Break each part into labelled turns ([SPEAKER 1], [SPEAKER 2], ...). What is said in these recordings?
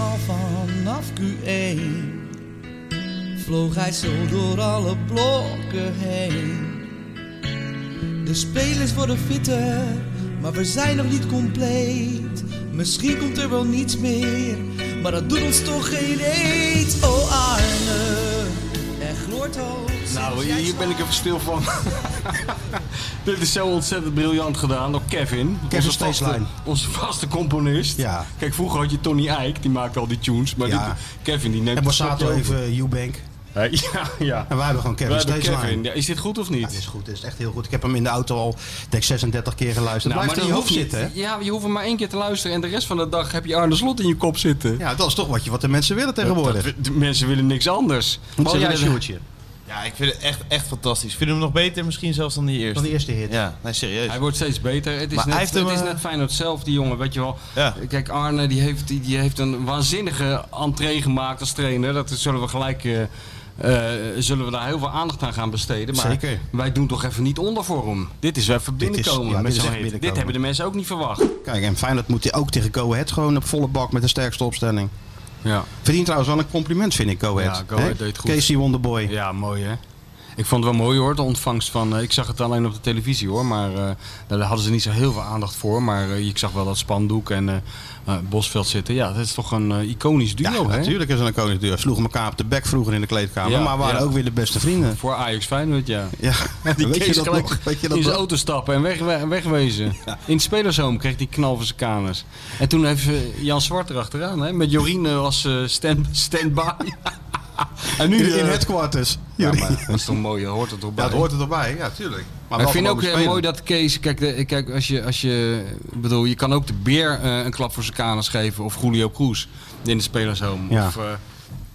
[SPEAKER 1] al vanaf Q1 vloog hij zo door alle blokken heen. De spelers worden fitter, maar we zijn nog niet compleet. Misschien komt er wel niets meer, maar dat doet ons toch geen eet. Oh Arne, er gloort hoop.
[SPEAKER 2] Nou, hier, hier ben ik even stil van. Dit is zo ontzettend briljant gedaan door Kevin. onze vaste,
[SPEAKER 3] Steeslijn.
[SPEAKER 2] onze vaste componist.
[SPEAKER 3] Ja.
[SPEAKER 2] Kijk, vroeger had je Tony Eijk, die maakte al die tunes. Maar
[SPEAKER 3] Ja.
[SPEAKER 2] dit- Kevin, die neemt
[SPEAKER 3] En
[SPEAKER 2] het stokje
[SPEAKER 3] Borsato
[SPEAKER 2] over.
[SPEAKER 3] even Eubank.
[SPEAKER 2] Hé, Ja, ja.
[SPEAKER 3] En wij hebben gewoon
[SPEAKER 2] We
[SPEAKER 3] Kevin
[SPEAKER 2] hebben Kevin.
[SPEAKER 3] Steeslijn.
[SPEAKER 2] Ja, is dit goed of
[SPEAKER 3] Ja,
[SPEAKER 2] niet?
[SPEAKER 3] het is goed, het is echt heel goed. Ik heb hem in de auto al, denk ik, 36 keer geluisterd.
[SPEAKER 2] Nou,
[SPEAKER 3] Blijft in je hoofd
[SPEAKER 2] niet-
[SPEAKER 3] zitten, hè?
[SPEAKER 2] Ja, je hoeft hem maar één keer te luisteren. En de rest van de dag heb je Arne Slot in je kop zitten.
[SPEAKER 3] Ja, dat is toch wat, je, wat de mensen willen tegenwoordig.
[SPEAKER 2] Dat- de mensen willen niks anders.
[SPEAKER 3] Bal
[SPEAKER 2] Ze
[SPEAKER 3] jij,
[SPEAKER 2] willen-
[SPEAKER 3] Sjoerdje?
[SPEAKER 4] Ja, ik vind het echt, echt fantastisch. Ik vind hem nog beter misschien zelfs dan die
[SPEAKER 3] Van
[SPEAKER 4] eerste.
[SPEAKER 3] de eerste hit.
[SPEAKER 4] Ja, nee, serieus.
[SPEAKER 5] Hij wordt steeds beter. Het is,
[SPEAKER 4] Maar
[SPEAKER 5] net,
[SPEAKER 4] hij heeft hem,
[SPEAKER 5] het is
[SPEAKER 4] eh,
[SPEAKER 5] net Feyenoord zelf, die jongen, weet je wel.
[SPEAKER 4] Ja.
[SPEAKER 5] Kijk, Arne die heeft, die, die heeft een waanzinnige entree gemaakt als trainer. Dat zullen we gelijk... eh, eh, zullen we daar heel veel aandacht aan gaan besteden. Maar
[SPEAKER 3] Zeker.
[SPEAKER 5] wij doen toch even niet onder voor hem. Dit is wel even
[SPEAKER 3] Dit is-
[SPEAKER 5] binnenkomen
[SPEAKER 3] ja,
[SPEAKER 5] met
[SPEAKER 3] dit is
[SPEAKER 5] zo'n
[SPEAKER 3] echt
[SPEAKER 5] hit. Dit
[SPEAKER 3] binnenkomen.
[SPEAKER 5] hebben de mensen ook niet verwacht.
[SPEAKER 3] Kijk, en Feyenoord moet hij ook tegen Go Ahead gewoon op volle bak met de sterkste opstelling.
[SPEAKER 2] Ja.
[SPEAKER 3] Verdient trouwens wel een compliment, vind ik, Go Ahead.
[SPEAKER 2] Ja, Go Ahead
[SPEAKER 3] Hè?
[SPEAKER 2] deed goed.
[SPEAKER 3] Casey Wonderboy.
[SPEAKER 2] ja, mooi hè. Ik vond het wel mooi hoor, de ontvangst van... eh, ik zag het alleen op de televisie hoor, maar eh, daar hadden ze niet zo heel veel aandacht voor. Maar eh, ik zag wel dat spandoek en eh eh, Bosveld zitten. Ja, dat is toch een eh, iconisch duo
[SPEAKER 3] Ja,
[SPEAKER 2] hè?
[SPEAKER 3] natuurlijk is er een koningsduur. Sloegen elkaar op de bek vroeger in de kleedkamer,
[SPEAKER 2] Ja,
[SPEAKER 3] maar waren
[SPEAKER 2] ja.
[SPEAKER 3] ook weer de beste vrienden.
[SPEAKER 2] Voor Ajax Feyenoord, ja.
[SPEAKER 3] Ja,
[SPEAKER 2] Die
[SPEAKER 3] weet je
[SPEAKER 2] Kees
[SPEAKER 3] dat
[SPEAKER 2] gelijk
[SPEAKER 3] nog? Weet je dat
[SPEAKER 2] in zijn
[SPEAKER 3] nog?
[SPEAKER 2] auto stappen en weg, wegwezen. In het spelershome kreeg hij knal van zijn kamers. En toen heeft eh, Jan Zwart erachteraan, hè, met Jorien eh, als eh, stand- stand-by. en nu
[SPEAKER 3] In, in
[SPEAKER 2] eh,
[SPEAKER 3] headquarters.
[SPEAKER 2] Ja, maar dat is toch mooi, je hoort het toch bij.
[SPEAKER 3] dat hoort er toch bij, ja, tuurlijk. Maar
[SPEAKER 5] Maar
[SPEAKER 3] wel
[SPEAKER 5] ik vind ook
[SPEAKER 3] gewone
[SPEAKER 5] eh,
[SPEAKER 3] speler.
[SPEAKER 5] mooi dat Kees, kijk, de, kijk als je, als je, ik bedoel, je kan ook de beer eh, een klap voor zijn kanus geven of Julio Cruz in de spelershome.
[SPEAKER 3] Ja.
[SPEAKER 5] Of, eh,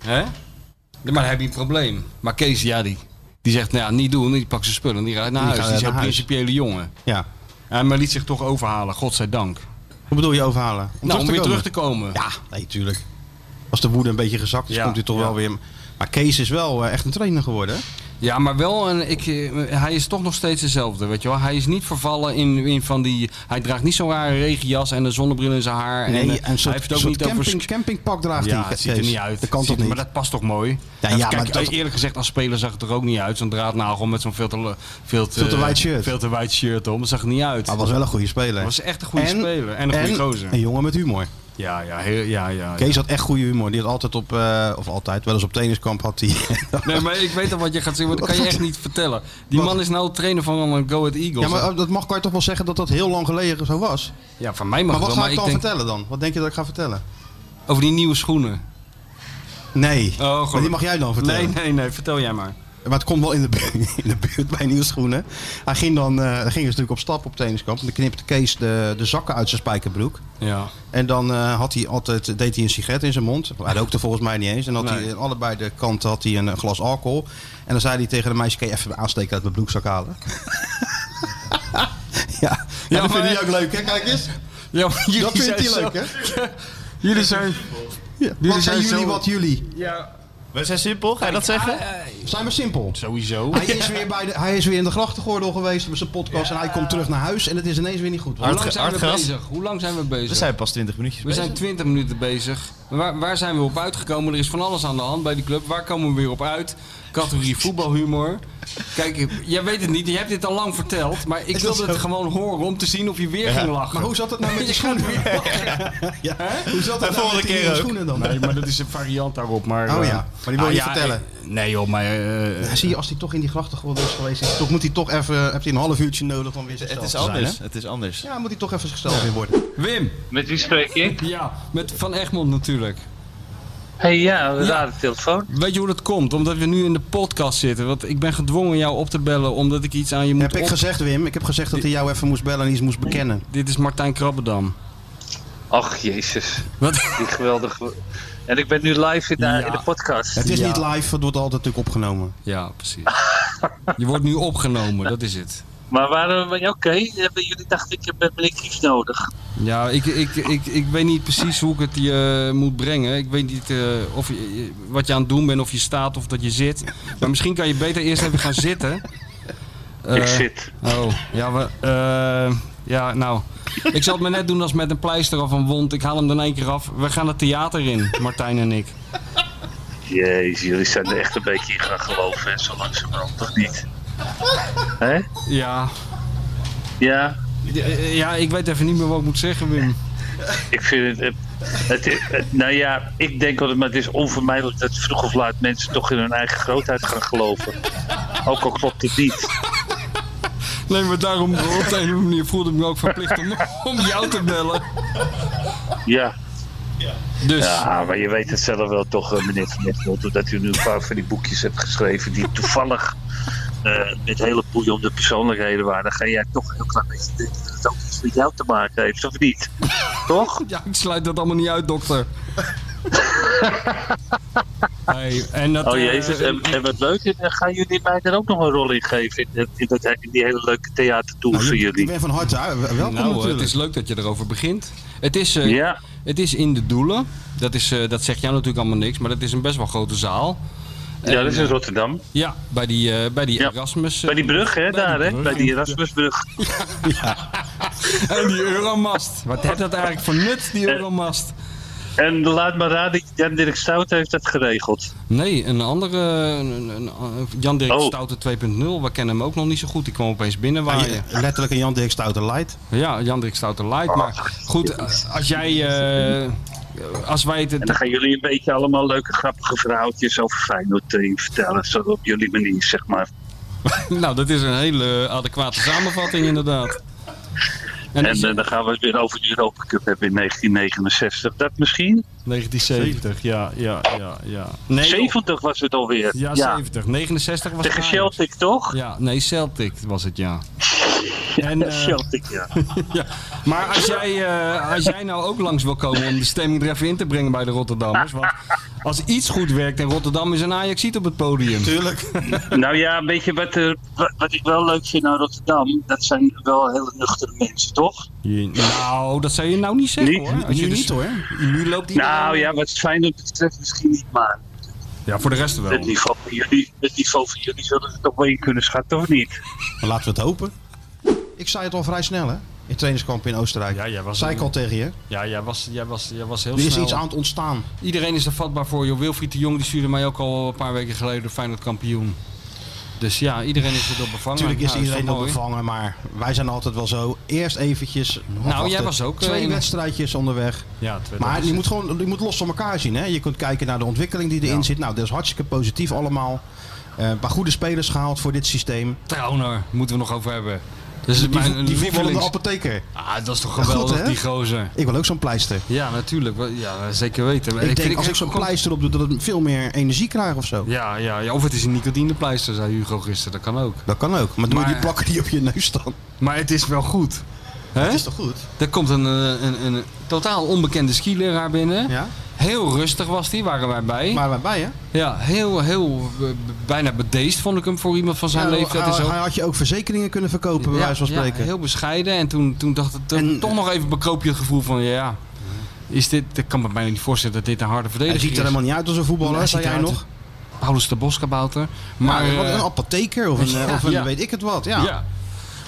[SPEAKER 5] hè? Ja, Maar dan heb je een probleem. Maar Kees, ja, die, die zegt, nou ja, niet doen, die pakt zijn spullen en die rijdt naar
[SPEAKER 3] Die
[SPEAKER 5] huis.
[SPEAKER 3] gaat
[SPEAKER 5] Die is
[SPEAKER 3] naar
[SPEAKER 5] een
[SPEAKER 3] huis.
[SPEAKER 5] principiële jongen.
[SPEAKER 3] Ja.
[SPEAKER 5] Eh, maar liet zich toch overhalen, godzijdank.
[SPEAKER 3] Hoe bedoel je overhalen? Om
[SPEAKER 5] nou, om weer
[SPEAKER 3] komen?
[SPEAKER 5] terug te komen.
[SPEAKER 3] Ja, nee, tuurlijk. Als de woede een beetje gezakt is,
[SPEAKER 5] Ja,
[SPEAKER 3] komt hij toch
[SPEAKER 5] ja.
[SPEAKER 3] wel weer. Maar Kees is wel eh, echt een trainer geworden. hè?
[SPEAKER 5] Ja, maar wel, een, ik, eh, hij is toch nog steeds dezelfde, weet je wel. Hij is niet vervallen in, in van die... Hij draagt niet zo'n rare regenjas en een zonnebril in zijn haar. en, eh,
[SPEAKER 3] Nee, een
[SPEAKER 5] hij
[SPEAKER 3] soort,
[SPEAKER 5] heeft het ook
[SPEAKER 3] soort
[SPEAKER 5] niet over...
[SPEAKER 3] camping, campingpak draagt hij.
[SPEAKER 5] Ja, het ziet er
[SPEAKER 3] Kees.
[SPEAKER 5] niet uit.
[SPEAKER 3] Dat kan
[SPEAKER 5] Het ziet-
[SPEAKER 3] toch niet?
[SPEAKER 5] Maar dat past toch mooi? eh,
[SPEAKER 3] Ja,
[SPEAKER 5] En
[SPEAKER 3] ja,
[SPEAKER 5] kijk,
[SPEAKER 3] maar dat-
[SPEAKER 5] eerlijk gezegd, als speler zag het er ook niet uit. Zo'n draadnagel met zo'n veel te, le- veel te,
[SPEAKER 3] Veel te wijd shirt.
[SPEAKER 5] eh, Veel te wijd shirt om. Dat zag er niet uit.
[SPEAKER 3] Maar was wel een goede speler.
[SPEAKER 5] Hij was echt een goede
[SPEAKER 3] En-
[SPEAKER 5] speler. En een goede gozer.
[SPEAKER 3] Een jongen met humor.
[SPEAKER 5] Ja, ja, heel, ja, ja. ja.
[SPEAKER 3] Kees had echt goede humor. Die had altijd op, eh, of altijd, wel eens op tenniskamp had hij.
[SPEAKER 5] Nee, maar ik weet al wat je gaat zeggen, want dat kan je echt niet vertellen. Die man is nou trainer van een Go Ahead Eagles.
[SPEAKER 3] ja, maar eh, dat mag kan je toch wel zeggen dat dat heel lang geleden zo was.
[SPEAKER 5] Ja, van mij mag
[SPEAKER 3] Maar wat
[SPEAKER 5] het wel,
[SPEAKER 3] ga
[SPEAKER 5] maar
[SPEAKER 3] ik
[SPEAKER 5] ik
[SPEAKER 3] dan
[SPEAKER 5] denk
[SPEAKER 3] vertellen dan? Wat denk je dat ik ga vertellen?
[SPEAKER 5] over die nieuwe schoenen.
[SPEAKER 3] Nee.
[SPEAKER 5] gelukkig.
[SPEAKER 3] maar die mag jij dan vertellen.
[SPEAKER 5] Oh, Nee, nee, nee, vertel jij maar.
[SPEAKER 3] Maar het komt wel in de, bu- in de buurt bij Nieuwschoenen. Hij ging dan, eh ging dus natuurlijk op stap op tenniskamp. En dan knipte Kees de, de zakken uit zijn spijkerbroek.
[SPEAKER 5] Ja.
[SPEAKER 3] En dan eh, had hij altijd, deed hij een sigaret in zijn mond. Hij rookte volgens mij niet eens. En had
[SPEAKER 5] Nee.
[SPEAKER 3] hij, aan allebei de kanten had hij een, een glas alcohol. En dan zei hij tegen de meisje, kan je even de aansteker uit mijn broekzak halen? ja, ja,
[SPEAKER 5] maar-
[SPEAKER 3] dat vind ik ook leuk hè, kijk eens.
[SPEAKER 5] ja maar jullie
[SPEAKER 3] Dat vindt
[SPEAKER 5] zijn
[SPEAKER 3] hij
[SPEAKER 5] zo-
[SPEAKER 4] eh,
[SPEAKER 3] leuk hè.
[SPEAKER 5] Jullie zijn...
[SPEAKER 3] Wat zijn
[SPEAKER 5] zijn
[SPEAKER 3] jullie,
[SPEAKER 5] zo-
[SPEAKER 3] wat jullie?
[SPEAKER 4] Wij zijn simpel, ga je dat zeggen?
[SPEAKER 3] Zijn we simpel.
[SPEAKER 2] Sowieso.
[SPEAKER 3] Hij is, weer bij de, hij is weer in de grachtengordel geweest met zijn podcast. En hij komt terug naar huis en het is ineens weer niet goed.
[SPEAKER 5] Hoe
[SPEAKER 4] Hard-
[SPEAKER 5] lang zijn we
[SPEAKER 4] hard gras.
[SPEAKER 5] bezig? Hoe lang zijn we bezig?
[SPEAKER 4] We zijn pas 20 minuutjes
[SPEAKER 5] We zijn 20 minuten bezig. Waar, waar zijn we op uitgekomen? Er is van alles aan de hand bij die club. Waar komen we weer op uit? Categorie voetbalhumor. Kijk, jij weet het niet. Je hebt dit al lang verteld. Maar ik
[SPEAKER 3] Is
[SPEAKER 5] wilde
[SPEAKER 3] dat
[SPEAKER 5] het
[SPEAKER 3] zo?
[SPEAKER 5] gewoon horen om te zien of je weer ging lachen.
[SPEAKER 3] Maar hoe zat het nou met je
[SPEAKER 5] Je
[SPEAKER 3] schoenen? Ja. Hoe zat het nou
[SPEAKER 4] En volgende
[SPEAKER 3] met die
[SPEAKER 4] keer
[SPEAKER 3] nieuwe
[SPEAKER 4] ook.
[SPEAKER 3] schoenen dan?
[SPEAKER 5] Nee, maar dat is een variant daarop. Maar,
[SPEAKER 3] Oh
[SPEAKER 5] eh,
[SPEAKER 3] ja, maar die wil je niet vertellen.
[SPEAKER 5] eh, nee joh, maar... eh, eh,
[SPEAKER 3] Ja, zie je, als hij toch in die grachtengordel is geweest, is hij toch, moet hij toch even, heeft hij een half uurtje nodig om weer
[SPEAKER 4] Het
[SPEAKER 3] zichzelf
[SPEAKER 4] is
[SPEAKER 3] te zijn.
[SPEAKER 4] anders,
[SPEAKER 3] hè?
[SPEAKER 4] het is anders.
[SPEAKER 3] Ja, moet hij toch even zichzelf weer worden.
[SPEAKER 5] Wim!
[SPEAKER 6] Met wie spreek ik?
[SPEAKER 5] Ja, met Van Egmond natuurlijk.
[SPEAKER 6] Hey, ja, we raden de telefoon.
[SPEAKER 5] Weet je hoe dat komt? Omdat we nu in de podcast zitten. Want ik ben gedwongen jou op te bellen omdat ik iets aan je moet
[SPEAKER 3] Heb ik
[SPEAKER 5] op-
[SPEAKER 3] gezegd, Wim? Ik heb gezegd dat hij jou even moest bellen en iets moest bekennen.
[SPEAKER 5] Dit is Martijn Krabbedam.
[SPEAKER 6] Ach, jezus.
[SPEAKER 5] Wat?
[SPEAKER 6] Die geweldig. En ik ben nu live in de,
[SPEAKER 5] Ja.
[SPEAKER 6] in de podcast.
[SPEAKER 3] Het is
[SPEAKER 5] Ja.
[SPEAKER 3] niet live, het wordt altijd natuurlijk opgenomen.
[SPEAKER 5] Ja, precies. Je wordt nu opgenomen, dat is het.
[SPEAKER 6] Maar waarom... Oké, hebben jullie dachten ik heb meneer Kiek nodig.
[SPEAKER 5] Ja, ik, ik, ik, ik weet niet precies hoe ik het je moet brengen. Ik weet niet eh, of je, wat je aan het doen bent, of je staat of dat je zit. Maar misschien kan je beter eerst even gaan zitten. Eh,
[SPEAKER 6] ik zit.
[SPEAKER 5] Oh, ja, we, eh, ja, nou. Ik zal het me net doen als met een pleister of een wond. Ik haal hem dan één keer af. We gaan het theater in, Martijn en ik.
[SPEAKER 6] Jezus, jullie zijn er echt een beetje in gaan geloven, hè? Zo langzamerhand, toch niet? Hè?
[SPEAKER 5] Ja.
[SPEAKER 6] Ja,
[SPEAKER 5] Ja, ik weet even niet meer wat ik moet zeggen, Wim.
[SPEAKER 6] ik vind het... eh, het, is- het- nou ja, ik denk altijd, maar het is onvermijdelijk dat vroeg of laat mensen toch in hun eigen grootheid gaan geloven. Ook al klopt het niet.
[SPEAKER 5] Nee, maar daarom op de een of andere manier voelde ik me ook verplicht om, om jou te bellen.
[SPEAKER 6] Ja,
[SPEAKER 5] Dus,
[SPEAKER 6] ja maar je weet het zelf wel toch, eh, meneer Van Nistelrooy, doordat u nu een paar van die boekjes hebt geschreven die toevallig eh, met hele boeiende persoonlijkheden waren. Dan ga jij toch een heel klein beetje denken dat het ook iets met jou te maken heeft, of niet? Toch?
[SPEAKER 5] ja, ik sluit dat allemaal niet uit, dokter. Hey, en dat,
[SPEAKER 6] Oh
[SPEAKER 5] eh,
[SPEAKER 6] jezus, en, en wat leuk, is, eh, gaan jullie mij er ook nog een rol in geven in, dat- in, dat, in die hele leuke theatertour voor
[SPEAKER 3] Ik
[SPEAKER 6] jullie?
[SPEAKER 3] ben van harte uit- welkom
[SPEAKER 5] nou, het
[SPEAKER 3] natuurlijk.
[SPEAKER 5] is leuk dat je erover begint. Het is, eh,
[SPEAKER 6] Ja,
[SPEAKER 5] het is in de Doelen. Dat, is, eh, dat zegt jou natuurlijk allemaal niks, maar dat is een best wel grote zaal.
[SPEAKER 6] ja, dat is in Rotterdam.
[SPEAKER 5] Ja, bij die, eh, bij die
[SPEAKER 6] Ja.
[SPEAKER 5] Erasmus. eh,
[SPEAKER 6] Bij die brug, hè,
[SPEAKER 5] die
[SPEAKER 6] daar, hè?
[SPEAKER 5] brug.
[SPEAKER 6] Bij die Erasmusbrug.
[SPEAKER 5] En die Euromast. Wat heeft dat eigenlijk voor nut, die Euromast?
[SPEAKER 6] En laat maar raden, Jan Dirk Stout heeft dat geregeld.
[SPEAKER 5] Nee, een andere. een- een- een- Jan Dirk
[SPEAKER 6] Oh.
[SPEAKER 5] Stoute 2.0. We kennen hem ook nog niet zo goed. Die kwam opeens binnenwaaien.
[SPEAKER 3] Ah, Ja, Letterlijk een Jan Dirk Stouter light.
[SPEAKER 5] Ja, Jan Dirk Stoute
[SPEAKER 6] Ah.
[SPEAKER 5] Light. Maar goed, als jij. eh, als wij het.
[SPEAKER 6] En dan gaan jullie een beetje allemaal leuke, grappige verhaaltjes over Feyenoord eh, vertellen. Zo op jullie manier, zeg maar.
[SPEAKER 5] Nou, dat is een hele adequate samenvatting, inderdaad. En,
[SPEAKER 6] En eh, dan gaan we het weer over de Europa Cup hebben in 1969. Dat misschien?
[SPEAKER 5] 1970, ja, ja, ja, ja. Nee,
[SPEAKER 6] 70 was het alweer.
[SPEAKER 5] Ja, 70. 69 was
[SPEAKER 6] Tegen
[SPEAKER 5] Ajax.
[SPEAKER 6] Celtic, toch?
[SPEAKER 5] Ja, nee, Celtic was het, ja. En, eh,
[SPEAKER 6] Celtic, ja.
[SPEAKER 5] Maar als jij, eh, als jij nou ook langs wil komen om de stemming er even in te brengen bij de Rotterdammers. Want als iets goed werkt in Rotterdam is een Ajax ziet op het podium.
[SPEAKER 3] Tuurlijk.
[SPEAKER 6] Nou ja, weet je wat, er, wa- wat ik wel leuk vind aan Rotterdam? Dat zijn wel hele nuchtere mensen, toch?
[SPEAKER 5] Je- nou, dat zou je nou niet zeggen
[SPEAKER 6] Niet-
[SPEAKER 5] hoor. Als je
[SPEAKER 3] Nu
[SPEAKER 5] dus-
[SPEAKER 3] niet hoor.
[SPEAKER 5] Nu loopt die. eh?
[SPEAKER 6] Nou ja, wat Feyenoord betreft misschien niet, maar
[SPEAKER 5] Ja, voor de rest wel.
[SPEAKER 6] het niveau van jullie, het niveau van jullie zullen ze toch wel in kunnen schatten, of niet?
[SPEAKER 3] Maar laten we het hopen. Ik zei het al vrij snel hè. In trainingskamp in Oostenrijk.
[SPEAKER 5] Ja, jij was
[SPEAKER 3] zei ik al tegen je.
[SPEAKER 5] Ja, jij was, jij was, jij was heel
[SPEAKER 3] Er is
[SPEAKER 5] snel.
[SPEAKER 3] iets aan het ontstaan.
[SPEAKER 5] Iedereen is er vatbaar voor. Joh. Wilfried de Jong die stuurde mij ook al een paar weken geleden Feyenoord kampioen. Dus ja, iedereen is er door bevangen.
[SPEAKER 3] Natuurlijk is
[SPEAKER 5] Nou,
[SPEAKER 3] iedereen
[SPEAKER 5] toch
[SPEAKER 3] nog
[SPEAKER 5] mooi?
[SPEAKER 3] bevangen, maar wij zijn altijd wel zo. Eerst eventjes. afwachten.
[SPEAKER 5] jij was ook, eh,
[SPEAKER 3] Twee
[SPEAKER 5] in-
[SPEAKER 3] wedstrijdjes onderweg.
[SPEAKER 5] Ja, het werd- dat
[SPEAKER 3] Maar
[SPEAKER 5] is
[SPEAKER 3] je
[SPEAKER 5] het.
[SPEAKER 3] moet gewoon je moet los van elkaar zien. Hè? Je kunt kijken naar de ontwikkeling die erin zit. Nou, dat is hartstikke positief allemaal. Eh, een paar goede spelers gehaald voor dit systeem.
[SPEAKER 5] Trauner moeten we nog over hebben. Dat is
[SPEAKER 3] Die,
[SPEAKER 5] mijn
[SPEAKER 3] die voetballende
[SPEAKER 5] lievelings-
[SPEAKER 3] apotheker.
[SPEAKER 5] Ah, dat is toch
[SPEAKER 3] Goed,
[SPEAKER 5] geweldig,
[SPEAKER 3] hè?
[SPEAKER 5] die gozer.
[SPEAKER 3] Ik wil ook zo'n pleister.
[SPEAKER 5] Ja, natuurlijk. Wel- Ja, zeker weten. Maar
[SPEAKER 3] Ik,
[SPEAKER 5] vind
[SPEAKER 3] denk als
[SPEAKER 5] het
[SPEAKER 3] ik zo'n
[SPEAKER 5] ook-
[SPEAKER 3] pleister op doe, dat het veel meer energie krijgt of zo.
[SPEAKER 5] Ja, ja, ja, of het is een nicotinepleister, zei Hugo gisteren. Dat kan ook.
[SPEAKER 3] Dat kan ook. Maar doe je
[SPEAKER 5] Maar-
[SPEAKER 3] die plakken die op je neus staan.
[SPEAKER 5] Maar het is wel goed. Hè?
[SPEAKER 3] Dat is toch goed?
[SPEAKER 5] Er komt een, eh, een, een totaal onbekende skileraar binnen.
[SPEAKER 3] Ja.
[SPEAKER 5] Heel rustig was die, waren wij bij.
[SPEAKER 3] Maar waarbij hè?
[SPEAKER 5] Ja, heel, heel eh, b- bijna bedeesd vond ik hem voor iemand van zijn
[SPEAKER 3] Ja,
[SPEAKER 5] leeftijd.
[SPEAKER 3] hij,
[SPEAKER 5] en zo.
[SPEAKER 3] hij had je ook verzekeringen kunnen verkopen, bij
[SPEAKER 5] Ja,
[SPEAKER 3] wijze van
[SPEAKER 5] ja,
[SPEAKER 3] spreken.
[SPEAKER 5] heel bescheiden. En toen, toen dacht het
[SPEAKER 3] En-
[SPEAKER 5] toch nog even bekroop je het gevoel van ja, is dit, ik kan me bijna niet voorstellen dat dit een harde
[SPEAKER 3] Hij
[SPEAKER 5] verdediger
[SPEAKER 3] ziet er
[SPEAKER 5] is.
[SPEAKER 3] helemaal niet uit als een voetballer,
[SPEAKER 5] Nee,
[SPEAKER 3] zei
[SPEAKER 5] ziet
[SPEAKER 3] jij
[SPEAKER 5] eruit-
[SPEAKER 3] nog.
[SPEAKER 5] Paulus de Boskabouter. Maar,
[SPEAKER 3] Maar,
[SPEAKER 5] eh,
[SPEAKER 3] een apotheker of een, eh,
[SPEAKER 5] ja,
[SPEAKER 3] of een
[SPEAKER 5] ja.
[SPEAKER 3] weet ik het wat. Ja.
[SPEAKER 5] ja.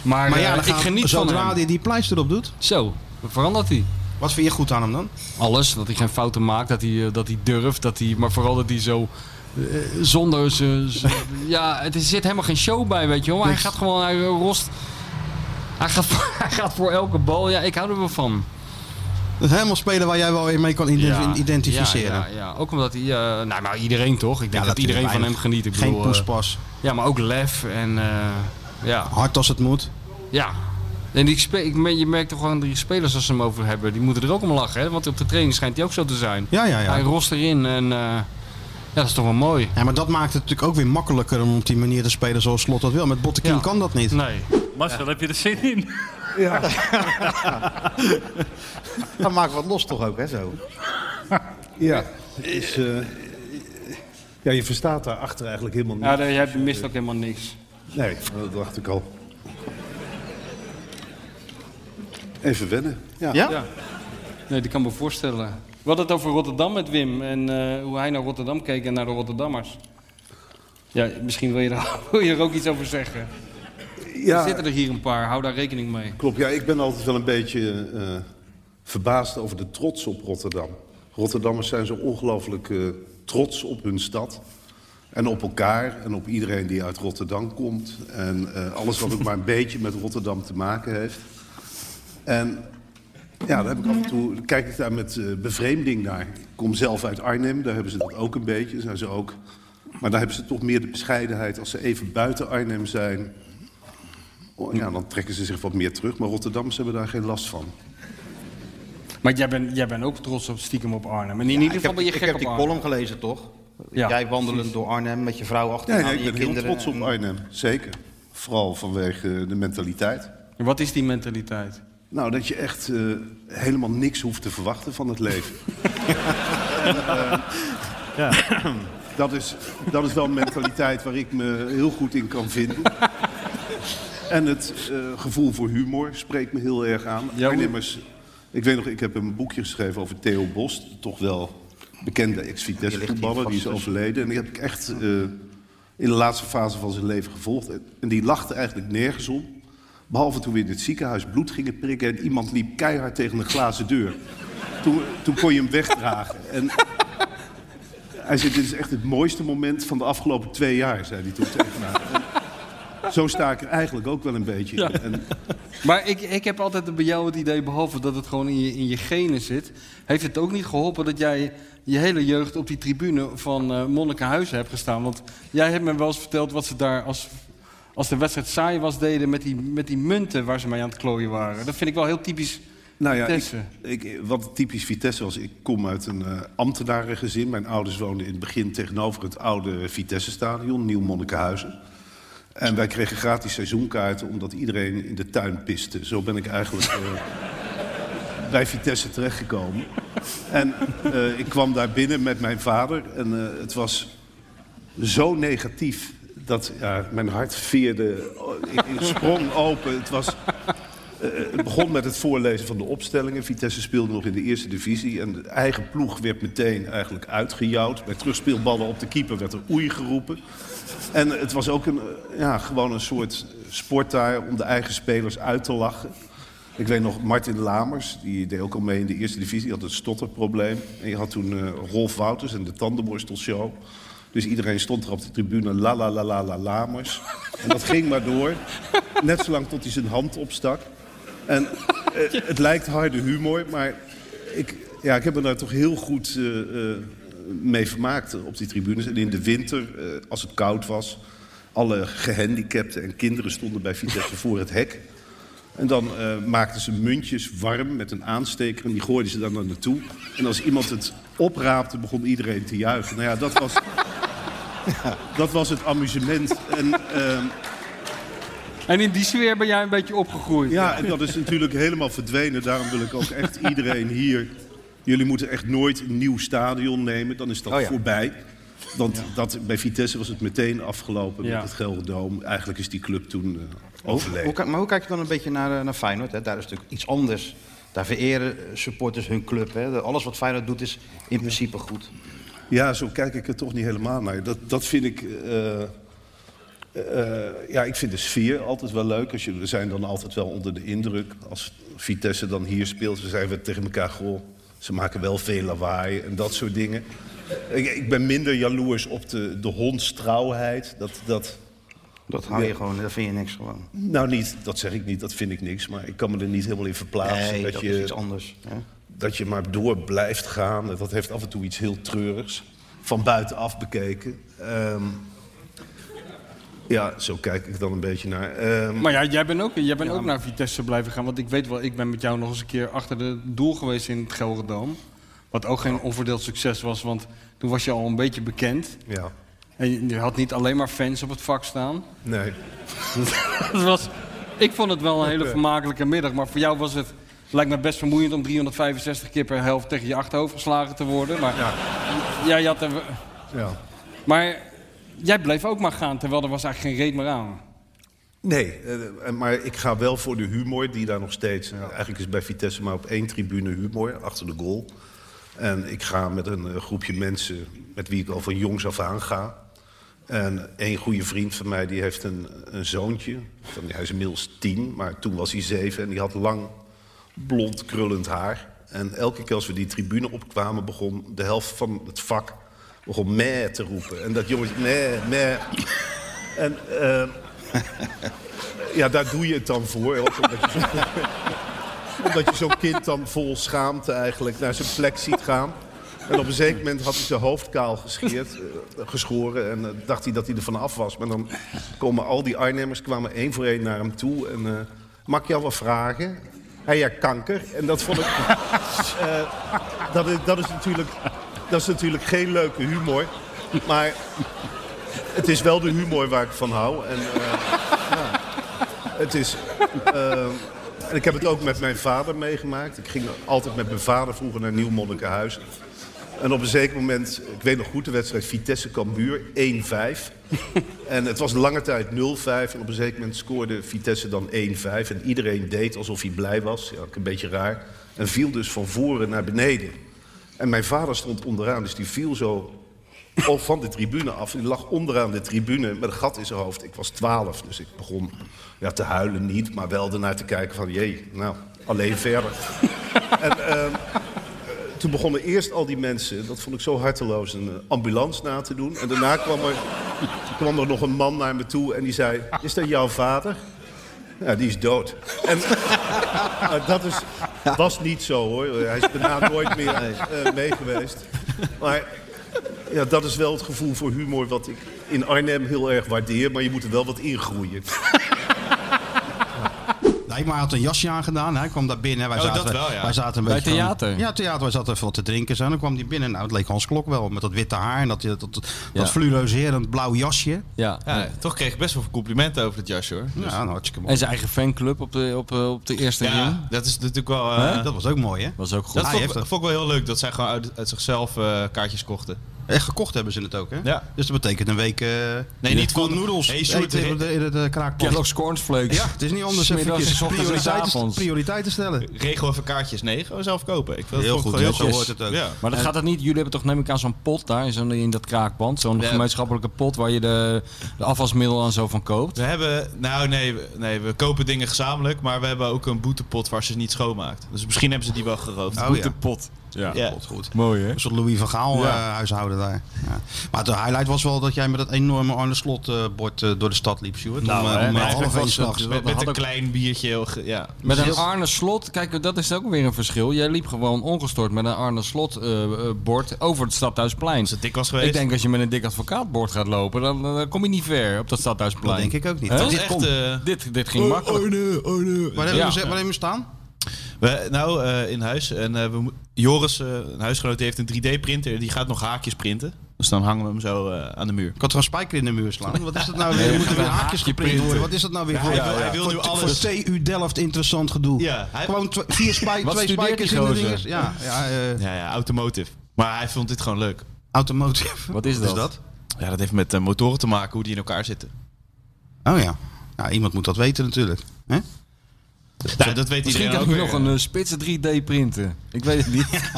[SPEAKER 5] Maar,
[SPEAKER 3] Maar
[SPEAKER 5] eh,
[SPEAKER 3] ja, dan
[SPEAKER 5] ik
[SPEAKER 3] gaat-
[SPEAKER 5] geniet van
[SPEAKER 3] zodra
[SPEAKER 5] hem.
[SPEAKER 3] hij die pleister op doet,
[SPEAKER 5] Zo, verandert hij.
[SPEAKER 3] wat vind je goed aan hem dan?
[SPEAKER 5] Alles, dat hij geen fouten maakt, dat hij, eh, dat hij durft, dat hij, maar vooral dat hij zo... eh, zonder ze. ze- ja, het is- er zit helemaal geen show bij, weet je wel. Hij
[SPEAKER 3] Niks.
[SPEAKER 5] gaat gewoon, hij eh, rost. Hij gaat, voor- hij gaat voor elke bal. Ja, ik hou er wel van.
[SPEAKER 3] Dat is helemaal spelen waar jij wel in mee kan ident- identificeren.
[SPEAKER 5] Ja, ja, ja. ook omdat hij. eh, nou, maar iedereen toch? Ik denk dat
[SPEAKER 3] natuurlijk,
[SPEAKER 5] iedereen van hem
[SPEAKER 3] weinig-
[SPEAKER 5] geniet. Ik
[SPEAKER 3] Geen
[SPEAKER 5] bedoel, eh,
[SPEAKER 3] poespas.
[SPEAKER 5] ja, maar ook lef en. eh, ja,
[SPEAKER 3] Hard als het moet.
[SPEAKER 5] ja. En die spe- ik me- je merkt toch gewoon die spelers als ze hem over hebben, die moeten er ook om lachen, hè? Want op de training schijnt hij ook zo te zijn.
[SPEAKER 3] Ja, ja, ja.
[SPEAKER 5] Hij rost erin en. eh, ja, dat is toch wel mooi.
[SPEAKER 3] ja. Maar dat maakt het natuurlijk ook weer makkelijker om op die manier te spelen zoals Slot dat wil. Met Bottekin
[SPEAKER 5] Ja.
[SPEAKER 3] kan dat niet.
[SPEAKER 5] Nee.
[SPEAKER 7] Marcel, heb je er zin in?
[SPEAKER 8] Dan maken we wat los toch ook, hè, zo?
[SPEAKER 9] Ja, dus, eh, ja, je verstaat daarachter eigenlijk helemaal niet.
[SPEAKER 5] jij mist ook helemaal niks.
[SPEAKER 9] Nee, dat dacht ik al. Even wennen. Ja.
[SPEAKER 5] Nee, dat kan me voorstellen. We hadden het over Rotterdam met Wim en eh, hoe hij naar Rotterdam keek en naar de Rotterdammers. Ja, misschien wil je, daar, wil je er ook iets over zeggen.
[SPEAKER 9] Ja. Ja.
[SPEAKER 5] Er zitten er hier een paar, hou daar rekening mee.
[SPEAKER 9] Klopt, ja, ik ben altijd wel een beetje eh, verbaasd over de trots op Rotterdam. Rotterdammers zijn zo ongelooflijk eh, trots op hun stad. En op elkaar en op iedereen die uit Rotterdam komt. En eh, alles wat ook maar een beetje met Rotterdam te maken heeft. En ja, daar heb ik af en toe, kijk ik daar met eh, bevreemding naar. Ik kom zelf uit Arnhem, daar hebben ze dat ook een beetje. Zijn ze ook. Maar daar hebben ze toch meer de bescheidenheid als ze even buiten Arnhem zijn. Oh, ja, dan trekken ze zich wat meer terug, maar Rotterdammers hebben daar geen last van.
[SPEAKER 5] Maar jij bent jij bent ook trots op stiekem op Arnhem. En in ieder
[SPEAKER 3] ik
[SPEAKER 5] geval
[SPEAKER 3] heb,
[SPEAKER 5] ben je
[SPEAKER 3] ik
[SPEAKER 5] gek
[SPEAKER 3] heb
[SPEAKER 5] op
[SPEAKER 3] die
[SPEAKER 5] Arnhem.
[SPEAKER 3] column gelezen, toch?
[SPEAKER 5] Ja,
[SPEAKER 3] Jij wandelend door Arnhem met je vrouw achter
[SPEAKER 9] Nee,
[SPEAKER 3] aan
[SPEAKER 9] nee, ik
[SPEAKER 3] Nou, je
[SPEAKER 9] ben heel
[SPEAKER 3] kinderen.
[SPEAKER 9] trots op Arnhem, zeker. Vooral vanwege eh, de mentaliteit.
[SPEAKER 5] Wat is die mentaliteit?
[SPEAKER 9] Nou, dat je echt eh, helemaal niks hoeft te verwachten van het leven. En, eh, dat, is, dat is wel een mentaliteit waar ik me heel goed in kan vinden. En het eh, gevoel voor humor spreekt me heel erg aan.
[SPEAKER 5] Ja, hoe-
[SPEAKER 9] Arnhemmers, ik weet nog, ik heb een boekje geschreven over Theo Bos, toch wel bekende ex-Vitesse voetballer, die is overleden. En die heb ik echt eh, in de laatste fase van zijn leven gevolgd. En- En die lachte eigenlijk nergens om. Behalve toen we in het ziekenhuis bloed gingen prikken en iemand liep keihard tegen een glazen deur. Toen, toen kon je hem wegdragen. En hij zei, dit is echt het mooiste moment van de afgelopen twee jaar, zei hij toen tegen mij. En Zo sta ik er eigenlijk ook wel een beetje in. En
[SPEAKER 5] Maar ik, ik heb altijd bij jou het idee, behalve dat het gewoon in je, in je genen zit... heeft het ook niet geholpen dat jij je hele jeugd op die tribune van eh Monnikenhuizen hebt gestaan. Want jij hebt me wel eens verteld wat ze daar als, als de wedstrijd saai was deden... Met die, met die munten waar ze mee aan het klooien waren. Dat vind ik wel heel typisch
[SPEAKER 9] Nou ja, ik,
[SPEAKER 5] Vitesse.
[SPEAKER 9] ik- wat typisch Vitesse was, ik kom uit een eh, ambtenarengezin. Mijn ouders woonden in het begin tegenover het oude Vitesse-stadion, Nieuw Monnikenhuizen. En wij kregen gratis seizoenkaarten omdat iedereen in de tuin piste. Zo ben ik eigenlijk eh, bij Vitesse terechtgekomen. En eh, ik kwam daar binnen met mijn vader en eh, het was zo negatief dat ja, mijn hart veerde. Oh, Ik, ik sprong open. Het, was, eh, het begon met het voorlezen van de opstellingen. Vitesse speelde nog in de eerste divisie. En de eigen ploeg werd meteen eigenlijk uitgejouwd. Bij terugspeelballen op de keeper werd er oei geroepen. En het was ook een, eh, ja, gewoon een soort sport daar om de eigen spelers uit te lachen. Ik weet nog, Martin Lamers, die deed ook al mee in de eerste divisie, die had een stotterprobleem. En je had toen eh, Rolf Wouters en de tandenborstelshow. Dus iedereen stond er op de tribune, la la la la la Lamers. En dat ging maar door, net zolang tot hij zijn hand opstak. En eh, het lijkt harde humor, maar ik, ja, ik heb me daar toch heel goed eh, eh, mee vermaakt eh, op die tribunes. En in de winter, eh, als het koud was, alle gehandicapten en kinderen stonden bij Vitesse voor het hek. En dan eh, maakten ze muntjes warm met een aansteker en die gooiden ze dan naar naartoe. En als iemand het opraapte, begon iedereen te juichen. Nou ja, dat was, dat was het amusement. En, ehm,
[SPEAKER 5] En in die sfeer ben jij een beetje opgegroeid.
[SPEAKER 9] ja, en dat is natuurlijk helemaal verdwenen. Daarom wil ik ook echt iedereen hier... Jullie moeten echt nooit een nieuw stadion nemen. Dan is dat
[SPEAKER 3] Oh ja.
[SPEAKER 9] voorbij. Want dat, bij Vitesse was het meteen afgelopen
[SPEAKER 5] Ja. Oh.
[SPEAKER 9] met het Gelderdoom. Eigenlijk is die club toen eh,
[SPEAKER 3] Oh, Hoe,
[SPEAKER 9] overleden.
[SPEAKER 3] kijk- maar hoe kijk je dan een beetje naar, eh, naar Feyenoord? Hè? Daar is natuurlijk iets anders. Daar vereren eh, supporters hun club. Hè? De- Alles wat Feyenoord doet is in principe goed.
[SPEAKER 9] Ja, zo kijk ik er toch niet helemaal naar. Dat, dat vind ik. eh, eh, ja, ik vind de sfeer altijd wel leuk. Als je, we zijn dan altijd wel onder de indruk. Als Vitesse dan hier speelt, dan zijn we tegen elkaar. Goh, ze maken wel veel lawaai en dat soort dingen. Ik, ik ben minder jaloers op de, de hondstrouwheid. Dat, dat,
[SPEAKER 3] Dat hou je gewoon, daar vind je niks gewoon.
[SPEAKER 9] nou, niet, dat zeg ik niet, dat vind ik niks. Maar ik kan me er niet helemaal in verplaatsen.
[SPEAKER 3] Nee, dat
[SPEAKER 9] je,
[SPEAKER 3] is iets anders. Hè?
[SPEAKER 9] dat je maar door blijft gaan. Dat heeft af en toe iets heel treurigs. Van buitenaf bekeken. Ehm, ja, zo kijk ik dan een beetje naar. Ehm,
[SPEAKER 5] Maar ja, jij bent ook, jij bent ook naar Vitesse blijven gaan. Want ik weet wel, ik ben met jou nog eens een keer achter de doel geweest in het Gelderdoom. Wat ook geen onverdeeld succes was, want toen was je al een beetje bekend.
[SPEAKER 9] ja,
[SPEAKER 5] En je- je had niet alleen maar fans op het vak staan.
[SPEAKER 9] nee.
[SPEAKER 5] Dat was, ik vond het wel een hele vermakelijke middag. Maar voor jou was het, lijkt me best vermoeiend om 365 keer per helft tegen je achterhoofd geslagen te worden. Maar, ja. jij had er,
[SPEAKER 9] Ja.
[SPEAKER 5] maar jij bleef ook maar gaan, terwijl er was eigenlijk geen reet meer aan.
[SPEAKER 9] Nee, eh, maar ik ga wel voor de humor die daar nog steeds... Eigenlijk is bij Vitesse maar op één tribune humor, achter de goal. En ik ga met een eh, groepje mensen met wie ik al van jongs af aan ga. En een goede vriend van mij die heeft een, een zoontje. Van, hij is inmiddels tien, maar toen was hij zeven. En die had lang blond krullend haar. En elke keer als we die tribune opkwamen, begon de helft van het vak begon meh te roepen. En dat jongetje, meh, meh. En eh, ja, daar doe je het dan voor. ook Omdat je zo- omdat je zo'n kind dan vol schaamte eigenlijk naar zijn plek ziet gaan. En op een zeker moment had hij zijn hoofd kaal gescheerd, eh, geschoren. En eh, dacht hij dat hij er van af was. Maar dan komen al die Arnhemmers kwamen één voor één naar hem toe. En eh mag ik jou wat vragen? Hij ja, kanker. En dat vond ik... eh, dat, is, dat, is natuurlijk, dat is natuurlijk geen leuke humor. Maar het is wel de humor waar ik van hou. En, eh, ja, het is... eh, en ik heb het ook met mijn vader meegemaakt. Ik ging altijd met mijn vader vroeger naar Nieuw Monnikenhuis. En op een zeker moment, ik weet nog goed, de wedstrijd Vitesse-Cambuur, 1-5. en het was lange tijd 0-5. En op een zeker moment scoorde Vitesse dan 1-5. En iedereen deed alsof hij blij was. Ja, ook een beetje raar. En viel dus van voren naar beneden. En mijn vader stond onderaan, dus die viel zo of van de tribune af. Die lag onderaan de tribune met een gat in zijn hoofd. Ik was twaalf, dus ik begon ja, te huilen niet, maar wel ernaar te kijken van... jee, nou, alleen verder. en, ehm, toen begonnen eerst al die mensen, dat vond ik zo harteloos, een eh, ambulance na te doen. En daarna kwam er, kwam er nog een man naar me toe en die zei, is dat jouw vader? Ja, die is dood. En eh, dat is, was niet zo hoor. Hij is daarna nooit meer eh, mee geweest. Maar ja, dat is wel het gevoel voor humor wat ik in Arnhem heel erg waardeer. Maar je moet er wel wat in groeien.
[SPEAKER 3] Dijkma had een jasje aangedaan. Hij kwam daar binnen. Wij
[SPEAKER 4] Oh,
[SPEAKER 3] zaten,
[SPEAKER 4] dat wel, ja.
[SPEAKER 3] wij zaten een
[SPEAKER 5] Bij
[SPEAKER 3] beetje van-
[SPEAKER 5] theater?
[SPEAKER 3] ja, theater. Wij zaten even wat te drinken. Zo. En dan kwam hij binnen. Nou, het leek Hans Klok wel. Met dat witte haar en dat, dat, dat,
[SPEAKER 5] Ja.
[SPEAKER 3] dat fluoriserend blauw jasje.
[SPEAKER 5] Ja.
[SPEAKER 4] Ja, Toch kreeg ik best wel veel complimenten over het jasje hoor. Dus-
[SPEAKER 3] Ja, nou, hartstikke mooi.
[SPEAKER 5] En zijn eigen fanclub op de, op, eh, op de eerste ring.
[SPEAKER 4] Ja, dat is natuurlijk wel. eh,
[SPEAKER 3] dat was ook mooi, hè?
[SPEAKER 5] Was ook goed.
[SPEAKER 4] dat
[SPEAKER 3] hij
[SPEAKER 4] vond, ik-
[SPEAKER 3] heeft dat.
[SPEAKER 4] vond ik wel heel leuk dat zij gewoon uit, uit zichzelf eh, kaartjes kochten.
[SPEAKER 3] Echt gekocht hebben ze het ook, hè?
[SPEAKER 4] Ja.
[SPEAKER 3] Dus dat betekent een week... eh,
[SPEAKER 4] Nee, niet
[SPEAKER 3] cold
[SPEAKER 4] van-
[SPEAKER 3] noodles.
[SPEAKER 4] Hey, Sjoerd, eh,
[SPEAKER 3] Eten in de, in de kraakpan.
[SPEAKER 5] Kellogg's cornflakes.
[SPEAKER 3] eh, Ja, het is niet anders.
[SPEAKER 5] Smiddags,
[SPEAKER 3] Eventjes
[SPEAKER 5] s ochtends en
[SPEAKER 3] prioriteiten,
[SPEAKER 5] s'avonds.
[SPEAKER 3] prioriteiten stellen.
[SPEAKER 4] Regel even kaartjes. Nee, gewoon zelf kopen. Ik vind
[SPEAKER 3] Heel
[SPEAKER 4] dat vond
[SPEAKER 3] goed,
[SPEAKER 4] ik wel
[SPEAKER 3] ja, zo hoort het ook.
[SPEAKER 4] Ja.
[SPEAKER 5] Maar dat gaat het niet. Jullie hebben toch neem ik aan zo'n pot daar in, zo'n- in dat kraakband. Zo'n
[SPEAKER 4] Ja.
[SPEAKER 5] gemeenschappelijke pot waar je de, de afwasmiddel en zo van koopt.
[SPEAKER 4] We hebben, nou nee, we- nee, we kopen dingen gezamenlijk, maar we hebben ook een boetepot waar ze het niet schoonmaakt. Dus misschien hebben ze die wel geroofd.
[SPEAKER 3] Oh ja,
[SPEAKER 5] pot. Ja.
[SPEAKER 4] Ja.
[SPEAKER 3] goed, goed.
[SPEAKER 5] Mooi hè?
[SPEAKER 3] Een soort Louis van Gaal
[SPEAKER 5] Ja.
[SPEAKER 3] eh, huishouden daar. Ja. Maar het highlight was wel dat jij met dat enorme Arne Slot eh, bord eh, door de stad liep, Sjoerd.
[SPEAKER 5] Nou,
[SPEAKER 3] om eh,
[SPEAKER 5] hè,
[SPEAKER 3] om
[SPEAKER 5] nee,
[SPEAKER 3] half
[SPEAKER 5] eigenlijk
[SPEAKER 3] één
[SPEAKER 5] was het-
[SPEAKER 3] s'nachts.
[SPEAKER 5] dat
[SPEAKER 4] Met, met
[SPEAKER 5] had
[SPEAKER 4] een
[SPEAKER 5] ook-
[SPEAKER 4] klein biertje. heel ge- Ja.
[SPEAKER 5] Met een Arne Slot, kijk, dat is ook weer een verschil. Jij liep gewoon ongestoord met een Arne Slot eh, eh, bord over het Stadhuisplein.
[SPEAKER 4] Als het dik was geweest.
[SPEAKER 5] Ik denk als je met een dik advocaatbord gaat lopen, dan, dan kom je niet ver op dat Stadhuisplein.
[SPEAKER 3] Dat denk ik ook niet.
[SPEAKER 5] Hè?
[SPEAKER 4] dat was
[SPEAKER 5] Dit
[SPEAKER 4] echt.
[SPEAKER 5] kon-
[SPEAKER 4] eh,
[SPEAKER 5] Dit, dit
[SPEAKER 3] Oh,
[SPEAKER 5] ging makkelijk.
[SPEAKER 3] Waar hebben
[SPEAKER 5] Ja.
[SPEAKER 3] we ze- waar hebben we staan?
[SPEAKER 4] we, nou, eh, in huis. En eh, we, mo- Joris, eh, een huisgenoot, die heeft een 3D-printer. Die gaat nog haakjes printen. Dus dan hangen we hem zo eh, aan de muur.
[SPEAKER 3] Ik had er een spijker in de muur slaan. Wat is dat nou weer?
[SPEAKER 5] Nee,
[SPEAKER 3] Er moeten weer
[SPEAKER 5] een
[SPEAKER 3] haakjes
[SPEAKER 5] haakje
[SPEAKER 3] geprint
[SPEAKER 5] printen.
[SPEAKER 3] worden. Wat is dat nou weer voor?
[SPEAKER 4] hij wil- hij wil
[SPEAKER 3] voor,
[SPEAKER 4] nu
[SPEAKER 3] voor
[SPEAKER 4] alles.
[SPEAKER 3] TU Delft interessant gedoe.
[SPEAKER 4] Ja, hij-
[SPEAKER 3] Gewoon tw- vier spij-
[SPEAKER 5] Wat
[SPEAKER 3] twee
[SPEAKER 5] studeert
[SPEAKER 3] spijkers
[SPEAKER 5] die
[SPEAKER 3] in de
[SPEAKER 5] gozer?
[SPEAKER 3] dinges. Ja, ja eh,
[SPEAKER 4] Ja, ja, automotive. Maar hij vond dit gewoon leuk.
[SPEAKER 3] automotive.
[SPEAKER 5] Wat is
[SPEAKER 3] Wat is
[SPEAKER 5] dat?
[SPEAKER 3] dat?
[SPEAKER 4] Ja, dat heeft met eh, motoren te maken, hoe die in elkaar zitten.
[SPEAKER 3] Oh ja. Ja, iemand moet dat weten natuurlijk. Hè?
[SPEAKER 4] Nou, dat weet
[SPEAKER 5] Misschien
[SPEAKER 4] iedereen
[SPEAKER 5] kan
[SPEAKER 4] ook
[SPEAKER 5] ik
[SPEAKER 4] weer.
[SPEAKER 5] nog een eh, spitse 3D printen. Ik weet het niet.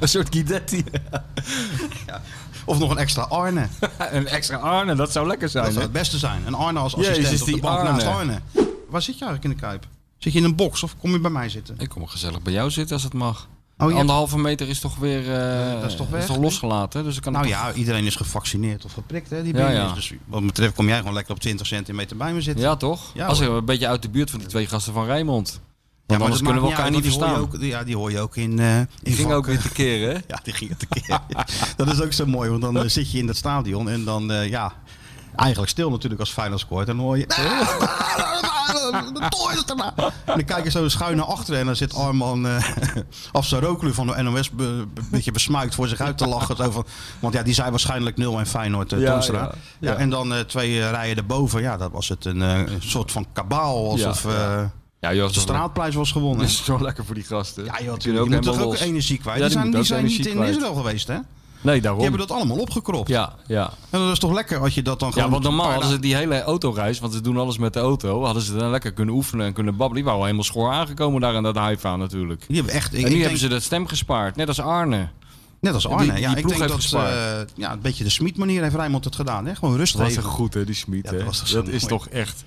[SPEAKER 5] een soort Guidetti.
[SPEAKER 3] Of nog een extra Arne.
[SPEAKER 5] eh, een extra Arne, dat zou lekker zijn.
[SPEAKER 3] Dat zou het beste zijn. Een Arne als assistent
[SPEAKER 5] Jezus,
[SPEAKER 3] op de
[SPEAKER 5] die
[SPEAKER 3] bank naast Arne.
[SPEAKER 5] Arne.
[SPEAKER 3] Waar zit je eigenlijk in de Kuip? Zit je in een box of kom je bij mij zitten?
[SPEAKER 5] hè? Ik kom gezellig bij jou zitten als het mag.
[SPEAKER 3] Oh, ja.
[SPEAKER 5] Anderhalve meter is toch weer eh,
[SPEAKER 3] dat is toch weg, hè?
[SPEAKER 5] losgelaten. Dus ik kan
[SPEAKER 3] Nou
[SPEAKER 5] het toch-
[SPEAKER 3] ja, iedereen is gevaccineerd of geprikt hè, die
[SPEAKER 5] Ja,
[SPEAKER 3] binnen
[SPEAKER 5] ja.
[SPEAKER 3] is. Dus wat me betreft kom jij gewoon lekker op 20 centimeter bij me zitten.
[SPEAKER 5] ja, toch?
[SPEAKER 3] Ja,
[SPEAKER 5] als ik
[SPEAKER 3] hoor.
[SPEAKER 5] een beetje uit de buurt van die twee gasten van Rijmond.
[SPEAKER 3] Ja,
[SPEAKER 5] Want anders
[SPEAKER 3] dat
[SPEAKER 5] kunnen we
[SPEAKER 3] maakt
[SPEAKER 5] elkaar
[SPEAKER 3] uit,
[SPEAKER 5] niet
[SPEAKER 3] want die hoor je
[SPEAKER 5] verstaan.
[SPEAKER 3] ook- Ja, die hoor je ook in, eh in
[SPEAKER 5] Die ging
[SPEAKER 3] vakken.
[SPEAKER 5] ook weer te keren, hè?
[SPEAKER 3] Ja, die ging het een keer. dat is ook zo mooi, want dan eh, zit je in dat stadion en dan, eh, ja, eigenlijk stil natuurlijk als Feyenoord scoort. En dan hoor je... En dan kijk je zo schuin naar achteren en dan zit Arman eh Afsaroglu van de NOS be- be- een beetje besmuikt voor zich uit te lachen. Zo van, want ja, die zei waarschijnlijk 0 en Feyenoord eh,
[SPEAKER 5] Ja,
[SPEAKER 3] Toonstra.
[SPEAKER 5] ja,
[SPEAKER 3] Ja,
[SPEAKER 5] ja.
[SPEAKER 3] en dan eh, twee eh, rijen erboven. Ja, dat was het een eh, een soort van kabaal alsof eh,
[SPEAKER 5] Ja, joh,
[SPEAKER 3] de straatprijs was gewonnen.
[SPEAKER 5] is zo lekker voor die gasten.
[SPEAKER 3] Ja,
[SPEAKER 5] Die
[SPEAKER 3] joh,
[SPEAKER 5] kunnen
[SPEAKER 3] natuurlijk. Die moeten toch ook
[SPEAKER 5] helemaal los.
[SPEAKER 3] energie kwijt.
[SPEAKER 5] Ja,
[SPEAKER 3] die zijn,
[SPEAKER 5] moeten
[SPEAKER 3] die
[SPEAKER 5] ook
[SPEAKER 3] zijn niet
[SPEAKER 5] energie
[SPEAKER 3] in
[SPEAKER 5] kwijt.
[SPEAKER 3] Israël geweest, hè?
[SPEAKER 5] Nee,
[SPEAKER 3] Die
[SPEAKER 5] daarom.
[SPEAKER 3] hebben dat allemaal opgekropt.
[SPEAKER 5] Ja, ja.
[SPEAKER 3] En dat is toch lekker als je dat dan
[SPEAKER 5] Ja,
[SPEAKER 3] gewoon...
[SPEAKER 5] want normaal
[SPEAKER 3] een paar
[SPEAKER 5] hadden ze die hele autoreis, want ze doen alles met de auto, hadden ze dan lekker kunnen oefenen en kunnen babbelen. Die waren al helemaal schoor aangekomen daar aan dat Haifa natuurlijk.
[SPEAKER 3] Die hebben echt... ik-
[SPEAKER 5] en
[SPEAKER 3] ik
[SPEAKER 5] nu
[SPEAKER 3] denk-
[SPEAKER 5] hebben ze dat stem gespaard, net als Arne.
[SPEAKER 3] Net als
[SPEAKER 5] Die-
[SPEAKER 3] Arne.
[SPEAKER 5] die
[SPEAKER 3] ja, ik
[SPEAKER 5] ploeg
[SPEAKER 3] denk dat
[SPEAKER 5] heeft gespaard.
[SPEAKER 3] eh, ja, een beetje de Smit manier heeft Rijnmond het gedaan. Hè? Gewoon rustig.
[SPEAKER 5] Dat was
[SPEAKER 3] even.
[SPEAKER 5] echt goed, hè, die Smit.
[SPEAKER 3] Ja, dat
[SPEAKER 5] hè?
[SPEAKER 3] was toch zo
[SPEAKER 5] dat is
[SPEAKER 3] mooi.
[SPEAKER 5] toch echt...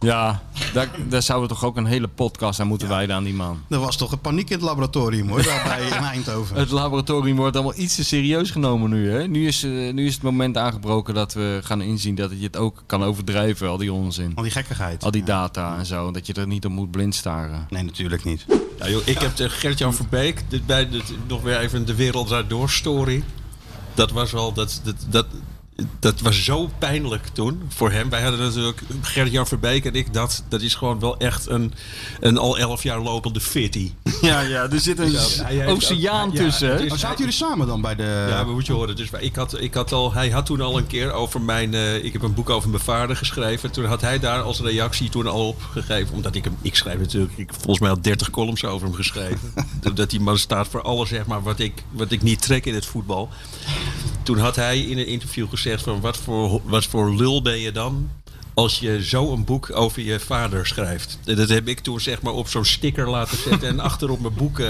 [SPEAKER 5] Ja, daar, daar zouden we toch ook een hele podcast aan moeten wijden aan die man.
[SPEAKER 3] Er was toch een paniek in het laboratorium hoor, daar bij in Eindhoven.
[SPEAKER 5] Het laboratorium wordt allemaal iets te serieus genomen nu. Hè? Nu, is, eh, nu is het moment aangebroken dat we gaan inzien dat je het ook kan overdrijven, al die onzin.
[SPEAKER 3] Al die gekkigheid.
[SPEAKER 5] Al die data en zo, dat je er niet op moet blind staren.
[SPEAKER 3] Nee, natuurlijk niet.
[SPEAKER 10] Ja, joh, ik heb tegen Gert-Jan Verbeek, dit bij dit, nog weer even de wereld draait door story. Dat was wel, dat, dat, dat, dat was zo pijnlijk toen voor hem. Wij hadden natuurlijk, Gert-Jan Verbeek en ik, dat, dat is gewoon wel echt een, een al elf jaar lopende fitty.
[SPEAKER 5] Ja, ja, er zit een
[SPEAKER 10] hij heeft
[SPEAKER 5] oceaan
[SPEAKER 10] ook- ja,
[SPEAKER 5] tussen.
[SPEAKER 10] het
[SPEAKER 5] hè?
[SPEAKER 10] is-
[SPEAKER 3] Oh, zaten jullie samen dan bij de...
[SPEAKER 10] Ja, maar moet je horen. Dus ik had, ik had al, hij had toen al een keer over mijn. eh, ik heb een boek over mijn vader geschreven. Toen had hij daar als reactie toen al op gegeven. Omdat ik hem. Ik schrijf natuurlijk. Ik, volgens mij had 30 columns over hem geschreven. Omdat die man staat voor alles, zeg maar. Wat ik, wat ik niet trek in het voetbal. Toen had hij in een interview gezegd: van wat voor, wat voor lul ben je dan? Als je zo een boek over je vader schrijft. En Dat heb ik toen zeg maar op zo'n sticker laten zetten en achter op mijn boek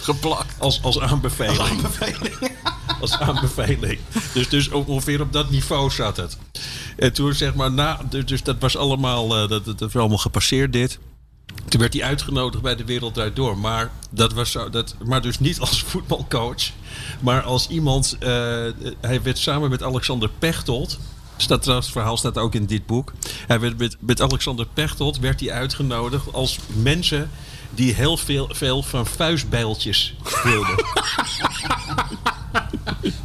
[SPEAKER 10] geplakt. Als, als aanbeveling. Als aanbeveling. Dus, dus ook ongeveer op dat niveau zat het. En toen zeg maar, na, dus- dus dat was allemaal, eh, dat, dat was allemaal gepasseerd dit. Toen werd hij uitgenodigd bij de Wereld Draait Door. Maar, dat was zo, dat, maar dus niet als voetbalcoach. Maar als iemand... eh, hij werd samen met Alexander Pechtold... Staat, trouwens, het verhaal staat ook in dit boek. Hij werd met, met Alexander Pechtold werd hij uitgenodigd als mensen die heel veel, veel van vuistbijltjes wilden.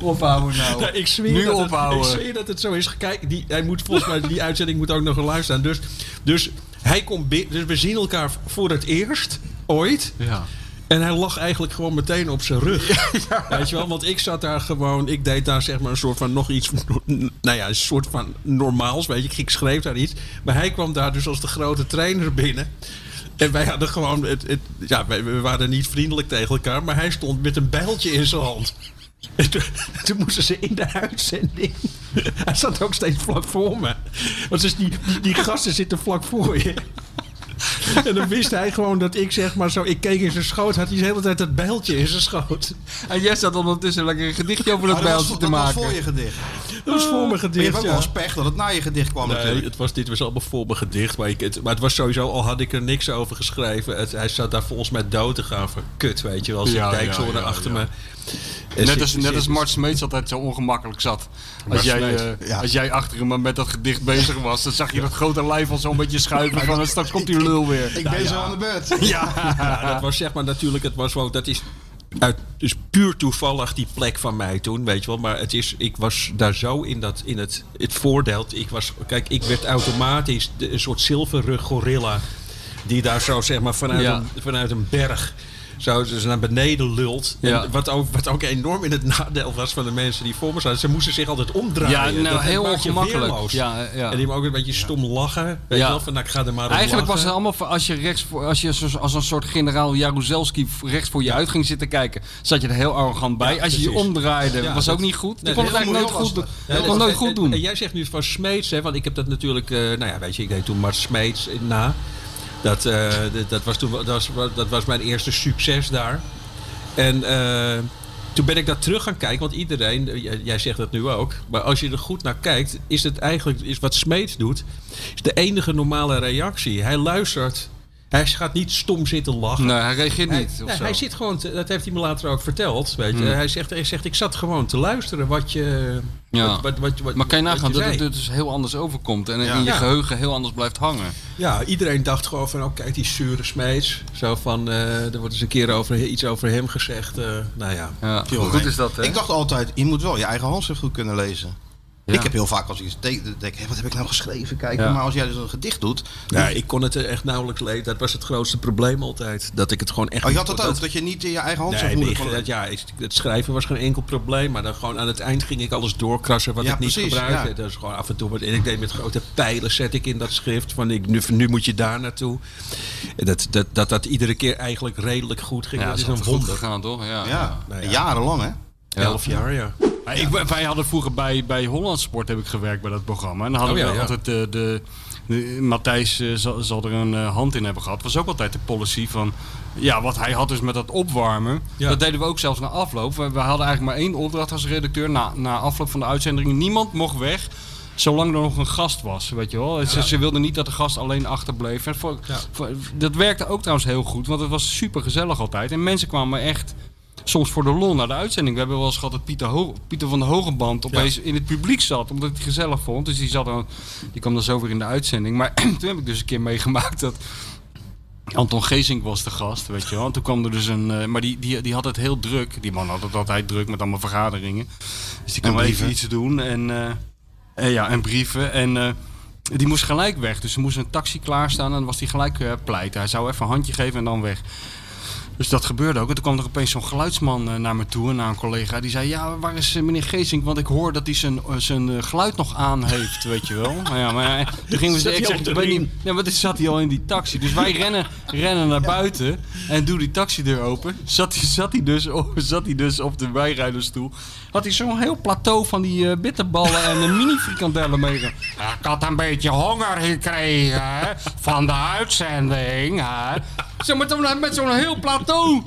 [SPEAKER 11] Ophouden nou.
[SPEAKER 10] Ja, ik zweer
[SPEAKER 5] Nu
[SPEAKER 10] dat
[SPEAKER 5] ophouden.
[SPEAKER 10] Het, ik zweer dat het zo is. Kijk, die, hij moet volgens mij die uitzending moet ook nog een live staan. Dus, dus hij komt binnen. Dus we zien elkaar voor het eerst ooit.
[SPEAKER 5] Ja.
[SPEAKER 10] En hij lag eigenlijk gewoon meteen op zijn rug. Weet je wel, want ik zat daar gewoon, ik deed daar zeg maar een soort van nog iets, nou ja, een soort van normaals, weet je, ik schreef daar iets. Maar hij kwam daar dus als de grote trainer binnen. En wij hadden gewoon, het, het, ja, wij, we waren niet vriendelijk tegen elkaar, maar hij stond met een bijltje in zijn hand. En toen, toen moesten ze in de uitzending. Hij zat ook steeds vlak voor me. Want dus die, die, die gasten zitten vlak voor je. En dan wist hij gewoon dat ik zeg maar zo... Ik keek in zijn schoot, had hij de hele tijd dat bijltje in zijn schoot.
[SPEAKER 5] En jij staat ondertussen lekker een gedichtje over Ah, dat
[SPEAKER 3] Oh,
[SPEAKER 5] bijltje
[SPEAKER 3] was,
[SPEAKER 5] te
[SPEAKER 3] was
[SPEAKER 5] maken.
[SPEAKER 3] voor je gedicht. Maar
[SPEAKER 10] Dat was voor me
[SPEAKER 3] je hebt
[SPEAKER 10] gedicht,
[SPEAKER 3] ook wel
[SPEAKER 10] ja.
[SPEAKER 3] eens pech dat het na je gedicht kwam
[SPEAKER 10] Nee,
[SPEAKER 3] natuurlijk.
[SPEAKER 10] het was, dit was allemaal voor mijn gedicht. Maar, ik, het, maar het was sowieso, al had ik er niks over geschreven. Het, hij zat daar volgens mij dood te gaan van kut, weet je wel. Zit
[SPEAKER 5] Ja,
[SPEAKER 10] dijkzone
[SPEAKER 5] ja, ja,
[SPEAKER 10] achter
[SPEAKER 5] ja.
[SPEAKER 10] me. En
[SPEAKER 5] Net
[SPEAKER 10] zit-
[SPEAKER 5] als, net
[SPEAKER 10] zit-
[SPEAKER 5] als Mart Smeets altijd zo ongemakkelijk zat. Als jij, eh,
[SPEAKER 3] ja.
[SPEAKER 5] als jij achter hem met dat gedicht bezig was, dan zag je dat grote lijf al zo'n beetje schuiven. Van, straks komt die lul weer.
[SPEAKER 3] Ik ben zo aan de beurt.
[SPEAKER 10] Ja, dat was zeg maar natuurlijk, het was wel, dat is uit, dus puur toevallig die plek van mij toen, weet je wel. Maar het is, ik was daar zo in, dat, in het, het voordeel. Ik was, kijk, ik werd automatisch de- een soort zilverrug gorilla. Die daar zo zeg maar vanuit,
[SPEAKER 5] Ja.
[SPEAKER 10] een, vanuit een berg zo dus naar beneden lult. En
[SPEAKER 5] Ja.
[SPEAKER 10] wat, ook, wat ook enorm in het nadeel was van de mensen die voor me zaten. Ze moesten zich altijd omdraaien.
[SPEAKER 5] Ja, nou,
[SPEAKER 10] dat
[SPEAKER 5] heel
[SPEAKER 10] maakt je
[SPEAKER 5] ongemakkelijk.
[SPEAKER 10] weerloos.
[SPEAKER 5] Ja, ja.
[SPEAKER 10] En die me ook een beetje stom lachen. Weet
[SPEAKER 5] Ja.
[SPEAKER 10] je wel, van nou, ik ga er maar om
[SPEAKER 5] Eigenlijk
[SPEAKER 10] lachen.
[SPEAKER 5] was het allemaal voor- als je, rechts voor, als, je zo- als een soort generaal Jaruzelski rechts voor je uit ging zitten kijken, zat je er heel arrogant bij.
[SPEAKER 10] Ja,
[SPEAKER 5] als je je
[SPEAKER 10] precies.
[SPEAKER 5] omdraaide,
[SPEAKER 10] Ja,
[SPEAKER 5] was
[SPEAKER 10] dat-
[SPEAKER 5] ook niet goed. Je
[SPEAKER 10] Nee,
[SPEAKER 5] kon het
[SPEAKER 10] heel
[SPEAKER 5] eigenlijk nooit goed
[SPEAKER 10] moeilijk
[SPEAKER 5] doen.
[SPEAKER 10] lastig.
[SPEAKER 5] Je
[SPEAKER 10] Ja,
[SPEAKER 5] kon
[SPEAKER 10] dat-
[SPEAKER 5] nooit
[SPEAKER 10] en-
[SPEAKER 5] goed
[SPEAKER 10] en- En
[SPEAKER 5] doen.
[SPEAKER 10] jij zegt nu van Smeets, hè, want ik heb dat natuurlijk, eh, nou ja, weet je, ik deed toen Mart Smeets na. Dat, eh, dat- dat, was toen, wel- dat, was, dat was mijn eerste succes daar. En eh, toen ben ik daar terug gaan kijken, want iedereen, eh, jij- jij zegt dat nu ook, maar als je er goed naar kijkt, is het eigenlijk, is wat Smeets doet, is de enige normale reactie. Hij luistert, hij gaat niet stom zitten lachen.
[SPEAKER 5] Nee, hij reageert niet.
[SPEAKER 10] Hij,
[SPEAKER 5] of
[SPEAKER 10] nee,
[SPEAKER 5] zo.
[SPEAKER 10] hij zit gewoon, te- dat heeft hij me later ook verteld. Weet
[SPEAKER 5] Hmm.
[SPEAKER 10] je. Hij, zegt, hij zegt, ik zat gewoon te luisteren wat je.
[SPEAKER 5] Ja.
[SPEAKER 10] Wat, wat, wat, wat-
[SPEAKER 5] maar kan je
[SPEAKER 10] wat
[SPEAKER 5] nagaan dat
[SPEAKER 10] zei.
[SPEAKER 5] het dus heel anders overkomt en in je
[SPEAKER 10] Ja.
[SPEAKER 5] geheugen heel anders blijft hangen.
[SPEAKER 10] Ja, iedereen dacht gewoon van, oh kijk die zure smeets. Zo van, eh, er wordt eens een keer over, iets over hem gezegd. eh, nou ja.
[SPEAKER 5] Ja.
[SPEAKER 3] Joh,
[SPEAKER 5] goed
[SPEAKER 3] nee.
[SPEAKER 5] is dat, hè?
[SPEAKER 3] Ik dacht altijd, je moet wel je eigen handschrift goed kunnen lezen. Ik heb heel vaak als ik iets tegen, dan denk ik, hé, wat heb ik nou geschreven? Kijk,
[SPEAKER 5] Ja.
[SPEAKER 3] maar als jij dus een gedicht doet...
[SPEAKER 10] Ja, ik kon het er echt nauwelijks lezen. Dat was het grootste probleem altijd. Dat ik het gewoon echt.
[SPEAKER 3] Oh, je had
[SPEAKER 10] niet-
[SPEAKER 3] dat ook, dat je niet in je eigen handschrift
[SPEAKER 10] Nee, nee,
[SPEAKER 3] moet kon
[SPEAKER 10] dat, ja, ik- het schrijven was geen enkel probleem. Maar dan gewoon aan het eind ging ik alles doorkrassen wat
[SPEAKER 3] Ja,
[SPEAKER 10] ik niet
[SPEAKER 3] precies,
[SPEAKER 10] gebruikte.
[SPEAKER 3] ja.
[SPEAKER 10] Dat is gewoon af en toe. wat- En ik deed met grote pijlen zet ik in dat schrift. Van ik, nu, nu moet je daar naartoe. En dat, dat, dat dat iedere keer eigenlijk redelijk goed ging.
[SPEAKER 5] Ja,
[SPEAKER 10] dat is
[SPEAKER 5] altijd
[SPEAKER 10] een
[SPEAKER 5] goed
[SPEAKER 10] wonder.
[SPEAKER 5] gegaan, toch? Ja.
[SPEAKER 3] Ja,
[SPEAKER 10] Nou ja.
[SPEAKER 3] jarenlang hè?
[SPEAKER 5] Ja.
[SPEAKER 10] Elf jaar, ja.
[SPEAKER 5] Maar ik, ben- wij hadden vroeger bij, bij Holland Sport heb ik gewerkt bij dat programma. En dan hadden
[SPEAKER 10] Oh ja,
[SPEAKER 5] we
[SPEAKER 10] ja.
[SPEAKER 5] altijd de, de, eh, Matthijs eh, zal, zal er een eh, hand in hebben gehad. Was ook altijd de policy van. Ja, wat hij had dus met dat opwarmen.
[SPEAKER 10] Ja.
[SPEAKER 5] Dat deden we ook zelfs na afloop. We, we hadden eigenlijk maar één opdracht als redacteur. Na, na afloop van de uitzending. Niemand mocht weg. Zolang er nog een gast was, weet je wel. Ze, ze wilden niet dat de gast alleen achterbleef. En voor- voor- dat werkte ook trouwens heel goed, want het was super gezellig altijd. En mensen kwamen echt soms voor de lol naar de uitzending. We hebben wel eens gehad dat Pieter, Ho- Pieter van de Hogeband opeens in het publiek zat, omdat hij het gezellig vond. Dus die, zat dan, die kwam dan zo weer in de uitzending. Maar toen heb ik dus een keer meegemaakt dat Anton Geesink was de gast, weet je wel. En toen kwam er dus een... eh, maar die, die, die had het heel druk. Die man had het altijd druk met allemaal vergaderingen. Dus die
[SPEAKER 3] En
[SPEAKER 5] kwam even
[SPEAKER 3] brieven.
[SPEAKER 5] iets doen. En, eh, eh, ja, en brieven. En eh, die moest gelijk weg. Dus er moest een taxi klaarstaan. En dan was hij gelijk eh pleit. Hij zou even een handje geven en dan weg. Dus dat gebeurde ook. En toen kwam er opeens zo'n geluidsman eh, naar me toe, naar een collega. Die zei, ja, waar is eh, meneer Geesink? Want ik hoor dat hij zijn, eh, zijn eh, geluid nog aan heeft, weet je wel. Nou ja, maar eh, toen gingen we
[SPEAKER 10] Zat
[SPEAKER 5] ze
[SPEAKER 10] hij
[SPEAKER 5] ik
[SPEAKER 10] al
[SPEAKER 5] zeg,
[SPEAKER 10] op
[SPEAKER 5] ik
[SPEAKER 10] de
[SPEAKER 5] weet
[SPEAKER 10] riem?
[SPEAKER 5] niet... Ja, maar dit zat hij al in die taxi. Dus wij rennen, rennen naar buiten en doen die taxideur open. Zat hij, zat hij, dus, op, zat hij dus op de bijrijdersstoel. Had hij zo'n heel plateau van die eh, bitterballen en een mini-frikandellen meegegaan. Ik had een beetje honger gekregen hè, van de uitzending. Hè. Zo met, zo'n- met zo'n heel plateau.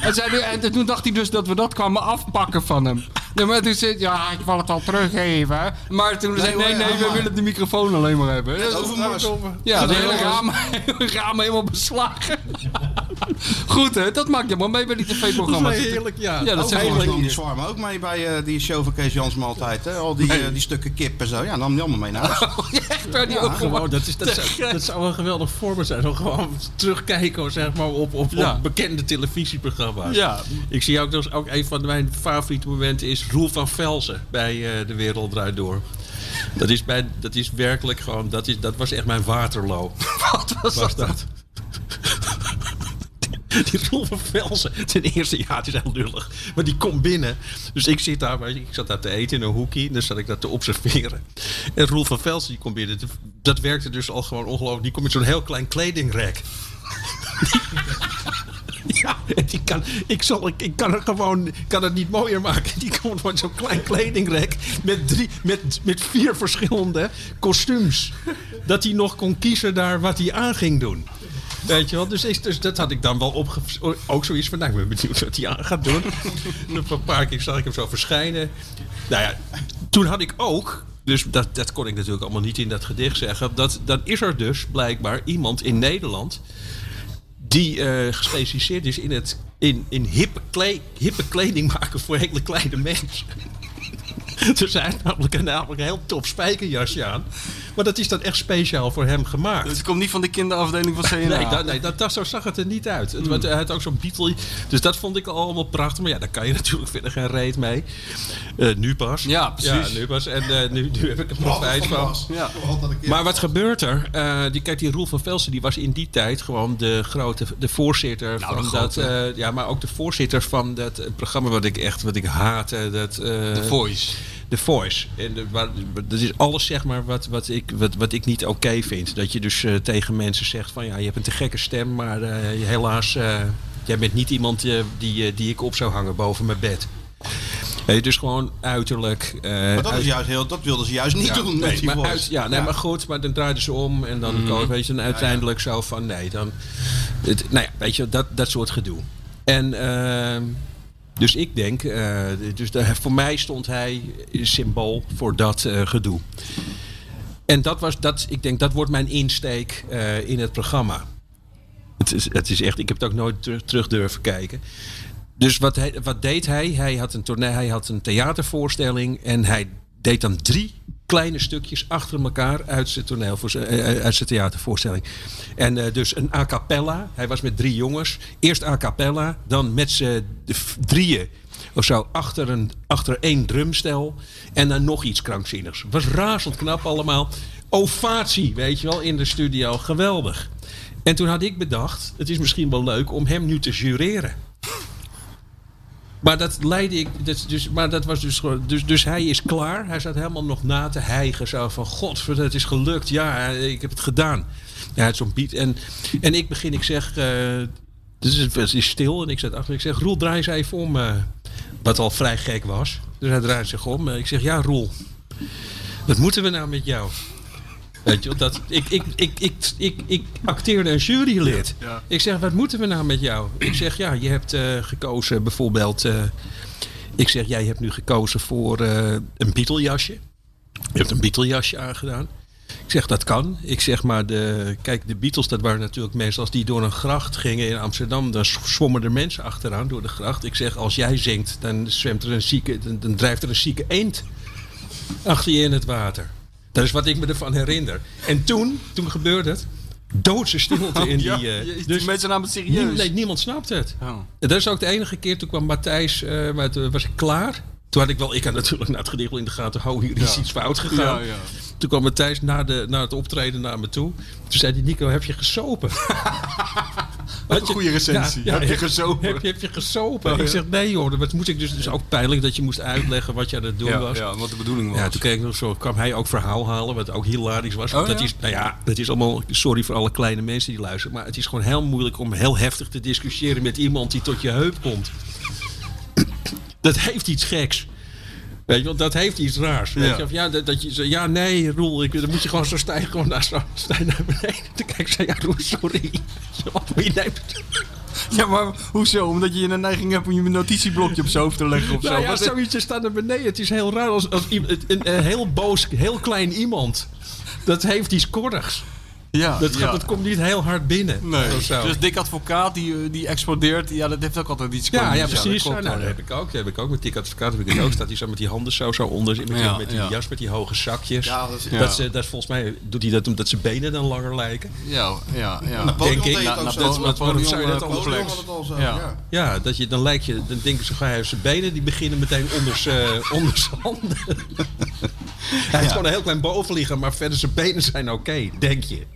[SPEAKER 5] En, zei hij- en toen dacht hij dus dat we dat kwamen afpakken van hem. Ja, maar toen zei ja, ik wil het al teruggeven. Maar toen zei hij, nee, nee, we willen de microfoon alleen maar hebben.
[SPEAKER 3] Net overmorgen.
[SPEAKER 5] Ja, de hele raam, raam helemaal beslagen. Goed hè, dat maakt helemaal mee bij die tv-programma's.
[SPEAKER 3] Dat is wel heerlijk,
[SPEAKER 5] ja. dat zijn
[SPEAKER 3] Overigens nam
[SPEAKER 5] gewoon
[SPEAKER 3] die zwarm ook mee bij eh, die show van Kees Jansma altijd. Hè? Al die, eh, die stukken kip en zo. Ja, nam die allemaal mee naar huis.
[SPEAKER 5] Echt waar, die
[SPEAKER 3] Ja,
[SPEAKER 5] ook
[SPEAKER 3] gewoon,
[SPEAKER 10] dat, is, dat, zou, dat zou een geweldig voorbeeld zijn. Om gewoon terugkijken zeg maar, op, op,
[SPEAKER 5] Ja.
[SPEAKER 10] op bekende televisieprogramma's.
[SPEAKER 5] Ja.
[SPEAKER 10] Ik zie ook, dat is ook een van mijn favoriete momenten is Roel van Velzen bij eh, De Wereld Draait Door. Dat is, bij, dat is werkelijk gewoon, dat, is, dat was echt mijn waterloo.
[SPEAKER 5] Wat was, dat?
[SPEAKER 10] Die Roel van Velzen, ten eerste, ja, het is heel lullig. Maar die komt binnen. Dus ik, zit daar, weet je, ik zat daar te eten in een hoekje. En dan zat ik dat te observeren. En Roel van Velzen, die komt binnen. Dat werkte dus al gewoon ongelooflijk. Die komt met zo'n heel klein kledingrek. Ja, en die kan, ik, zal, ik, ik kan het gewoon ik kan het niet mooier maken. Die komt van zo'n klein kledingrek met, drie, met, met vier verschillende kostuums. Dat hij nog kon kiezen daar wat hij aan ging doen. Weet je wel, dus, is, dus dat had ik dan wel opge... Ook zoiets van, nou, ik ben benieuwd wat hij aan gaat doen. Dus een paar keer zag ik hem zo verschijnen. Nou ja, toen had ik ook... Dus dat, dat kon ik natuurlijk allemaal niet in dat gedicht zeggen. Dat, dan is er dus blijkbaar iemand in Nederland die eh, gespecialiseerd is in, het, in, in hippe, kle- hippe kleding maken voor hele kleine mensen. dus hij heeft namelijk, een- namelijk een heel top spijkerjasje aan. Maar dat is dan echt speciaal voor hem gemaakt.
[SPEAKER 5] Het komt niet van de kinderafdeling van CNA.
[SPEAKER 10] Nee, dat, nee dat, dat, zo zag het er niet uit. Het, want
[SPEAKER 5] Hmm.
[SPEAKER 10] Hij had ook zo'n Beatle. Dus dat vond ik allemaal prachtig. Maar ja, daar kan je natuurlijk verder geen reet mee. Eh, nu pas.
[SPEAKER 5] Ja, precies.
[SPEAKER 10] Ja, nu pas. En eh, nu, nu heb ik er profijt van.
[SPEAKER 5] Ja.
[SPEAKER 10] Maar wat gebeurt er? Eh, die, kijk, die Roel van Velsen die was in die tijd gewoon de grote de voorzitter
[SPEAKER 5] Nou,
[SPEAKER 10] van
[SPEAKER 5] de
[SPEAKER 10] dat.
[SPEAKER 5] grote.
[SPEAKER 10] eh, ja, maar ook de voorzitter van dat eh, programma wat ik echt wat ik haatte. Dat, eh,
[SPEAKER 5] The Voice.
[SPEAKER 10] The Voice. En de- waar- dat is alles zeg maar wat, wat, ik, wat, wat ik niet oké vind. Dat je dus eh, tegen mensen zegt van ja, je hebt een te gekke stem, maar eh, helaas, eh, jij bent niet iemand eh, die, eh, die ik op zou hangen boven mijn bed. Eh, dus gewoon uiterlijk. eh,
[SPEAKER 3] Maar dat, is
[SPEAKER 10] uit-
[SPEAKER 3] juist heel, dat wilden ze juist niet
[SPEAKER 10] ja,
[SPEAKER 3] doen
[SPEAKER 10] nee,
[SPEAKER 3] met die
[SPEAKER 10] maar
[SPEAKER 3] voice. Mhm.
[SPEAKER 10] uit- ja, nee, maar goed, maar dan draaiden ze om en dan koos- weet je, dan uiteindelijk zo van nee, dan. Het, nou ja, weet je, dat, dat soort gedoe. En ehm, dus ik denk, eh, dus daar- voor mij stond hij symbool voor dat eh, gedoe. En dat was, dat, ik denk, dat wordt mijn insteek eh, in het programma. Het is, het is echt, ik heb het ook nooit ter- terug durven kijken. Dus wat, hij, wat deed hij? Hij had, een tournee, hij had een theatervoorstelling en hij deed dan drie kleine stukjes achter elkaar uit zijn, toneel, uit zijn theatervoorstelling. En eh, dus een a cappella. Hij was met drie jongens. Eerst a cappella, dan met z'n d- drieën of zo achter, een, achter één drumstel. En dan nog iets krankzinnigs. Was razend knap allemaal. Ovatie, weet je wel, in de studio. Geweldig. En toen had ik bedacht, het is misschien wel leuk om hem nu te jureren. Maar dat leidde ik. Dat, is dus, maar dat was dus, gewoon- dus. Dus hij is klaar. Hij zat helemaal nog na te hijgen. Zo van: God, het is gelukt. Ja, ik heb het gedaan. Ja, het is zo'n beat. En, en ik begin, ik zeg. eh, dus het het is stil. En ik zat achter. Ik zeg: Roel, draai eens even om. eh." wat al vrij gek was. Dus hij draait zich om. Eh, Ik zeg: Ja, Roel. Wat moeten we nou met jou? Weet je, wel, dat, ik, ik, ik, ik, ik, ik acteerde een jurylid.
[SPEAKER 12] Ja.
[SPEAKER 10] Ik zeg, wat moeten we nou met jou? Ik zeg, ja, je hebt eh, gekozen bijvoorbeeld... eh, ik zeg, jij hebt nu gekozen voor eh, een Beatlejasje. Je hebt een Beatlejasje aangedaan. Ik zeg, dat kan. Ik zeg, maar de, kijk, de Beatles, dat waren natuurlijk mensen... als die door een gracht gingen in Amsterdam... dan zwommen er mensen achteraan door de gracht. Ik zeg, als jij zingt, dan, zwemt er een zieke, dan, dan drijft er een zieke eend achter je in het water. Dat is wat ik me ervan herinner. En toen, toen gebeurde het. Doodse stilte in die...
[SPEAKER 12] Ja,
[SPEAKER 10] eh,
[SPEAKER 12] je- die mensen namen het serieus.
[SPEAKER 10] Niem- nee, niemand snapt het. En dat is ook de enige keer, toen kwam Matthijs, eh, maar toen was ik klaar. Toen had ik wel, ik had natuurlijk na het gedicht wel in de gaten, hou hier is
[SPEAKER 12] Ja.
[SPEAKER 10] iets fout gegaan.
[SPEAKER 12] Ja, ja.
[SPEAKER 10] Toen kwam Matthijs na, de, na het optreden naar me toe. Toen zei hij, Nico, heb je gesopen? Had
[SPEAKER 12] een
[SPEAKER 10] je-
[SPEAKER 12] goede recensie.
[SPEAKER 10] Ja, ja,
[SPEAKER 12] heb je gezopen? Nou,
[SPEAKER 10] Heb je, heb je gesopen?
[SPEAKER 12] Ja, ja.
[SPEAKER 10] Nou, Ik zeg, nee joh, dat moet ik dus, dus ook pijnlijk dat je moest uitleggen wat je aan het doen
[SPEAKER 12] Ja,
[SPEAKER 10] was.
[SPEAKER 12] ja, wat de bedoening was.
[SPEAKER 10] Ja, toen keek ik nog zo, kwam hij ook verhaal halen, wat ook hilarisch was. Want
[SPEAKER 12] Oh,
[SPEAKER 10] dat
[SPEAKER 12] ja?
[SPEAKER 10] is, nou ja, dat is allemaal, sorry voor alle kleine mensen die luisteren, maar het is gewoon heel moeilijk om heel heftig te discussiëren met iemand die tot je heup komt. Dat heeft iets geks. Weet je, want dat heeft iets raars. Weet
[SPEAKER 12] Ja.
[SPEAKER 10] je, of ja, dat, dat je zo, ja, nee, Roel, ik, dan moet je gewoon zo stijgen, gewoon naar, zo, stijgen naar beneden. Toen kijk ik zo, ja, Roel, sorry. Je nou neemt
[SPEAKER 12] Ja, maar hoezo? Omdat je een neiging hebt om je notitieblokje op zijn hoofd te leggen of zo.
[SPEAKER 10] Nou ja,
[SPEAKER 12] Wat is-
[SPEAKER 10] zoiets staat naar beneden. Het is heel raar als, als i- een, een heel boos, heel klein iemand. Dat heeft iets korrigs.
[SPEAKER 12] Ja,
[SPEAKER 10] dat, gaat-
[SPEAKER 12] ja.
[SPEAKER 10] dat komt niet heel hard binnen.
[SPEAKER 12] Nee,
[SPEAKER 10] of zo.
[SPEAKER 12] dus dik advocaat die, eh, die explodeert, ja, dat heeft ook altijd iets.
[SPEAKER 10] ja, ja,
[SPEAKER 12] komisch. dat
[SPEAKER 10] precies.
[SPEAKER 12] klopt
[SPEAKER 10] nou, dat
[SPEAKER 12] wel,
[SPEAKER 10] heb ik ook. Dat heb ik ook met dik advocaat. Heb ik het ook. Staat hij zo met die handen zo, zo onder. Met die,
[SPEAKER 12] Ja,
[SPEAKER 10] met die
[SPEAKER 12] ja.
[SPEAKER 10] jas, met die hoge zakjes.
[SPEAKER 12] Ja, dat is-
[SPEAKER 10] dat,
[SPEAKER 12] ja.
[SPEAKER 10] ze, dat is volgens mij doet hij dat omdat zijn benen dan langer lijken.
[SPEAKER 12] Ja, ja, ja.
[SPEAKER 10] Denk ik.
[SPEAKER 12] Na-
[SPEAKER 10] Dat-
[SPEAKER 12] na-
[SPEAKER 10] dat- wat- waarom zou je dat
[SPEAKER 12] Napoleon, eh,
[SPEAKER 10] anders-
[SPEAKER 12] complex. Ja.
[SPEAKER 10] Ja, dat je, dan lijkt je, dan denken ze, hij heeft zijn benen, die beginnen meteen onder zijn onder zijn handen. hij heeft gewoon een heel klein bovenlichaam, maar verder zijn benen zijn oké, denk je.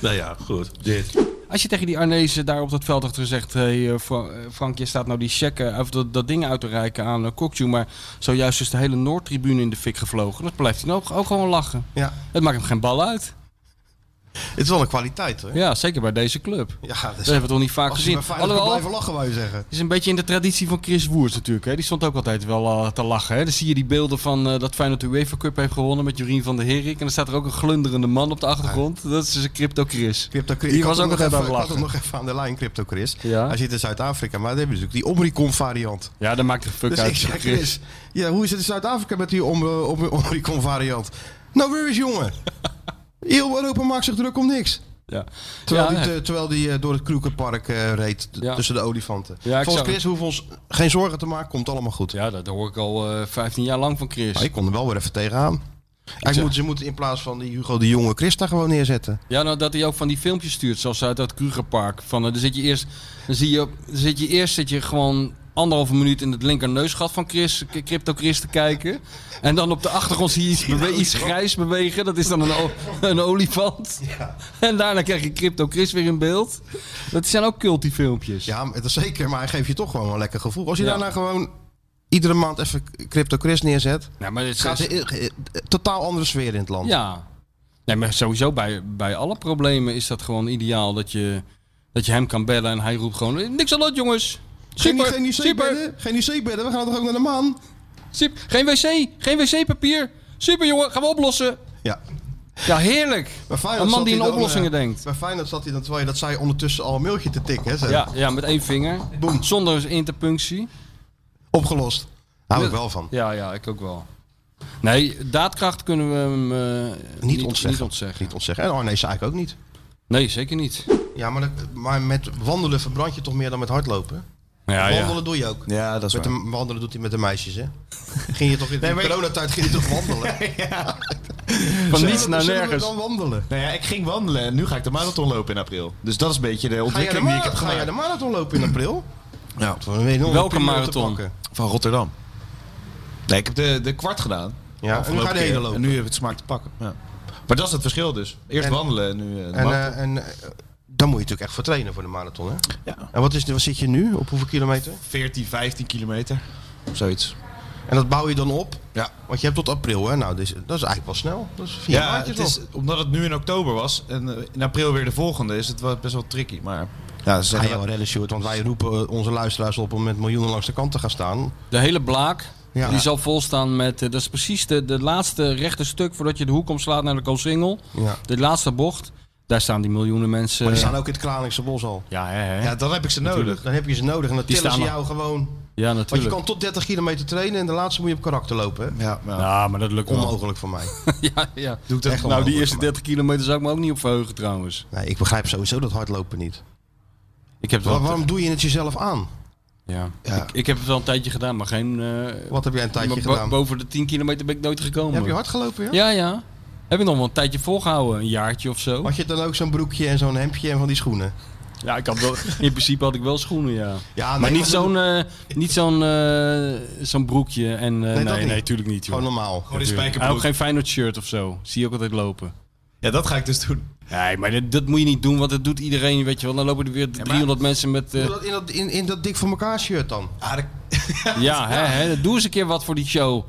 [SPEAKER 10] nou ja, goed, dit.
[SPEAKER 5] Als je tegen die Arnezen daar op dat veld had gezegd... Hey, eh, Fra- eh, Frank, je staat nou die checken of dat, dat ding uit te reiken aan uh, Maar zojuist is de hele Noordtribune in de fik gevlogen. Dat blijft hij ook, ook gewoon lachen.
[SPEAKER 3] Ja.
[SPEAKER 5] Het maakt hem geen bal uit.
[SPEAKER 3] Het is wel een kwaliteit, hoor.
[SPEAKER 5] Ja, zeker bij deze club.
[SPEAKER 3] Ja, dat is-
[SPEAKER 5] hebben we toch niet vaak
[SPEAKER 3] Als
[SPEAKER 5] gezien.
[SPEAKER 3] je maar veilig kan blijven lachen, wou je zeggen.
[SPEAKER 5] Het is een beetje in de traditie van Chris Woers natuurlijk. Hè? Die stond ook altijd wel eh, te lachen. Hè? Dan zie je die beelden van eh, dat Feyenoord de UEFA Cup heeft gewonnen met Jurien van der Herik. En dan staat er ook een glunderende man op de achtergrond. Dat is dus een Crypto Chris.
[SPEAKER 3] Crypto Chris.
[SPEAKER 5] Die
[SPEAKER 3] Ik had
[SPEAKER 5] was ook
[SPEAKER 3] hem nog
[SPEAKER 5] altijd aan
[SPEAKER 3] even-
[SPEAKER 5] het
[SPEAKER 3] Ik had
[SPEAKER 5] lachen.
[SPEAKER 3] hem nog even aan de lijn, Crypto Chris.
[SPEAKER 5] Ja.
[SPEAKER 3] Hij zit in Zuid-Afrika, maar dan hebben we natuurlijk die Omricon variant.
[SPEAKER 5] Ja, dat maakt er fuck
[SPEAKER 3] Dus
[SPEAKER 5] uit.
[SPEAKER 3] ik zeg, Chris, ja, hoe is het in Zuid-Afrika met die Om- eh, Om- Omricon variant? Nou, worries, jongen. Heel Europa maakt zich druk om niks.
[SPEAKER 5] Ja.
[SPEAKER 3] Terwijl,
[SPEAKER 5] Ja,
[SPEAKER 3] die,
[SPEAKER 5] hè.
[SPEAKER 3] te- terwijl die eh, door het Kroekenpark eh, reed t-
[SPEAKER 5] Ja.
[SPEAKER 3] tussen de olifanten.
[SPEAKER 5] Ja, ik
[SPEAKER 3] Volgens
[SPEAKER 5] zag
[SPEAKER 3] Chris hoeven we ons geen zorgen te maken, komt allemaal goed.
[SPEAKER 5] Ja, dat hoor ik al 15 jaar lang van Chris.
[SPEAKER 3] ik kon er wel weer even tegenaan. Hij
[SPEAKER 5] zeg-
[SPEAKER 3] moet, ze moeten in plaats van die Hugo de Jonge Chris daar gewoon neerzetten.
[SPEAKER 5] Ja, nou dat hij ook van die filmpjes stuurt, zoals uit dat Krugerpark. Van, eh, dan zit je eerst, dan zie je, op- dan zit je eerst zit je gewoon anderhalve minuut in het linkerneusgat van Chris, K- Crypto Chris te kijken. En dan op de achtergrond zie je iets, bewe- iets grijs bewegen. Dat is dan een, o- een olifant. En daarna krijg je Crypto Chris weer in beeld. Dat zijn ook cultie filmpjes.
[SPEAKER 3] Ja, maar- dat is zeker, maar hij geeft je toch gewoon een lekker gevoel. Als je
[SPEAKER 5] Ja.
[SPEAKER 3] daarna gewoon iedere maand even Crypto Chris neerzet,
[SPEAKER 5] Ja, maar het
[SPEAKER 3] gaat
[SPEAKER 5] is,
[SPEAKER 3] er eh, eh, totaal andere sfeer in het land.
[SPEAKER 5] Ja. Nee, maar sowieso bij, bij alle problemen is dat gewoon ideaal dat je, dat je hem kan bellen en hij roept gewoon niks aan dat jongens.
[SPEAKER 3] Geen,
[SPEAKER 5] Super,
[SPEAKER 3] geen
[SPEAKER 5] super,
[SPEAKER 3] IC-bedden, geen IC-bedden, we gaan toch ook naar de maan?
[SPEAKER 5] Sip, geen wc, geen wc-papier. Super jongen, gaan we oplossen.
[SPEAKER 3] Ja.
[SPEAKER 5] Ja, heerlijk.
[SPEAKER 3] Bij Feyenoord
[SPEAKER 5] Een man
[SPEAKER 3] zat
[SPEAKER 5] die in
[SPEAKER 3] hij dan,
[SPEAKER 5] oplossingen
[SPEAKER 3] eh,
[SPEAKER 5] denkt.
[SPEAKER 3] Bij Feyenoord zat hij dan, terwijl je dat zei, ondertussen al een mailtje te tikken. Hè, zo.
[SPEAKER 5] Ja, ja, met één vinger.
[SPEAKER 3] Boem.
[SPEAKER 5] Zonder dus interpunctie.
[SPEAKER 3] Opgelost. Hou ik wel van.
[SPEAKER 5] Ja, ja, ik ook wel. Nee, daadkracht kunnen we hem eh,
[SPEAKER 3] Niet, ontzeggen.
[SPEAKER 5] Niet ontzeggen.
[SPEAKER 3] Niet ontzeggen. Oh, En Arnees eigenlijk ook niet.
[SPEAKER 5] Nee, zeker niet.
[SPEAKER 3] Ja, maar, dat- maar met wandelen verbrand je toch meer dan met hardlopen?
[SPEAKER 5] Ja,
[SPEAKER 3] wandelen doe je ook.
[SPEAKER 4] Ja, dat
[SPEAKER 3] Met de, wandelen doet hij met de meisjes, hè? Ging je toch in de coronatijd ging je toch wandelen?
[SPEAKER 5] Van
[SPEAKER 3] Zullen
[SPEAKER 5] niets
[SPEAKER 3] we-
[SPEAKER 5] naar
[SPEAKER 3] zullen we
[SPEAKER 5] nergens.
[SPEAKER 3] dan wandelen?
[SPEAKER 4] Nou ja, ik ging wandelen en nu ga ik de marathon lopen in april. Dus dat is een beetje
[SPEAKER 3] Ga
[SPEAKER 4] de
[SPEAKER 3] jij, de
[SPEAKER 4] ontwikkeling die ik
[SPEAKER 3] mara-
[SPEAKER 4] heb
[SPEAKER 3] ga jij
[SPEAKER 4] gemaakt.
[SPEAKER 3] de marathon lopen in april?
[SPEAKER 4] Ja.
[SPEAKER 3] Voor een enorme
[SPEAKER 5] Welke
[SPEAKER 3] piemel te
[SPEAKER 5] marathon?
[SPEAKER 3] pakken.
[SPEAKER 4] Van Rotterdam. Nee, ik heb de, de kwart gedaan.
[SPEAKER 3] Ja, en nu
[SPEAKER 4] Afgelopen
[SPEAKER 3] ga je de hele
[SPEAKER 4] keer.
[SPEAKER 3] lopen.
[SPEAKER 4] En nu heb ik het smaak te pakken. Ja. Maar dat is het verschil dus. Eerst
[SPEAKER 3] En-
[SPEAKER 4] wandelen en nu eh, de
[SPEAKER 3] En,
[SPEAKER 4] marathon.
[SPEAKER 3] eh, en eh, dan moet je natuurlijk echt voor trainen voor de marathon, hè?
[SPEAKER 4] Ja.
[SPEAKER 3] En wat, is, de- wat zit je nu? Op hoeveel kilometer?
[SPEAKER 4] 14, 15 kilometer. Of zoiets.
[SPEAKER 3] En dat bouw je dan op?
[SPEAKER 4] Ja.
[SPEAKER 3] Want je hebt tot april, hè? Nou, dus, dat is eigenlijk wel snel. Dat is vier
[SPEAKER 4] Ja,
[SPEAKER 3] maandjes
[SPEAKER 4] het is,
[SPEAKER 3] nog.
[SPEAKER 4] omdat het nu in oktober was en eh, in april weer de volgende, is het wel best wel tricky. Maar ja, ze
[SPEAKER 3] Ga
[SPEAKER 4] zeggen
[SPEAKER 3] je wel
[SPEAKER 4] wel-
[SPEAKER 3] redden, Sjoerd, want wij roepen eh, onze luisteraars op om met miljoenen langs de kant te gaan staan.
[SPEAKER 5] De hele blaak.
[SPEAKER 3] Ja.
[SPEAKER 5] Die zal volstaan met, eh, dat is precies de, de laatste rechte stuk voordat je de hoek omslaat naar de Koolsingel.
[SPEAKER 3] Ja.
[SPEAKER 5] De laatste bocht, daar staan die miljoenen mensen.
[SPEAKER 3] Maar die staan ook in het Kralingse bos al.
[SPEAKER 5] Eh. Ja, hè, hè.
[SPEAKER 3] Ja, dan heb ik ze nodig.
[SPEAKER 5] Natuurlijk.
[SPEAKER 3] Dan heb je ze nodig en dan
[SPEAKER 5] Die
[SPEAKER 3] tillen ze
[SPEAKER 5] staan
[SPEAKER 3] jou gewoon.
[SPEAKER 5] Ja,
[SPEAKER 3] Want je
[SPEAKER 5] natuurlijk.
[SPEAKER 3] kan tot 30 kilometer trainen en de laatste moet je op karakter lopen. Hè? Ja,
[SPEAKER 5] Ja, Nou, maar dat lukt wel.
[SPEAKER 3] Onmogelijk voor mij.
[SPEAKER 5] ja, ja.
[SPEAKER 3] Doe ik dat gewoon
[SPEAKER 5] Echt, nou, die
[SPEAKER 3] mogelijk,
[SPEAKER 5] eerste
[SPEAKER 3] maar.
[SPEAKER 5] 30 kilometer zou ik me ook niet op verheugen trouwens.
[SPEAKER 3] Nee, ik begrijp sowieso dat hardlopen niet.
[SPEAKER 5] Ik heb het
[SPEAKER 3] Waar-
[SPEAKER 5] wel,
[SPEAKER 3] waarom doe je het jezelf aan?
[SPEAKER 5] ja.
[SPEAKER 3] Ja.
[SPEAKER 5] Ik, ik heb het wel een tijdje gedaan, maar geen... eh,
[SPEAKER 3] Wat heb jij een tijdje
[SPEAKER 5] maar bo-
[SPEAKER 3] gedaan?
[SPEAKER 5] Boven de 10 kilometer ben ik nooit gekomen.
[SPEAKER 3] heb je hard gelopen, ja?
[SPEAKER 5] Ja, ja. Heb ik nog wel een tijdje volgehouden, een jaartje of zo.
[SPEAKER 3] Had je dan ook zo'n broekje en zo'n hemdje en van die schoenen?
[SPEAKER 5] Ja, ik had wel, in principe had ik wel schoenen, ja.
[SPEAKER 3] Ja,
[SPEAKER 5] maar
[SPEAKER 3] Ah, nee,
[SPEAKER 5] niet
[SPEAKER 3] maar-
[SPEAKER 5] zo'n eh, niet zo'n eh, zo'n broekje. En, eh,
[SPEAKER 3] dat
[SPEAKER 5] nee,
[SPEAKER 3] niet.
[SPEAKER 5] nee, tuurlijk niet. Joh.
[SPEAKER 3] Gewoon normaal.
[SPEAKER 5] Gewoon
[SPEAKER 4] een
[SPEAKER 5] En
[SPEAKER 4] spijkerbroek.
[SPEAKER 5] ook geen Feyenoord shirt of zo. Zie je ook altijd lopen.
[SPEAKER 4] Ja, dat ga ik dus doen.
[SPEAKER 5] Nee, maar dat, dat moet je niet doen, want dat doet iedereen, weet je wel. Dan lopen er weer 300 mensen met... eh,
[SPEAKER 3] Doe dat in, dat, in, in dat dik voor elkaar shirt dan.
[SPEAKER 5] ja, hè, hè, doe eens een keer wat voor die show.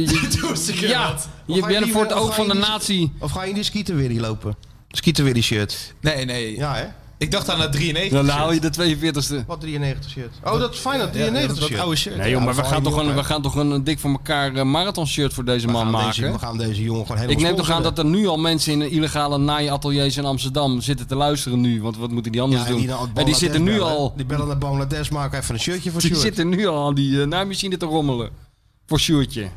[SPEAKER 5] je-
[SPEAKER 4] Doe eens een keer
[SPEAKER 5] ja,
[SPEAKER 4] wat.
[SPEAKER 3] Of
[SPEAKER 5] je
[SPEAKER 3] ga je
[SPEAKER 5] bent
[SPEAKER 3] die-
[SPEAKER 5] voor het
[SPEAKER 3] of
[SPEAKER 5] oog
[SPEAKER 3] ga
[SPEAKER 5] van
[SPEAKER 3] je
[SPEAKER 5] de
[SPEAKER 3] die-
[SPEAKER 5] natie.
[SPEAKER 3] Of ga je in die skieterwilly lopen? Skieterwilly shirt.
[SPEAKER 4] Nee, nee.
[SPEAKER 3] Ja, hè?
[SPEAKER 4] Ik dacht aan het 93.
[SPEAKER 5] Dan
[SPEAKER 4] shirt.
[SPEAKER 5] haal je de 42e.
[SPEAKER 3] Wat 93 shirt. Oh, dat is fijn, dat 93
[SPEAKER 4] dat,
[SPEAKER 3] shirt.
[SPEAKER 4] oude shirt.
[SPEAKER 5] Nee joh, maar we
[SPEAKER 3] val je
[SPEAKER 5] gaan,
[SPEAKER 3] niet
[SPEAKER 5] toch
[SPEAKER 3] op,
[SPEAKER 5] een,
[SPEAKER 3] hè?
[SPEAKER 5] we gaan toch een, een dik voor elkaar eh, marathon shirt voor deze
[SPEAKER 3] we,
[SPEAKER 5] man
[SPEAKER 3] gaan
[SPEAKER 5] maken.
[SPEAKER 3] deze, we gaan deze jongen gewoon helemaal
[SPEAKER 5] Ik neem toch aan
[SPEAKER 3] sponsoren.
[SPEAKER 5] dat er nu al mensen in illegale naaiateliers in Amsterdam zitten te luisteren nu. Want wat moeten die anders
[SPEAKER 3] Ja, en
[SPEAKER 5] doen?
[SPEAKER 3] die, naar
[SPEAKER 5] en die
[SPEAKER 3] Bangladesh
[SPEAKER 5] zitten nu
[SPEAKER 3] bellen.
[SPEAKER 5] al,
[SPEAKER 3] Die bellen naar Bangladesh, maken even een shirtje voor
[SPEAKER 5] die
[SPEAKER 3] shirt.
[SPEAKER 5] zitten nu al aan die eh, naaimachine te rommelen. Voor Sjoertje.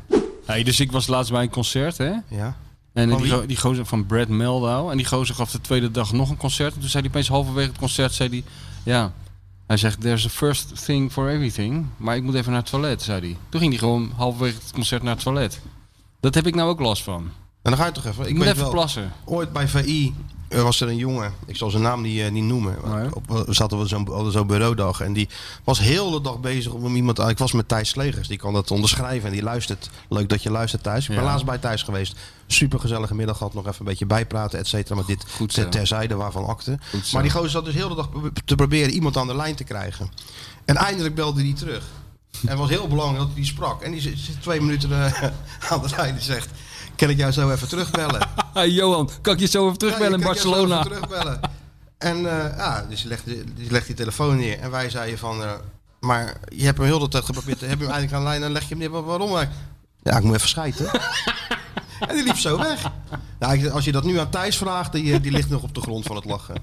[SPEAKER 5] Hey, dus ik was laatst bij een concert, hè?
[SPEAKER 3] Ja.
[SPEAKER 5] En eh,
[SPEAKER 3] Van
[SPEAKER 5] die,
[SPEAKER 3] wie?
[SPEAKER 5] go- die gozer van Brad Meldau. En die gozer gaf de tweede dag nog een concert. En toen zei hij opeens halverwege het concert, zei hij... Ja, hij zegt, there's a first thing for everything. Maar ik moet even naar het toilet, zei hij. Toen ging hij gewoon halverwege het concert naar het toilet. Dat heb ik nou ook last van.
[SPEAKER 3] En dan ga je toch even.
[SPEAKER 5] Ik,
[SPEAKER 3] Ik
[SPEAKER 5] moet
[SPEAKER 3] weet
[SPEAKER 5] even
[SPEAKER 3] wel,
[SPEAKER 5] plassen.
[SPEAKER 3] Ooit bij VI eh, was er een jongen, ik zal zijn naam niet, eh, niet noemen.
[SPEAKER 5] Nee.
[SPEAKER 3] Op, eh, zaten we zo'n hadden zo'n bureaudag en die was heel de dag bezig om iemand. eh, Ik was met Thijs Slegers, die kan dat onderschrijven en die luistert. Leuk dat je luistert, Thijs. Ik ben
[SPEAKER 5] Ja.
[SPEAKER 3] laatst bij Thijs geweest. Super gezellige middag gehad, nog even een beetje bijpraten, et cetera. Maar dit
[SPEAKER 5] Goed zo.
[SPEAKER 3] ter, terzijde waarvan akte.
[SPEAKER 5] Goed zo.
[SPEAKER 3] Maar die gozer zat dus heel de dag te proberen iemand aan de lijn te krijgen. En eindelijk belde hij terug. En het was heel belangrijk dat hij die sprak. En die zit zit twee minuten eh, aan de lijn en zegt... Kan ik jou zo even terugbellen?
[SPEAKER 5] Hey Johan, kan ik je zo even
[SPEAKER 3] Ja,
[SPEAKER 5] terugbellen
[SPEAKER 3] je
[SPEAKER 5] in
[SPEAKER 3] kan jou zo
[SPEAKER 5] Barcelona?
[SPEAKER 3] even terugbellen. En eh, ja, dus die legt, die legt die telefoon neer. En wij zeiden van... eh, maar je hebt hem heel de tijd geprobeerd. Heb je hem eindelijk aan de lijn en leg je hem neer. Wa- Waarom? Hij- Ja, ik moet even schijten. en die liep zo weg. Nou, ik- als je dat nu aan Thijs vraagt, die, eh, die ligt nog op de grond van het lachen.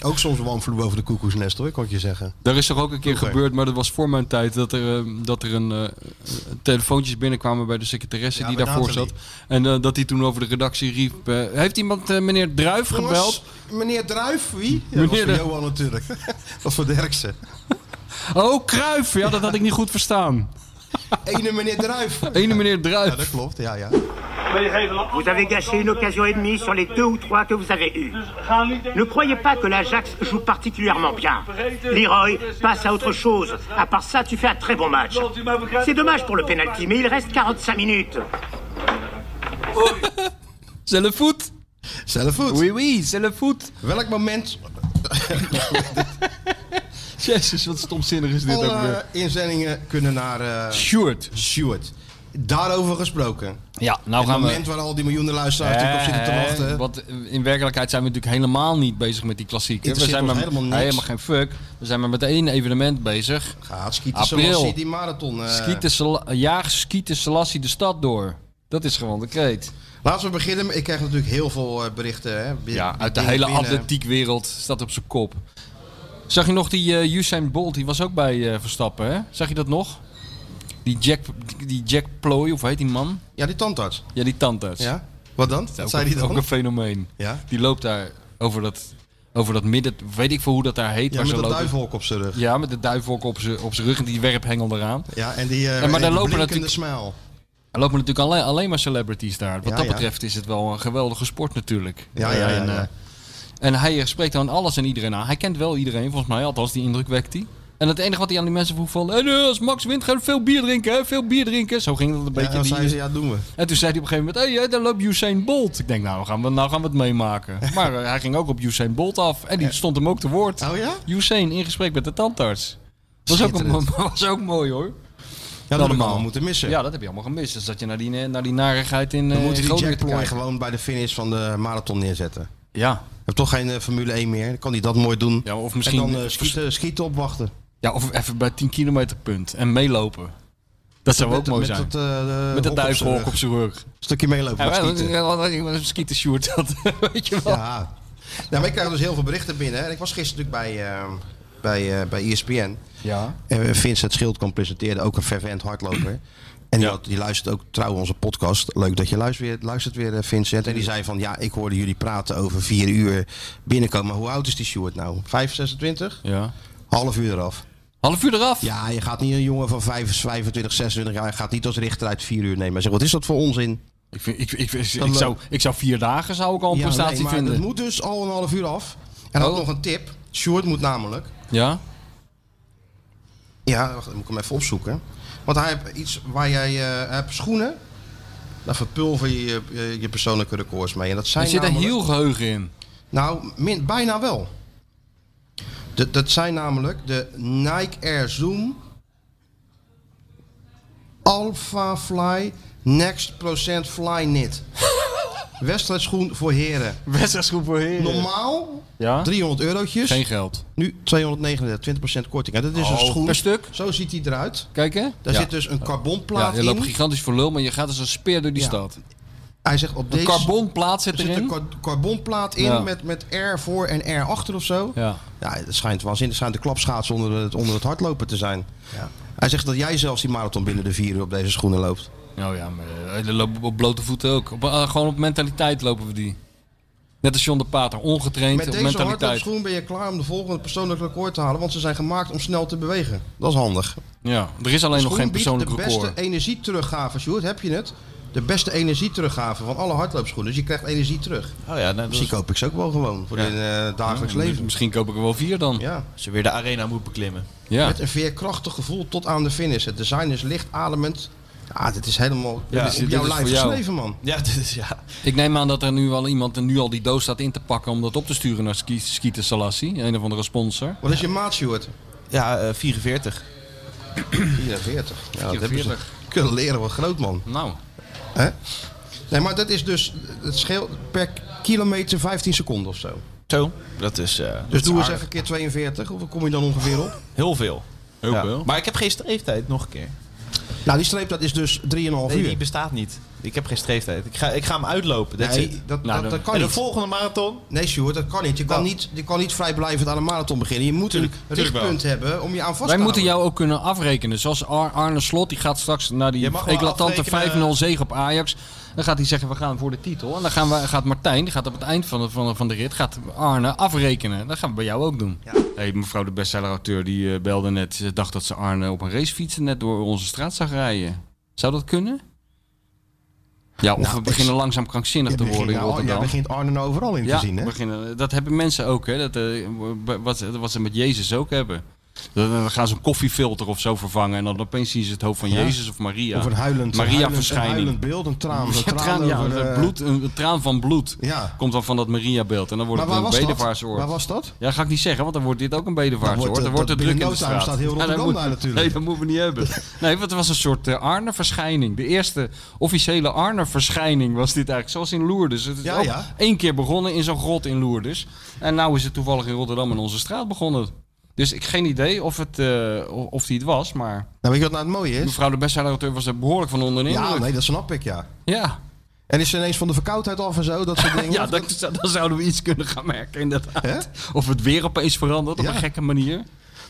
[SPEAKER 3] Ook soms een wanvloer boven de koekoesnest hoor, kan ik je zeggen.
[SPEAKER 5] Er is toch ook een keer
[SPEAKER 3] Vroeger.
[SPEAKER 5] gebeurd, maar dat was voor mijn tijd, dat er, eh, dat er een, eh, telefoontjes binnenkwamen bij de secretaresse
[SPEAKER 3] Ja,
[SPEAKER 5] die
[SPEAKER 3] bij
[SPEAKER 5] daarvoor
[SPEAKER 3] Nathalie.
[SPEAKER 5] zat. En eh, dat hij toen over de redactie riep, eh, heeft iemand eh, meneer Druif gebeld?
[SPEAKER 3] meneer Druif, wie? Ja,
[SPEAKER 5] Meneer
[SPEAKER 3] dat was
[SPEAKER 5] de-
[SPEAKER 3] voor Johan natuurlijk. dat voor Derksen.
[SPEAKER 5] Oh, Kruif! Ja, dat had ik niet goed verstaan.
[SPEAKER 3] Ene meneer Druif.
[SPEAKER 5] Ene meneer
[SPEAKER 3] Ja,
[SPEAKER 5] Druif.
[SPEAKER 3] dat klopt, ja, ja.
[SPEAKER 13] Vous avez gâché une occasion et demie sur les deux ou trois que vous avez eues. Ne croyez pas que l'Ajax joue particulièrement bien. Leroy passe à autre chose. À part ça, tu fais un très bon match. C'est dommage pour le penalty, mais il reste 45 minutes.
[SPEAKER 5] C'est le foot.
[SPEAKER 3] Zelf goed.
[SPEAKER 5] Oui, oui, c'est le foot.
[SPEAKER 3] Welk moment
[SPEAKER 5] Jezus, wat stomzinnig is dit ook
[SPEAKER 3] Alle
[SPEAKER 5] weer.
[SPEAKER 3] inzendingen kunnen naar eh
[SPEAKER 5] Stuart.
[SPEAKER 3] Stuart. Daarover gesproken.
[SPEAKER 5] Ja, nou
[SPEAKER 3] het
[SPEAKER 5] gaan we...
[SPEAKER 3] moment waar al die miljoenen luisteraars natuurlijk op zitten te
[SPEAKER 5] Eh,
[SPEAKER 3] wachten.
[SPEAKER 5] Want in werkelijkheid zijn we natuurlijk helemaal niet bezig met die klassieken. We
[SPEAKER 3] Interesseert
[SPEAKER 5] zijn
[SPEAKER 3] ons
[SPEAKER 5] maar
[SPEAKER 3] helemaal niks.
[SPEAKER 5] helemaal geen fuck. We zijn maar met één evenement bezig.
[SPEAKER 3] Gaat Schieten
[SPEAKER 5] April.
[SPEAKER 3] Selassie die marathon. eh.
[SPEAKER 5] Skieten Sela- jaag Skieten Selassie de stad door. Dat is gewoon de kreet.
[SPEAKER 3] Laten we beginnen. Ik krijg natuurlijk heel veel eh, berichten. Hè, bi-
[SPEAKER 5] Ja, uit de
[SPEAKER 3] dingen
[SPEAKER 5] hele
[SPEAKER 3] binnen.
[SPEAKER 5] atletiekwereld staat op zijn kop. Zag je nog die eh Usain Bolt? Die was ook bij eh, Verstappen, hè? Zag je dat nog? Die Jack, die Jack Ploy, of hoe heet die man?
[SPEAKER 3] Ja, die tandarts.
[SPEAKER 5] Ja, die tandarts.
[SPEAKER 3] Ja? Wat dan?
[SPEAKER 5] Dat
[SPEAKER 3] Wat
[SPEAKER 5] is
[SPEAKER 3] zei
[SPEAKER 5] ook,
[SPEAKER 3] die
[SPEAKER 5] een- ook een
[SPEAKER 3] dan?
[SPEAKER 5] fenomeen.
[SPEAKER 3] Ja?
[SPEAKER 5] Die loopt daar over dat, over dat midden, weet ik veel hoe dat daar
[SPEAKER 3] Ja,
[SPEAKER 5] heet. waar
[SPEAKER 3] met
[SPEAKER 5] ze
[SPEAKER 3] dat
[SPEAKER 5] lopen.
[SPEAKER 3] duivelhok op zijn rug.
[SPEAKER 5] Ja, met de duivelhok op zijn op z'n rug en die werphengel eraan.
[SPEAKER 3] Ja, en die, eh
[SPEAKER 5] maar
[SPEAKER 3] en
[SPEAKER 5] daar
[SPEAKER 3] die
[SPEAKER 5] lopen
[SPEAKER 3] blinkende
[SPEAKER 5] natuurlijk-
[SPEAKER 3] smile.
[SPEAKER 5] Er lopen natuurlijk alleen, alleen maar celebrities daar. Wat
[SPEAKER 3] Ja,
[SPEAKER 5] dat
[SPEAKER 3] ja.
[SPEAKER 5] betreft is het wel een geweldige sport natuurlijk.
[SPEAKER 3] Ja, ja, ja,
[SPEAKER 5] En,
[SPEAKER 3] ja.
[SPEAKER 5] eh, en hij spreekt dan alles en iedereen aan. Hij kent wel iedereen, volgens mij. Althans, die indruk wekt hij. En het enige wat hij aan die mensen vroeg van... En eh, als Max wint, ga je veel bier drinken, hè? Veel bier drinken. Zo ging dat een
[SPEAKER 3] Ja, en
[SPEAKER 5] beetje.
[SPEAKER 3] dan
[SPEAKER 5] die-
[SPEAKER 3] zeiden ze, ja, doen we.
[SPEAKER 5] En toen zei hij op een gegeven moment... Hé, hey, daar loopt Usain Bolt. Ik denk, nou gaan we, nou gaan we het meemaken. Maar eh, hij ging ook op Usain Bolt af. En die stond hem ook te woord.
[SPEAKER 3] Oh ja?
[SPEAKER 5] Usain in gesprek met de tandarts. Was ook, een-
[SPEAKER 3] Schitterend.
[SPEAKER 5] was ook mooi, hoor.
[SPEAKER 3] Ja, dat allemaal moeten missen.
[SPEAKER 5] Ja, dat heb je allemaal gemist. Dus dat je naar die, naar die narigheid in,
[SPEAKER 3] We
[SPEAKER 5] eh,
[SPEAKER 3] moeten die
[SPEAKER 5] Groningen
[SPEAKER 3] Jack
[SPEAKER 5] te
[SPEAKER 3] Ploy
[SPEAKER 5] kijken.
[SPEAKER 3] gewoon bij de finish van de marathon neerzetten.
[SPEAKER 5] Ja.
[SPEAKER 3] Ik heb toch geen eh, Formule 1 meer. Dan kan hij dat mooi doen.
[SPEAKER 5] ja, of
[SPEAKER 3] en
[SPEAKER 5] misschien
[SPEAKER 3] dan eh, schieten, schieten opwachten.
[SPEAKER 5] ja, of even bij 10 kilometer punt en meelopen. Dat zou
[SPEAKER 3] met-
[SPEAKER 5] ook mooi
[SPEAKER 3] met
[SPEAKER 5] zijn.
[SPEAKER 3] dat, eh, de
[SPEAKER 5] met
[SPEAKER 3] hok op
[SPEAKER 5] dat
[SPEAKER 3] zijn
[SPEAKER 5] duivenhok
[SPEAKER 3] rug.
[SPEAKER 5] op zijn rug.
[SPEAKER 3] Stukje meelopen. gaan schieten.
[SPEAKER 5] Een schietenshoot, dat weet je wel.
[SPEAKER 3] Ja. Nou, maar ik krijg dus heel veel berichten binnen. En ik was gisteren natuurlijk bij, eh bij, eh, bij ESPN.
[SPEAKER 5] Ja.
[SPEAKER 3] En Vincent Schildkamp presenteerde ook een fervent hardloper. En die, had- die luistert ook trouw onze podcast. Leuk dat je luistert weer, luistert weer eh, Vincent. En die zei van, ja, ik hoorde jullie praten over vier uur binnenkomen. Hoe oud is die Stuart nou? 5, 26?
[SPEAKER 5] Ja.
[SPEAKER 3] Half uur eraf.
[SPEAKER 9] Half uur eraf?
[SPEAKER 3] Ja, je gaat niet een jongen van 5, 25, 26 jaar... je gaat niet als richter uit vier uur nemen. Zeg, wat is dat voor onzin?
[SPEAKER 5] Ik, vind, ik, ik, ik,
[SPEAKER 3] Dan- eh,
[SPEAKER 5] zou, ik zou vier dagen zou ik al een
[SPEAKER 3] Ja,
[SPEAKER 5] prestatie
[SPEAKER 3] nee, maar
[SPEAKER 5] vinden. Oh.
[SPEAKER 3] Het moet dus al een half uur af. En ook nog een tip. Short moet namelijk.
[SPEAKER 5] Ja?
[SPEAKER 3] Ja, wacht, dan moet ik hem even opzoeken. Want hij heeft iets waar jij eh, hij hebt schoenen. Daar verpulver je, je je- je persoonlijke records mee. En dat zijn
[SPEAKER 5] Er zit een
[SPEAKER 3] namelijk-
[SPEAKER 5] heel geheugen in.
[SPEAKER 3] Nou, min, bijna wel. De- dat zijn namelijk de Nike Air Zoom Alpha Fly Next Procent Fly Knit. Wedstrijdschoen voor heren.
[SPEAKER 5] Wedstrijdschoen voor heren.
[SPEAKER 3] Normaal
[SPEAKER 5] Ja?
[SPEAKER 3] 300 eurotjes.
[SPEAKER 5] Geen geld.
[SPEAKER 3] Nu 239, 20% korting. En dat is
[SPEAKER 5] Oh,
[SPEAKER 3] een schoen.
[SPEAKER 5] per stuk?
[SPEAKER 3] Zo ziet hij eruit.
[SPEAKER 9] Kijk hè?
[SPEAKER 3] Daar
[SPEAKER 9] Ja.
[SPEAKER 3] zit dus een
[SPEAKER 9] Ja,
[SPEAKER 3] carbonplaat
[SPEAKER 9] je loopt
[SPEAKER 3] in.
[SPEAKER 9] gigantisch voor lul, maar je gaat als een speer door die
[SPEAKER 3] Ja.
[SPEAKER 9] stad.
[SPEAKER 3] Hij zegt op
[SPEAKER 9] Een
[SPEAKER 3] deze...
[SPEAKER 9] carbonplaat zit
[SPEAKER 3] er zit
[SPEAKER 9] erin?
[SPEAKER 3] een car- carbonplaat in
[SPEAKER 9] Ja.
[SPEAKER 3] met, met R voor en R achter of zo.
[SPEAKER 9] Ja.
[SPEAKER 3] Ja, het schijnt waanzinnig. Het schijnt de klapschaats onder het, onder het hardlopen te zijn.
[SPEAKER 5] Ja.
[SPEAKER 3] Hij zegt dat jij zelfs die marathon binnen de vier uur op deze schoenen loopt.
[SPEAKER 9] Nou ja, maar eh, we lopen op blote voeten ook. Op, eh, gewoon op mentaliteit lopen we die. Net als John de Pater, ongetraind
[SPEAKER 3] Met
[SPEAKER 9] op
[SPEAKER 3] deze
[SPEAKER 9] mentaliteit.
[SPEAKER 3] hardloopschoen ben je klaar om de volgende persoonlijk record te halen. Want ze zijn gemaakt om snel te bewegen. Dat is handig.
[SPEAKER 5] Ja, er is alleen nog
[SPEAKER 3] Schoen
[SPEAKER 5] geen
[SPEAKER 3] biedt
[SPEAKER 5] persoonlijk
[SPEAKER 3] de
[SPEAKER 5] record.
[SPEAKER 3] beste energieteruggave, Sjoerd. Heb je het? De beste energieteruggave van alle hardloopschoenen. Dus je krijgt energie terug.
[SPEAKER 4] Oh ja, nou,
[SPEAKER 3] Misschien koop ik ze ook wel gewoon voor in eh, dagelijks leven.
[SPEAKER 9] Misschien koop ik er wel vier dan.
[SPEAKER 3] Ja.
[SPEAKER 4] Als je weer de arena moet beklimmen.
[SPEAKER 9] Ja.
[SPEAKER 3] Met een veerkrachtig gevoel tot aan de finish. Het design is licht ademend. Ja, dit is helemaal
[SPEAKER 9] Ja,
[SPEAKER 3] op
[SPEAKER 9] dit is- dit
[SPEAKER 3] jouw
[SPEAKER 9] is
[SPEAKER 3] lijf
[SPEAKER 9] voor jou.
[SPEAKER 3] geschreven, man.
[SPEAKER 4] Ja, dit is ja.
[SPEAKER 9] Ik neem aan dat er nu al iemand nu al die doos staat in te pakken om dat op te sturen naar Ski- Skieten Salassi, een of andere sponsor.
[SPEAKER 3] Wat is je maat, Sjoerd?
[SPEAKER 4] Ja, eh, 44.
[SPEAKER 3] 44. Ja, dat hebben ze
[SPEAKER 9] 44.
[SPEAKER 3] kunnen leren. Wat groot, man.
[SPEAKER 9] Nou,
[SPEAKER 3] Hè? Nee, maar dat is dus... Het scheelt per kilometer 15 seconden of zo.
[SPEAKER 4] Zo, dat is... eh, dat
[SPEAKER 3] Dus
[SPEAKER 4] is
[SPEAKER 3] doe eens
[SPEAKER 4] aardig.
[SPEAKER 3] even keer 42. Hoeveel kom je dan ongeveer op?
[SPEAKER 4] Heel veel.
[SPEAKER 5] Heel
[SPEAKER 4] veel. Maar ik heb geen streeftijd, nog een keer.
[SPEAKER 3] Nou, die streep dat is dus 3,5
[SPEAKER 4] Nee,
[SPEAKER 3] uur.
[SPEAKER 4] die bestaat niet. Ik heb geen streeftijd. Ik ga, ik ga hem uitlopen. That's
[SPEAKER 3] Nee,
[SPEAKER 4] it.
[SPEAKER 5] Nou,
[SPEAKER 3] dat, dat, dat kan
[SPEAKER 4] en de
[SPEAKER 3] niet.
[SPEAKER 4] volgende marathon?
[SPEAKER 3] Nee, Sjoerd, dat kan niet. Je kan, niet, je kan niet vrijblijvend aan een marathon beginnen. Je moet een
[SPEAKER 4] tuurlijk wel.
[SPEAKER 3] richtpunt hebben om je aan vast te
[SPEAKER 9] wij moeten
[SPEAKER 3] houden.
[SPEAKER 9] jou ook kunnen afrekenen. Zoals Ar- Arne Slot, die gaat straks naar die
[SPEAKER 4] Je mag wel
[SPEAKER 9] eclatante
[SPEAKER 4] afrekenen.
[SPEAKER 9] 5-0 zege op Ajax. Dan gaat hij zeggen, we gaan voor de titel. En dan gaan we, gaat Martijn, die gaat op het eind van de, van de, van de rit, gaat Arne afrekenen. Dat gaan we bij jou ook doen.
[SPEAKER 5] Hey, mevrouw de bestsellerauteur die eh, belde net. Ze dacht dat ze Arne op een racefiets net door onze straat zag rijden. Zou dat kunnen? Ja, of
[SPEAKER 3] Nou,
[SPEAKER 5] we
[SPEAKER 3] ik-
[SPEAKER 5] beginnen langzaam krankzinnig
[SPEAKER 3] Je
[SPEAKER 5] te worden in
[SPEAKER 3] begint-
[SPEAKER 5] Rotterdam.
[SPEAKER 3] Jij begint Arnen overal in
[SPEAKER 5] ja,
[SPEAKER 3] te zien, hè?
[SPEAKER 5] beginnen, dat hebben mensen ook. Hè? Dat, eh, b- wat, ze- wat ze met Jezus ook hebben. Dan dan gaan ze een koffiefilter of zo vervangen. En dan opeens zien ze het hoofd van
[SPEAKER 3] Ja.
[SPEAKER 5] Jezus of Maria.
[SPEAKER 3] Of een huilend,
[SPEAKER 5] Maria
[SPEAKER 3] huilend, een
[SPEAKER 5] verschijning.
[SPEAKER 3] huilend beeld, een traan. Een
[SPEAKER 5] Ja,
[SPEAKER 3] traan,
[SPEAKER 5] traan, ja,
[SPEAKER 3] over,
[SPEAKER 5] een
[SPEAKER 3] eh,
[SPEAKER 5] bloed, een, een traan van bloed
[SPEAKER 3] Ja.
[SPEAKER 5] komt dan van dat Maria-beeld. En dan wordt
[SPEAKER 3] Maar waar
[SPEAKER 5] het
[SPEAKER 3] was
[SPEAKER 5] een
[SPEAKER 3] dat?
[SPEAKER 5] bedevaartsoord.
[SPEAKER 3] Waar was dat?
[SPEAKER 5] Ja, ga ik niet zeggen, want dan wordt dit ook een bedevaartsoord.
[SPEAKER 3] Dan wordt het-
[SPEAKER 5] Dan, wordt het
[SPEAKER 3] dat
[SPEAKER 5] druk in
[SPEAKER 3] binnen
[SPEAKER 5] de
[SPEAKER 3] no time
[SPEAKER 5] straat.
[SPEAKER 3] staat heel
[SPEAKER 5] Ja, dat
[SPEAKER 3] Rotterdam
[SPEAKER 5] moet-
[SPEAKER 3] daar natuurlijk.
[SPEAKER 5] Nee, dat moeten we niet hebben. Nee, want het was een soort eh, Arne-verschijning. De eerste officiële Arne-verschijning was dit eigenlijk. Zoals in Lourdes. Het is
[SPEAKER 3] Ja,
[SPEAKER 5] ook
[SPEAKER 3] ja.
[SPEAKER 5] één keer begonnen in zo'n grot in Lourdes. En nou is het toevallig in Rotterdam in onze straat begonnen. Dus ik geen idee of, het, eh, of die het was, maar
[SPEAKER 3] Nou, weet je wat nou het mooie is?
[SPEAKER 5] mevrouw de bestseller was er behoorlijk van onder de
[SPEAKER 3] Ja,
[SPEAKER 5] indruk.
[SPEAKER 3] nee, dat snap ik, ja.
[SPEAKER 5] Ja.
[SPEAKER 3] En is ze ineens van de verkoudheid af en zo? Dat soort dingen?
[SPEAKER 5] Ja, dat, zou- dan zouden we iets kunnen gaan merken, inderdaad. Of het weer opeens verandert op
[SPEAKER 3] Ja.
[SPEAKER 5] een gekke manier.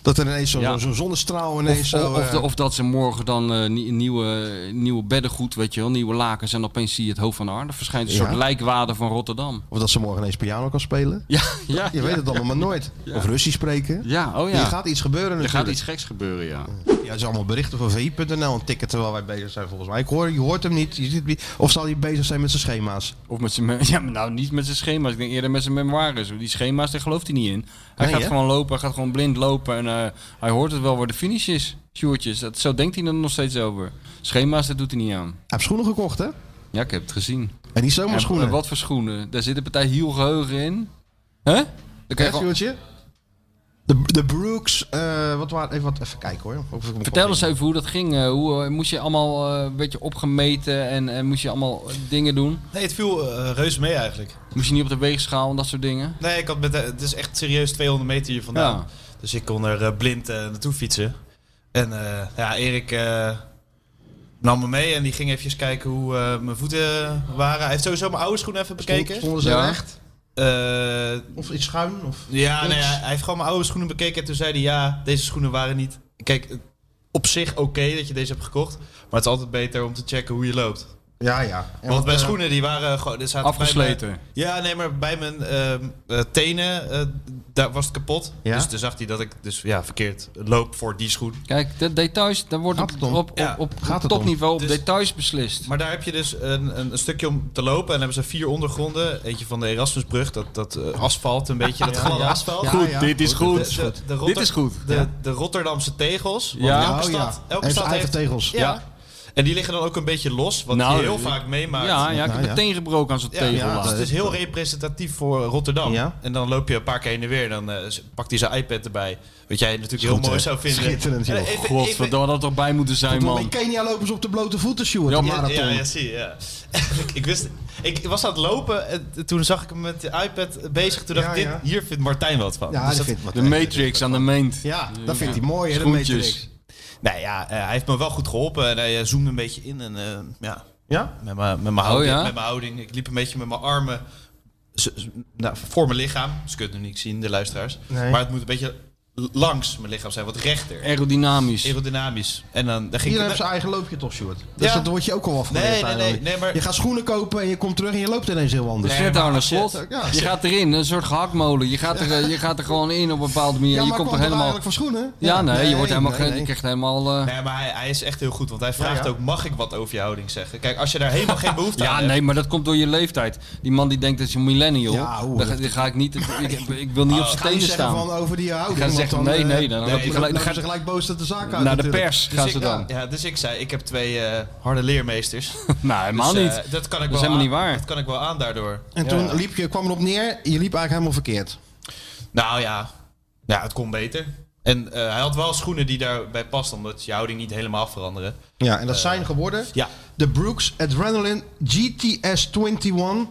[SPEAKER 3] Dat er ineens zo'n
[SPEAKER 5] Ja.
[SPEAKER 3] zo'n zonnestraal ineens
[SPEAKER 5] Of,
[SPEAKER 3] zo...
[SPEAKER 5] of, of,
[SPEAKER 3] eh,
[SPEAKER 5] de- of dat ze morgen dan eh, nie- nieuwe, nieuwe beddengoed, weet je wel, nieuwe lakens. En opeens zie je het hoofd van Arne. verschijnt een
[SPEAKER 3] Ja.
[SPEAKER 5] soort lijkwade van Rotterdam.
[SPEAKER 3] of dat ze morgen ineens piano kan spelen?
[SPEAKER 5] Ja, ja.
[SPEAKER 3] Je weet het allemaal maar nooit. Of Russisch spreken.
[SPEAKER 5] Ja, oh ja.
[SPEAKER 3] Hier gaat iets gebeuren
[SPEAKER 5] Er
[SPEAKER 3] natuurlijk.
[SPEAKER 5] gaat iets geks gebeuren, ja.
[SPEAKER 3] Ja, het is allemaal berichten van vi.nl en tikken terwijl wij bezig zijn volgens mij. Ik hoor, je hoort hem niet. Je ziet, hem niet. of zal hij bezig zijn met zijn schema's?
[SPEAKER 5] Of met zijn, me- ja, maar nou niet met zijn schema's. Ik denk eerder met zijn memoires. Die schema's, daar gelooft hij niet in. Hij
[SPEAKER 3] Nee,
[SPEAKER 5] gaat
[SPEAKER 3] hè?
[SPEAKER 5] gewoon lopen, hij gaat gewoon blind lopen. En eh, hij hoort het wel waar de finish is. Sjoertjes, dat, zo denkt hij er nog steeds over. Schema's, dat doet hij niet aan.
[SPEAKER 3] Hij heeft schoenen gekocht, hè?
[SPEAKER 5] Ja, ik heb het gezien.
[SPEAKER 3] En niet zomaar
[SPEAKER 5] En-
[SPEAKER 3] schoenen.
[SPEAKER 5] En eh, wat voor schoenen? Daar zit een partij hielgeheugen in. Hè? Dan kan je
[SPEAKER 3] Hè,
[SPEAKER 5] gewoon-
[SPEAKER 3] Sjoerdje? De, de Brooks, eh, wat waren, even, wat, even kijken hoor. Of ik hem
[SPEAKER 5] Vertel
[SPEAKER 3] kan
[SPEAKER 5] eens even hoe dat ging. eh, Hoe, eh, moest je allemaal eh, een beetje opgemeten en, en moest je allemaal eh, dingen doen?
[SPEAKER 4] Nee, het viel eh, reuze mee eigenlijk.
[SPEAKER 5] Moest je niet op de weegschaal en dat soort dingen?
[SPEAKER 4] Nee, ik had met, de- het is echt serieus 200 meter hier vandaan.
[SPEAKER 5] Ja.
[SPEAKER 4] Dus ik kon er eh, blind eh, naartoe fietsen. En eh, ja, Erik eh, nam me mee en die ging even kijken hoe eh, mijn voeten waren. Hij heeft sowieso mijn oude schoenen even bekeken.
[SPEAKER 3] stonden ze
[SPEAKER 4] Ja.
[SPEAKER 3] recht?
[SPEAKER 4] Eh,
[SPEAKER 3] Of iets schuin? Of
[SPEAKER 4] ja, nee, hij hij heeft gewoon mijn oude schoenen bekeken en toen zei hij ja, deze schoenen waren niet... Kijk, het- op zich oké dat je deze hebt gekocht, maar het is altijd beter om te checken hoe je loopt.
[SPEAKER 3] Ja, ja. En
[SPEAKER 4] Want
[SPEAKER 3] wat,
[SPEAKER 4] mijn
[SPEAKER 3] eh,
[SPEAKER 4] schoenen die waren gewoon... er zaten bij
[SPEAKER 3] Afgesleten.
[SPEAKER 4] mijn- ja, nee, maar bij mijn ehm, eh, tenen eh, daar was het kapot.
[SPEAKER 5] Ja?
[SPEAKER 4] Dus toen zag hij dat ik dus ja, verkeerd loop voor die schoen.
[SPEAKER 5] Kijk, de details, daar wordt op, op, op,
[SPEAKER 4] Ja.
[SPEAKER 5] op
[SPEAKER 4] Gaat het om?
[SPEAKER 5] topniveau, op
[SPEAKER 4] Dus-
[SPEAKER 5] details beslist.
[SPEAKER 4] Maar daar heb je dus een, een, een stukje om te lopen. En dan hebben ze vier ondergronden. Eentje van de Erasmusbrug, dat, dat eh, asfalt, een beetje dat
[SPEAKER 5] Ja,
[SPEAKER 4] gladde
[SPEAKER 5] ja.
[SPEAKER 4] asfalt.
[SPEAKER 5] Ja, Goed, ja. dit is goed.
[SPEAKER 4] De- de- de
[SPEAKER 5] Dit
[SPEAKER 4] Rotter-
[SPEAKER 5] is goed.
[SPEAKER 4] De,
[SPEAKER 5] Ja.
[SPEAKER 4] de Rotterdamse tegels. Want
[SPEAKER 5] Ja.
[SPEAKER 4] elke
[SPEAKER 5] Oh, ja.
[SPEAKER 4] stad, elke
[SPEAKER 5] Heeft
[SPEAKER 4] stad
[SPEAKER 5] eigen
[SPEAKER 4] heeft
[SPEAKER 5] tegels.
[SPEAKER 4] Ja.
[SPEAKER 5] Ja.
[SPEAKER 4] En die liggen dan ook een beetje los, wat
[SPEAKER 5] Nou,
[SPEAKER 4] je heel
[SPEAKER 5] eh,
[SPEAKER 4] vaak meemaakt.
[SPEAKER 5] ja, ja, ik heb Nou, mijn ja. teen gebroken aan zo'n tegel
[SPEAKER 4] Ja, dus
[SPEAKER 5] laatst.
[SPEAKER 4] het is heel representatief voor Rotterdam.
[SPEAKER 5] Ja.
[SPEAKER 4] En dan loop je een paar keer heen en weer. Dan eh, pakt hij zijn iPad erbij. Wat jij natuurlijk heel
[SPEAKER 5] Goed,
[SPEAKER 4] mooi
[SPEAKER 5] hè?
[SPEAKER 4] zou vinden.
[SPEAKER 5] Schitterend, joh.
[SPEAKER 4] En even- even-
[SPEAKER 5] Godverdomme, dat had er bij moeten zijn,
[SPEAKER 3] Verdomme, In
[SPEAKER 5] man.
[SPEAKER 3] Kenia lopen ze op de blote voeten, Sjoerd. die
[SPEAKER 4] ja,
[SPEAKER 3] marathon.
[SPEAKER 4] ja, ja, zie je. Ja. ik, ik wist, ik was aan het lopen en t- toen zag ik hem met de iPad bezig. Toen dacht ik,
[SPEAKER 3] Ja,
[SPEAKER 4] dit,
[SPEAKER 3] ja.
[SPEAKER 4] hier vindt Martijn wat van. Dus
[SPEAKER 3] Ja, die
[SPEAKER 4] dat-
[SPEAKER 3] vindt
[SPEAKER 5] De Matrix aan de meent.
[SPEAKER 3] Dus Ja, dat
[SPEAKER 4] Ja.
[SPEAKER 3] vindt hij mooi, hè, de
[SPEAKER 4] Schoentjes.
[SPEAKER 3] Matrix.
[SPEAKER 4] Nou ja, eh, hij heeft me wel goed geholpen en hij eh, zoomde een beetje in. En, eh, ja, ja? Met, mijn, met, mijn
[SPEAKER 5] Oh,
[SPEAKER 4] houding,
[SPEAKER 5] ja?
[SPEAKER 4] met mijn houding. Ik liep een beetje met mijn armen z- z- nou, voor mijn lichaam. Ze kunnen het nu niet zien, de luisteraars.
[SPEAKER 5] Nee.
[SPEAKER 4] Maar het moet een beetje langs mijn lichaam zijn, wat rechter.
[SPEAKER 5] Aerodynamisch.
[SPEAKER 4] Aerodynamisch. En dan, dan ging
[SPEAKER 3] Iedereen
[SPEAKER 4] ik...
[SPEAKER 3] heeft zijn eigen loopje toch, Sjoerd? Dus
[SPEAKER 4] Ja.
[SPEAKER 3] dat word je ook al afgeleerd.
[SPEAKER 4] Nee, nee, nee,
[SPEAKER 3] eigenlijk.
[SPEAKER 4] nee, maar-
[SPEAKER 3] Je gaat schoenen kopen en je komt terug en je loopt ineens heel anders.
[SPEAKER 5] Dus net aan het slot.
[SPEAKER 3] Ja,
[SPEAKER 5] Je gaat erin, een soort gehaktmolen. Je gaat er, eh, je gaat er gewoon in op een bepaalde manier.
[SPEAKER 3] Ja,
[SPEAKER 5] je
[SPEAKER 3] maar
[SPEAKER 5] komt
[SPEAKER 3] kwam
[SPEAKER 5] er
[SPEAKER 3] het
[SPEAKER 5] helemaal.
[SPEAKER 3] eigenlijk van schoenen?
[SPEAKER 5] Ja,
[SPEAKER 3] Ja.
[SPEAKER 5] nee, je, wordt
[SPEAKER 3] Nee,
[SPEAKER 5] helemaal
[SPEAKER 3] nee,
[SPEAKER 5] ge-
[SPEAKER 3] nee.
[SPEAKER 5] je krijgt helemaal. eh,
[SPEAKER 4] Nee, maar hij, hij is echt heel goed, want hij vraagt
[SPEAKER 5] Ja, ja.
[SPEAKER 4] ook, mag ik wat over je houding zeggen? Kijk, als je daar helemaal geen behoefte aan
[SPEAKER 5] Ja,
[SPEAKER 4] hebt...
[SPEAKER 5] nee, maar dat komt door je leeftijd. Die man die denkt dat is een millennial.
[SPEAKER 4] Ja, oeh,
[SPEAKER 5] dan, ga,
[SPEAKER 4] dat-
[SPEAKER 5] dan ga ik niet. Ik, ik wil niet
[SPEAKER 4] Oh.
[SPEAKER 5] op zijn
[SPEAKER 4] Ga je
[SPEAKER 5] tenen
[SPEAKER 4] zeggen
[SPEAKER 5] staan.
[SPEAKER 4] van over die houding,
[SPEAKER 5] Gaan
[SPEAKER 4] want
[SPEAKER 5] zeggen,
[SPEAKER 4] dan,
[SPEAKER 5] nee,
[SPEAKER 4] eh,
[SPEAKER 5] nee, dan
[SPEAKER 4] nee,
[SPEAKER 5] loop je
[SPEAKER 4] dan
[SPEAKER 5] gelijk.
[SPEAKER 4] lopen
[SPEAKER 5] dan
[SPEAKER 3] ze
[SPEAKER 5] ga-
[SPEAKER 3] gelijk boos dat de zaak uit.
[SPEAKER 5] Naar de
[SPEAKER 3] natuurlijk.
[SPEAKER 5] pers
[SPEAKER 4] Dus
[SPEAKER 5] gaan
[SPEAKER 4] ik-
[SPEAKER 5] ze dan.
[SPEAKER 4] Ja, dus ik zei, ik heb twee eh, harde leermeesters.
[SPEAKER 5] nou, helemaal
[SPEAKER 4] Dus, eh,
[SPEAKER 5] niet.
[SPEAKER 4] Dat, kan ik
[SPEAKER 5] Dat is
[SPEAKER 4] wel
[SPEAKER 5] helemaal
[SPEAKER 4] aan-
[SPEAKER 5] niet waar.
[SPEAKER 4] Dat kan ik wel aan daardoor.
[SPEAKER 3] En
[SPEAKER 4] Ja.
[SPEAKER 3] toen liep je, kwam erop neer, je liep eigenlijk helemaal verkeerd.
[SPEAKER 4] Nou ja. ja, het kon beter. En eh, hij had wel schoenen die daarbij pasten, omdat je houding niet helemaal veranderen.
[SPEAKER 3] Ja, en dat zijn geworden
[SPEAKER 4] Eh, ja.
[SPEAKER 3] de Brooks Adrenaline GTS 21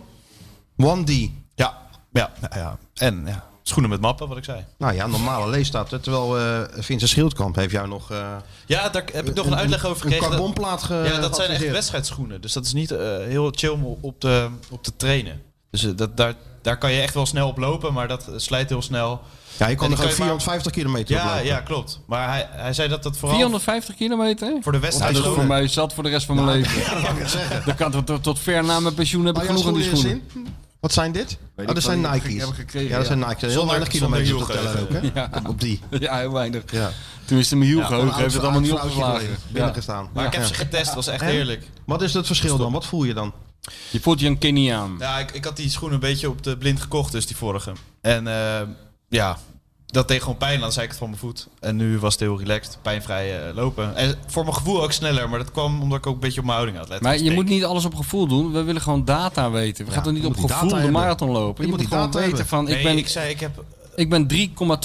[SPEAKER 3] 1D.
[SPEAKER 4] Ja, ja, ja, ja. En ja, schoenen met mappen, wat ik zei.
[SPEAKER 3] Nou ja, normale leestaat. hè, Terwijl eh Vincent Schildkamp heeft jou nog... eh,
[SPEAKER 4] Ja, daar heb ik nog
[SPEAKER 3] Een-
[SPEAKER 4] een uitleg over
[SPEAKER 3] een
[SPEAKER 4] gekregen. dat-
[SPEAKER 3] carbonplaat ge-
[SPEAKER 4] Ja, dat zijn echt
[SPEAKER 3] geadviseerd.
[SPEAKER 4] wedstrijdschoenen. Dus dat is niet eh, heel chill om op te, op te trainen. Dus eh, dat, daar, daar kan je echt wel snel op lopen, maar dat slijt heel snel.
[SPEAKER 3] ja, je
[SPEAKER 4] En dan
[SPEAKER 3] kan er
[SPEAKER 4] kan
[SPEAKER 3] gewoon
[SPEAKER 4] je maar-
[SPEAKER 3] 450 kilometer op
[SPEAKER 4] ja,
[SPEAKER 3] lopen.
[SPEAKER 4] ja, klopt. Maar hij, hij zei dat dat vooral...
[SPEAKER 5] 450 kilometer?
[SPEAKER 4] Voor de wedstrijd
[SPEAKER 5] dat is voor
[SPEAKER 4] schoenen.
[SPEAKER 5] mij zat voor de rest van mijn leven. Dan kan tot, tot, tot ver na mijn pensioen heb ik
[SPEAKER 3] Oh, jouw
[SPEAKER 5] genoeg aan die
[SPEAKER 3] schoenen
[SPEAKER 5] schoenen.
[SPEAKER 3] in zin? Wat zijn dit? Oh, dat zijn Nike's. ja, dat zijn Nike's. Heel weinig kilometers op te
[SPEAKER 5] eh.
[SPEAKER 3] tellen ook, hè? Op die.
[SPEAKER 5] Ja, heel weinig.
[SPEAKER 3] Ja.
[SPEAKER 5] Tenminste, mijn
[SPEAKER 3] Ja,
[SPEAKER 5] hielgeheugen
[SPEAKER 3] oud-
[SPEAKER 5] heeft het allemaal
[SPEAKER 3] oud
[SPEAKER 5] niet
[SPEAKER 3] vrouwtje
[SPEAKER 5] opgeslagen.
[SPEAKER 3] erin, binnengestaan.
[SPEAKER 4] Maar ik heb
[SPEAKER 3] Ja.
[SPEAKER 4] ze getest, was echt
[SPEAKER 3] En?
[SPEAKER 4] heerlijk.
[SPEAKER 3] Wat is het verschil dan? Wat voel je dan?
[SPEAKER 5] Je voelt je een Keniaan.
[SPEAKER 4] Ja, ik, ik had die schoenen een beetje op de blind gekocht, dus die vorige. En eh, ja, dat deed gewoon pijn, dan zei ik het van mijn voet. En nu was het heel relaxed, pijnvrij eh, lopen. En voor mijn gevoel ook sneller, maar dat kwam omdat ik ook een beetje op mijn houding had letten.
[SPEAKER 5] Maar je moet niet alles op gevoel doen. We willen gewoon data weten. We gaan toch niet
[SPEAKER 4] je
[SPEAKER 5] op
[SPEAKER 4] moet die
[SPEAKER 5] gevoel
[SPEAKER 4] data
[SPEAKER 5] de
[SPEAKER 4] hebben.
[SPEAKER 5] marathon lopen.
[SPEAKER 4] Je
[SPEAKER 5] Je,
[SPEAKER 4] moet
[SPEAKER 5] moet,
[SPEAKER 4] die
[SPEAKER 5] gewoon
[SPEAKER 4] data
[SPEAKER 5] weten
[SPEAKER 4] hebben.
[SPEAKER 5] van... Ik,
[SPEAKER 4] Nee,
[SPEAKER 5] ben,
[SPEAKER 4] ik zei, ik heb...
[SPEAKER 5] ik ben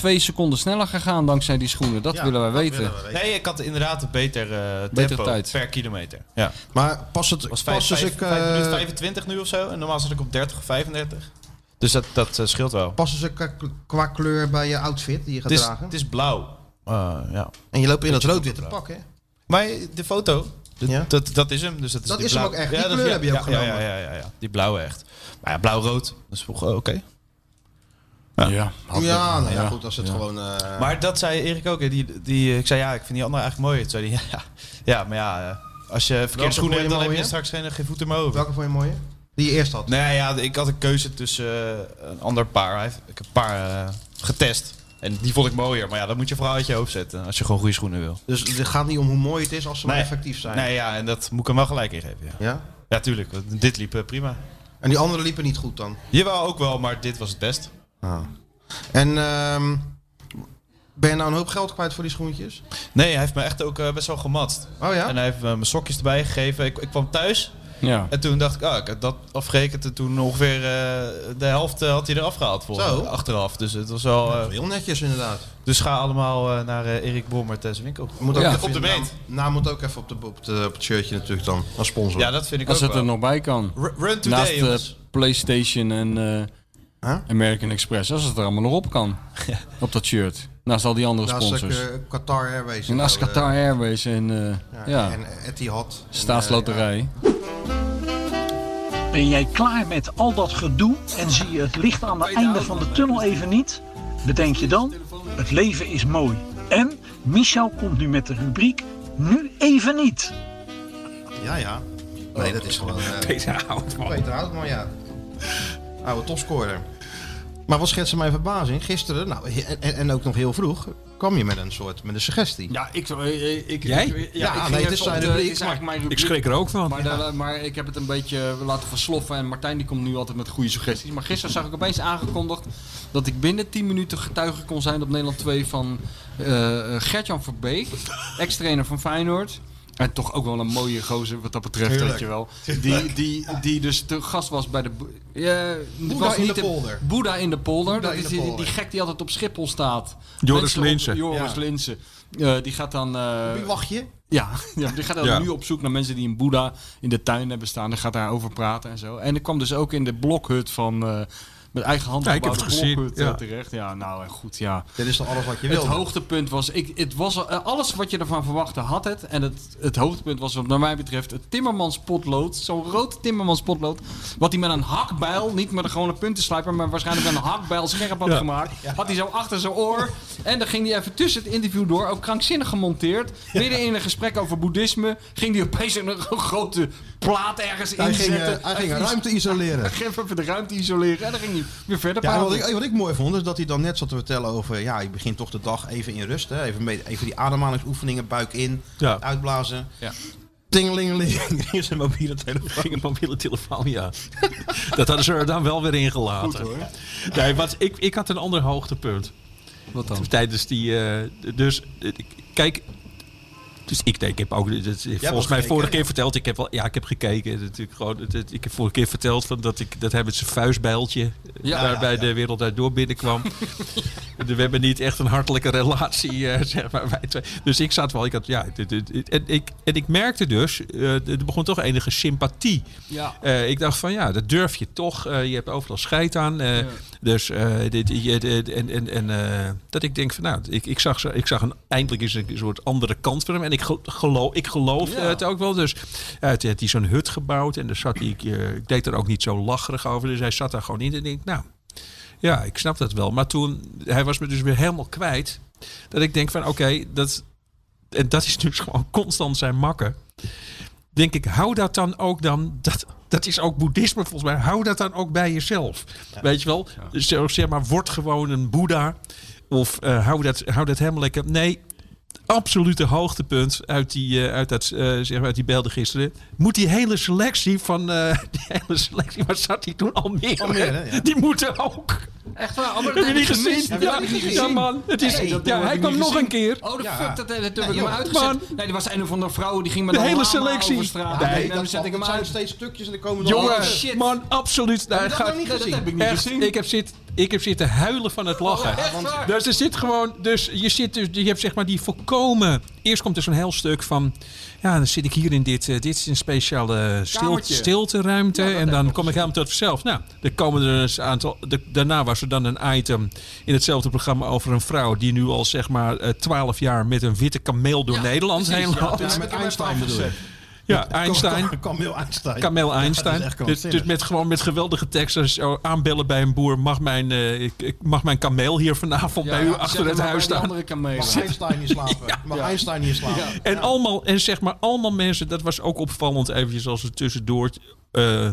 [SPEAKER 5] 3,2 seconden sneller gegaan dankzij die schoenen. Dat
[SPEAKER 4] Ja,
[SPEAKER 5] willen wij weten.
[SPEAKER 4] Nee, ik had inderdaad een beter eh, tempo
[SPEAKER 5] Betere tijd.
[SPEAKER 4] per kilometer. Ja.
[SPEAKER 3] Maar pas het...
[SPEAKER 4] was
[SPEAKER 3] pas
[SPEAKER 4] 5,
[SPEAKER 3] dus ik, eh,
[SPEAKER 4] minuten 25 nu of zo. En normaal zat ik op 30 of 35. Dus dat, dat eh, scheelt wel.
[SPEAKER 3] Passen ze qua, qua kleur bij je outfit die je gaat
[SPEAKER 4] Het is,
[SPEAKER 3] dragen? Ah,
[SPEAKER 4] het is blauw. Eh, ja.
[SPEAKER 3] En je loopt in dat
[SPEAKER 4] Beetje
[SPEAKER 3] rood-witte
[SPEAKER 4] blauw.
[SPEAKER 3] pak, hè?
[SPEAKER 4] Maar de foto, dat, dat, dat is hem. Dus dat is,
[SPEAKER 3] Dat
[SPEAKER 4] die
[SPEAKER 3] is hem
[SPEAKER 4] blauw.
[SPEAKER 3] ook echt. Die
[SPEAKER 4] dat-
[SPEAKER 3] kleur heb je ook
[SPEAKER 4] ja,
[SPEAKER 3] genomen.
[SPEAKER 4] Ja, ja, ja, ja. die blauwe echt. Maar ja, blauw-rood, dat is toch oké. Ja,
[SPEAKER 3] Ja, nou ja, goed, als het gewoon... eh,
[SPEAKER 4] Maar dat zei Erik ook. hè, Die, die, ik zei ja, ik vind die andere eigenlijk mooier. Toen zei hij ja, ja maar ja, eh, als je verkeerde
[SPEAKER 3] vond je
[SPEAKER 4] schoenen hebt, dan heb
[SPEAKER 3] mooier?
[SPEAKER 4] je straks geen, geen voeten meer over.
[SPEAKER 3] Welke vond je mooier? Die je eerst had?
[SPEAKER 4] Nee, ja, ik had een keuze tussen eh, een ander paar. Hij heeft- Ik heb een paar eh, getest. En die vond ik mooier. Maar ja, dat moet je vooral uit je hoofd zetten. Als je gewoon goede schoenen wil.
[SPEAKER 3] Dus het gaat niet om hoe mooi het is als ze maar
[SPEAKER 4] Nee.
[SPEAKER 3] effectief zijn.
[SPEAKER 4] Nee, ja, en dat moet ik hem wel gelijk ingeven. Ja,
[SPEAKER 3] Ja?
[SPEAKER 4] ja tuurlijk. want Dit liep eh, prima.
[SPEAKER 3] En die andere liepen niet goed dan? Ah.
[SPEAKER 4] Jawel, ook wel, maar dit was het best.
[SPEAKER 3] En ehm, ben je nou een hoop geld kwijt voor die schoentjes?
[SPEAKER 4] Nee, hij heeft me echt ook eh, best wel gematst.
[SPEAKER 3] Oh ja?
[SPEAKER 4] En hij heeft me mijn sokjes erbij gegeven. Ik, ik kwam thuis.
[SPEAKER 5] Ja.
[SPEAKER 4] En toen dacht ik, ah, ik had dat afgerekend. En toen ongeveer eh, de helft eh, had hij eraf gehaald volgens
[SPEAKER 3] Zo.
[SPEAKER 4] mij, Achteraf. Dus het was wel... eh,
[SPEAKER 3] Heel netjes inderdaad.
[SPEAKER 4] dus ga allemaal eh, naar eh, Erik Bommert en zijn winkel.
[SPEAKER 3] Moet ook
[SPEAKER 4] Ja.
[SPEAKER 3] even
[SPEAKER 4] op de
[SPEAKER 3] naam-
[SPEAKER 4] meet.
[SPEAKER 3] Naam Nou, moet ook even op, de, op, de, op het shirtje natuurlijk dan, als sponsor.
[SPEAKER 4] Ja, dat vind ik
[SPEAKER 5] Als
[SPEAKER 4] ook
[SPEAKER 5] het er
[SPEAKER 4] wel.
[SPEAKER 5] nog bij kan.
[SPEAKER 4] R- Run Today,
[SPEAKER 5] Naast eh,
[SPEAKER 4] jongens.
[SPEAKER 5] PlayStation en eh, American Express. Als het er allemaal nog op kan. Op dat shirt. Naast al die andere
[SPEAKER 3] Naast
[SPEAKER 5] sponsors.
[SPEAKER 3] ook, eh, Qatar Airways.
[SPEAKER 5] En naast
[SPEAKER 3] en zo,
[SPEAKER 5] Qatar Airways en, eh,
[SPEAKER 3] eh,
[SPEAKER 5] ja,
[SPEAKER 3] En Etihad.
[SPEAKER 5] staatsloterij.
[SPEAKER 4] Ben jij klaar met al dat gedoe en zie je het licht aan het einde van de tunnel even niet? Bedenk je dan, het leven is mooi. En Michel komt nu met de rubriek Nu even niet.
[SPEAKER 3] Ja, ja. Nee, dat is gewoon... eh,
[SPEAKER 10] Oh. Peter Houtman.
[SPEAKER 3] Peter Houtman, ja. Oude topscorer. Maar wat schetste mijn verbazing? Gisteren, nou, he- en, en ook nog heel vroeg, kwam je met een soort met een suggestie.
[SPEAKER 5] Ja, ik... eh, ik
[SPEAKER 3] Jij?
[SPEAKER 5] ik-
[SPEAKER 3] Ja,
[SPEAKER 5] ik
[SPEAKER 3] nee,
[SPEAKER 5] ging
[SPEAKER 3] het
[SPEAKER 5] het
[SPEAKER 3] is
[SPEAKER 5] op
[SPEAKER 3] zijn
[SPEAKER 5] de-
[SPEAKER 3] rubriek,
[SPEAKER 5] het is eigenlijk
[SPEAKER 3] maar
[SPEAKER 5] mijn
[SPEAKER 10] ik
[SPEAKER 5] rubriek.
[SPEAKER 10] schrik er ook van.
[SPEAKER 5] Maar, daar- maar ik heb het een beetje eh, laten versloffen. En Martijn die komt nu altijd met goede suggesties. Maar gisteren zag ik opeens aangekondigd dat ik binnen 10 minuten getuige kon zijn op Nederland 2 van eh eh, Gertjan Verbeek, ex-trainer van Feyenoord. En toch ook wel een mooie gozer wat dat betreft,
[SPEAKER 14] Tuurlijk.
[SPEAKER 5] weet je wel. Die,
[SPEAKER 14] Tuurlijk.
[SPEAKER 5] die, die dus te gast was bij de... bo- Ja,
[SPEAKER 14] Boeddha
[SPEAKER 5] was
[SPEAKER 14] in
[SPEAKER 5] niet
[SPEAKER 14] de polder.
[SPEAKER 5] Boeddha in de polder.
[SPEAKER 14] Boeddha
[SPEAKER 5] dat
[SPEAKER 14] in
[SPEAKER 5] is
[SPEAKER 14] de
[SPEAKER 5] die- Die,
[SPEAKER 14] polder.
[SPEAKER 5] gek die altijd op Schiphol staat.
[SPEAKER 10] Joris
[SPEAKER 5] Mensen op-
[SPEAKER 10] Linssen.
[SPEAKER 5] Joris
[SPEAKER 10] Ja.
[SPEAKER 5] Linssen. Eh, die gaat dan... eh,
[SPEAKER 3] Wie wacht je?
[SPEAKER 5] ja, ja die gaat dan
[SPEAKER 10] Ja.
[SPEAKER 5] nu op zoek naar mensen die een boeddha in de tuin hebben staan. Dan gaat daarover praten en zo. En ik kwam dus ook in de blokhut van... eh, met eigen hand
[SPEAKER 10] Ja, ik heb
[SPEAKER 5] gebouwde
[SPEAKER 10] het gezien,
[SPEAKER 5] blokhut, eh,
[SPEAKER 10] ja.
[SPEAKER 5] terecht. Ja, nou en goed, ja.
[SPEAKER 3] Dit is toch alles wat je
[SPEAKER 5] Het
[SPEAKER 3] wilde?
[SPEAKER 5] hoogtepunt was... Ik, het was al- eh, alles wat je ervan verwachtte had het. En het, het hoogtepunt was wat naar mij betreft... het Timmermans potlood. Zo'n rood Timmermans potlood. Wat hij met een hakbijl... niet met een gewone puntenslijper... maar waarschijnlijk met een hakbijl scherp had
[SPEAKER 14] Ja.
[SPEAKER 5] gemaakt. Had hij zo achter zijn oor. En dan ging hij even tussen het interview door... ook krankzinnig gemonteerd. Midden in een gesprek over boeddhisme... ging hij opeens een grote plaat ergens
[SPEAKER 3] Hij ging,
[SPEAKER 5] inzetten.
[SPEAKER 3] eh, hij ging ruimte isoleren.
[SPEAKER 5] Hij ging even de ruimte isoleren. En dan ging hij weer verder
[SPEAKER 3] Ja, en wat,
[SPEAKER 5] praten.
[SPEAKER 3] ik, wat ik mooi vond, is dat hij dan net zat te vertellen over... ja, je begint toch de dag even in rust. Hè? Even, mee- even die ademhalingsoefeningen, buik in,
[SPEAKER 10] Ja.
[SPEAKER 3] uitblazen.
[SPEAKER 5] Ja.
[SPEAKER 3] Tingelingeling. Er is een mobiele telefoon.
[SPEAKER 10] Een mobiele telefoon, ja. dat hadden ze er dan wel weer ingelaten.
[SPEAKER 3] Goed, hoor.
[SPEAKER 10] Nee, wat, ik, ik had een ander hoogtepunt.
[SPEAKER 5] Wat dan?
[SPEAKER 10] Tijdens die... eh, dus, eh, kijk... Dus ik, ik heb ook, dit- dit-
[SPEAKER 14] wel
[SPEAKER 10] volgens mij
[SPEAKER 14] gekeken,
[SPEAKER 10] vorige
[SPEAKER 14] ja.
[SPEAKER 10] keer verteld, ik heb wel, ja, ik heb gekeken. Het is Natuurlijk gewoon, het- het- ik heb vorige keer verteld van dat ik dat hij met zijn vuistbijltje eh,
[SPEAKER 14] Ja,
[SPEAKER 10] daar
[SPEAKER 14] ja,
[SPEAKER 10] bij
[SPEAKER 14] ja.
[SPEAKER 10] de wereld uit door binnenkwam. we hebben niet echt een hartelijke relatie, eh, zeg maar. Wij twee. Dus ik zat wel, ik had, ja, dit- dit- dit- en, ik, en ik merkte dus, eh, er begon toch enige sympathie
[SPEAKER 14] Ja.
[SPEAKER 10] eh, ik dacht van ja, dat durf je toch. Eh, je hebt overal scheid aan. Eh, Dus eh, dit, je- dit- en, en, en eh, dat ik denk van nou, ik, ik zag, ze- ik zag een, eindelijk eens een soort andere kant van hem. En ik ge- geloof, ik geloof
[SPEAKER 14] Ja.
[SPEAKER 10] eh, het ook wel. Dus eh, het had hij zo'n hut gebouwd en daar zat hij, ik, eh, ik deed er ook niet zo lacherig over. Dus hij zat daar gewoon in en ik denk nou, ja, ik snap dat wel. Maar toen, hij was me dus weer helemaal kwijt. Dat ik denk van oké, dat, en dat is dus gewoon constant zijn makken denk ik, hou dat dan ook dan. Dat, dat is ook boeddhisme volgens mij. Hou dat dan ook bij jezelf. Weet je wel? Zo, zeg maar, word gewoon een boeddha. Of eh, hou, dat, hou dat helemaal lekker. Nee, absolute hoogtepunt uit die, eh, uit dat, eh, zeg maar uit die beelden gisteren. Moet die hele selectie van... eh, die hele selectie, waar zat die toen? Almere.
[SPEAKER 14] Almere, ja.
[SPEAKER 10] Die moeten ook.
[SPEAKER 5] Echt waar? Oh, maar
[SPEAKER 10] Heb
[SPEAKER 5] dat
[SPEAKER 10] je niet gezien?
[SPEAKER 5] gemist.
[SPEAKER 10] Ja,
[SPEAKER 5] Heb je dat niet
[SPEAKER 10] ja,
[SPEAKER 5] gezien?
[SPEAKER 10] man. Het is-
[SPEAKER 5] Nee,
[SPEAKER 10] ja,
[SPEAKER 5] dat heb
[SPEAKER 10] hij
[SPEAKER 5] ik
[SPEAKER 10] kwam
[SPEAKER 5] niet
[SPEAKER 10] nog
[SPEAKER 5] gezien.
[SPEAKER 10] een keer.
[SPEAKER 5] Oh, de
[SPEAKER 10] Ja.
[SPEAKER 5] fuck, dat, dat heb
[SPEAKER 10] Nee,
[SPEAKER 5] ik hem
[SPEAKER 10] joh. Man.
[SPEAKER 5] uitgezet. Nee, er was een of andere vrouw die ging met
[SPEAKER 10] De
[SPEAKER 5] een
[SPEAKER 10] hele
[SPEAKER 5] lama
[SPEAKER 10] selectie.
[SPEAKER 5] over straat.
[SPEAKER 10] Nee,
[SPEAKER 5] Nee,
[SPEAKER 10] dat
[SPEAKER 5] dan zet ik hem
[SPEAKER 3] Het zijn
[SPEAKER 5] uit.
[SPEAKER 3] steeds stukjes en er komen er
[SPEAKER 10] Jongen,
[SPEAKER 3] andere- shit.
[SPEAKER 10] man, absoluut.
[SPEAKER 3] Heb je dat
[SPEAKER 10] gaat-
[SPEAKER 3] nou niet
[SPEAKER 10] Nee,
[SPEAKER 3] gezien?
[SPEAKER 10] heb ik niet
[SPEAKER 3] Echt?
[SPEAKER 10] gezien. Ik heb, zit, ik heb zitten huilen van het lachen.
[SPEAKER 3] echt waar?
[SPEAKER 10] dus er zit gewoon, dus je zit dus, je hebt zeg maar die volkomen. Eerst komt er zo'n heel stuk van, ja, dan zit ik hier in dit, eh, dit is een speciale stil,
[SPEAKER 14] Kamertje.
[SPEAKER 10] stilteruimte en dan kom ik helemaal tot zelf. Nou, er komen er een aantal. de- daarna was er dan een item in hetzelfde programma over een vrouw die nu al zeg maar eh, twaalf jaar met een witte kameel door Nederland
[SPEAKER 3] precies,
[SPEAKER 10] heen
[SPEAKER 3] ja.
[SPEAKER 10] loopt.
[SPEAKER 3] Ja, met Einstein bedoel je?
[SPEAKER 10] Ja, Einstein.
[SPEAKER 3] Kameel Einstein.
[SPEAKER 10] Kamel
[SPEAKER 3] Ja, dat is
[SPEAKER 10] Einstein.
[SPEAKER 3] echt
[SPEAKER 10] dus,
[SPEAKER 3] krankzinnig.
[SPEAKER 10] dus met gewoon met geweldige teksten. als, oh, aanbellen bij een boer. Mag mijn, eh, ik, ik mag mijn kameel hier vanavond
[SPEAKER 5] Ja,
[SPEAKER 10] bij
[SPEAKER 5] ja,
[SPEAKER 10] u
[SPEAKER 5] zet
[SPEAKER 10] achter
[SPEAKER 5] hem
[SPEAKER 10] het
[SPEAKER 5] maar
[SPEAKER 10] huis
[SPEAKER 5] bij die
[SPEAKER 10] staan?
[SPEAKER 5] andere kamelen.
[SPEAKER 3] Mag Einstein hier slapen? Mag Einstein hier slapen?
[SPEAKER 10] En allemaal, en zeg maar, allemaal mensen, dat was ook opvallend eventjes als een tussendoor eh,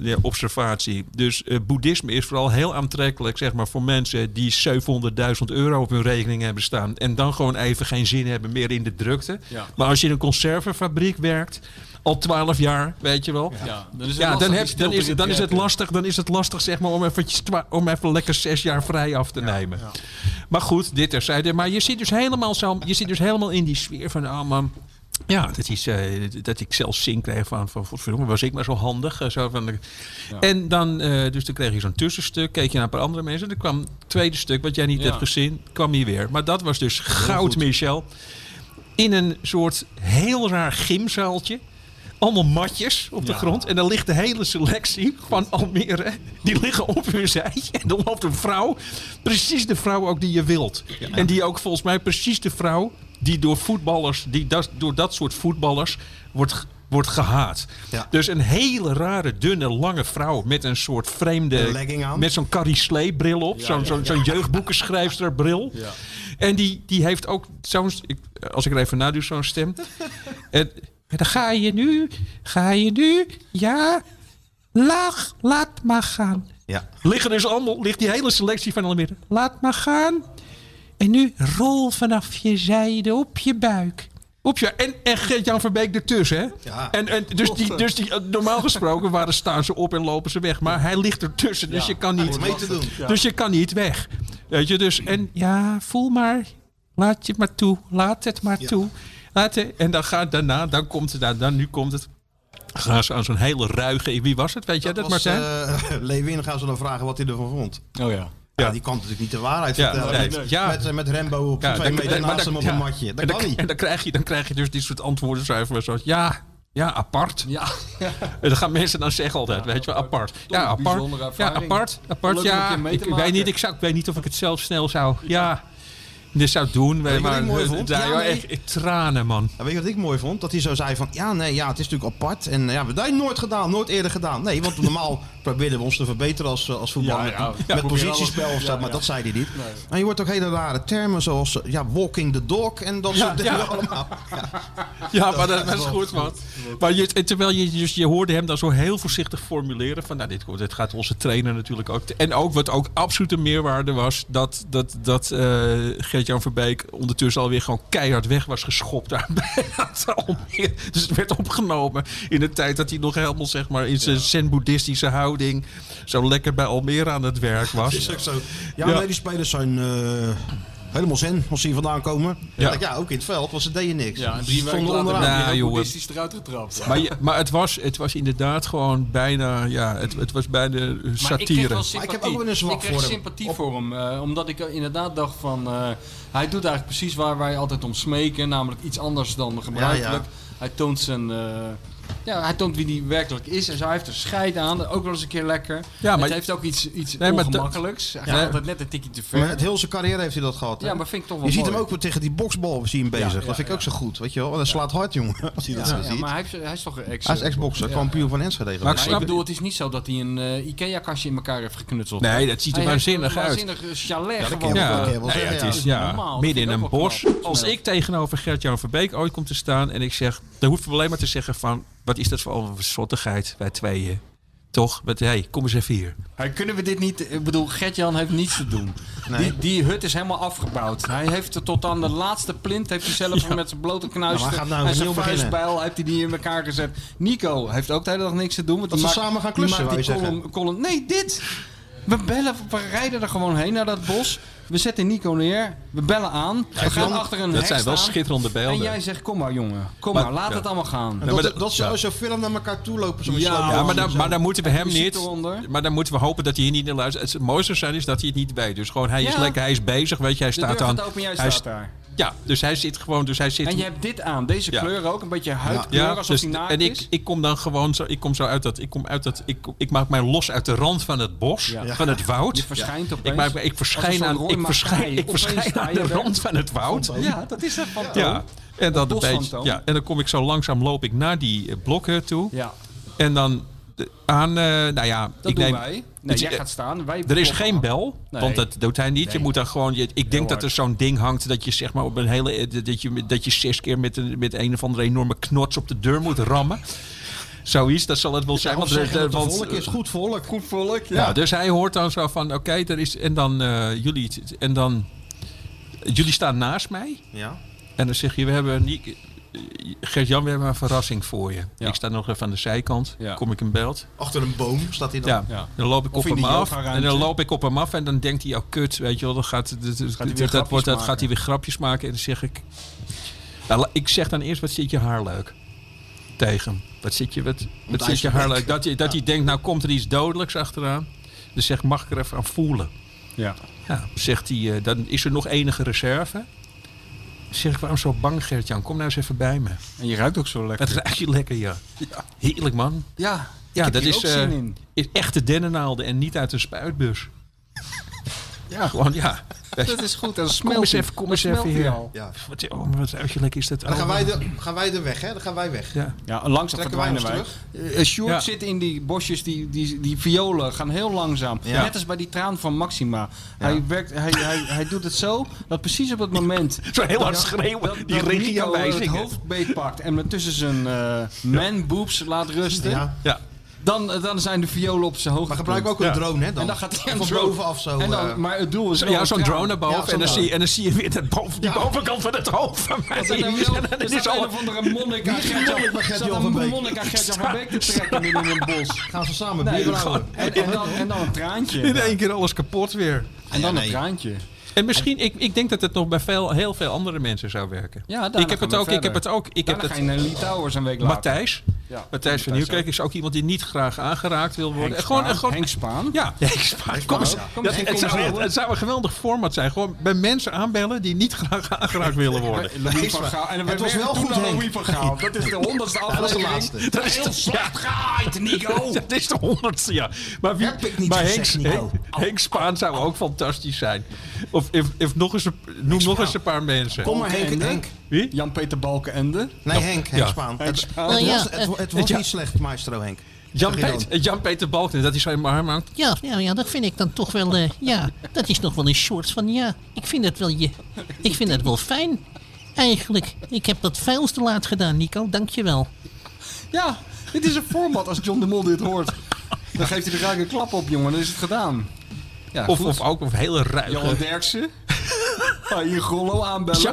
[SPEAKER 10] ja, observatie. Dus eh, boeddhisme is vooral heel aantrekkelijk, zeg maar, voor mensen die 700.000 euro op hun rekening hebben staan. En dan gewoon even geen zin hebben meer in de drukte.
[SPEAKER 14] Ja.
[SPEAKER 10] Maar als je in een conservenfabriek werkt, al 12 jaar, weet je wel.
[SPEAKER 14] Ja,
[SPEAKER 5] dan is het
[SPEAKER 10] dan,
[SPEAKER 5] lastig die
[SPEAKER 10] heb- dan,
[SPEAKER 5] stilte
[SPEAKER 10] is,
[SPEAKER 5] te
[SPEAKER 10] dan is het
[SPEAKER 5] beperken.
[SPEAKER 10] lastig, dan is het lastig zeg maar, om, eventjes, twa- om even lekker zes jaar vrij af te nemen. Maar goed, dit terzijde. Maar je zit dus helemaal, zo, je zit dus helemaal in die sfeer van... ah, man, ja, dat, is, eh, dat ik zelfs zin kreeg van... van verdomme, was ik maar zo handig. eh, Zo van, En dan, eh, dus dan kreeg je zo'n tussenstuk. Keek je naar een paar andere mensen. Dan kwam het tweede stuk, wat jij niet
[SPEAKER 14] Ja.
[SPEAKER 10] hebt gezien. kwam hier weer. Maar dat was dus goud,
[SPEAKER 14] goed.
[SPEAKER 10] Michel. In een soort heel raar gymzaaltje. allemaal matjes op de
[SPEAKER 11] Ja.
[SPEAKER 10] grond. En dan ligt de hele selectie van Almere. Die liggen op hun zij. En dan loopt een vrouw. Precies de vrouw ook die je wilt. En die ook volgens mij precies de vrouw die door voetballers, die dat, door dat soort voetballers wordt, ge- wordt gehaat. Dus een hele rare, dunne, lange vrouw met een soort vreemde...
[SPEAKER 3] Een legging aan.
[SPEAKER 10] Met zo'n Carisley-bril op.
[SPEAKER 3] Ja,
[SPEAKER 10] zo'n
[SPEAKER 3] ja,
[SPEAKER 10] zo'n
[SPEAKER 3] ja.
[SPEAKER 10] zo'n jeugdboekenschrijfsterbril.
[SPEAKER 3] Ja.
[SPEAKER 10] En die, die heeft ook zo'n... ik- Als ik er even nadoe, zo'n stem. en, en dan ga je nu, ga je nu, ja, lach, laat maar gaan.
[SPEAKER 3] Ja.
[SPEAKER 10] Liggen dus allemaal, ligt die hele selectie van Almere. Laat maar gaan. En nu rol vanaf je zijde op je buik. Op je, en en Gert-Jan Verbeek ertussen, hè?
[SPEAKER 3] Ja.
[SPEAKER 10] En, en dus, die, dus die, eh, normaal gesproken waren, staan ze op en lopen ze weg. Maar hij ligt ertussen, dus
[SPEAKER 3] Ja,
[SPEAKER 10] je kan
[SPEAKER 3] hij
[SPEAKER 10] niet...
[SPEAKER 3] wordt mee te doen. Ja.
[SPEAKER 10] Dus je kan niet weg. Weet je, dus... En ja, voel maar. Laat je het maar toe. Laat het maar
[SPEAKER 11] Ja.
[SPEAKER 10] toe. Laat het- en dan gaat daarna, dan komt het, dan, dan, nu komt het... Gaan ze aan zo'n hele ruige... Wie was het? Weet jij dat,
[SPEAKER 3] was,
[SPEAKER 10] Martijn?
[SPEAKER 3] eh, Lewin gaan ze dan vragen wat hij ervan vond.
[SPEAKER 10] oh ja.
[SPEAKER 3] Ja, die kan natuurlijk niet de waarheid
[SPEAKER 10] Ja,
[SPEAKER 3] vertellen.
[SPEAKER 10] nee,
[SPEAKER 3] met,
[SPEAKER 10] ja.
[SPEAKER 3] met, met Rembo op
[SPEAKER 10] Ja,
[SPEAKER 3] twee
[SPEAKER 10] dan-
[SPEAKER 3] meter
[SPEAKER 10] dan- maar
[SPEAKER 3] naast
[SPEAKER 10] dan-
[SPEAKER 3] hem op
[SPEAKER 10] ja.
[SPEAKER 3] een matje.
[SPEAKER 10] En
[SPEAKER 3] Dat
[SPEAKER 10] dan,
[SPEAKER 3] kan niet.
[SPEAKER 10] En dan krijg, je, dan krijg je dus dit soort antwoorden zuiver zoals ja, ja, apart. Ja. En dan gaan mensen dan zeggen altijd, weet je wel, apart. Ja, apart.
[SPEAKER 5] bijzondere
[SPEAKER 10] Ja,
[SPEAKER 5] ervaring.
[SPEAKER 10] apart. Apart,
[SPEAKER 5] Leuk om een
[SPEAKER 10] ja.
[SPEAKER 5] keer mee
[SPEAKER 10] Ik,
[SPEAKER 5] te
[SPEAKER 10] ik weet
[SPEAKER 5] maken.
[SPEAKER 10] niet, ik, zou, ik weet niet of ik het zelf snel zou... Ja. Dit zou doen, weet
[SPEAKER 3] Weet
[SPEAKER 10] je,
[SPEAKER 3] je wat
[SPEAKER 10] maar...
[SPEAKER 3] ik mooi
[SPEAKER 10] eh,
[SPEAKER 3] vond?
[SPEAKER 10] daar,
[SPEAKER 3] Ja,
[SPEAKER 10] joh,
[SPEAKER 3] nee.
[SPEAKER 10] echt, echt tranen, man.
[SPEAKER 3] Ja, Nou, weet je wat ik mooi vond? Dat hij zo zei van, ja, nee, ja, het is natuurlijk apart. En eh, ja, we hebben dat nooit gedaan, nooit eerder gedaan. Nee, want normaal proberen we ons te verbeteren als, eh, als voetballer.
[SPEAKER 4] Ja, ja.
[SPEAKER 3] met
[SPEAKER 4] Ja,
[SPEAKER 3] met
[SPEAKER 4] probeer
[SPEAKER 3] positiespel
[SPEAKER 4] alles.
[SPEAKER 3] of zo,
[SPEAKER 4] Ja,
[SPEAKER 3] maar
[SPEAKER 4] ja.
[SPEAKER 3] dat zei hij niet. Maar je hoort ook hele rare termen zoals, eh, ja, walking the dog en dat
[SPEAKER 10] Ja,
[SPEAKER 3] soort dingen
[SPEAKER 10] ja.
[SPEAKER 3] allemaal.
[SPEAKER 10] Ja, maar dat,
[SPEAKER 3] Dat is
[SPEAKER 10] is
[SPEAKER 3] wel
[SPEAKER 10] goed, man. Maar je, en terwijl je, dus je hoorde hem dan zo heel voorzichtig formuleren van... Nou, dit, komt- dit gaat onze trainer natuurlijk ook... te- en ook wat ook absolute meerwaarde was... dat, dat, dat eh, Gert-Jan Verbeek ondertussen alweer gewoon keihard weg was geschopt. Daar bij het Almere. dus het werd opgenomen in de tijd dat hij nog helemaal zeg maar, in zijn zen-boeddhistische houding... zo lekker bij Almere aan het werk was.
[SPEAKER 3] Dat is ook zo. Ja,
[SPEAKER 10] Ja.
[SPEAKER 3] nee, die spelers zijn eh, helemaal zen als ze hier vandaan komen.
[SPEAKER 10] Ja.
[SPEAKER 3] Ja. ja, ook in het veld, want ze deden niks.
[SPEAKER 10] Ja,
[SPEAKER 3] Ze stonden onderaan.
[SPEAKER 10] Ja, Nou, jongen.
[SPEAKER 5] eruit getrapt.
[SPEAKER 10] Maar, je- maar het, was, het was inderdaad gewoon bijna... Ja, het, het was bijna eh,
[SPEAKER 5] Maar ik, kreeg
[SPEAKER 10] satire.
[SPEAKER 5] wel sympathie. Ik kreeg sympathie voor hem. eh, omdat ik eh, inderdaad dacht van... eh, hij doet eigenlijk precies waar wij altijd om smeken. Namelijk iets anders dan gebruikelijk.
[SPEAKER 3] Ja, ja.
[SPEAKER 5] Hij toont zijn... eh, ja, hij toont wie die werkelijk is. En zo, hij heeft er scheid aan. Ook wel eens een keer lekker.
[SPEAKER 3] Ja, maar-
[SPEAKER 5] het heeft ook iets, iets
[SPEAKER 3] Nee, maar dat-
[SPEAKER 5] ongemakkelijks. Hij gaat
[SPEAKER 3] Ja.
[SPEAKER 5] altijd net een tikje te ver.
[SPEAKER 3] Maar het heel zijn carrière heeft hij dat gehad. hè?
[SPEAKER 5] Ja, maar vind ik toch wel
[SPEAKER 3] Je ziet
[SPEAKER 5] mooi.
[SPEAKER 3] hem ook weer tegen die boksbal zien bezig.
[SPEAKER 5] Ja, ja,
[SPEAKER 3] dat vind ik ook
[SPEAKER 5] ja.
[SPEAKER 3] zo goed, weet je wel. Dat slaat hard, jongen. Als je
[SPEAKER 5] Ja,
[SPEAKER 3] dat zo
[SPEAKER 5] ja,
[SPEAKER 3] ziet.
[SPEAKER 5] maar hij, heeft- hij is toch een ex...
[SPEAKER 3] Hij is ex-bokser,
[SPEAKER 5] Ja.
[SPEAKER 3] kampioen van Enschede.
[SPEAKER 5] Maar ik,
[SPEAKER 3] geweest.
[SPEAKER 5] bedoel, het is niet zo dat hij een eh, IKEA-kastje in elkaar heeft geknutseld.
[SPEAKER 10] Nee, dat ziet er
[SPEAKER 5] Hij heeft
[SPEAKER 10] waanzinnig
[SPEAKER 5] een
[SPEAKER 10] uit.
[SPEAKER 5] waanzinnig chalet
[SPEAKER 10] Ja, dat
[SPEAKER 5] gewoon.
[SPEAKER 10] kan je wel-
[SPEAKER 5] eh,
[SPEAKER 10] kan je wel
[SPEAKER 5] nou
[SPEAKER 10] zeggen,
[SPEAKER 5] ja,
[SPEAKER 10] ja.
[SPEAKER 5] het is
[SPEAKER 10] Ja,
[SPEAKER 5] normaal. Dat
[SPEAKER 10] midden
[SPEAKER 5] vind
[SPEAKER 10] in
[SPEAKER 5] ik
[SPEAKER 10] een
[SPEAKER 5] ook wel
[SPEAKER 10] bos.
[SPEAKER 5] knap.
[SPEAKER 10] Als
[SPEAKER 5] Ja.
[SPEAKER 10] ik tegenover Gert-Jan Verbeek ooit kom te staan en ik zeg, dan hoef ik alleen maar te zeggen van, wat is dat voor een zottigheid wij tweeën? Toch? Met, hey, kom eens even hier.
[SPEAKER 5] Hey, kunnen we dit niet... Ik bedoel, Gert-Jan heeft niets te doen. Die, die hut is helemaal afgebouwd. Hij heeft er tot aan de laatste plint... heeft hij zelf met zijn blote
[SPEAKER 3] Ja,
[SPEAKER 5] knuisten
[SPEAKER 3] maar hij gaat nou
[SPEAKER 5] en zijn
[SPEAKER 3] opnieuw beginnen.
[SPEAKER 5] vuistbijl... heeft hij die in elkaar gezet. Nico heeft ook de hele dag niks te doen. Want
[SPEAKER 3] Dat
[SPEAKER 5] die
[SPEAKER 3] ze
[SPEAKER 5] maakt-
[SPEAKER 3] samen gaan
[SPEAKER 5] die
[SPEAKER 3] klussen,
[SPEAKER 5] maakt
[SPEAKER 3] wou
[SPEAKER 5] die
[SPEAKER 3] je
[SPEAKER 5] column, column- Nee, dit! We bellen, we rijden er gewoon heen naar dat bos. We zetten Nico neer. We bellen aan.
[SPEAKER 10] Ja,
[SPEAKER 5] We gaan
[SPEAKER 10] dat-
[SPEAKER 5] achter een
[SPEAKER 10] dat
[SPEAKER 5] hek
[SPEAKER 10] zijn wel
[SPEAKER 5] staan.
[SPEAKER 10] schitterende beelden.
[SPEAKER 5] En jij zegt, kom maar jongen. Kom
[SPEAKER 10] Maar-
[SPEAKER 5] maar, laat
[SPEAKER 10] ja.
[SPEAKER 5] het allemaal gaan.
[SPEAKER 3] En
[SPEAKER 10] Ja, maar
[SPEAKER 3] dat,
[SPEAKER 10] dat-
[SPEAKER 3] Nou, dat ze
[SPEAKER 10] ja.
[SPEAKER 3] zo'n film naar elkaar toe lopen. zo'n
[SPEAKER 10] Ja,
[SPEAKER 3] slow
[SPEAKER 10] maar,
[SPEAKER 3] motion
[SPEAKER 10] dan,
[SPEAKER 3] zo.
[SPEAKER 10] maar dan moeten we hem
[SPEAKER 3] Muziek
[SPEAKER 10] niet.
[SPEAKER 3] eronder.
[SPEAKER 10] Maar dan moeten we hopen dat hij hier niet naar luistert. Het mooiste zou zijn is dat hij het niet weet. Dus gewoon, hij is
[SPEAKER 5] Ja.
[SPEAKER 10] lekker, hij is bezig. Weet je, hij
[SPEAKER 5] De
[SPEAKER 10] staat
[SPEAKER 5] deur
[SPEAKER 10] aan.
[SPEAKER 5] gaat open, jij
[SPEAKER 10] hij
[SPEAKER 5] staat
[SPEAKER 10] st-
[SPEAKER 5] daar.
[SPEAKER 10] Ja, dus hij zit gewoon. Dus hij zit
[SPEAKER 5] En je hebt dit aan. Deze
[SPEAKER 10] Ja.
[SPEAKER 5] kleur ook. Een beetje huidkleur alsof
[SPEAKER 10] dus-
[SPEAKER 5] die naakt
[SPEAKER 10] en
[SPEAKER 5] is.
[SPEAKER 10] ik, ik kom dan gewoon zo, ik kom zo uit dat, ik kom uit dat, ik, kom- ik maak mij los uit de rand van het bos,
[SPEAKER 5] Ja.
[SPEAKER 10] van het woud.
[SPEAKER 5] Je verschijnt
[SPEAKER 10] ja.
[SPEAKER 5] opeens.
[SPEAKER 10] ik, maak, mij- ik
[SPEAKER 5] Als een
[SPEAKER 10] verschijn
[SPEAKER 5] soort
[SPEAKER 10] aan,
[SPEAKER 5] Roy
[SPEAKER 10] ik
[SPEAKER 5] Mackay.
[SPEAKER 10] verschijn, ik
[SPEAKER 5] Opeens
[SPEAKER 10] verschijn
[SPEAKER 5] sta je
[SPEAKER 10] aan de
[SPEAKER 5] er.
[SPEAKER 10] rand van het woud.
[SPEAKER 5] Ja, dat is dat fantoom.
[SPEAKER 10] Ja, en dan een
[SPEAKER 5] Dat
[SPEAKER 10] beetje,
[SPEAKER 5] bosfantoom.
[SPEAKER 10] ja, en dan kom ik zo langzaam loop ik naar die eh, blokken toe. En dan de- aan, eh, nou ja,
[SPEAKER 5] Dat
[SPEAKER 10] ik
[SPEAKER 5] doen
[SPEAKER 10] neem.
[SPEAKER 5] wij. Nee,
[SPEAKER 10] het-
[SPEAKER 5] jij gaat staan, wij
[SPEAKER 10] er is
[SPEAKER 5] kloppen
[SPEAKER 10] geen
[SPEAKER 5] aan.
[SPEAKER 10] bel,
[SPEAKER 5] Nee.
[SPEAKER 10] want dat doet hij niet. Je
[SPEAKER 5] Nee.
[SPEAKER 10] moet dan gewoon. je- ik denk dat er zo'n ding hangt dat je zeg maar op een hele eh, dat je dat je zes keer met een met een of andere enorme knots op de deur moet rammen. Zoiets, dat zal het wel zijn.
[SPEAKER 3] Of
[SPEAKER 10] Want,
[SPEAKER 3] zeggen
[SPEAKER 10] eh,
[SPEAKER 3] dat het
[SPEAKER 10] want-
[SPEAKER 3] volk is goed volk.
[SPEAKER 5] Goed volk,
[SPEAKER 10] ja. dus hij hoort dan zo van, oké, er is en dan eh, jullie en dan jullie staan naast mij.
[SPEAKER 3] Ja.
[SPEAKER 10] En dan zeg je, we hebben niet. eh, Gert-Jan, we hebben een verrassing voor je. Ik sta nog even aan de zijkant. Kom ik in beeld.
[SPEAKER 3] Achter een boom staat hij dan.
[SPEAKER 10] Ja. dan loop ik
[SPEAKER 3] Of
[SPEAKER 10] op hem
[SPEAKER 3] in die
[SPEAKER 10] af. En
[SPEAKER 3] yogaruimte.
[SPEAKER 10] dan loop ik op hem af en dan denkt hij, oh kut, weet je wel. Dan gaat, dat- dat-
[SPEAKER 3] hij weer
[SPEAKER 10] dat,
[SPEAKER 3] grapjes
[SPEAKER 10] wordt, dat
[SPEAKER 3] maken.
[SPEAKER 10] gaat hij weer grapjes maken. En dan zeg ik... Nou, la- ik zeg dan eerst, wat zit je haar leuk? Tegen hem. Wat zit je, wat, wat
[SPEAKER 3] hij
[SPEAKER 10] zit
[SPEAKER 3] is
[SPEAKER 10] je haar
[SPEAKER 3] leuk.
[SPEAKER 10] leuk? Dat, je, dat hij denkt, nou komt er iets dodelijks achteraan. Dus zeg, mag ik er even aan voelen?
[SPEAKER 5] Ja.
[SPEAKER 10] Ja, zegt hij, eh, dan is er nog enige reserve. Zeg ik, waarom zo bang, Gert-Jan? Kom nou eens even bij me.
[SPEAKER 5] En je ruikt ook zo lekker.
[SPEAKER 10] Het ruikt je lekker, ja. Heerlijk, man.
[SPEAKER 11] Ja,
[SPEAKER 10] Ja,
[SPEAKER 11] ik heb
[SPEAKER 10] dat
[SPEAKER 11] hier
[SPEAKER 10] is,
[SPEAKER 11] ook zin
[SPEAKER 10] eh,
[SPEAKER 11] in.
[SPEAKER 10] is echte dennennaalden en niet uit een spuitbus. ja, gewoon ja.
[SPEAKER 11] Dat is goed, dan smelt
[SPEAKER 10] Kom eens
[SPEAKER 11] hij.
[SPEAKER 10] even, kom
[SPEAKER 11] Dan
[SPEAKER 10] eens even
[SPEAKER 11] smelt hij
[SPEAKER 10] hier.
[SPEAKER 11] al.
[SPEAKER 10] Ja. Wat, oh, maar wat ruikt je lekker is dat?
[SPEAKER 15] Dan gaan
[SPEAKER 10] allemaal.
[SPEAKER 15] wij, de, gaan wij er weg, hè? Dan gaan wij weg.
[SPEAKER 10] Ja.
[SPEAKER 5] Ja, langzaam
[SPEAKER 15] Trekken wij
[SPEAKER 5] verdwijnen wij.
[SPEAKER 15] ons
[SPEAKER 5] Eh, eh, Sjoerd zit in die bosjes, die, die, die violen gaan heel langzaam.
[SPEAKER 11] Ja.
[SPEAKER 5] Net als bij die traan van Maxima. Hij, werkt, hij, hij, hij doet het zo, dat precies op het moment...
[SPEAKER 10] Zo heel hard
[SPEAKER 5] dat-
[SPEAKER 10] schreeuwen,
[SPEAKER 5] dat-
[SPEAKER 10] die
[SPEAKER 5] dat
[SPEAKER 10] regie
[SPEAKER 5] Nico het
[SPEAKER 10] aanwijzingen.
[SPEAKER 5] hoofdbeet pakt en met tussen zijn eh man-boobs laat rusten...
[SPEAKER 15] Ja.
[SPEAKER 10] Ja.
[SPEAKER 5] Dan, eh, dan zijn de violen op zijn hoogte. Maar
[SPEAKER 15] gebruik ook een drone, hè, dan?
[SPEAKER 5] En dan gaat hij een
[SPEAKER 15] Van
[SPEAKER 5] drone.
[SPEAKER 15] bovenaf zo,
[SPEAKER 5] En dan,
[SPEAKER 15] eh.
[SPEAKER 5] maar het doel is
[SPEAKER 10] Zo,
[SPEAKER 5] wel
[SPEAKER 10] ja,
[SPEAKER 5] een
[SPEAKER 10] zo'n
[SPEAKER 5] traan.
[SPEAKER 10] drone naar boven.
[SPEAKER 5] Ja, zo'n
[SPEAKER 10] en, dan
[SPEAKER 5] drone.
[SPEAKER 10] zie, je- en dan zie je weer dat boven, die bovenkant van het hoofd van mij.
[SPEAKER 5] Dat is dan
[SPEAKER 10] En
[SPEAKER 5] wel,
[SPEAKER 10] dan
[SPEAKER 5] er
[SPEAKER 10] is
[SPEAKER 5] staat een
[SPEAKER 10] al-
[SPEAKER 5] of andere monnik aan
[SPEAKER 10] Wie is
[SPEAKER 5] Gertjan-
[SPEAKER 10] monnik bij
[SPEAKER 5] er staat
[SPEAKER 10] Gertjan
[SPEAKER 5] een
[SPEAKER 10] van Beek?
[SPEAKER 5] monnik aan Gertjan van Beek te trekken midden in een bos.
[SPEAKER 15] Gaan ze samen
[SPEAKER 5] Nee,
[SPEAKER 15] bier
[SPEAKER 5] gewoon-
[SPEAKER 15] brouwen.
[SPEAKER 5] en, en, dan, en dan een traantje.
[SPEAKER 10] In één keer alles kapot weer.
[SPEAKER 5] En dan een traantje.
[SPEAKER 10] En misschien, ik, ik denk dat het nog bij veel, heel veel andere mensen zou werken.
[SPEAKER 5] Ja, daarna
[SPEAKER 10] ik heb
[SPEAKER 5] gaan
[SPEAKER 10] het
[SPEAKER 5] we
[SPEAKER 10] ook. Ik heb
[SPEAKER 5] verder.
[SPEAKER 10] het ook. Ik
[SPEAKER 5] Daarna
[SPEAKER 10] heb het,
[SPEAKER 5] ga je naar Lee Towers een week later.
[SPEAKER 10] Matthijs.
[SPEAKER 5] Ja.
[SPEAKER 10] Matthijs van Nieuwkerk is ook iemand die niet graag aangeraakt wil worden.
[SPEAKER 5] Henk
[SPEAKER 10] En gewoon,
[SPEAKER 5] Spaan.
[SPEAKER 10] en gewoon,
[SPEAKER 5] Henk Spaan.
[SPEAKER 10] Ja, Henk Spaan. Kom eens.
[SPEAKER 5] Spaan. Kom
[SPEAKER 10] Dat-
[SPEAKER 5] eens,
[SPEAKER 10] Het
[SPEAKER 5] kom
[SPEAKER 10] zou-
[SPEAKER 5] eens horen.
[SPEAKER 10] het zou een geweldig format zijn. Gewoon bij mensen aanbellen die niet graag aangeraakt willen worden.
[SPEAKER 5] Louis van Gaal. En we
[SPEAKER 15] Het was
[SPEAKER 5] werken
[SPEAKER 15] wel
[SPEAKER 5] toen
[SPEAKER 15] goed,
[SPEAKER 5] aan
[SPEAKER 15] Henk.
[SPEAKER 5] Louis van Gaal. Dat is de honderdste
[SPEAKER 15] dat was de
[SPEAKER 5] aflevering.
[SPEAKER 15] laatste.
[SPEAKER 10] Dat is
[SPEAKER 5] heel
[SPEAKER 10] de-
[SPEAKER 5] slecht gehaaid, Nico.
[SPEAKER 10] Dat is de honderdste, ja. Maar, wie,
[SPEAKER 5] Heb ik niet
[SPEAKER 10] maar
[SPEAKER 5] gezegd,
[SPEAKER 10] Henk,
[SPEAKER 5] Nico. Oh.
[SPEAKER 10] Henk- Henk Spaan zou ook fantastisch zijn. Of if, if nog eens, een- noem nog eens een paar mensen.
[SPEAKER 15] Kom maar, Henk. Henk.
[SPEAKER 10] Wie?
[SPEAKER 5] Jan-Peter Balkenende.
[SPEAKER 15] Nee, Henk. Henk
[SPEAKER 10] Ja.
[SPEAKER 15] Spaan.
[SPEAKER 5] Henk
[SPEAKER 15] Het,
[SPEAKER 5] Spaan.
[SPEAKER 15] het
[SPEAKER 5] Ja.
[SPEAKER 15] was, het, het was
[SPEAKER 10] Ja.
[SPEAKER 15] niet slecht, maestro Henk. Zeg je dan.
[SPEAKER 10] Jan-Peter Jan Peter Balkenende, dat is zijn arm hangt.
[SPEAKER 16] Ja, ja, ja, dat vind ik dan toch wel. eh, ja, dat is nog wel een soort van ja. Ik vind het wel, je, ik vind het wel fijn. Eigenlijk, ik heb dat veel te laat gedaan, Nico. Dankjewel.
[SPEAKER 5] Ja, dit is een format als John de Mol dit hoort. Dan geeft hij er ruik een klap op, jongen. Dan is het gedaan. Ja,
[SPEAKER 10] of,
[SPEAKER 5] goed.
[SPEAKER 10] of ook of hele
[SPEAKER 5] Johan
[SPEAKER 10] ruige.
[SPEAKER 5] Derksen. Ah, Hier Grollo aanbellen.
[SPEAKER 10] Ja,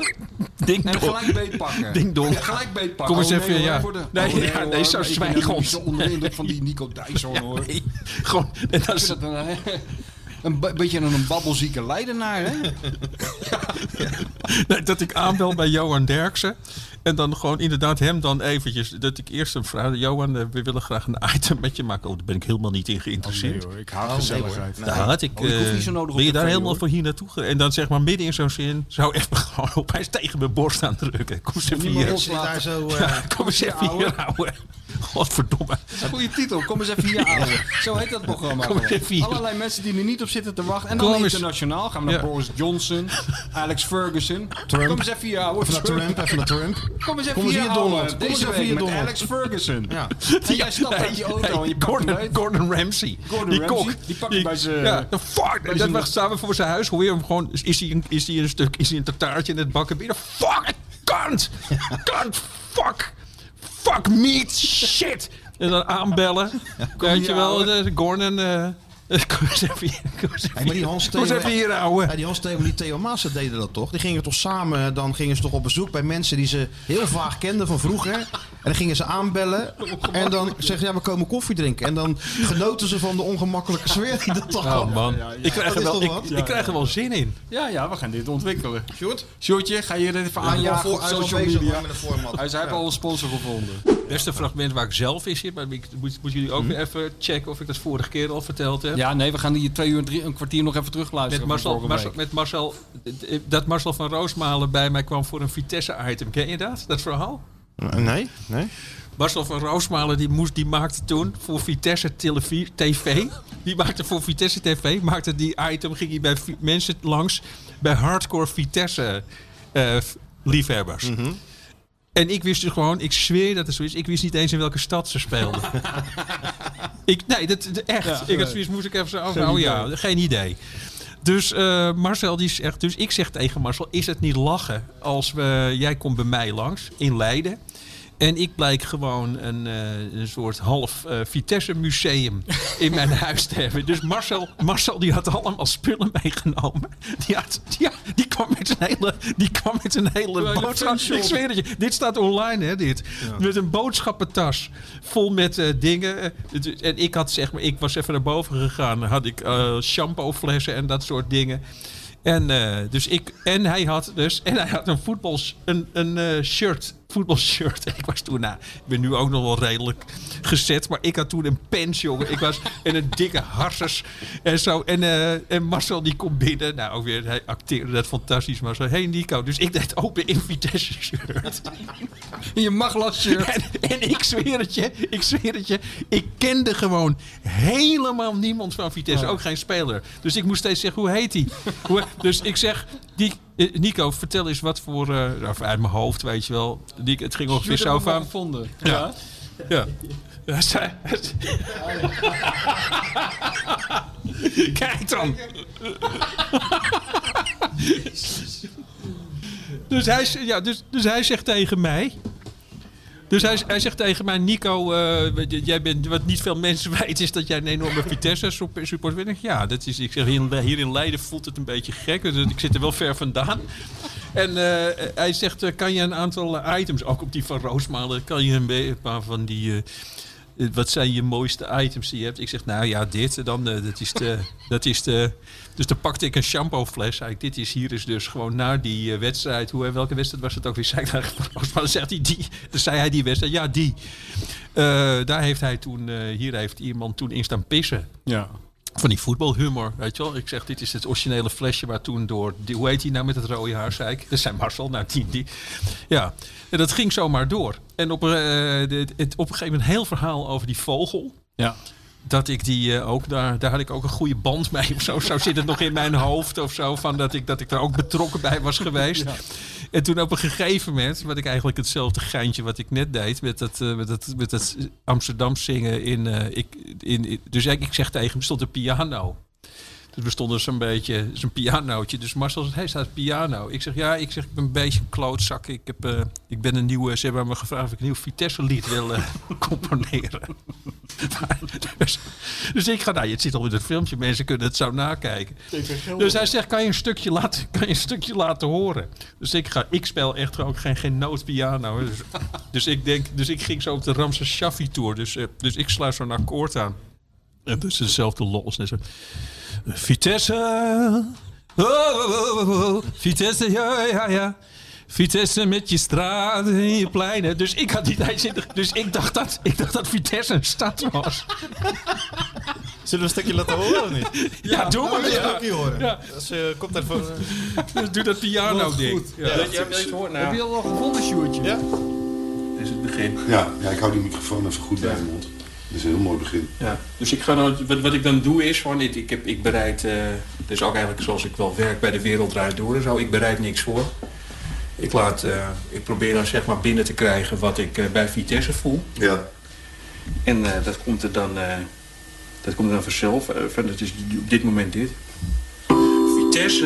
[SPEAKER 10] ding
[SPEAKER 5] en
[SPEAKER 10] dong.
[SPEAKER 5] gelijk beetpakken.
[SPEAKER 10] Ding dong.
[SPEAKER 5] Ja, gelijk beetpakken.
[SPEAKER 10] Kom eens
[SPEAKER 5] Oh,
[SPEAKER 10] even,
[SPEAKER 5] nee,
[SPEAKER 10] ja.
[SPEAKER 5] hoor, voor de-
[SPEAKER 10] Nee,
[SPEAKER 5] oh,
[SPEAKER 10] ja,
[SPEAKER 5] hoor,
[SPEAKER 10] nee, zo
[SPEAKER 5] maar ik ben
[SPEAKER 10] zwijg
[SPEAKER 5] helemaal
[SPEAKER 10] ons.
[SPEAKER 5] niet zo onder de indruk van die Nico Dijsson, hoor.
[SPEAKER 10] Nee, gewoon. En
[SPEAKER 5] Ik
[SPEAKER 10] dat
[SPEAKER 5] vind
[SPEAKER 10] is,
[SPEAKER 5] dat een, eh, een be- beetje een babbelzieke leidenaar, hè?
[SPEAKER 10] Nee, dat ik aanbel bij Johan Derksen. En dan gewoon inderdaad hem dan eventjes. Dat ik eerst hem vraag. Johan, eh, we willen graag een item met je maken. Oh, daar ben ik helemaal niet in geïnteresseerd.
[SPEAKER 5] Oh,
[SPEAKER 10] Oh,
[SPEAKER 5] Ik haat gezelligheid.
[SPEAKER 10] Daar had ik,
[SPEAKER 5] Oh, ik hoef
[SPEAKER 10] eh,
[SPEAKER 5] niet zo nodig op
[SPEAKER 10] ben je
[SPEAKER 5] tv,
[SPEAKER 10] daar helemaal
[SPEAKER 5] hoor.
[SPEAKER 10] voor hier naartoe ge- En dan zeg maar midden in zo'n zin zou even gewoon opeens tegen mijn borst aan drukken. Kom eens even
[SPEAKER 15] Niemand
[SPEAKER 10] hier.
[SPEAKER 15] zit daar zo... eh,
[SPEAKER 10] Ja, kom eens even hier, ouwe. Godverdomme.
[SPEAKER 5] Goeie titel, kom eens even hier ouwe. Zo heet dat programma.
[SPEAKER 10] Kom eens
[SPEAKER 5] gewoon.
[SPEAKER 10] even hier.
[SPEAKER 5] Allerlei mensen die er niet op zitten te wachten. En dan
[SPEAKER 10] Kom eens.
[SPEAKER 5] internationaal gaan we naar
[SPEAKER 10] Ja.
[SPEAKER 5] Boris Johnson, Alex Ferguson. Kom eens even hier ouwe.
[SPEAKER 15] Even naar Trump, even naar Trump.
[SPEAKER 5] Kom eens even
[SPEAKER 15] Kom eens
[SPEAKER 5] hier,
[SPEAKER 15] hier,
[SPEAKER 5] ouwe.
[SPEAKER 15] Donald. Kom
[SPEAKER 5] Deze
[SPEAKER 15] eens even
[SPEAKER 5] week
[SPEAKER 15] hier,
[SPEAKER 5] met
[SPEAKER 15] Donald.
[SPEAKER 5] Alex Ferguson.
[SPEAKER 15] Ja.
[SPEAKER 5] En jij stapt uit je auto en je pakt hem
[SPEAKER 10] Gordon,
[SPEAKER 5] uit.
[SPEAKER 10] Gordon Ramsay.
[SPEAKER 5] Gordon
[SPEAKER 10] die
[SPEAKER 5] Ramsay,
[SPEAKER 10] kok.
[SPEAKER 5] die pakt hem bij zijn- eh,
[SPEAKER 10] Ja, de fuck.
[SPEAKER 5] bij
[SPEAKER 10] En
[SPEAKER 5] zijn-
[SPEAKER 10] dat was samen voor zijn huis. Hoor je hem gewoon. is- Is hij een, is hij een stuk. Is hij een tartaartje in het bakken binnen? Fuck. Kant. Kant. Fuck. Fuck meat. Shit. En dan aanbellen. Weet je
[SPEAKER 5] hier,
[SPEAKER 10] wel,
[SPEAKER 5] ouwe.
[SPEAKER 10] de Gordon. eh, Kom eens even hier. Kom eens even
[SPEAKER 15] Hey, maar die Hans
[SPEAKER 10] hier. Kom eens
[SPEAKER 15] Theo-
[SPEAKER 10] even hier, eh, ouwe.
[SPEAKER 15] Ja, die Hans Theo en die Theo Maassen deden dat toch? Die gingen toch samen, eh, dan gingen ze toch op bezoek bij mensen die ze heel vaag kenden van vroeger. En dan gingen ze aanbellen en dan zeggen ze, ja, we komen koffie drinken. En dan genoten ze van de ongemakkelijke sfeer die dat toch
[SPEAKER 10] Oh
[SPEAKER 15] had.
[SPEAKER 10] man, ik krijg
[SPEAKER 15] Dat
[SPEAKER 10] er
[SPEAKER 15] is
[SPEAKER 10] wel,
[SPEAKER 15] toch
[SPEAKER 10] ik,
[SPEAKER 15] wat?
[SPEAKER 10] ik krijg er wel zin in.
[SPEAKER 5] Ja, ja, we gaan dit ontwikkelen.
[SPEAKER 15] Sjoerd?
[SPEAKER 5] Sjoerdje, ga je dit even
[SPEAKER 15] hij is wel
[SPEAKER 5] aanjagen
[SPEAKER 15] voor-
[SPEAKER 5] op
[SPEAKER 15] hij is wel
[SPEAKER 5] social
[SPEAKER 15] bezig
[SPEAKER 5] media?
[SPEAKER 15] met een format.
[SPEAKER 5] Hij zei, hij heeft al een sponsor gevonden.
[SPEAKER 10] Het beste fragment waar ik zelf in zit, maar ik moet, moet jullie ook weer even checken of ik dat vorige keer al verteld heb.
[SPEAKER 5] Mhm. Ja, nee, we gaan die twee uur en drie, een kwartier nog even terugluisteren.
[SPEAKER 10] Met Marcel,
[SPEAKER 5] van vorige
[SPEAKER 10] Marcel-
[SPEAKER 5] week.
[SPEAKER 10] met Marcel, dat Marcel van Roosmalen bij mij kwam voor een Vitesse-item. Ken je dat, dat verhaal?
[SPEAKER 15] Nee, nee.
[SPEAKER 10] Marcel van Roosmalen die, moest, die maakte toen voor Vitesse televi- TV. Die maakte voor Vitesse TV, maakte die item, ging hij bij vi- mensen langs, bij hardcore Vitesse eh, f- liefhebbers.
[SPEAKER 5] Mhm.
[SPEAKER 10] En ik wist dus gewoon, ik zweer dat het zo is, ik wist niet eens in welke stad ze speelden. ik, nee, dat, dat- echt.
[SPEAKER 5] Ja,
[SPEAKER 10] ik
[SPEAKER 5] nee.
[SPEAKER 10] had zoiets, moest ik even zo, oh, nou ja, geen idee. Dus eh, Marcel die zegt, dus ik zeg tegen Marcel, is het niet lachen als we, jij komt bij mij langs in Leiden. En ik blijk gewoon een, eh, een soort half eh, Vitesse museum in mijn huis te hebben. Dus Marcel, Marcel die had allemaal spullen meegenomen. Die, had, die, die kwam met een hele, die kwam met een hele
[SPEAKER 5] Bij de
[SPEAKER 10] boodschap.
[SPEAKER 5] fanshop.
[SPEAKER 10] Ik zweer het je. Dit staat online, hè, dit. Met een boodschappentas vol met eh, dingen. Eh, het- En ik had zeg maar, ik was even naar boven gegaan. Had ik eh, shampooflessen en dat soort dingen. En, eh, dus ik, en, hij had dus, en hij had een voetbals, een, een eh, shirt, voetbalshirt. Ik was toen, nou, ik ben nu ook nog wel redelijk gezet, maar ik had toen een pens, jongen. Ik was en een dikke harsers en zo. En, eh, en Marcel die komt binnen, nou ook weer, hij acteerde dat fantastisch. Maar zo, hey Nico, dus ik deed open in Vitesse shirt.
[SPEAKER 11] Je mag shirt.
[SPEAKER 10] En, en ik zweer het je, ik zweer het je, ik kende gewoon helemaal niemand van Vitesse,
[SPEAKER 11] Oh.
[SPEAKER 10] ook geen speler. Dus ik moest steeds zeggen, hoe heet hij? Hoe- dus ik zeg, die, eh, Nico, vertel eens wat voor, eh, of uit mijn hoofd, weet je wel. Die, het ging ongeveer
[SPEAKER 11] Sjoerd
[SPEAKER 10] zo
[SPEAKER 11] heeft hem
[SPEAKER 10] van.
[SPEAKER 11] wel gevonden.
[SPEAKER 10] Ja. ja. Hij zei- Kijk dan. Dus hij, z- ja, dus, dus hij zegt tegen mij. Dus hij, hij zegt tegen mij, Nico, eh, j- jij bent, wat niet veel mensen weten, is dat jij een enorme Vitesse-support bent. Ik zeg, Ja, dat is, ik zeg, hier, in- hier in Leiden voelt het een beetje gek, dus ik zit er wel ver vandaan. En eh, hij zegt, eh, kan je een aantal eh, items, ook op die van Roosmalen, kan je een, be- een paar van die... eh, eh, wat zijn je mooiste items die je hebt? Ik zeg, nou ja, dit. en Dan, eh, dat is de, dat is de, dus dan pakte ik een shampoofles. Zei ik, dit is hier is dus gewoon na die eh, wedstrijd. Hoe, welke wedstrijd was het ook weer? Zei ik, nou, maar dan zegt hij die. Dan zei hij die wedstrijd. Ja, die. Eh, daar heeft hij toen, eh, hier heeft iemand toen in staan pissen.
[SPEAKER 5] Ja.
[SPEAKER 10] Van die voetbalhumor, weet je wel. Ik zeg, dit is het originele flesje waar toen door... Die, hoe heet hij nou met het rode haar, zei ik? Dat zijn Marcel, nou die, die. Ja, en dat ging zomaar door. En op, eh, de- het, op een gegeven moment een heel verhaal over die vogel.
[SPEAKER 5] Ja.
[SPEAKER 10] Dat ik die eh, ook daar, daar had ik ook een goede band mee of zo. Zo zit het nog in mijn hoofd of zo. Van dat ik, dat ik daar ook betrokken bij was geweest. En toen op een gegeven moment, wat ik eigenlijk hetzelfde geintje wat ik net deed. Met dat, eh, met dat, met dat Amsterdam zingen in, eh, ik, in, in- Dus ik, ik zeg tegen hem, stond een piano. Dus we stonden zo'n beetje, zo'n pianootje. Dus Marcel zegt, hij staat piano. Ik zeg, ja, ik zeg, ik ben een beetje een klootzak. Ik, heb, eh, ik ben een nieuwe, ze hebben me gevraagd of ik een nieuw Vitesse-lied wil eh, componeren. Maar, dus, dus ik ga, nou, het zit al in het filmpje, mensen kunnen het zo nakijken. Dus hij zegt, kan je een stukje laten, kan je een stukje laten horen? Dus ik ga, ik speel echt ook geen, geen noot piano. hè. Dus, dus ik denk, dus ik ging zo op de Ramses Shaffi Tour. Dus, eh, dus ik sluit zo'n akkoord aan. En dus dezelfde los. En zo. Vitesse. Oh, oh, oh, oh, oh. Vitesse, ja, ja, ja. Vitesse met je straten en je pleinen. Dus ik had die tijd zitten. Dus ik dacht dat, ik dacht dat Vitesse een stad was. Zullen we een stukje laten horen of niet? Ja, doe maar.
[SPEAKER 4] Wil je
[SPEAKER 10] ja.
[SPEAKER 4] het ook niet
[SPEAKER 5] eh.
[SPEAKER 4] horen?
[SPEAKER 10] Ja.
[SPEAKER 4] Als je eh, komt even...
[SPEAKER 10] Dus doe dat piano-ding.
[SPEAKER 4] Ja, dat je nou.
[SPEAKER 10] even hoort
[SPEAKER 17] Heb je dat al gevonden, Sjoerdje? Ja.
[SPEAKER 9] Is het begin? Ja, ja, ik hou die microfoon even goed bij mijn mond. Dat is een heel mooi begin.
[SPEAKER 10] Ja, dus ik ga dan, wat, wat ik dan doe is gewoon, ik, ik, heb, ik bereid, eh dus ook eigenlijk zoals ik wel werk bij de wereld draait door en zo, ik bereid niks voor. Ik, laat, eh, ik probeer dan zeg maar binnen te krijgen wat ik eh, bij Vitesse voel.
[SPEAKER 9] Ja.
[SPEAKER 10] En eh, dat komt er dan, eh, dat komt er dan vanzelf. Eh, van, dat is op dit moment dit. Vitesse,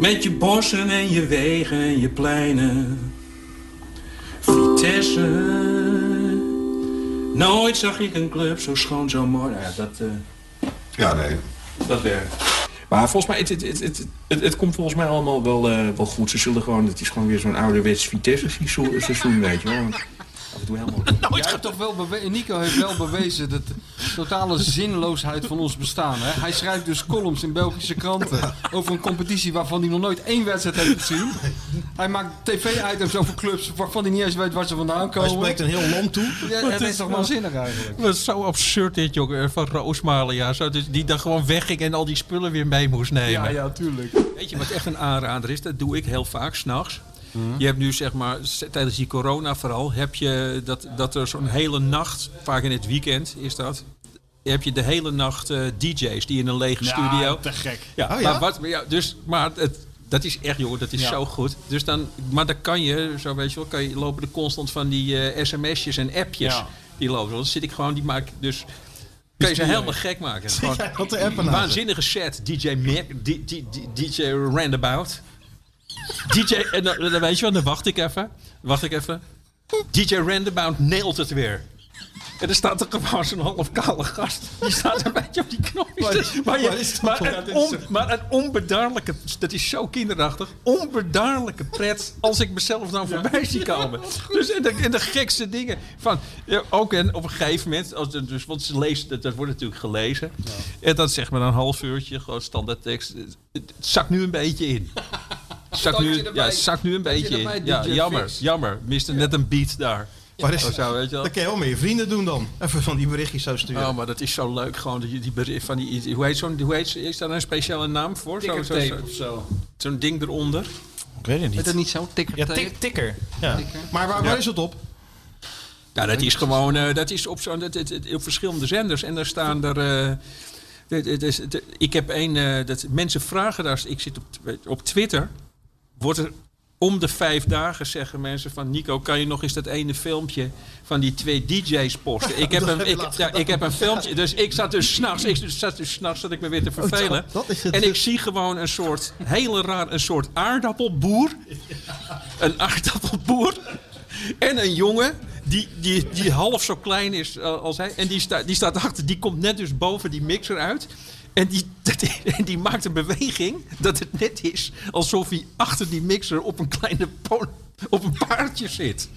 [SPEAKER 10] met je bossen en je wegen en je pleinen. Vitesse, nooit zag ik een club zo schoon, zo mooi. Nou ja, dat... eh,
[SPEAKER 9] Ja, nee.
[SPEAKER 10] dat werkt. Maar volgens mij, het, het, het, het, het, het komt volgens mij allemaal wel, eh, wel goed. Ze zullen gewoon, het is gewoon weer zo'n ouderwets Vitesse seizoen, eh, seizoen, weet je wel. Want Af en toe helemaal...
[SPEAKER 11] Jij hebt toch wel bewe- Nico heeft wel bewezen dat totale zinloosheid van ons bestaan. Hè? Hij schrijft dus columns in Belgische kranten over een competitie waarvan hij nog nooit één wedstrijd heeft gezien. Hij maakt tv-items over clubs waarvan hij niet eens weet waar ze vandaan komen.
[SPEAKER 10] Hij spreekt een heel land toe.
[SPEAKER 11] Ja, het is toch waanzinnig
[SPEAKER 5] nou?
[SPEAKER 11] eigenlijk.
[SPEAKER 10] Dat is zo absurd dit, jongen, van Roosmalen, ja. Zo, dus die dan gewoon wegging en al die spullen weer mee moest nemen.
[SPEAKER 11] Ja, ja, tuurlijk.
[SPEAKER 10] Weet je wat echt een aanrader is? Dat doe ik heel vaak s'nachts. Je hebt nu zeg maar, s- tijdens die corona vooral, heb je dat, dat er zo'n hele nacht, vaak in het weekend is dat, heb je de hele nacht eh, DJ's die in een lege
[SPEAKER 5] Ja,
[SPEAKER 10] studio.
[SPEAKER 5] te gek.
[SPEAKER 10] Ja,
[SPEAKER 5] Oh, ja?
[SPEAKER 10] Maar, wat, maar ja, dus, maar het, dat is echt, joh, dat is
[SPEAKER 5] Ja.
[SPEAKER 10] zo goed. Dus dan, maar dan kan je, zo weet je wel, kan je, lopen er constant van die eh, sms'jes en appjes.
[SPEAKER 5] Ja.
[SPEAKER 10] Die lopen. Dan zit ik gewoon, die maak ik dus. Kun je ze
[SPEAKER 5] Is die,
[SPEAKER 10] helemaal
[SPEAKER 5] eh,
[SPEAKER 10] gek maken.
[SPEAKER 5] zit
[SPEAKER 10] Gewoon
[SPEAKER 5] jij op de appen na te-
[SPEAKER 10] Waanzinnige set. DJ Mac, D- D- D- DJ Roundabout. eh, DJ, en dan, dan weet je wel, dan wacht ik even. Wacht ik even. DJ Roundabout nailt het weer. En er staat er gewoon zo'n half kale gast. Die staat een beetje op die knopjes. Maar, je-
[SPEAKER 14] maar is dat
[SPEAKER 10] maar,
[SPEAKER 14] toch- Ja,
[SPEAKER 10] een
[SPEAKER 14] dit is
[SPEAKER 10] on-
[SPEAKER 14] zo-
[SPEAKER 10] maar een onbedaarlijke... Dat is zo kinderachtig. Onbedaarlijke pret als ik mezelf dan voorbij zie komen. Dus en de, en de gekste dingen. Van, ja, ook en op een gegeven moment... Als, de- dus, want ze leest, dat, dat wordt natuurlijk gelezen. En dat zeg maar een half uurtje. Gewoon standaard tekst. Het, het zakt nu een beetje in. Het Zakt nu,
[SPEAKER 14] Tandje erbij.
[SPEAKER 10] ja, het zakt nu een
[SPEAKER 14] Tandje
[SPEAKER 10] beetje in.
[SPEAKER 14] erbij,
[SPEAKER 10] Ja,
[SPEAKER 14] DJ
[SPEAKER 10] jammer,
[SPEAKER 14] Fix.
[SPEAKER 10] jammer. Miste net een beat daar.
[SPEAKER 3] Maar is,
[SPEAKER 10] Of Oh, zo, weet je wel.
[SPEAKER 3] dat kan je wel met je vrienden doen dan. Even van die berichtjes zo sturen.
[SPEAKER 10] Oh, maar dat is zo leuk. Gewoon die, die bericht van die. Hoe heet zo'n. Hoe heet, is daar een speciale naam voor? Zo- zo-
[SPEAKER 14] Tickertape
[SPEAKER 10] zo-
[SPEAKER 14] of zo.
[SPEAKER 10] Zo'n ding eronder.
[SPEAKER 4] Ik weet het
[SPEAKER 10] Heet dat niet
[SPEAKER 4] zo?
[SPEAKER 10] Ticker
[SPEAKER 4] Ja,
[SPEAKER 10] tape?
[SPEAKER 4] tik- tikker. Ja.
[SPEAKER 10] Tikker.
[SPEAKER 3] Maar waar,
[SPEAKER 10] Ja.
[SPEAKER 3] waar is het op?
[SPEAKER 10] Ja, dat is gewoon. eh, dat is op, zo'n dat, dat- dat- op verschillende zenders. En daar staan er. eh, dit- dit is- dit- ik heb één. eh, dat, mensen vragen daar. Ik zit op, tw- op Twitter. Wordt er. Om de vijf dagen zeggen mensen van Nico, kan je nog eens dat ene filmpje van die twee DJ's posten? Ik heb
[SPEAKER 14] Dat
[SPEAKER 10] een,
[SPEAKER 14] heb je
[SPEAKER 10] ik,
[SPEAKER 14] laatst
[SPEAKER 10] ja,
[SPEAKER 14] gedaan.
[SPEAKER 10] ik heb een filmpje, dus ik zat dus s'nachts, ik zat dus 's nachts zat ik me weer te vervelen.
[SPEAKER 14] Oh, dat- dat is het.
[SPEAKER 10] en ik zie gewoon een soort, hele raar, een soort aardappelboer een aardappelboer en een jongen die, die, die half zo klein is eh, als hij. En die, sta, die staat achter, die komt net dus boven die mixer uit. En die, dat- en die maakt een beweging dat het net is alsof hij achter die mixer op een kleine pol- op een paardje zit.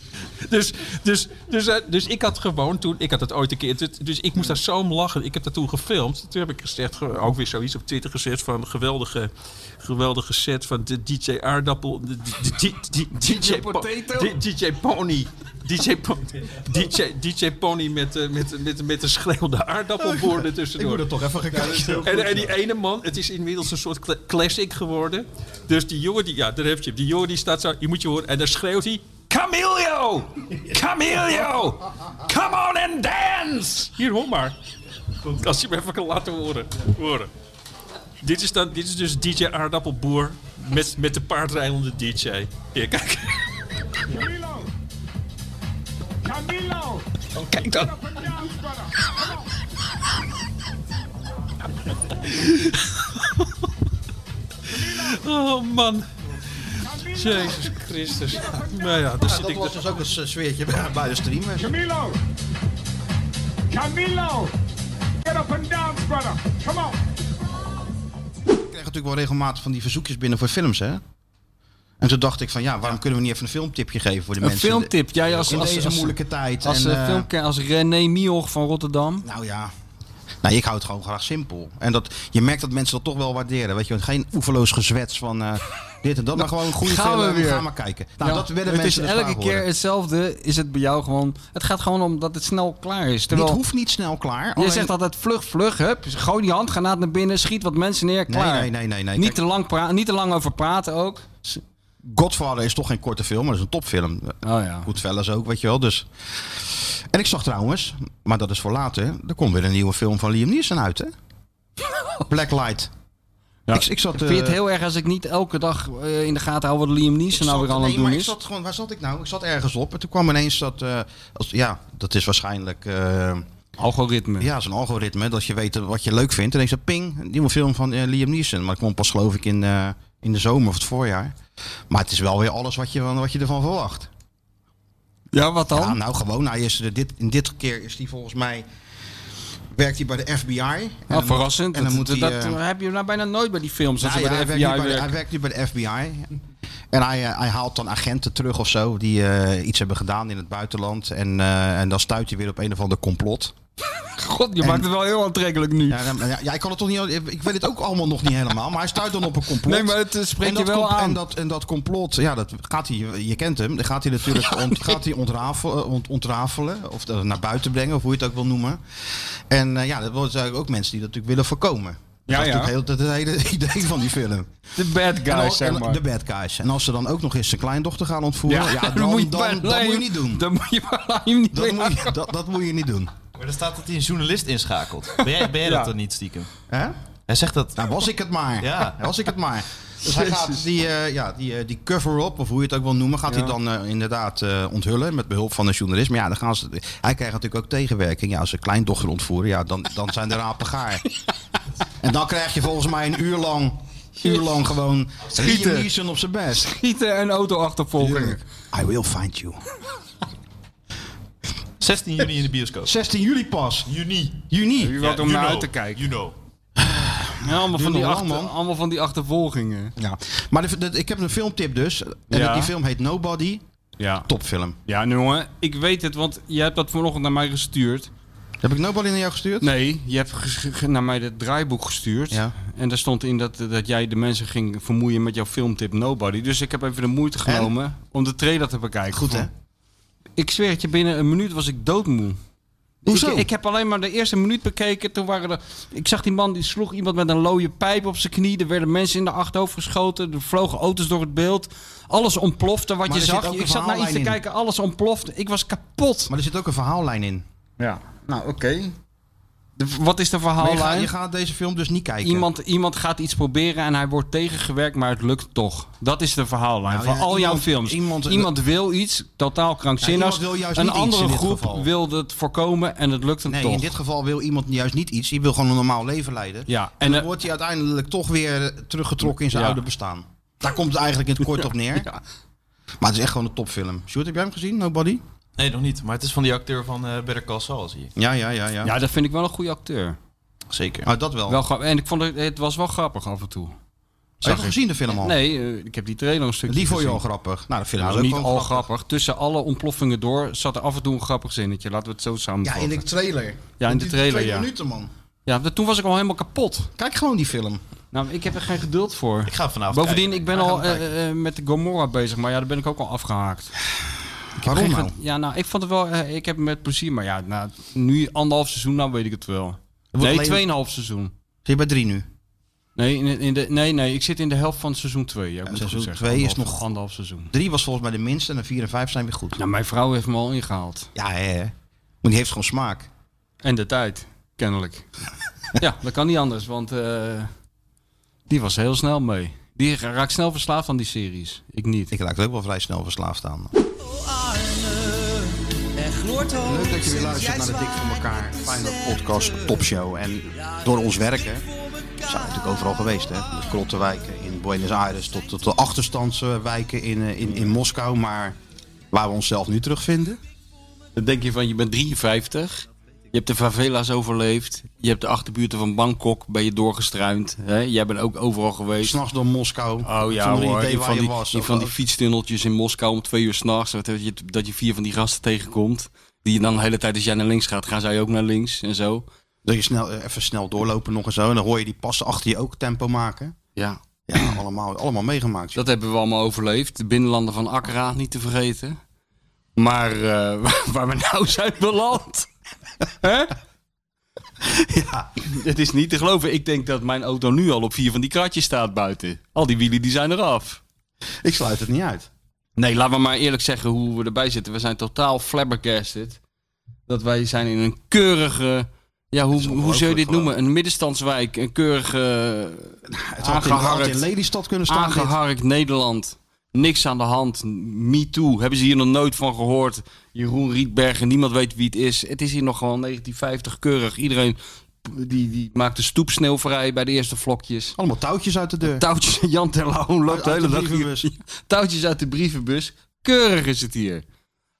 [SPEAKER 10] Dus, dus, dus, eh, dus ik had gewoon toen, ik had dat ooit een keer, dus- dus ik moest daar zo om lachen. Ik heb dat toen gefilmd. Toen heb ik gezegd, ge- ook weer zoiets op Twitter gezet van geweldige, geweldige set van de DJ Aardappel, de, de- de- de- de- DJ Po-
[SPEAKER 14] Potato?
[SPEAKER 10] de- DJ Pony. DJ, Po- DJ, DJ Pony met, eh, met, met, met een schreeuwende aardappelboer er tussendoor.
[SPEAKER 3] Oh, Ik moet er toch even gaan kijken.
[SPEAKER 10] En, en die ene man, het is inmiddels een soort cla- classic geworden. Dus die jongen, die, ja, daar heb je hem. Die jongen die staat zo, je moet je horen, en dan schreeuwt hij... Camilio! Camilio! Come on and dance! Hier, hoor maar. Als je hem even kan laten horen. horen. Dit, is dan, dit is dus DJ Aardappelboer met, met de paardrijdende DJ. Hier, kijk.
[SPEAKER 12] Camilo! Camilo!
[SPEAKER 10] Oh, kijk dan. Oh man. Jezus Christus. Nou ja,
[SPEAKER 3] Ja,
[SPEAKER 10] dus zit
[SPEAKER 3] dat
[SPEAKER 10] ik
[SPEAKER 3] was dus ook een s- sfeertje bij bij de streamers.
[SPEAKER 12] Camilo! Camilo! Get up and dance, brother! Come on!
[SPEAKER 3] Ik krijg natuurlijk wel regelmatig van die verzoekjes binnen voor films, hè? En toen dacht ik van, ja, waarom kunnen we niet even een filmtipje geven voor de
[SPEAKER 5] Een
[SPEAKER 3] mensen?
[SPEAKER 5] filmtip, jij als,
[SPEAKER 3] In
[SPEAKER 5] als,
[SPEAKER 3] deze
[SPEAKER 5] als-
[SPEAKER 3] moeilijke tijd.
[SPEAKER 5] Als,
[SPEAKER 3] en,
[SPEAKER 5] eh,
[SPEAKER 3] eh,
[SPEAKER 5] filmke- als René Mioch van Rotterdam.
[SPEAKER 3] Nou ja. Nou, ik hou het gewoon graag simpel. En dat, je merkt dat mensen dat toch wel waarderen. Weet je, want geen oeverloos gezwets van eh, dit en dat, maar gewoon een goede
[SPEAKER 5] Nou, gaan
[SPEAKER 3] film.
[SPEAKER 5] we weer.
[SPEAKER 3] Ga maar kijken. Nou,
[SPEAKER 5] Ja,
[SPEAKER 3] dat werden
[SPEAKER 5] het
[SPEAKER 3] mensen
[SPEAKER 5] is
[SPEAKER 3] dus
[SPEAKER 5] elke
[SPEAKER 3] graag
[SPEAKER 5] keer
[SPEAKER 3] horen.
[SPEAKER 5] hetzelfde. Is het bij jou gewoon. Het gaat gewoon om dat het snel klaar is. Terwijl,
[SPEAKER 3] Dit hoeft niet snel klaar.
[SPEAKER 5] Je
[SPEAKER 3] alleen-
[SPEAKER 5] zegt altijd vlug, vlug. Hup, gooi die handgranaat naar binnen. Schiet wat mensen neer. Klaar.
[SPEAKER 3] nee, nee, nee, nee.
[SPEAKER 5] Niet,
[SPEAKER 3] Kijk-
[SPEAKER 5] te lang pra- niet te lang over praten ook.
[SPEAKER 3] Godfather is toch geen korte film, maar dat is een topfilm. Oh ja. Goodfellas ook, weet je wel. Dus. En ik zag trouwens, maar dat is voor later, er komt weer een nieuwe film van Liam Neeson uit, hè? Blacklight. Ik, ik zat...
[SPEAKER 5] Vind je het
[SPEAKER 3] eh,
[SPEAKER 5] heel erg als ik niet elke dag eh, in de gaten hou wat Liam Neeson nou
[SPEAKER 3] zat-
[SPEAKER 5] weer aan
[SPEAKER 3] nee,
[SPEAKER 5] het doen
[SPEAKER 3] maar ik
[SPEAKER 5] is?
[SPEAKER 3] zat gewoon, waar zat ik nou? Ik zat ergens op en toen kwam ineens dat, eh, als, ja, dat is waarschijnlijk... eh,
[SPEAKER 5] algoritme.
[SPEAKER 3] Ja, zo'n algoritme, dat je weet wat je leuk vindt. En ineens dat ping, een nieuwe film van eh, Liam Neeson. Maar dat kwam pas geloof ik in, eh, in de zomer of het voorjaar. Maar het is wel weer alles wat je, van- wat je ervan verwacht.
[SPEAKER 5] Ja, wat dan?
[SPEAKER 3] nou, gewoon. Hij is, er dit, in dit keer is hij volgens mij... Werkt hij bij de FBI. En dan
[SPEAKER 5] Nou,
[SPEAKER 3] moet-
[SPEAKER 5] verrassend.
[SPEAKER 3] En dan moet
[SPEAKER 5] dat,
[SPEAKER 3] hij...
[SPEAKER 5] dat
[SPEAKER 3] eh,
[SPEAKER 5] heb je nou bijna nooit bij die films. als
[SPEAKER 3] nou
[SPEAKER 5] ze
[SPEAKER 3] ja,
[SPEAKER 5] bij de
[SPEAKER 3] hij,
[SPEAKER 5] FBI
[SPEAKER 3] werkt nu bij de,
[SPEAKER 5] werken.
[SPEAKER 3] hij werkt nu bij de FBI. En hij, eh, hij haalt dan agenten terug of zo die eh, iets hebben gedaan in het buitenland. En, eh, en dan stuit hij weer op een of ander complot.
[SPEAKER 5] God, je maakt het wel heel aantrekkelijk nu.
[SPEAKER 3] Ja, dan- ja, ja, ik kan het toch niet. Ik weet het ook allemaal nog niet helemaal. Maar hij stuit dan op een complot.
[SPEAKER 5] Nee, maar het, eh, spreekt
[SPEAKER 3] En dat
[SPEAKER 5] je wel
[SPEAKER 3] com-
[SPEAKER 5] aan.
[SPEAKER 3] En dat, en dat complot, ja, dat gaat hij. Je kent hem. Dan gaat hij natuurlijk ont- gaat hij ontrafelen, ont- ontrafelen. Of dat naar buiten brengen, of hoe je het ook wil noemen. En eh, ja, dat worden natuurlijk ook mensen die dat natuurlijk willen voorkomen.
[SPEAKER 5] Ja,
[SPEAKER 3] dat is
[SPEAKER 5] ja.
[SPEAKER 3] natuurlijk heel, dat is het hele idee van die film.
[SPEAKER 5] De bad
[SPEAKER 3] En al-
[SPEAKER 5] guys, zeg
[SPEAKER 3] en-
[SPEAKER 5] maar.
[SPEAKER 3] De bad guys. En als ze dan ook nog eens zijn kleindochter gaan ontvoeren, ja, dan,
[SPEAKER 5] moet je
[SPEAKER 3] dan-
[SPEAKER 5] bij
[SPEAKER 3] dat moet je
[SPEAKER 5] Liam-
[SPEAKER 3] niet doen.
[SPEAKER 5] Dat moet je bij Liam niet
[SPEAKER 3] Dat moet je, dat, dat moet je niet doen.
[SPEAKER 4] Maar er staat dat hij een journalist inschakelt. Ben jij, ben jij
[SPEAKER 3] Ja.
[SPEAKER 4] dat dan niet stiekem?
[SPEAKER 3] Hè?
[SPEAKER 4] Hij zegt dat.
[SPEAKER 3] Nou, was ik het maar.
[SPEAKER 4] Ja.
[SPEAKER 3] Was ik het maar. Dus hij gaat die, eh, ja, die, eh, die cover-up, of hoe je het ook wil noemen, gaat hij
[SPEAKER 5] Ja.
[SPEAKER 3] dan eh, inderdaad eh, onthullen met behulp van een journalist. Maar ja, dan gaan ze, hij krijgt natuurlijk ook tegenwerking. Ja, als ze kleindochter ontvoeren, ja, dan, dan zijn de rapen gaar. En dan krijg je volgens mij een uur lang, uur lang gewoon
[SPEAKER 5] Schieten.
[SPEAKER 3] Liam Neeson op zijn best.
[SPEAKER 5] Schieten en auto achtervolgen.
[SPEAKER 3] I will find you.
[SPEAKER 4] 16 juni in de bioscoop.
[SPEAKER 3] 16 juli pas.
[SPEAKER 4] Juni.
[SPEAKER 3] Juni.
[SPEAKER 4] U
[SPEAKER 5] wat om naar uit te kijken.
[SPEAKER 4] You know.
[SPEAKER 5] Ja, allemaal,
[SPEAKER 3] Doe
[SPEAKER 5] van die
[SPEAKER 3] nog
[SPEAKER 5] achter-
[SPEAKER 3] lang, man.
[SPEAKER 5] allemaal van die achtervolgingen.
[SPEAKER 3] Ja. Maar de- de- ik heb een filmtip dus. En
[SPEAKER 5] Ja.
[SPEAKER 3] die film heet Nobody.
[SPEAKER 5] Ja.
[SPEAKER 3] Topfilm.
[SPEAKER 5] Ja, nu, jongen, ik weet het, want jij hebt dat vanochtend naar mij gestuurd.
[SPEAKER 3] Heb ik Nobody naar jou gestuurd?
[SPEAKER 5] Nee, je hebt ges- ge- naar mij het draaiboek gestuurd.
[SPEAKER 3] Ja.
[SPEAKER 5] En daar stond in dat, dat jij de mensen ging vermoeien met jouw filmtip Nobody. Dus ik heb even de moeite genomen om de trailer te bekijken. Goed, hè? Ik zweer het je, binnen een minuut was ik doodmoe.
[SPEAKER 3] Hoezo?
[SPEAKER 5] Ik, ik heb alleen maar de eerste minuut bekeken. Toen waren er, ik zag die man die sloeg iemand met een looie pijp op zijn knie. Er werden mensen in de achterhoofd geschoten. Er vlogen auto's door het beeld. Alles ontplofte wat
[SPEAKER 3] Maar
[SPEAKER 5] je
[SPEAKER 3] er zit
[SPEAKER 5] zag.
[SPEAKER 3] ook een
[SPEAKER 5] Ik zat naar iets te
[SPEAKER 3] verhaallijn in.
[SPEAKER 5] kijken, alles ontplofte. Ik was kapot.
[SPEAKER 3] Maar er zit ook een verhaallijn in.
[SPEAKER 5] Ja, nou oké. De- Wat is de
[SPEAKER 3] Maar je,
[SPEAKER 5] verhaallijn?
[SPEAKER 3] gaat, je gaat deze film dus niet kijken.
[SPEAKER 5] Iemand, iemand gaat iets proberen en hij wordt tegengewerkt, maar het lukt toch. Dat is de verhaallijn
[SPEAKER 3] Nou
[SPEAKER 5] van
[SPEAKER 3] ja,
[SPEAKER 5] al jouw
[SPEAKER 3] iemand-
[SPEAKER 5] films.
[SPEAKER 3] iemand-
[SPEAKER 5] Iemand, wil iets totaal krankzinnigs.
[SPEAKER 3] Ja, iemand wil juist
[SPEAKER 5] een
[SPEAKER 3] niet iets
[SPEAKER 5] andere
[SPEAKER 3] in dit
[SPEAKER 5] groep
[SPEAKER 3] geval.
[SPEAKER 5] wil het voorkomen en het lukt hem
[SPEAKER 3] Nee,
[SPEAKER 5] toch.
[SPEAKER 3] in dit geval wil iemand juist niet iets. Die wil gewoon een normaal leven leiden.
[SPEAKER 5] Ja, en,
[SPEAKER 3] en, dan
[SPEAKER 5] eh,
[SPEAKER 3] wordt hij uiteindelijk toch weer eh, teruggetrokken in zijn
[SPEAKER 5] Ja.
[SPEAKER 3] oude bestaan. Daar komt het eigenlijk in het kort op neer. Maar het is echt gewoon een topfilm. Sjoerd, heb jij hem gezien? Nobody?
[SPEAKER 4] Nee, nog niet. Maar het is van die acteur van eh Better Call Saul, zie ik.
[SPEAKER 3] Ja, ja, ja. ja.
[SPEAKER 5] Ja, dat vind ik wel een goede acteur.
[SPEAKER 4] Zeker.
[SPEAKER 3] Oh, dat wel.
[SPEAKER 5] Wel grap- en ik vond het, het was wel grappig af en toe.
[SPEAKER 3] Heb
[SPEAKER 5] Zag
[SPEAKER 3] je
[SPEAKER 5] ik.
[SPEAKER 3] gezien de film al?
[SPEAKER 5] Nee, eh, ik heb die trailer een stukje
[SPEAKER 3] Die vond je al
[SPEAKER 5] gezien.
[SPEAKER 3] grappig. Nou, de film
[SPEAKER 5] Nou,
[SPEAKER 3] was ook
[SPEAKER 5] niet
[SPEAKER 3] wel
[SPEAKER 5] al
[SPEAKER 3] grappig.
[SPEAKER 5] grappig. Tussen alle ontploffingen door zat er af en toe een grappig zinnetje. Laten we het zo
[SPEAKER 3] Ja,
[SPEAKER 5] samenvatten.
[SPEAKER 3] in de trailer.
[SPEAKER 5] Ja, in de trailer,
[SPEAKER 3] Twee
[SPEAKER 5] ja.
[SPEAKER 3] minuten, man.
[SPEAKER 5] Ja, maar toen was ik al helemaal kapot.
[SPEAKER 3] Kijk gewoon die film.
[SPEAKER 5] Nou, ik heb er geen geduld voor.
[SPEAKER 4] Ik ga het vanavond
[SPEAKER 5] Bovendien,
[SPEAKER 4] kijken.
[SPEAKER 5] ik ben
[SPEAKER 4] Wij gaan
[SPEAKER 5] al
[SPEAKER 4] hem
[SPEAKER 5] eh, eh, met de Gomorra bezig, maar ja, daar ben ik ook al afgehaakt. Ik heb
[SPEAKER 3] Waarom
[SPEAKER 5] geen
[SPEAKER 3] nou?
[SPEAKER 5] ge- Ja, nou, ik vond het wel, eh, ik heb het met plezier, maar ja, nou, nu anderhalf seizoen, nou weet ik het wel.
[SPEAKER 3] wordt
[SPEAKER 5] Nee,
[SPEAKER 3] alleen-
[SPEAKER 5] tweeënhalf seizoen.
[SPEAKER 3] Hm. Zit je bij drie nu?
[SPEAKER 5] Nee, in, in de, nee, nee, ik zit in de helft van seizoen 2. Ja, ik moet het goed
[SPEAKER 3] Seizoen
[SPEAKER 5] zeggen.
[SPEAKER 3] 2 is
[SPEAKER 5] Anderhalf-
[SPEAKER 3] nog...
[SPEAKER 5] Anderhalf seizoen.
[SPEAKER 3] Drie was volgens mij de minste en de vier en vijf zijn weer goed.
[SPEAKER 5] Nou, mijn vrouw heeft me al ingehaald.
[SPEAKER 3] Ja, hè. hè. Maar die heeft gewoon smaak.
[SPEAKER 5] En de tijd, kennelijk. ja, dat kan niet anders, want eh, die was heel snel mee. Die raakt snel verslaafd aan die series. Ik niet.
[SPEAKER 3] Ik raak er ook wel vrij snel verslaafd aan.
[SPEAKER 18] Oh, Er gloort hoop
[SPEAKER 3] Leuk dat je weer
[SPEAKER 18] sinds
[SPEAKER 3] luistert
[SPEAKER 18] jij
[SPEAKER 3] naar de Dik van
[SPEAKER 18] zwaait
[SPEAKER 3] elkaar.
[SPEAKER 18] met
[SPEAKER 3] Fijne
[SPEAKER 18] sterkte.
[SPEAKER 3] podcast, topshow. En door ons werken zijn we natuurlijk overal geweest. Hè? De krottenwijken in Buenos Aires tot, tot de achterstandswijken in, eh, in, in Moskou. Maar waar we onszelf nu terugvinden.
[SPEAKER 5] Dan denk je van, je bent 53. Je hebt de favela's overleefd. Je hebt de achterbuurten van Bangkok, ben je doorgestruind. Hè? Jij bent ook overal geweest.
[SPEAKER 3] S'nachts door Moskou.
[SPEAKER 5] Oh ja
[SPEAKER 3] Zonder
[SPEAKER 5] hoor,
[SPEAKER 3] idee
[SPEAKER 5] die
[SPEAKER 3] waar
[SPEAKER 5] van,
[SPEAKER 3] je
[SPEAKER 5] die,
[SPEAKER 3] was.
[SPEAKER 5] die
[SPEAKER 3] of
[SPEAKER 5] van die
[SPEAKER 3] wat.
[SPEAKER 5] fietstunneltjes in Moskou om twee uur s'nachts. Dat je, dat je vier van die gasten tegenkomt. Die je dan de hele tijd als jij naar links gaat, gaan zij ook naar links en zo.
[SPEAKER 3] Dat je snel, eh, even snel doorlopen nog en zo. En dan hoor je die passen achter je ook tempo maken.
[SPEAKER 5] Ja,
[SPEAKER 3] Ja, allemaal, allemaal meegemaakt. joh.
[SPEAKER 5] dat hebben we allemaal overleefd. De binnenlanden van Accra niet te vergeten. Maar eh, waar- waar we nou zijn beland. Hè?
[SPEAKER 3] Ja.
[SPEAKER 5] Het is niet te geloven. Ik denk dat mijn auto nu al op vier van die kratjes staat buiten. Al die wielen die zijn eraf.
[SPEAKER 3] Ik sluit het niet uit.
[SPEAKER 5] Nee, laten we maar eerlijk zeggen hoe we erbij zitten. We zijn totaal flabbergasted. Dat wij zijn in een keurige... Ja, hoe, hoe zou je Nou, dit noemen? Een middenstandswijk. Een keurige...
[SPEAKER 3] Het had in, had in Lelystad kunnen staan. dit.
[SPEAKER 5] Aangeharkt Nederland. Niks aan de hand. Me too. Hebben ze hier nog nooit van gehoord. Jeroen Rietbergen. Niemand weet wie het is. Het is hier nog gewoon 1950 keurig. Iedereen die, die maakt de stoep sneeuwvrij bij de eerste vlokjes.
[SPEAKER 3] Allemaal touwtjes uit de deur.
[SPEAKER 5] Touwtjes. Jan Terlouw loopt de
[SPEAKER 3] Uit de
[SPEAKER 5] hele dag
[SPEAKER 3] brievenbus.
[SPEAKER 5] hier. Touwtjes uit de brievenbus. Keurig is het hier.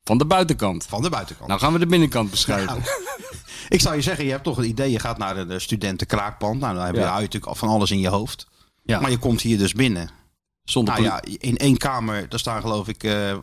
[SPEAKER 5] Van de buitenkant.
[SPEAKER 3] Van de buitenkant.
[SPEAKER 5] Nou gaan we de binnenkant beschrijven.
[SPEAKER 3] Nou. Ik zou je zeggen, je hebt toch een idee. Je gaat naar een eh, studentenkraakpand. Nou, dan heb je
[SPEAKER 5] Ja.
[SPEAKER 3] daar natuurlijk al van alles in je hoofd.
[SPEAKER 5] Ja.
[SPEAKER 3] Maar je komt hier dus binnen.
[SPEAKER 5] Zonder
[SPEAKER 3] nou
[SPEAKER 5] poli-
[SPEAKER 3] ja, in één kamer, daar staan geloof ik eh,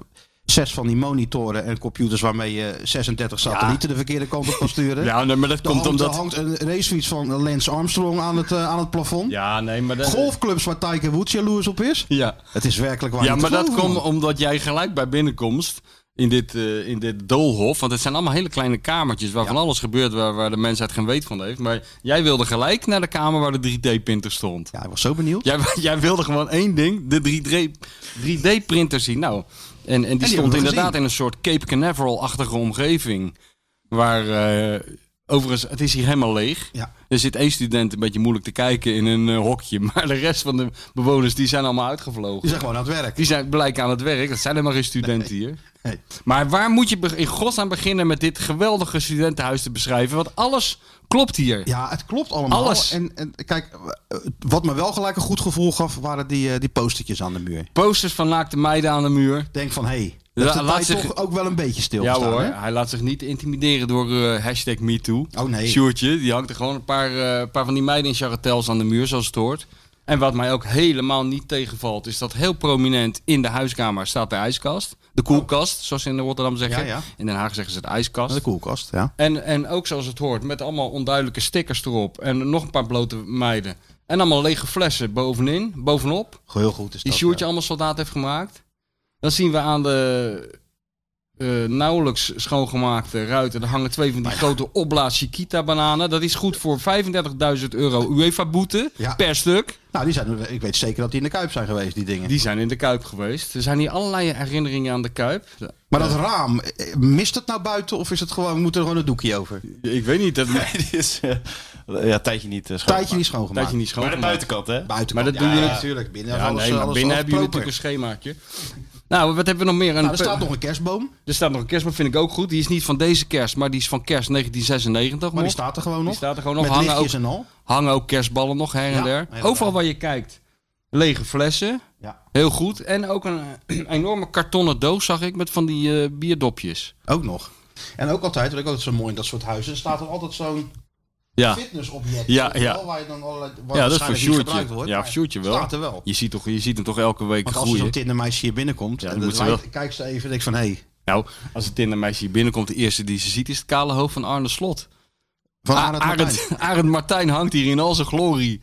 [SPEAKER 3] zes van die monitoren en computers waarmee je 36 satellieten de verkeerde kant op kan sturen.
[SPEAKER 5] Ja, nee, maar dat
[SPEAKER 3] Er
[SPEAKER 5] komt
[SPEAKER 3] hangt,
[SPEAKER 5] omdat...
[SPEAKER 3] er hangt een racefiets van Lance Armstrong aan het, eh, aan het plafond.
[SPEAKER 5] Ja, nee, maar dat...
[SPEAKER 3] Golfclubs waar Tiger Woods jaloers op is.
[SPEAKER 5] Ja.
[SPEAKER 3] Het is werkelijk waar.
[SPEAKER 5] Ja,
[SPEAKER 3] niet
[SPEAKER 5] maar
[SPEAKER 3] te
[SPEAKER 5] dat
[SPEAKER 3] geloven,
[SPEAKER 5] komt
[SPEAKER 3] man.
[SPEAKER 5] omdat jij gelijk bij binnenkomst in dit, eh, in dit doolhof, want het zijn allemaal hele kleine kamertjes waar van alles gebeurt waar, waar de mensheid geen weet van heeft. Maar jij wilde gelijk naar de kamer waar de 3D-printer stond.
[SPEAKER 3] Ja, ik was zo benieuwd.
[SPEAKER 5] Jij, jij wilde gewoon één ding, de 3D 3D-printer zien. Nou, en, en
[SPEAKER 3] die
[SPEAKER 5] die, stond
[SPEAKER 3] hebben we
[SPEAKER 5] inderdaad
[SPEAKER 3] gezien.
[SPEAKER 5] in een soort Cape Canaveral-achtige omgeving. Waar, eh, overigens, het is hier helemaal leeg.
[SPEAKER 3] Ja.
[SPEAKER 5] Er zit één student een beetje moeilijk te kijken in een eh, hokje. Maar de rest van de bewoners, die zijn allemaal uitgevlogen.
[SPEAKER 3] Die zijn gewoon aan het werk.
[SPEAKER 5] Die zijn blijkbaar aan het werk. Dat zijn helemaal geen studenten hier. Maar waar moet je be- in godsnaam beginnen met dit geweldige studentenhuis te beschrijven? Want alles klopt hier.
[SPEAKER 3] Ja, het klopt allemaal.
[SPEAKER 5] Alles.
[SPEAKER 3] En, en kijk, eh, wat me wel gelijk een goed gevoel gaf, waren die, eh, die postertjes aan de muur.
[SPEAKER 5] Posters van naakte meiden aan de muur.
[SPEAKER 3] Denk van, hé, hey, Dat
[SPEAKER 5] hij
[SPEAKER 3] laat zich toch ook wel een beetje stil.
[SPEAKER 5] Ja hoor, hij laat zich niet intimideren door eh, hashtag MeToo.
[SPEAKER 3] Oh nee.
[SPEAKER 5] Sjoertje, die hangt er gewoon een paar, eh, paar van die meiden in charretels aan de muur, zoals het hoort. En wat mij ook helemaal niet tegenvalt, is dat heel prominent in de huiskamer staat de ijskast. De koelkast, zoals ze in Rotterdam zeggen.
[SPEAKER 3] Ja, ja.
[SPEAKER 5] In Den Haag zeggen ze het ijskast.
[SPEAKER 3] De koelkast, ja.
[SPEAKER 5] En, en ook zoals het hoort, met allemaal onduidelijke stickers erop. En nog een paar blote meiden. En allemaal lege flessen bovenin, bovenop.
[SPEAKER 3] Heel goed is
[SPEAKER 5] Die
[SPEAKER 3] dat.
[SPEAKER 5] Sjoertje allemaal soldaat heeft gemaakt. Dan zien we aan de eh, nauwelijks schoongemaakte ruiten. Er hangen twee van die grote opblaas Chiquita bananen. Dat is goed voor 35.000 euro UEFA-boete per stuk.
[SPEAKER 3] Nou, die zijn, ik weet zeker dat die in de Kuip zijn geweest, die dingen.
[SPEAKER 5] Die zijn in de Kuip geweest. Er zijn hier allerlei herinneringen aan de Kuip.
[SPEAKER 3] Maar dat raam, eh, mist het nou buiten of is het gewoon, moet er gewoon een doekje over?
[SPEAKER 5] Ik weet niet. Dat...
[SPEAKER 4] is, eh, ja, tijdje niet schoon.
[SPEAKER 3] Tijdje niet schoongemaakt.
[SPEAKER 5] eh, Tijdje niet schoongemaakt.
[SPEAKER 4] Maar de buitenkant, hè?
[SPEAKER 5] Maar dat
[SPEAKER 3] Ja,
[SPEAKER 5] doen
[SPEAKER 3] ja,
[SPEAKER 5] jullie
[SPEAKER 3] natuurlijk. Binnen
[SPEAKER 5] ja,
[SPEAKER 3] is alles-
[SPEAKER 5] nee, maar
[SPEAKER 3] alles-
[SPEAKER 5] binnen
[SPEAKER 3] alles
[SPEAKER 5] hebben jullie
[SPEAKER 3] proper.
[SPEAKER 5] natuurlijk een schemaatje. Nou, wat hebben we nog meer? Een
[SPEAKER 3] Nou, er staat nog een kerstboom.
[SPEAKER 5] Er staat nog een kerstboom, vind ik ook goed. Die is niet van deze kerst, maar die is van kerst 1996.
[SPEAKER 3] Maar die
[SPEAKER 5] nog.
[SPEAKER 3] staat er gewoon nog.
[SPEAKER 5] Die staat er gewoon nog.
[SPEAKER 3] Met
[SPEAKER 5] hangen ook,
[SPEAKER 3] lichtjes en al.
[SPEAKER 5] hangen ook kerstballen nog her en
[SPEAKER 3] Ja,
[SPEAKER 5] der.
[SPEAKER 3] helemaal.
[SPEAKER 5] Overal waar je kijkt, lege flessen.
[SPEAKER 3] Ja.
[SPEAKER 5] Heel goed. En ook een eh, enorme kartonnen doos zag ik met van die eh, bierdopjes.
[SPEAKER 3] Ook nog. En ook altijd, wat ik altijd zo mooi in dat soort huizen, er staat er altijd zo'n
[SPEAKER 5] Ja.
[SPEAKER 3] fitnessobject.
[SPEAKER 5] Ja,
[SPEAKER 3] weet je
[SPEAKER 5] ja.
[SPEAKER 3] wel, Waar je dan allerlei, waar
[SPEAKER 5] Ja, dat is voor
[SPEAKER 3] waarschijnlijk niet
[SPEAKER 5] Sjoertje.
[SPEAKER 3] gebruikt wordt,
[SPEAKER 5] Ja,
[SPEAKER 3] maar
[SPEAKER 5] voor Sjoertje wel.
[SPEAKER 3] Staat er wel.
[SPEAKER 5] Je ziet, toch, je ziet hem toch elke week
[SPEAKER 3] Want als er
[SPEAKER 5] groeien.
[SPEAKER 3] zo'n tindermeisje hier binnenkomt, en
[SPEAKER 5] moet
[SPEAKER 3] dat
[SPEAKER 5] ze
[SPEAKER 3] lijkt-
[SPEAKER 5] wel-
[SPEAKER 3] kijkt ze even, denk ik van, hé, hey,
[SPEAKER 5] Nou, als het tindermeisje hier binnenkomt, de eerste die ze ziet is het kale hoofd van Arne Slot.
[SPEAKER 3] Van
[SPEAKER 5] A-
[SPEAKER 3] Arend
[SPEAKER 5] Arend, Arend Martijn hangt hier in al zijn glorie.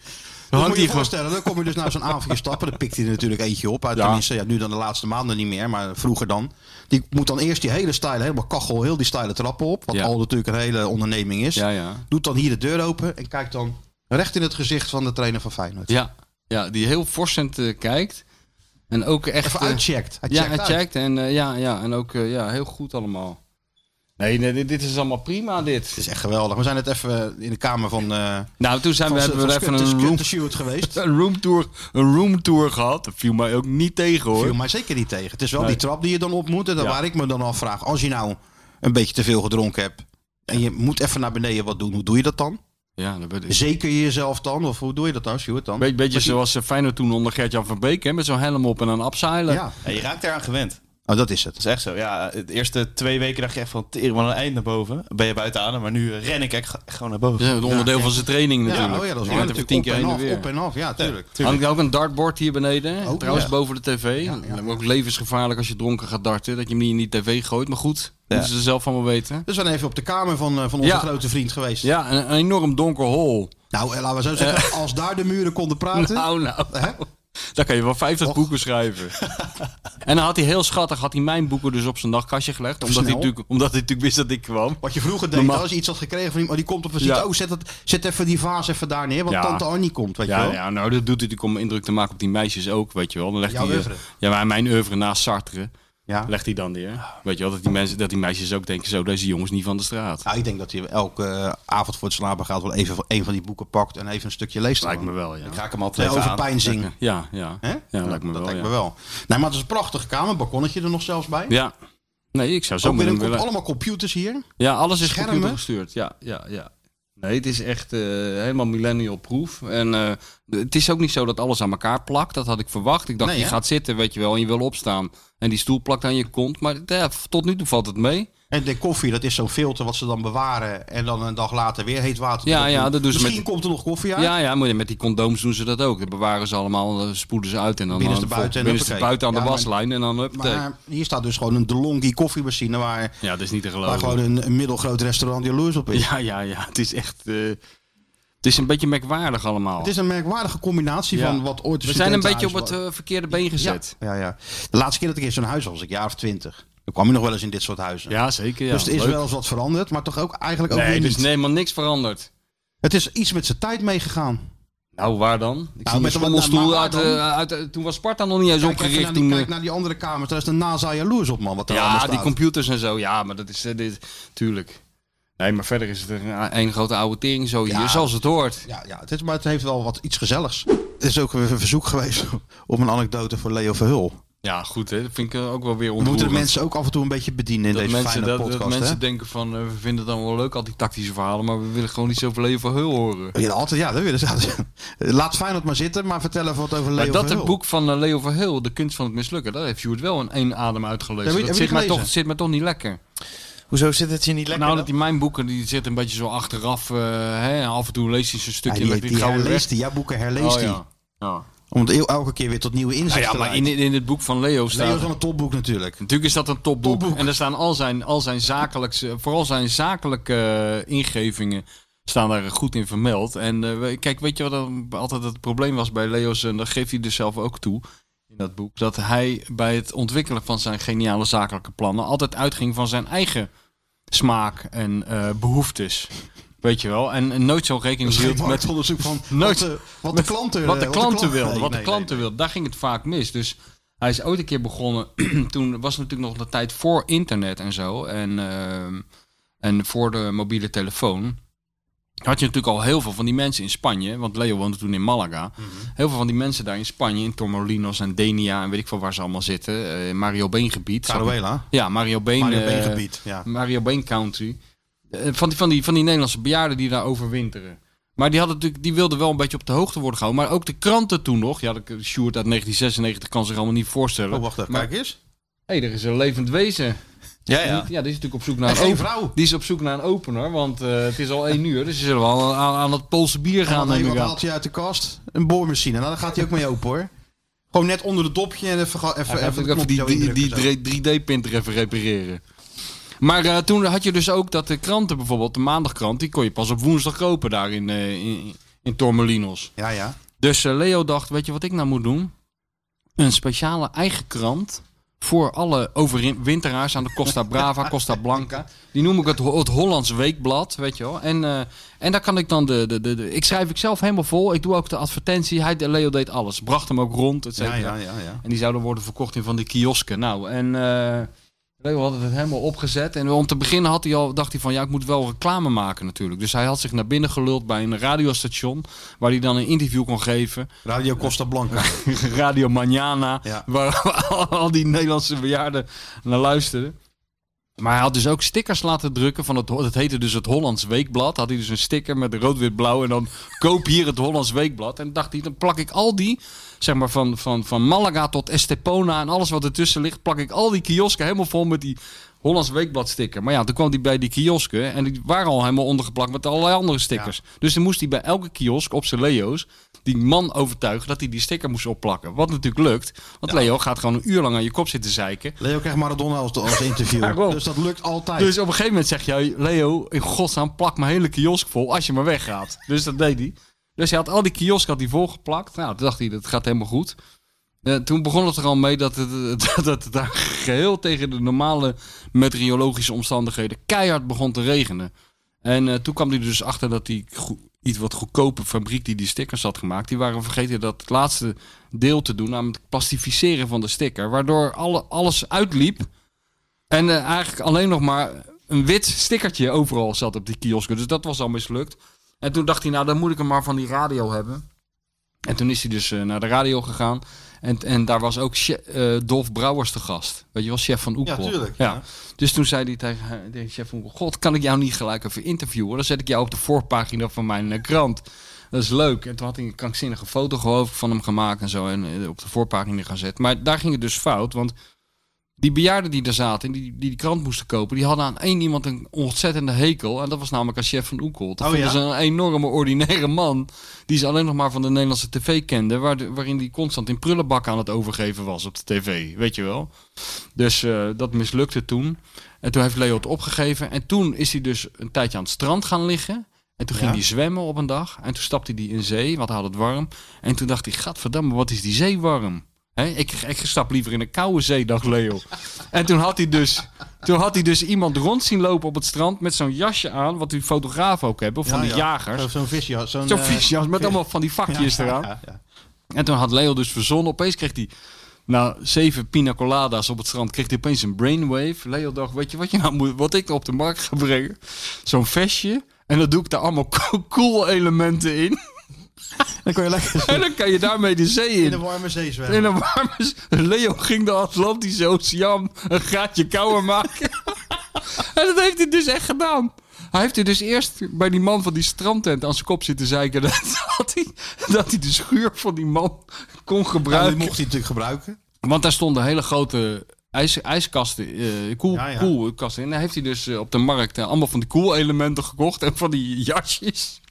[SPEAKER 3] Dan
[SPEAKER 5] Hangt
[SPEAKER 3] moet je
[SPEAKER 5] hier
[SPEAKER 3] je
[SPEAKER 5] gewoon.
[SPEAKER 3] voorstellen, dan kom je dus naar zo'n avondje stappen. Dan pikt hij er natuurlijk eentje op. Uit,
[SPEAKER 5] Ja.
[SPEAKER 3] Tenminste, ja, nu dan de laatste maanden niet meer, maar vroeger dan. Die moet dan eerst die hele stijle, helemaal kachel, heel die stijle trappen op. Wat
[SPEAKER 5] Ja.
[SPEAKER 3] al natuurlijk een hele onderneming is.
[SPEAKER 5] Ja, ja.
[SPEAKER 3] Doet dan hier de deur open en kijkt dan recht in het gezicht van de trainer van Feyenoord.
[SPEAKER 5] Ja, ja, die heel forsend eh, kijkt. En ook echt...
[SPEAKER 3] Even
[SPEAKER 5] eh,
[SPEAKER 3] uitcheckt. Hij
[SPEAKER 5] ja,
[SPEAKER 3] checkt
[SPEAKER 5] hij
[SPEAKER 3] uit.
[SPEAKER 5] checkt. En, eh, ja, ja, en ook eh, ja, heel goed allemaal. Nee, nee, dit, dit is allemaal prima, dit.
[SPEAKER 3] Het is echt geweldig. We zijn het even in de kamer van... eh,
[SPEAKER 5] Nou, toen zijn we,
[SPEAKER 3] van-
[SPEAKER 5] hebben we
[SPEAKER 3] van
[SPEAKER 5] even
[SPEAKER 3] Skut-
[SPEAKER 5] een room,
[SPEAKER 3] Skuttershoot geweest.
[SPEAKER 5] een, roomtour, een roomtour gehad. Dat viel mij ook niet tegen, hoor.
[SPEAKER 3] Viel mij zeker niet tegen. Het is wel
[SPEAKER 5] Nee.
[SPEAKER 3] die trap die je dan op moet. En dan
[SPEAKER 5] Ja.
[SPEAKER 3] waar ik me dan afvraag, als je nou een beetje te veel gedronken hebt... en je moet even naar beneden wat doen, hoe doe je dat dan?
[SPEAKER 5] Ja, dat weet ik.
[SPEAKER 3] Zeker je jezelf dan? Of hoe doe je dat dan, Sjoerd? Dan?
[SPEAKER 5] Be- beetje
[SPEAKER 3] Maar die-
[SPEAKER 5] zoals eh, Feyenoord toen onder Gert-Jan van Beek, hè, met zo'n helm op en een abseilen.
[SPEAKER 3] Ja.
[SPEAKER 4] Ja, je raakt eraan gewend.
[SPEAKER 3] Oh, dat is het.
[SPEAKER 4] Dat is echt zo. Ja, de eerste twee weken dacht je echt van, tering, wat een eind naar boven. Ben je buiten adem, maar nu ren ik echt echt gewoon naar boven.
[SPEAKER 5] Dat is een onderdeel
[SPEAKER 4] Ja.
[SPEAKER 5] van zijn training
[SPEAKER 3] Ja,
[SPEAKER 5] natuurlijk.
[SPEAKER 3] oh ja, dat is
[SPEAKER 5] Je
[SPEAKER 3] waar.
[SPEAKER 5] gaat even
[SPEAKER 3] Natuurlijk
[SPEAKER 5] tien keer
[SPEAKER 3] op
[SPEAKER 5] heen
[SPEAKER 3] en
[SPEAKER 5] en
[SPEAKER 3] af,
[SPEAKER 5] weer.
[SPEAKER 3] op en af. Ja, tuurlijk.
[SPEAKER 5] Hangt er ook een dartbord hier beneden.
[SPEAKER 3] Ook,
[SPEAKER 5] Trouwens,
[SPEAKER 3] ja.
[SPEAKER 5] boven de tv. Ook levensgevaarlijk als je dronken gaat darten. Dat je hem niet in die tv gooit. Maar goed, moeten ze er zelf van wel weten.
[SPEAKER 3] Dus we zijn even op de kamer van, eh, van onze
[SPEAKER 5] Ja.
[SPEAKER 3] grote vriend geweest.
[SPEAKER 5] Ja, een, een enorm donker hol.
[SPEAKER 3] Nou, eh, laten we zo zeggen, als daar de muren konden praten...
[SPEAKER 5] Nou, nou. Daar kan je wel 50 boeken schrijven. en dan had hij heel schattig had hij mijn boeken dus op zijn nachtkastje gelegd. Omdat hij,
[SPEAKER 3] snel.
[SPEAKER 5] natuurlijk, omdat hij natuurlijk wist dat ik kwam.
[SPEAKER 3] Wat je vroeger deed,
[SPEAKER 5] Normaal-
[SPEAKER 3] als je oh, iets had gekregen van iemand, die komt op visite.
[SPEAKER 5] Ja.
[SPEAKER 3] Oh, zet, het, zet even die vaas even daar neer, want
[SPEAKER 5] Ja.
[SPEAKER 3] tante Annie komt, weet
[SPEAKER 5] Ja,
[SPEAKER 3] je wel.
[SPEAKER 5] ja, nou, dat doet hij natuurlijk om indruk te maken op die meisjes ook, weet je wel. Dan legt
[SPEAKER 3] Jouw
[SPEAKER 5] hij, eh,
[SPEAKER 3] oeuvre.
[SPEAKER 5] Ja, maar mijn oeuvre naast Sartre
[SPEAKER 3] ja.
[SPEAKER 5] legt hij dan neer. Weet je wel, dat die, mensen, dat die meisjes ook denken, zo, deze jongens niet van de straat.
[SPEAKER 3] Nou, ik denk dat hij elke eh, avond voor het slapen gaat wel even een van die boeken pakt en even een stukje leest.
[SPEAKER 5] Lijkt me wel, ja.
[SPEAKER 3] Ik raak hem altijd over
[SPEAKER 5] aan.
[SPEAKER 3] pijnzing.
[SPEAKER 5] Ja, ja.
[SPEAKER 3] Hè?
[SPEAKER 5] Ja, lijkt me
[SPEAKER 3] dat
[SPEAKER 5] wel,
[SPEAKER 3] lijkt
[SPEAKER 5] ja.
[SPEAKER 3] me wel. Nee, maar het is een prachtige kamer, balkonnetje er nog zelfs bij.
[SPEAKER 5] Ja. Nee, ik zou zo
[SPEAKER 3] Ook
[SPEAKER 5] met hem
[SPEAKER 3] binnenkort
[SPEAKER 5] willen.
[SPEAKER 3] allemaal computers hier.
[SPEAKER 5] Ja, alles is
[SPEAKER 3] Schermen.
[SPEAKER 5] computer gestuurd. Ja, ja, ja. Nee, het is echt eh, helemaal millennial proof. En eh, de- het is ook niet zo dat alles aan elkaar plakt. Dat had ik verwacht. Ik dacht,
[SPEAKER 3] Nee,
[SPEAKER 5] je
[SPEAKER 3] hè?
[SPEAKER 5] gaat zitten, weet je wel, en je wil opstaan. En die stoel plakt aan je kont. Maar ja, tot nu toe valt het mee.
[SPEAKER 3] En de koffie, dat is zo'n filter wat ze dan bewaren en dan een dag later weer heet water.
[SPEAKER 5] Ja,
[SPEAKER 3] erop doen.
[SPEAKER 5] ja, dat doen ze
[SPEAKER 3] Misschien
[SPEAKER 5] met-
[SPEAKER 3] komt er nog koffie
[SPEAKER 5] Ja,
[SPEAKER 3] uit.
[SPEAKER 5] ja, maar met die condooms doen ze dat ook. Dat bewaren ze allemaal, eh, spoeden ze uit. En dan
[SPEAKER 3] Binnenste
[SPEAKER 5] dan vol-
[SPEAKER 3] buiten en
[SPEAKER 5] binnenste
[SPEAKER 3] hoppakee.
[SPEAKER 5] buiten aan
[SPEAKER 3] Ja,
[SPEAKER 5] de
[SPEAKER 3] maar-
[SPEAKER 5] waslijn. En dan hup.
[SPEAKER 3] Maar hier staat dus gewoon een DeLonghi koffiemachine waar,
[SPEAKER 5] Ja, dat is niet te
[SPEAKER 3] waar
[SPEAKER 5] geloven.
[SPEAKER 3] gewoon een, een middelgroot restaurant jaloers op is.
[SPEAKER 5] Ja, ja, ja. Het is echt... eh, het is een beetje merkwaardig allemaal.
[SPEAKER 3] Het is een merkwaardige combinatie
[SPEAKER 5] Oh. Ja.
[SPEAKER 3] van wat ooit de
[SPEAKER 5] We zijn een beetje op
[SPEAKER 3] studentenhuis
[SPEAKER 5] het eh, verkeerde been gezet.
[SPEAKER 3] Ja, ja. De laatste keer dat ik in zo'n huis was, was ik een jaar of twintig. Dan kwam je nog wel eens in dit soort huizen.
[SPEAKER 5] Ja, zeker. Ja.
[SPEAKER 3] dus er is
[SPEAKER 5] Leuk.
[SPEAKER 3] wel eens wat veranderd, maar toch ook eigenlijk ook
[SPEAKER 5] Nee,
[SPEAKER 3] weer
[SPEAKER 5] er is
[SPEAKER 3] niet.
[SPEAKER 5] helemaal niks veranderd.
[SPEAKER 3] Het is iets met zijn tijd meegegaan.
[SPEAKER 5] Nou, waar dan? Ik
[SPEAKER 3] met
[SPEAKER 5] zie een
[SPEAKER 3] een-
[SPEAKER 5] schommelstoel
[SPEAKER 3] maar waar
[SPEAKER 5] uit,
[SPEAKER 3] dan?
[SPEAKER 5] eh, uit, eh, Toen was Sparta nog niet eens
[SPEAKER 3] Kijk even
[SPEAKER 5] opgericht.
[SPEAKER 3] naar die,
[SPEAKER 5] toen,
[SPEAKER 3] kijk
[SPEAKER 5] eh,
[SPEAKER 3] naar die andere kamers, daar is de NASA jaloers op, man. Wat er allemaal
[SPEAKER 5] ja,
[SPEAKER 3] staat.
[SPEAKER 5] die computers en zo. Ja, maar dat is... eh, dit, tuurlijk. Nee, maar verder is het een, een grote oude tering zo hier,
[SPEAKER 3] Ja.
[SPEAKER 5] zoals het hoort.
[SPEAKER 3] Ja, ja het is, maar het heeft wel wat iets gezelligs. Er is ook weer een verzoek geweest om een anekdote voor Leo Verhul.
[SPEAKER 5] Ja, goed hè. Dat vind ik eh, ook wel weer
[SPEAKER 3] We moeten
[SPEAKER 5] ontroerend.
[SPEAKER 3] de mensen ook af en toe een beetje bedienen in
[SPEAKER 5] dat
[SPEAKER 3] deze
[SPEAKER 5] mensen,
[SPEAKER 3] fijne
[SPEAKER 5] dat, dat
[SPEAKER 3] podcast. hè?
[SPEAKER 5] mensen denken van, eh, we vinden het dan wel leuk, al die tactische verhalen, maar we willen gewoon niet zoveel Leo van Heul horen.
[SPEAKER 3] Ja, altijd, ja, dat willen ze. altijd. Laat Feyenoord maar zitten, maar vertel even wat over Leo
[SPEAKER 5] maar dat
[SPEAKER 3] Verhul.
[SPEAKER 5] het boek van eh, Leo van Heul, De kunst van het mislukken, daar heeft Sjoerd wel in één adem uitgelezen.
[SPEAKER 3] Heb je- heb
[SPEAKER 5] dat
[SPEAKER 3] je
[SPEAKER 5] zit,
[SPEAKER 3] die
[SPEAKER 5] maar toch,
[SPEAKER 3] gelezen?
[SPEAKER 5] zit me toch niet lekker.
[SPEAKER 4] Hoezo zit het je niet lekker?
[SPEAKER 5] Nou, dat die mijn boeken, die zitten een beetje zo achteraf. eh, hè, en af en toe leest hij ze een
[SPEAKER 3] Ja,
[SPEAKER 5] stukje.
[SPEAKER 3] die,
[SPEAKER 5] en dan
[SPEAKER 3] die
[SPEAKER 5] heb je het gauw weer
[SPEAKER 3] herleest
[SPEAKER 5] weg.
[SPEAKER 3] hij, jouw boeken herleest
[SPEAKER 5] Oh,
[SPEAKER 3] hij.
[SPEAKER 5] ja. Ja.
[SPEAKER 3] Om het el- elke keer weer tot nieuwe
[SPEAKER 5] Nou
[SPEAKER 3] inzichten
[SPEAKER 5] ja,
[SPEAKER 3] te
[SPEAKER 5] maar in,
[SPEAKER 3] leiden.
[SPEAKER 5] in het boek van Leo staat...
[SPEAKER 3] Leo is wel een topboek natuurlijk.
[SPEAKER 5] Natuurlijk is dat een topboek. En daar staan al zijn, al zijn zakelijkse, vooral zijn zakelijke eh, ingevingen staan daar goed in vermeld. En eh, we- kijk, weet je wat dan altijd het probleem was bij Leo's, en dat geeft hij dus zelf ook toe in dat boek, dat hij bij het ontwikkelen van zijn geniale zakelijke plannen altijd uitging van zijn eigen smaak en eh, behoeftes. Weet je wel, en, en nooit zo'n rekening
[SPEAKER 3] Dat is geen
[SPEAKER 5] hield met
[SPEAKER 3] marktonderzoek van wat
[SPEAKER 5] nooit,
[SPEAKER 3] de- wat de
[SPEAKER 5] met-
[SPEAKER 3] klanten- eh,
[SPEAKER 5] wat de
[SPEAKER 3] wat de
[SPEAKER 5] klanten
[SPEAKER 3] klant-
[SPEAKER 5] wilden,
[SPEAKER 3] Nee,
[SPEAKER 5] wat de
[SPEAKER 3] nee,
[SPEAKER 5] klanten klanten wil. Daar ging het vaak mis. Dus hij is ooit een keer begonnen. toen was natuurlijk nog de tijd voor internet en zo. En, ehm, en voor de mobiele telefoon. Had je natuurlijk al heel veel van die mensen in Spanje. Want Leo woonde toen in Malaga. Heel veel van die mensen daar in Spanje. In Tormolinos en Denia. En weet ik veel waar ze allemaal zitten. eh, in Mario Been gebied.
[SPEAKER 3] Caruela.
[SPEAKER 5] Ja, Mario Been.
[SPEAKER 3] Mario
[SPEAKER 5] eh,
[SPEAKER 3] Been gebied, ja.
[SPEAKER 5] Mario Been County. Eh, van, die, van, die, van die Nederlandse bejaarden die daar overwinteren. Maar die, hadden natuurlijk, die wilden wel een beetje op de hoogte worden gehouden. Maar ook de kranten toen nog. Ja, de Sjoerd uit 1996 kan zich allemaal niet voorstellen.
[SPEAKER 3] Oh, wacht even,
[SPEAKER 5] Maar-
[SPEAKER 3] kijk eens.
[SPEAKER 5] Hé, er is een levend wezen.
[SPEAKER 4] Ja, ja.
[SPEAKER 5] Die, ja, die is natuurlijk op zoek naar
[SPEAKER 3] En
[SPEAKER 5] een
[SPEAKER 3] geen
[SPEAKER 5] open-
[SPEAKER 3] vrouw.
[SPEAKER 5] Die is op zoek naar een opener, want eh, het is al één uur. Dus ze zullen wel aan, aan het Poolse bier gaan.
[SPEAKER 3] En dan
[SPEAKER 5] neem
[SPEAKER 3] wat
[SPEAKER 5] ik aan.
[SPEAKER 3] haalt hij uit de kast? Een boormachine. Nou, daar gaat hij ook mee open hoor. Gewoon net onder het dopje en even, ga- even,
[SPEAKER 5] Even,
[SPEAKER 3] even,
[SPEAKER 5] even die, die, die, 3D-printer even repareren. Maar eh, toen had je dus ook dat de kranten bijvoorbeeld, de maandagkrant, die kon je pas op woensdag kopen daar in, eh, in, in Tormelinos.
[SPEAKER 3] Ja, ja.
[SPEAKER 5] Dus eh, Leo dacht, weet je wat ik nou moet doen? Een speciale eigen krant voor alle overwinteraars aan de Costa Brava, Costa Blanca. Die noem ik het, Ho- het Hollands Weekblad, weet je wel. En, eh, en daar kan ik dan de, de, de, de- Ik schrijf ik zelf helemaal vol. Ik doe ook de advertentie. Hij, Leo deed alles. Bracht hem ook rond, et cetera.
[SPEAKER 3] Ja, ja, ja, ja.
[SPEAKER 5] En die zouden worden verkocht in van die kiosken. Nou, en eh Leo had het helemaal opgezet. En om te beginnen had hij al, dacht hij van... ja, ik moet wel reclame maken natuurlijk. Dus hij had zich naar binnen geluld bij een radiostation... waar hij dan een interview kon geven.
[SPEAKER 3] Radio Costa Blanca.
[SPEAKER 5] Radio Manana.
[SPEAKER 3] Ja.
[SPEAKER 5] Waar al die Nederlandse bejaarden naar luisterden. Maar hij had dus ook stickers laten drukken van het, dat heette dus het Hollands Weekblad. Had hij dus een sticker met rood-wit-blauw en dan koop hier het Hollands Weekblad. En dacht hij, dan plak ik al die, zeg maar van, van, van Malaga tot Estepona en alles wat ertussen ligt, plak ik al die kiosken helemaal vol met die Hollands Weekblad sticker. Maar ja, toen kwam hij bij die kiosken en die waren al helemaal ondergeplakt met allerlei andere stickers. Dus dan moest hij bij elke kiosk op zijn Leo's die man overtuigen dat hij die sticker moest opplakken. Wat natuurlijk lukt, want Leo gaat gewoon een uur lang aan je kop zitten zeiken.
[SPEAKER 3] Leo krijgt Maradona als, als interview.
[SPEAKER 5] Daarom.
[SPEAKER 3] dus dat lukt altijd.
[SPEAKER 5] Dus op een gegeven moment zeg jij, Leo, in godsnaam plak mijn hele kiosk vol als je maar weggaat. Dus dat deed hij. Dus hij had al die kiosk had hij volgeplakt. Nou, toen dacht hij, dat gaat helemaal goed. Eh, toen begon het er al mee dat het, eh, dat het daar geheel tegen de normale meteorologische omstandigheden keihard begon te regenen. En eh, toen kwam hij er dus achter dat die goe- iets wat goedkope fabriek die die stickers had gemaakt, die waren vergeten dat het laatste deel te doen, namelijk het plastificeren van de sticker. Waardoor alle, alles uitliep en eh, eigenlijk alleen nog maar een wit stickertje overal zat op die kiosken. Dus dat was al mislukt. En toen dacht hij, nou dan moet ik hem maar van die radio hebben. En toen is hij dus eh, naar de radio gegaan. En, en daar was ook che- eh, Dolf Brouwers te gast. Weet je wel, chef van Oekel.
[SPEAKER 3] Ja, tuurlijk,
[SPEAKER 5] Ja. Dus toen zei hij tegen, eh, tegen chef van Oekel... God, kan ik jou niet gelijk even interviewen? Dan zet ik jou op de voorpagina van mijn eh, krant. Dat is leuk. En toen had hij een krankzinnige foto geloof ik van hem gemaakt en zo. En eh, op de voorpagina gezet. Maar daar ging het dus fout. Want die bejaarden die daar zaten en die, die die krant moesten kopen, die hadden aan één iemand een ontzettende hekel. En dat was namelijk aan chef van Oekel. Dat
[SPEAKER 3] Oh,
[SPEAKER 5] vonden
[SPEAKER 3] ja?
[SPEAKER 5] ze een enorme ordinaire man. Die ze alleen nog maar van de Nederlandse tv kenden. Waar de- waarin die constant in prullenbakken aan het overgeven was op de tv. Weet je wel. Dus eh, dat mislukte toen. En toen heeft Leo het opgegeven. En toen is hij dus een tijdje aan het strand gaan liggen. En toen ging
[SPEAKER 3] Ja.
[SPEAKER 5] hij zwemmen op een dag. En toen stapte hij in zee, want hij had het warm. En toen dacht hij, gadverdamme, wat is die zee warm? Hè, ik, ik stap liever in een koude zee, dacht Leo. en toen had, hij dus, toen had hij dus iemand rond zien lopen op het strand met zo'n jasje aan, wat die fotografen ook hebben, of van
[SPEAKER 3] Ja,
[SPEAKER 5] die
[SPEAKER 3] ja.
[SPEAKER 5] jagers.
[SPEAKER 3] Zo- Zo'n visjas. Zo'n
[SPEAKER 5] Zo'n
[SPEAKER 3] eh,
[SPEAKER 5] visjas met allemaal van die vakjes
[SPEAKER 3] Ja,
[SPEAKER 5] eraan.
[SPEAKER 3] ja, ja.
[SPEAKER 5] En toen had Leo dus verzonnen. Opeens kreeg hij na zeven pina coladas op het strand... kreeg hij opeens een brainwave. Leo dacht, weet je wat, je nou moet, wat ik op de markt ga brengen? Zo'n vestje. En dan doe ik daar allemaal cool elementen in.
[SPEAKER 19] Dan kon je lekker
[SPEAKER 5] En dan kan je daarmee de zee in.
[SPEAKER 10] In de warme zee zwemmen.
[SPEAKER 5] In een warme z- Leo ging de Atlantische Oceaan een gaatje kouder maken. en dat heeft hij dus echt gedaan. Hij heeft er dus eerst bij die man van die strandtent aan zijn kop zitten zeiken. Dat dat hij, dat hij de schuur van die man kon gebruiken.
[SPEAKER 10] die mocht hij natuurlijk gebruiken.
[SPEAKER 5] Want daar stonden hele grote ijs, ijskasten, eh, koel,
[SPEAKER 10] Ja, ja.
[SPEAKER 5] koelkasten in. Daar heeft hij dus eh, op de markt eh, allemaal van die koelelementen gekocht en van die jasjes.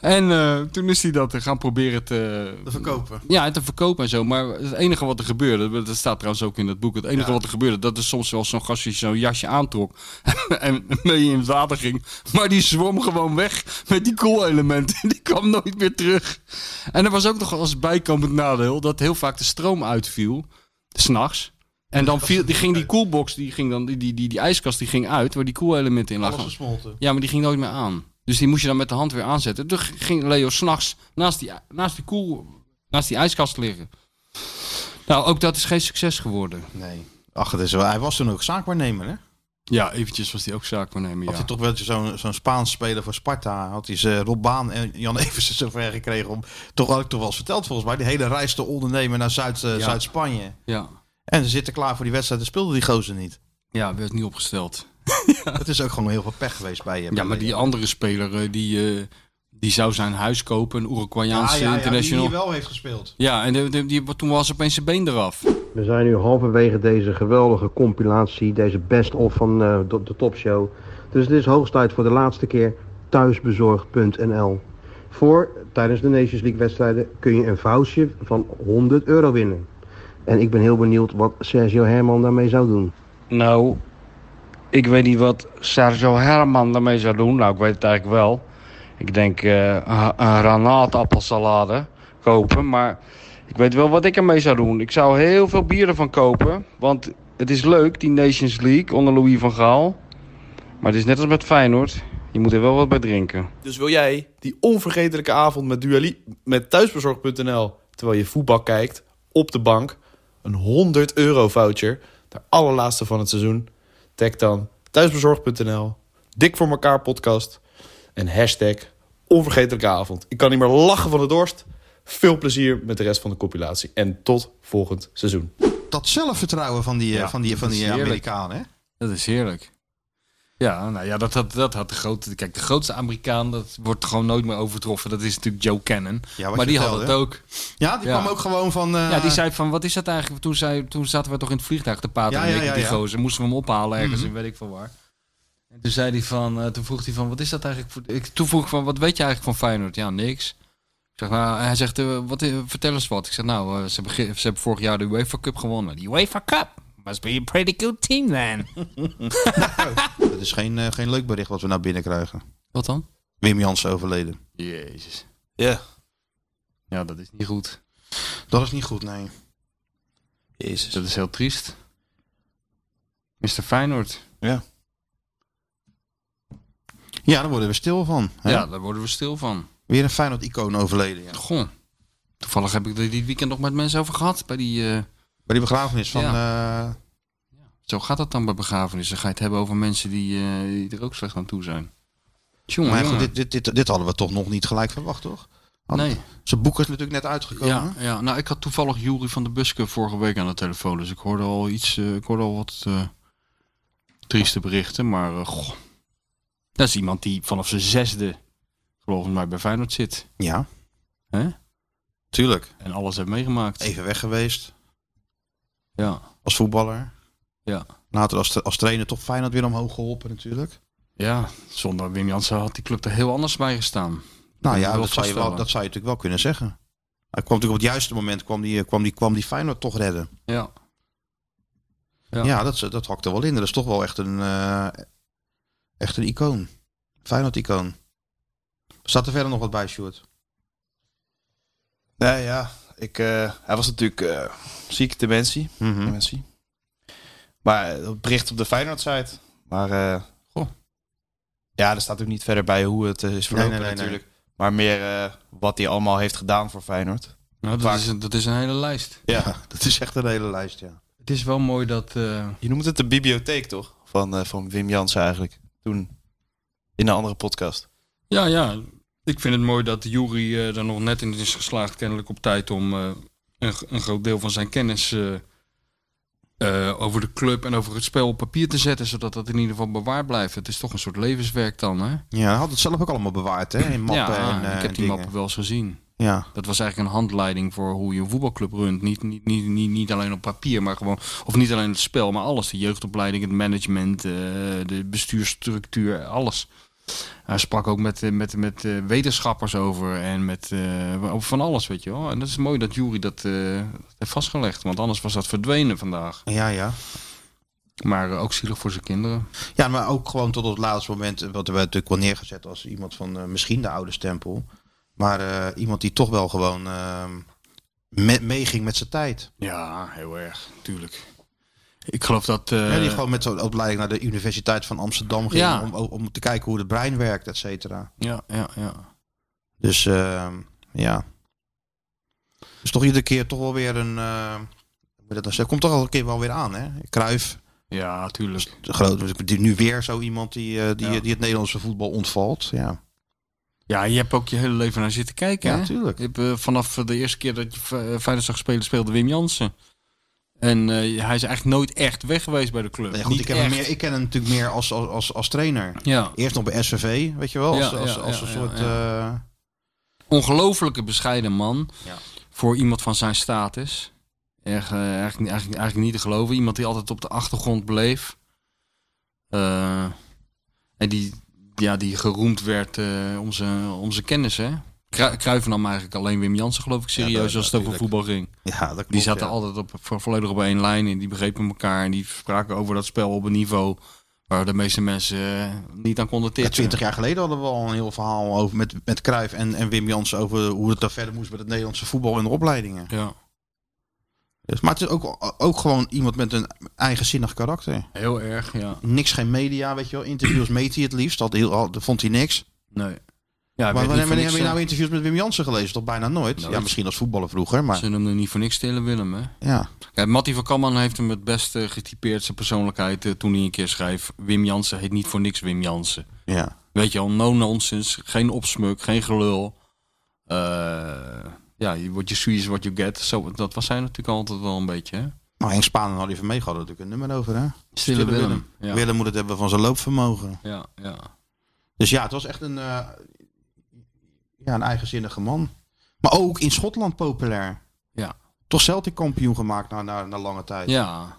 [SPEAKER 5] En eh, toen is hij dat eh, gaan proberen te...
[SPEAKER 10] Te verkopen.
[SPEAKER 5] Ja, te verkopen en zo. Maar het enige wat er gebeurde, dat staat trouwens ook in dat boek. Het enige
[SPEAKER 10] Ja.
[SPEAKER 5] wat er gebeurde, dat is soms wel zo'n gast die zo'n jasje aantrok. en mee in het water ging. Maar die zwom gewoon weg met die koelelementen. Die kwam nooit meer terug. En er was ook nog als bijkomend nadeel dat heel vaak de stroom uitviel. S'nachts. En dan viel, die ging die koelbox, die, ging dan, die, die, die, die ijskast, die ging uit waar die koelelementen in lagen.
[SPEAKER 10] Alles gesmolten.
[SPEAKER 5] Ja, maar die ging nooit meer aan. Dus die moest je dan met de hand weer aanzetten. Toen ging Leo s'nachts naast die, naast, die koel, naast die ijskast liggen. Nou, ook dat is geen succes geworden.
[SPEAKER 3] Nee.
[SPEAKER 5] Ach,
[SPEAKER 3] Dat is wel- hij was toen ook zaakwaarnemer, hè?
[SPEAKER 5] Ja, eventjes was hij ook zaakwaarnemer,
[SPEAKER 3] Had
[SPEAKER 5] ja.
[SPEAKER 3] hij toch wel zo'n zo'n Spaans speler voor Sparta. Had hij ze Rob Baan en Jan Eversen zover gekregen om... Toch had ik toch wel eens verteld volgens mij. Die hele reis te ondernemen naar Zuid, eh,
[SPEAKER 5] Ja.
[SPEAKER 3] Zuid-Spanje.
[SPEAKER 5] Ja.
[SPEAKER 3] En ze zitten klaar voor die wedstrijd en speelde die gozer niet.
[SPEAKER 5] Ja, werd niet opgesteld.
[SPEAKER 3] Het is ook gewoon heel veel pech geweest bij hem.
[SPEAKER 5] Ja, maar die andere speler, eh, die, eh, die zou zijn huis kopen. Een Uruguayaanse
[SPEAKER 3] Ja, ja, ja, die
[SPEAKER 5] international.
[SPEAKER 3] hier wel heeft gespeeld.
[SPEAKER 5] Ja, en de- de- die, toen was opeens zijn been eraf.
[SPEAKER 20] We zijn nu halverwege deze geweldige compilatie, deze best-of van eh, de, de topshow. Dus het is hoogst tijd voor de laatste keer thuisbezorgd.nl. Voor tijdens de Nations League wedstrijden kun je een vouchje van 100 euro winnen. En ik ben heel benieuwd wat Sergio Herman daarmee zou doen.
[SPEAKER 21] Nou, ik weet niet wat Sergio Herman daarmee zou doen. Nou, ik weet het eigenlijk wel. Ik denk eh, een- een granaatappelsalade kopen. Maar ik weet wel wat ik ermee zou doen. Ik zou heel veel bieren van kopen. Want het is leuk, die Nations League onder Louis van Gaal. Maar het is net als met Feyenoord. Je moet er wel wat bij drinken.
[SPEAKER 4] Dus wil jij die onvergetelijke avond met, Duali met thuisbezorg.nl... terwijl je voetbal kijkt, op de bank... een 100 euro voucher, de allerlaatste van het seizoen... tag dan thuisbezorg.nl, dik voor elkaar podcast... en hashtag onvergetelijke avond. Ik kan niet meer lachen van de dorst. Veel plezier met de rest van de compilatie. En tot volgend seizoen.
[SPEAKER 3] Dat zelfvertrouwen van die, eh,
[SPEAKER 4] Ja,
[SPEAKER 3] van die, van
[SPEAKER 4] dat is
[SPEAKER 3] die eh,
[SPEAKER 4] heerlijk.
[SPEAKER 3] Amerikanen, hè?
[SPEAKER 5] Dat is heerlijk. Ja, nou ja, dat had, dat had de grote... Kijk, de grootste Amerikaan, dat wordt gewoon nooit meer overtroffen. Dat is natuurlijk Joe Cannon.
[SPEAKER 3] Ja, wat
[SPEAKER 5] maar
[SPEAKER 3] je
[SPEAKER 5] die had
[SPEAKER 3] vertelde,
[SPEAKER 5] het ook.
[SPEAKER 3] Ja, die
[SPEAKER 5] Ja.
[SPEAKER 3] kwam ook gewoon van... eh,
[SPEAKER 5] Ja, die zei van, wat is dat eigenlijk? Toen, zei, toen zaten we toch in het vliegtuig te praten
[SPEAKER 3] Ja,
[SPEAKER 5] en
[SPEAKER 3] ja,
[SPEAKER 5] ik met
[SPEAKER 3] ja,
[SPEAKER 5] die
[SPEAKER 3] ja.
[SPEAKER 5] gozer. Moesten we hem ophalen ergens
[SPEAKER 3] Mhm.
[SPEAKER 5] in weet ik veel waar. En toen zei hij van, eh, toen vroeg hij van, wat is dat eigenlijk? Voor, ik, toen vroeg ik van, wat weet je eigenlijk van Feyenoord? Ja, niks. Ik zeg, nou, hij zegt, eh, wat, i- vertel eens wat. Ik zeg, nou, eh, ze, hebben, ge- ze hebben vorig jaar de UEFA Cup gewonnen. Die UEFA Cup must be a pretty good team then.
[SPEAKER 3] Dat is geen, eh, geen leuk bericht wat we nou binnenkrijgen.
[SPEAKER 5] Wat dan?
[SPEAKER 3] Wim Jansen overleden.
[SPEAKER 5] Jezus.
[SPEAKER 3] Ja.
[SPEAKER 5] Ja, dat is niet goed.
[SPEAKER 3] Dat is niet goed, nee.
[SPEAKER 5] Jezus. Dat is heel triest. Mr. Feyenoord.
[SPEAKER 3] Ja. Ja, daar worden we stil van. Hè?
[SPEAKER 5] Ja, daar worden we stil van.
[SPEAKER 3] Weer een Feyenoord-icoon overleden. Ja.
[SPEAKER 5] Goh. Toevallig heb ik er dit weekend nog met mensen over gehad. Bij die, eh,
[SPEAKER 3] Bij die begrafenis van...
[SPEAKER 5] Ja.
[SPEAKER 3] eh,
[SPEAKER 5] Zo gaat dat dan bij begrafenissen. Dan ga je het hebben over mensen die, eh, die er ook slecht aan toe zijn. Tjonge,
[SPEAKER 3] maar goed,
[SPEAKER 5] jonge.
[SPEAKER 3] dit, dit, dit, dit hadden we toch nog niet gelijk verwacht, toch? Hadden-
[SPEAKER 5] Nee.
[SPEAKER 3] Zijn boek is natuurlijk net uitgekomen.
[SPEAKER 5] Ja, ja, nou ik had toevallig Jury van de Buske vorige week aan de telefoon. Dus ik hoorde al iets, eh, ik hoorde al wat eh, trieste berichten. Maar eh, goh. dat is iemand die vanaf zijn zesde, geloof ik, maar bij Feyenoord zit.
[SPEAKER 3] Ja.
[SPEAKER 5] Hè?
[SPEAKER 3] Tuurlijk.
[SPEAKER 5] En alles heeft meegemaakt.
[SPEAKER 3] Even weg geweest.
[SPEAKER 5] Ja.
[SPEAKER 3] Als voetballer.
[SPEAKER 5] Ja.
[SPEAKER 3] Later als, als trainer toch Feyenoord weer omhoog geholpen natuurlijk.
[SPEAKER 5] Ja, zonder Wim Jansen had die club er heel anders bij gestaan.
[SPEAKER 3] Nou
[SPEAKER 5] Kan
[SPEAKER 3] ja,
[SPEAKER 5] ik
[SPEAKER 3] dat zou, je wel,
[SPEAKER 5] vaststellen.
[SPEAKER 3] dat zou je natuurlijk wel kunnen zeggen. Hij kwam natuurlijk op het juiste moment, kwam die, eh, kwam die, kwam die Feyenoord toch redden.
[SPEAKER 5] Ja.
[SPEAKER 3] Ja, dat, dat hakt er wel in. Dat is toch wel echt een, eh, echt een icoon. Feyenoord-icoon. Staat er verder nog wat bij, Sjoerd?
[SPEAKER 4] Nee, ja. Ik, eh, hij was natuurlijk eh, ziek, dementie.
[SPEAKER 3] Mhm.
[SPEAKER 4] dementie. Maar eh, dat bericht op de Feyenoord-site. Maar eh, ja, er staat ook niet verder bij hoe het eh, is verlopen
[SPEAKER 3] nee, nee, nee.
[SPEAKER 4] natuurlijk. Maar meer eh, wat hij allemaal heeft gedaan voor Feyenoord.
[SPEAKER 5] Nou, dat, is een, dat is een hele lijst.
[SPEAKER 3] Ja, dat is echt een hele lijst, ja.
[SPEAKER 5] Het is wel mooi dat... eh,
[SPEAKER 4] Je noemt het de bibliotheek toch? Van, eh, van Wim Jansen eigenlijk. Toen in een andere podcast.
[SPEAKER 5] Ja, ja. Ik vind het mooi dat Jury eh er nog net in is geslaagd, kennelijk op tijd, om eh, een, g- een groot deel van zijn kennis eh, eh, over de club en over het spel op papier te zetten, zodat dat in ieder geval bewaard blijft. Het is toch een soort levenswerk dan, hè?
[SPEAKER 3] Ja, hij had het zelf ook allemaal bewaard, hè? In mappen
[SPEAKER 5] ja,
[SPEAKER 3] en eh,
[SPEAKER 5] ik heb die
[SPEAKER 3] dingen.
[SPEAKER 5] mappen wel eens gezien.
[SPEAKER 3] Ja.
[SPEAKER 5] Dat was eigenlijk een handleiding voor hoe je een voetbalclub runt. Niet, niet, niet, niet, niet alleen op papier, maar gewoon. Of niet alleen het spel, maar alles. De jeugdopleiding, het management, eh, de bestuursstructuur, alles. Hij sprak ook met, eh, met, met eh, wetenschappers over en met eh, over van alles, weet je wel. En dat is mooi dat Jury dat eh, heeft vastgelegd, want anders was dat verdwenen vandaag.
[SPEAKER 3] Ja, ja.
[SPEAKER 5] Maar eh, ook zielig voor zijn kinderen.
[SPEAKER 3] Ja, maar ook gewoon tot het laatste moment, eh, wat we natuurlijk wel neergezet als iemand van eh, misschien de oude stempel. Maar eh, iemand die toch wel gewoon ehm, me- meeging met zijn tijd.
[SPEAKER 5] Ja, heel erg, tuurlijk. Ik geloof dat. eh,
[SPEAKER 3] Ja, die gewoon met zo'n opleiding naar de Universiteit van Amsterdam ging
[SPEAKER 5] Ja.
[SPEAKER 3] om, om te kijken hoe het brein werkt, et cetera.
[SPEAKER 5] Ja, ja, ja.
[SPEAKER 3] Dus ehm, ja. Dus toch iedere keer toch wel weer een. eh, hoe moet je dat nou zeggen? komt toch al een keer wel weer aan, hè? Kruif.
[SPEAKER 5] Ja, tuurlijk.
[SPEAKER 3] De grote, dus die- nu weer zo iemand die, eh, die, die het Nederlandse voetbal ontvalt. Ja.
[SPEAKER 5] Ja, je hebt ook je hele leven naar zitten kijken.
[SPEAKER 3] Ja,
[SPEAKER 5] hè?
[SPEAKER 3] tuurlijk.
[SPEAKER 5] Je hebt, eh, vanaf de eerste keer dat je eh, Feyenoord zag spelen, speelde Wim Jansen. En eh, hij is eigenlijk nooit echt weg geweest bij de club.
[SPEAKER 3] Nee, goed,
[SPEAKER 5] Niet
[SPEAKER 3] ik, ken hem
[SPEAKER 5] echt.
[SPEAKER 3] meer, ik ken hem natuurlijk meer als, als, als, als trainer.
[SPEAKER 5] Ja.
[SPEAKER 3] Eerst nog bij SVV, weet je wel. Als,
[SPEAKER 5] Ja,
[SPEAKER 3] als,
[SPEAKER 5] ja,
[SPEAKER 3] als
[SPEAKER 5] ja,
[SPEAKER 3] een
[SPEAKER 5] ja,
[SPEAKER 3] soort.
[SPEAKER 5] ja.
[SPEAKER 3] eh,
[SPEAKER 5] Ongelooflijke bescheiden man.
[SPEAKER 3] Ja.
[SPEAKER 5] Voor iemand van zijn status. Echt, eh, eigenlijk, niet- eigenlijk, eigenlijk niet te geloven. Iemand die altijd op de achtergrond bleef. Eh, en die, ja, die geroemd werd eh, om, zijn, om zijn kennis. Hè? Kru- Cruijff nam eigenlijk alleen Wim Jansen geloof ik serieus als het over voetbal ging.
[SPEAKER 3] Ja, dat klopt,
[SPEAKER 5] die zaten
[SPEAKER 3] ja.
[SPEAKER 5] altijd op, vo- volledig op één lijn en die begrepen elkaar. En die spraken over dat spel op een niveau waar de meeste mensen eh, niet aan konden
[SPEAKER 3] Ja,
[SPEAKER 5] tippen.
[SPEAKER 3] 20 jaar geleden hadden we al een heel verhaal over met, met Cruijff en, en Wim Jansen over hoe het daar verder moest met het Nederlandse voetbal en de opleidingen.
[SPEAKER 5] Ja.
[SPEAKER 3] Dus, maar het is ook, ook gewoon iemand met een eigenzinnig karakter.
[SPEAKER 5] Heel erg, ja.
[SPEAKER 3] Niks, geen media, weet je wel. Interviews meet hij het liefst. Dat, heel, dat vond hij niks.
[SPEAKER 5] Nee.
[SPEAKER 3] maar
[SPEAKER 5] Ja,
[SPEAKER 3] wanneer
[SPEAKER 5] weet niet voor
[SPEAKER 3] wanneer
[SPEAKER 5] niks,
[SPEAKER 3] heb je nou
[SPEAKER 5] eh.
[SPEAKER 3] interviews met Wim Jansen gelezen? Toch bijna nooit.
[SPEAKER 5] Nooit.
[SPEAKER 3] Ja, misschien als voetballer vroeger, maar...
[SPEAKER 5] Ze noemden hem niet voor niks Stille Willem, hè?
[SPEAKER 3] Ja.
[SPEAKER 5] Kijk, Matty van Kamman heeft hem het beste getypeerd, zijn persoonlijkheid, eh, toen hij een keer schreef... Wim Jansen heet niet voor niks Wim Jansen.
[SPEAKER 3] Ja.
[SPEAKER 5] Weet je al, no nonsense, geen opsmuk, geen gelul. Eh, ja, je- what you see is what you get. Zo, dat was hij natuurlijk altijd wel een beetje, hè?
[SPEAKER 3] Nou, Henk Spaan had hij van mee gehad natuurlijk een nummer over, hè?
[SPEAKER 5] Stille Willem, ja.
[SPEAKER 3] Willem moet het hebben van zijn loopvermogen.
[SPEAKER 5] Ja, ja.
[SPEAKER 3] Dus ja, het was echt een, eh, ja, een eigenzinnige man. Maar ook in Schotland populair.
[SPEAKER 5] Ja.
[SPEAKER 3] Toch Celtic kampioen gemaakt na, na, na lange tijd.
[SPEAKER 5] Ja.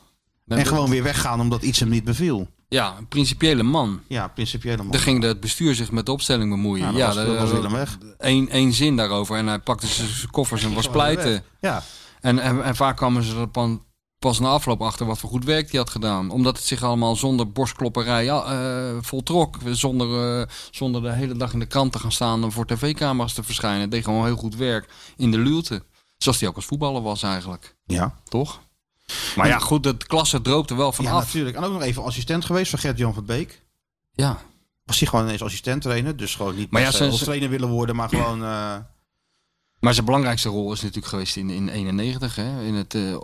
[SPEAKER 3] En gewoon weer weggaan omdat iets hem niet beviel.
[SPEAKER 5] Ja, een principiële man.
[SPEAKER 3] Ja, principiële man.
[SPEAKER 5] Daar ging het bestuur zich met de opstelling bemoeien.
[SPEAKER 3] Ja, dat was- dat was Willem weg.
[SPEAKER 5] Eén, één zin daarover en hij pakte z- zijn koffers en was
[SPEAKER 3] gewoon weer
[SPEAKER 5] pleiten.
[SPEAKER 3] weg. Ja.
[SPEAKER 5] En, en, en vaak kwamen ze er pan- pas na afloop achter wat voor goed werk hij had gedaan. Omdat het zich allemaal zonder borstklopperij ja, eh, voltrok. Zonder, eh, zonder de hele dag in de krant te gaan staan en voor tv-camera's te verschijnen. Het deed gewoon heel goed werk in de luwte. Zoals hij ook als voetballer was eigenlijk.
[SPEAKER 3] Ja.
[SPEAKER 5] Toch? Maar ja, goed, de klasse droopte wel
[SPEAKER 3] ja,
[SPEAKER 5] vanaf.
[SPEAKER 3] natuurlijk. En ook nog even assistent geweest van Gert-Jan van Beek.
[SPEAKER 5] Ja.
[SPEAKER 3] Was hij gewoon ineens assistent trainer. Dus gewoon niet maar
[SPEAKER 5] Maar ja,
[SPEAKER 3] ja,
[SPEAKER 5] zijn-
[SPEAKER 3] als trainer willen worden, maar gewoon... eh,
[SPEAKER 5] Maar zijn belangrijkste rol is natuurlijk geweest in, in 91, hè? in het, eh, eh,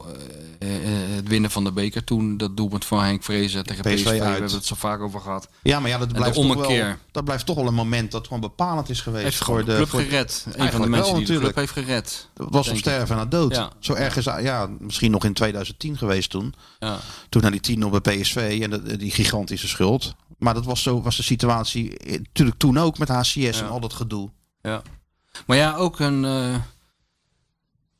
[SPEAKER 5] eh, het winnen van de beker toen. Dat doelpunt van Henk Vrezen tegen PSV,
[SPEAKER 3] PSV
[SPEAKER 5] we
[SPEAKER 3] uit.
[SPEAKER 5] hebben het zo vaak over gehad.
[SPEAKER 3] Ja, maar ja,
[SPEAKER 5] En
[SPEAKER 3] dat
[SPEAKER 5] de
[SPEAKER 3] blijft, toch wel,
[SPEAKER 5] ommekeer.
[SPEAKER 3] dat blijft toch wel een moment dat gewoon bepalend is geweest.
[SPEAKER 5] Heeft gewoon de club gered. Een van de
[SPEAKER 3] Eigenlijk
[SPEAKER 5] mensen
[SPEAKER 3] wel,
[SPEAKER 5] die de club
[SPEAKER 3] natuurlijk.
[SPEAKER 5] heeft gered.
[SPEAKER 3] Dat was op
[SPEAKER 5] denk
[SPEAKER 3] sterven
[SPEAKER 5] ik.
[SPEAKER 3] na dood.
[SPEAKER 5] Ja.
[SPEAKER 3] Zo erg is ja, misschien nog in 2010 geweest toen.
[SPEAKER 5] Ja.
[SPEAKER 3] Toen naar die 10 op bij PSV en dat- die gigantische schuld. Maar dat was, zo, was de situatie eh, natuurlijk toen ook met HCS en al dat gedoe.
[SPEAKER 5] Ja. Maar ja, ook een, eh,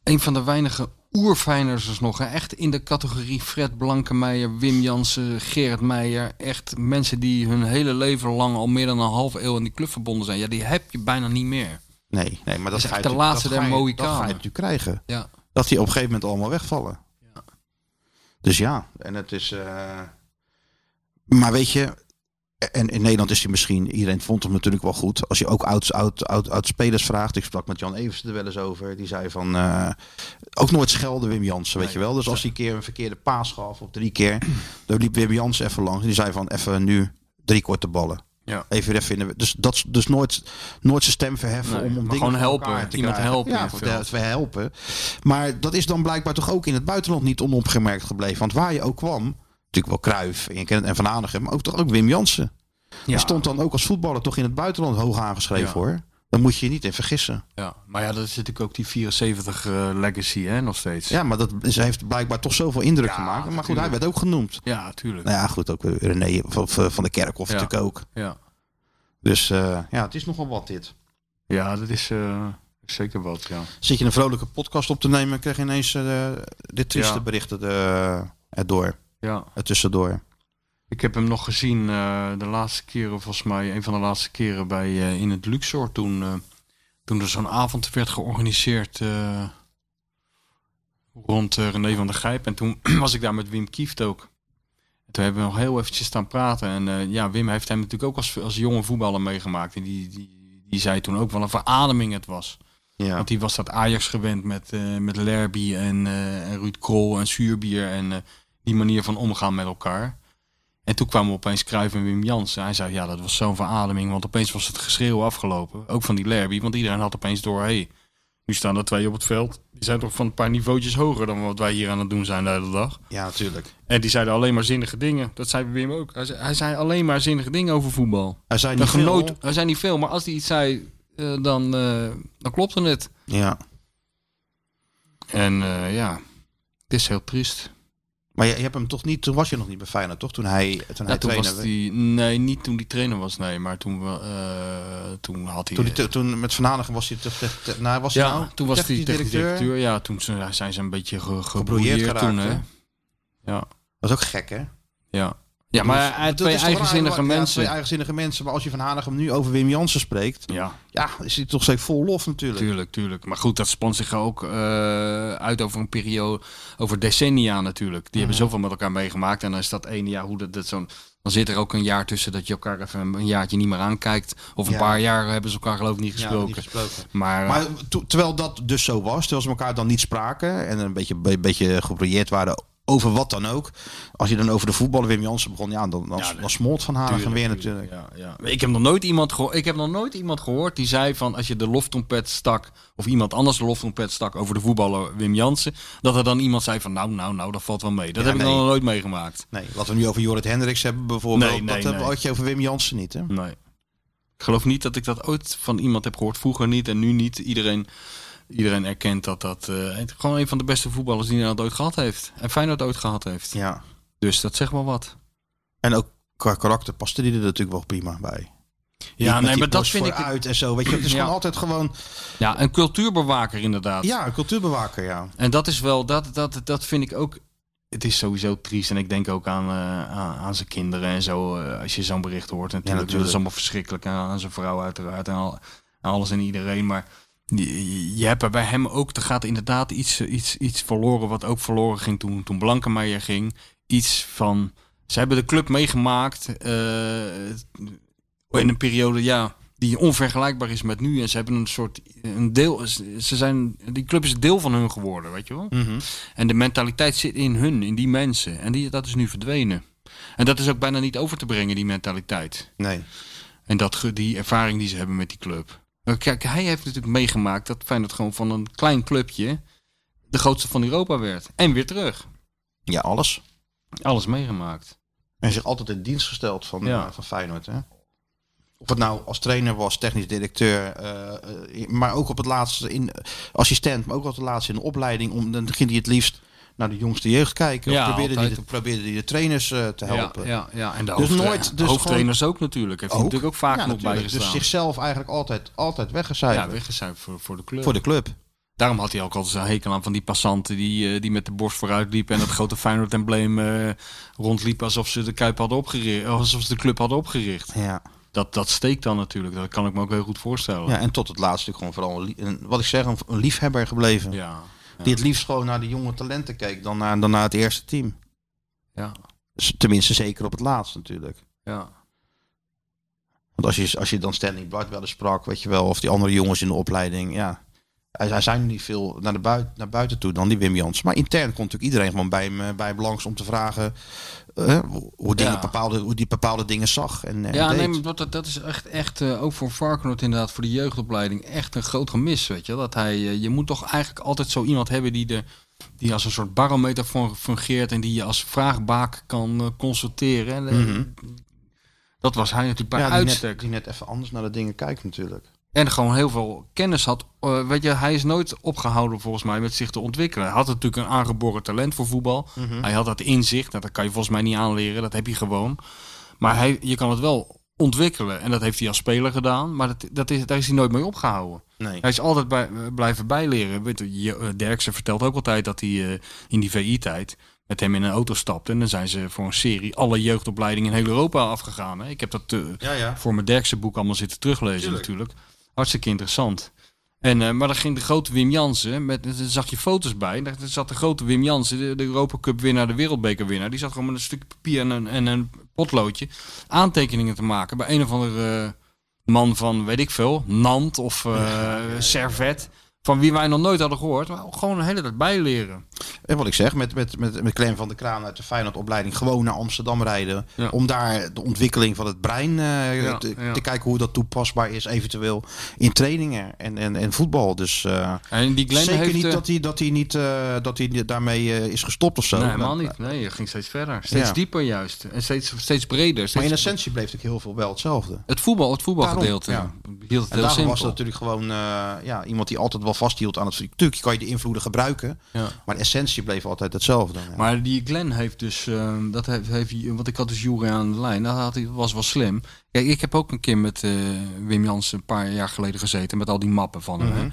[SPEAKER 5] een van de weinige oerfijners nog. Hè? Echt in de categorie Fred Blankenmeijer, Wim Jansen, Gerrit Meijer. Echt mensen die hun hele leven lang al meer dan een half eeuw aan die club verbonden zijn. Ja, die heb je bijna niet meer.
[SPEAKER 3] Nee, nee maar dat,
[SPEAKER 5] is
[SPEAKER 3] ga je
[SPEAKER 5] echt de
[SPEAKER 3] natuurlijk-
[SPEAKER 5] laatste
[SPEAKER 3] dat ga
[SPEAKER 5] der
[SPEAKER 3] je- Dat ga je
[SPEAKER 5] Mohikanen.
[SPEAKER 3] natuurlijk krijgen.
[SPEAKER 5] Ja.
[SPEAKER 3] Dat die op een gegeven moment allemaal wegvallen. Dus ja, en het is... eh, Maar weet je, en in Nederland is hij misschien, iedereen vond hem natuurlijk wel goed. Als je ook oud, oud, oud, oud spelers vraagt, ik sprak met Jan Evers er wel eens over, die zei van, eh, ook nooit schelden Wim Jansen, weet je wel. Dus als hij een keer een verkeerde paas gaf of drie keer, dan liep Wim Jansen even langs. Die zei van, even nu drie korte ballen.
[SPEAKER 5] Ja.
[SPEAKER 3] Even weer even in de- dus dat is dus nooit, nooit zijn stem verheffen
[SPEAKER 5] Nee,
[SPEAKER 3] om, om
[SPEAKER 5] maar
[SPEAKER 3] dingen
[SPEAKER 5] gewoon
[SPEAKER 3] voor
[SPEAKER 5] helpen,
[SPEAKER 3] elkaar te
[SPEAKER 5] iemand
[SPEAKER 3] krijgen.
[SPEAKER 5] helpen in
[SPEAKER 3] Ja,
[SPEAKER 5] het
[SPEAKER 3] voor
[SPEAKER 5] veld.
[SPEAKER 3] dat we helpen. Maar dat is dan blijkbaar toch ook in het buitenland niet onopgemerkt gebleven. Want waar je ook kwam, natuurlijk wel Kruif en, je kent- en Van Aanigem, maar ook toch ook Wim Jansen.
[SPEAKER 5] Ja.
[SPEAKER 3] Die stond dan ook als voetballer toch in het buitenland hoog aangeschreven
[SPEAKER 5] Ja.
[SPEAKER 3] hoor. Dan moet je je niet in vergissen.
[SPEAKER 5] Ja, maar ja, dat is natuurlijk ook die 74 eh, legacy hè, nog steeds.
[SPEAKER 3] Ja, maar dat is, heeft blijkbaar toch zoveel indruk gemaakt. Maar goed, hij werd ook genoemd.
[SPEAKER 5] Ja, tuurlijk.
[SPEAKER 3] Nou ja, goed, ook eh, René van, van van de Kerkhof
[SPEAKER 5] Ja.
[SPEAKER 3] natuurlijk ook.
[SPEAKER 5] Ja.
[SPEAKER 3] Dus eh, ja, het is nogal wat dit.
[SPEAKER 5] Ja, dat is eh, zeker wat, ja.
[SPEAKER 3] Zit je een vrolijke podcast op te nemen, krijg je ineens eh, dit trieste
[SPEAKER 5] Ja.
[SPEAKER 3] berichten eh, erdoor.
[SPEAKER 5] Ja.
[SPEAKER 3] Er tussendoor.
[SPEAKER 5] Ik heb hem nog gezien eh, de laatste keren, volgens mij een van de laatste keren bij, eh, in het Luxor. Toen, eh, toen er zo'n avond werd georganiseerd eh, rond eh, René van der Gijp. En toen was ik daar met Wim Kieft ook. En toen hebben we nog heel eventjes staan praten. En eh, ja, Wim heeft hem natuurlijk ook als, als jonge voetballer meegemaakt. En die, die, die zei toen ook wel een verademing het was.
[SPEAKER 3] Ja.
[SPEAKER 5] Want die was dat Ajax gewend met, eh met Lerby en, eh, en Ruud Krol en Zuurbier. En eh, die manier van omgaan met elkaar. En toen kwamen opeens Cruijff en Wim Jansen. Hij zei, ja, dat was zo'n verademing. Want opeens was het geschreeuw afgelopen. Ook van die Lerby. Want iedereen had opeens door, hé, hey, nu staan er twee op het veld. Die zijn toch van een paar niveautjes hoger dan wat wij hier aan het doen zijn de hele dag.
[SPEAKER 3] Ja, natuurlijk.
[SPEAKER 5] En die zeiden alleen maar zinnige dingen. Dat zei Wim ook. Hij zei, hij zei alleen maar zinnige dingen over voetbal.
[SPEAKER 3] Hij zei
[SPEAKER 5] Daar
[SPEAKER 3] niet veel.
[SPEAKER 5] genoot- Hij zei niet veel, maar als hij iets zei, eh, dan, eh, dan klopte het.
[SPEAKER 3] Ja.
[SPEAKER 5] En eh, ja, het is heel triest.
[SPEAKER 3] Maar je, je hebt hem toch niet, toen was je nog niet bij Feyenoord, toch? Toen hij, toen hij
[SPEAKER 5] Nou, toen
[SPEAKER 3] trainer
[SPEAKER 5] was die, nee, niet toen die trainer was, nee. Maar toen, we- eh, toen had hij...
[SPEAKER 3] Toen, die te- toen met Van Hanegem was hij... Te, te, te- nou, was hij
[SPEAKER 5] ja,
[SPEAKER 3] nou
[SPEAKER 5] toen was hij
[SPEAKER 3] technisch
[SPEAKER 5] technisch directeur. Ja, toen zijn- zijn ze een beetje ge, gebrouilleerd
[SPEAKER 3] Gebrouilleerd geraakt,
[SPEAKER 5] toen, hè.
[SPEAKER 3] hè?
[SPEAKER 5] Ja,
[SPEAKER 3] Dat is ook gek, hè?
[SPEAKER 5] ja. Ja, maar
[SPEAKER 3] dus- Dat
[SPEAKER 5] hij had
[SPEAKER 3] is
[SPEAKER 5] twee
[SPEAKER 3] toch raar,
[SPEAKER 5] eigenzinnige
[SPEAKER 3] ja,
[SPEAKER 5] mensen.
[SPEAKER 3] twee eigenzinnige mensen. Maar als je Van Hanegem nu over Wim Jansen spreekt...
[SPEAKER 5] Ja.
[SPEAKER 3] Ja, is hij toch steeds vol lof natuurlijk.
[SPEAKER 5] Tuurlijk, tuurlijk. Maar goed, dat spant zich ook eh, uit over een periode, over decennia natuurlijk. Die hebben zoveel met elkaar meegemaakt. En dan is dat ene jaar hoe dat, dat zo'n. Dan zit er ook een jaar tussen dat je elkaar even een jaartje niet meer aankijkt. Of een
[SPEAKER 3] Ja.
[SPEAKER 5] paar jaar hebben ze elkaar geloof ik niet
[SPEAKER 3] Ja, hebben
[SPEAKER 5] gesproken.
[SPEAKER 3] niet gesproken.
[SPEAKER 5] Maar, eh,
[SPEAKER 3] Maar to- terwijl dat dus zo was, terwijl ze elkaar dan niet spraken en een beetje, be- beetje geprojecteerd waren over wat dan ook. Als je dan over de voetballer Wim Jansen begon, ja, dan, dan, dan smolt Van Hanegem
[SPEAKER 5] Tuurlijk,
[SPEAKER 3] weer
[SPEAKER 5] tuurlijk,
[SPEAKER 3] natuurlijk.
[SPEAKER 5] ja, ja. Ik, heb nog nooit iemand geho- ik heb nog nooit iemand gehoord die zei van als je de loftrompet stak, of iemand anders de loftrompet stak over de voetballer Wim Jansen, dat er dan iemand zei van nou, nou, nou, dat valt wel mee. Dat
[SPEAKER 3] Ja,
[SPEAKER 5] heb ik
[SPEAKER 3] nee.
[SPEAKER 5] nog nooit meegemaakt.
[SPEAKER 3] Nee, wat we nu over Jorrit Hendricks hebben bijvoorbeeld,
[SPEAKER 5] Nee, nee,
[SPEAKER 3] dat hebben
[SPEAKER 5] nee.
[SPEAKER 3] eh, had je over Wim Jansen niet, hè?
[SPEAKER 5] Nee. Ik geloof niet dat ik dat ooit van iemand heb gehoord. Vroeger niet en nu niet. Iedereen, iedereen erkent dat dat eh, het- gewoon een van de beste voetballers die Nederland ooit gehad heeft. En Feyenoord ooit gehad heeft.
[SPEAKER 3] Ja.
[SPEAKER 5] Dus dat zegt wel wat.
[SPEAKER 3] En ook qua karakter paste die er natuurlijk wel prima bij.
[SPEAKER 5] Ja,
[SPEAKER 3] Niet met
[SPEAKER 5] nee,
[SPEAKER 3] die
[SPEAKER 5] maar dat
[SPEAKER 3] borst
[SPEAKER 5] vind ik...
[SPEAKER 3] vooruit en zo, weet je, het is
[SPEAKER 5] Ja.
[SPEAKER 3] gewoon altijd gewoon,
[SPEAKER 5] Ja, een cultuurbewaker inderdaad.
[SPEAKER 3] ja, een cultuurbewaker, ja.
[SPEAKER 5] En dat is wel, dat, dat, dat vind ik ook. Het is sowieso triest. En ik denk ook aan, eh, aan, aan zijn kinderen en zo. eh, als je zo'n bericht hoort. Natuurlijk, Dat
[SPEAKER 3] natuurlijk.
[SPEAKER 5] is allemaal verschrikkelijk. En aan zijn vrouw, uiteraard. En al, aan alles en iedereen. Maar je, je hebt er bij hem ook. Er gaat inderdaad iets, eh, iets, iets verloren. Wat ook verloren ging toen, toen Blankenmeijer ging. Iets van. Ze hebben de club meegemaakt. eh, in een periode, ja, die onvergelijkbaar is met nu. En ze hebben een soort, een deel, ze zijn, die club is deel van hun geworden, weet je wel.
[SPEAKER 9] Mm.
[SPEAKER 3] Mhm.
[SPEAKER 5] En de mentaliteit zit in hun, in die mensen. En die, dat is nu verdwenen. En dat is ook bijna niet over te brengen, die mentaliteit.
[SPEAKER 3] Nee.
[SPEAKER 5] En dat, ge- die ervaring die ze hebben met die club. Maar Kijk, hij heeft natuurlijk meegemaakt dat Feyenoord gewoon van een klein clubje de grootste van Europa werd. En weer terug.
[SPEAKER 3] Ja, alles.
[SPEAKER 5] Alles meegemaakt.
[SPEAKER 3] En zich altijd in dienst gesteld van,
[SPEAKER 5] Ja.
[SPEAKER 3] eh, van Feyenoord. Hè? Of het nou als trainer was, technisch directeur, eh, eh, maar ook op het laatste in eh, assistent, maar ook op het laatste in de opleiding. Om, dan ging hij het liefst naar de jongste jeugd kijken.
[SPEAKER 5] Ja,
[SPEAKER 3] of probeerde hij
[SPEAKER 5] altijd.
[SPEAKER 3] de, probeerde die de trainers eh, te helpen.
[SPEAKER 5] Ja, ja, ja. en de
[SPEAKER 3] dus
[SPEAKER 5] hoofdtra-
[SPEAKER 3] nooit, dus
[SPEAKER 5] hoofdtrainers
[SPEAKER 3] gewoon-
[SPEAKER 5] ook natuurlijk. Heeft hij natuurlijk ook vaak
[SPEAKER 3] Ja,
[SPEAKER 5] nog bij
[SPEAKER 3] natuurlijk. Dus
[SPEAKER 5] gestaan.
[SPEAKER 3] zichzelf eigenlijk altijd, altijd
[SPEAKER 5] Ja,
[SPEAKER 3] weggecijferd.
[SPEAKER 5] weggecijferd voor, voor de club.
[SPEAKER 3] Voor de club.
[SPEAKER 5] Daarom had hij ook altijd zijn hekel aan van die passanten die, eh, die met de borst vooruit liepen en dat grote Feyenoord-embleem eh rondliepen alsof ze de Kuip hadden opgericht, alsof ze de club hadden opgericht.
[SPEAKER 3] Ja.
[SPEAKER 5] Dat, dat steekt dan natuurlijk, dat kan ik me ook heel goed voorstellen.
[SPEAKER 3] Ja, en tot het laatste gewoon vooral, een lie- een, wat ik zeg, een, een liefhebber gebleven.
[SPEAKER 5] Ja, ja.
[SPEAKER 3] Die het liefst gewoon naar de jonge talenten keek dan naar, dan naar het eerste team.
[SPEAKER 5] Ja.
[SPEAKER 3] S- Tenminste, zeker op het laatst natuurlijk.
[SPEAKER 5] Ja.
[SPEAKER 3] Want als je, als je dan Stanley Blad wel eens sprak, weet je wel, of die andere jongens in de opleiding, ja. Hij, hij zijn niet veel naar, de buiten, naar buiten toe dan die Wim Jans. Maar intern komt natuurlijk iedereen gewoon bij hem, eh, bij hem langs om te vragen eh, hoe, hoe dingen
[SPEAKER 5] Ja.
[SPEAKER 3] bepaalde, hoe die bepaalde dingen zag. En, en
[SPEAKER 5] Ja,
[SPEAKER 3] deed.
[SPEAKER 5] nee, maar dat- dat, dat is echt, echt eh, ook voor Varkenoord inderdaad, voor de jeugdopleiding, echt een groot gemis, weet je. Dat hij, eh, je moet toch eigenlijk altijd zo iemand hebben die, de, die als een soort barometer fun- fungeert en die je als vraagbaak kan eh, consulteren. En, eh,
[SPEAKER 3] Mhm.
[SPEAKER 5] Dat was hij natuurlijk bij
[SPEAKER 3] ja, die, eh,
[SPEAKER 5] uitstek.
[SPEAKER 3] net, die net even anders naar de dingen kijkt natuurlijk.
[SPEAKER 5] En gewoon heel veel kennis had. Eh, weet je, hij is nooit opgehouden volgens mij met zich te ontwikkelen. Hij had natuurlijk een aangeboren talent voor voetbal.
[SPEAKER 11] Mhm.
[SPEAKER 5] Hij had dat inzicht. Nou, dat kan je volgens mij niet aanleren. Dat heb je gewoon. Maar hij, je kan het wel ontwikkelen. En dat heeft hij als speler gedaan. Maar dat, dat is, daar is hij nooit mee opgehouden.
[SPEAKER 3] Nee.
[SPEAKER 5] Hij is altijd bij, eh, blijven bijleren. Weet je, je- eh, Derksen vertelt ook altijd dat hij eh, in die VI-tijd met hem in een auto stapte. En dan zijn ze voor een serie alle jeugdopleidingen in heel Europa afgegaan. Hè? Ik heb dat eh,
[SPEAKER 4] Ja, ja.
[SPEAKER 5] voor mijn Derksen boek allemaal zitten teruglezen
[SPEAKER 4] Tuurlijk.
[SPEAKER 5] natuurlijk. Hartstikke interessant. En, eh, maar dan ging de grote Wim Jansen, met, daar zag je foto's bij. Daar zat de grote Wim Jansen, de, de Europa Cup winnaar, de wereldbeker winnaar. Die zat gewoon met een stuk papier en een, en een potloodje aantekeningen te maken bij een of andere eh, man van, weet ik veel, Nant of eh, Servet. Van wie wij nog nooit hadden gehoord, maar gewoon een hele tijd bijleren.
[SPEAKER 3] En wat ik zeg, met, met, met, met Clem van der Kraan uit de Feyenoordopleiding gewoon naar Amsterdam rijden. Om daar de ontwikkeling van het brein eh,
[SPEAKER 5] Ja,
[SPEAKER 3] te,
[SPEAKER 5] ja.
[SPEAKER 3] te kijken hoe dat toepasbaar is, eventueel in trainingen en, en, en voetbal. Dus eh,
[SPEAKER 5] En die Glenn
[SPEAKER 3] zeker
[SPEAKER 5] heeft,
[SPEAKER 3] niet
[SPEAKER 5] eh,
[SPEAKER 3] dat hij, dat hij, niet, eh, dat hij daarmee eh, is gestopt of zo.
[SPEAKER 5] nee,
[SPEAKER 3] Dat-
[SPEAKER 5] helemaal niet. Nee, je ging steeds verder. Steeds
[SPEAKER 3] Ja.
[SPEAKER 5] dieper juist. En steeds, steeds breder. Steeds
[SPEAKER 3] Maar in essentie bleef het heel veel wel hetzelfde.
[SPEAKER 5] Het voetbal, het voetbalgedeelte.
[SPEAKER 3] Daarom,
[SPEAKER 5] Hield
[SPEAKER 3] en
[SPEAKER 5] het heel
[SPEAKER 3] daarom
[SPEAKER 5] simpel.
[SPEAKER 3] was het natuurlijk gewoon eh, ja, iemand die altijd wel vasthield aan het... Natuurlijk kan je de invloeden gebruiken,
[SPEAKER 5] Ja.
[SPEAKER 3] maar de essentie bleef altijd hetzelfde.
[SPEAKER 5] Maar die Glenn heeft dus, eh, dat heeft, heeft, hij- want ik had dus Jury aan de lijn, dat had hij, was wel slim. Kijk, ik heb ook een keer met eh, Wim Jans een paar jaar geleden gezeten, met al die mappen van hem. hè.
[SPEAKER 11] Mhm.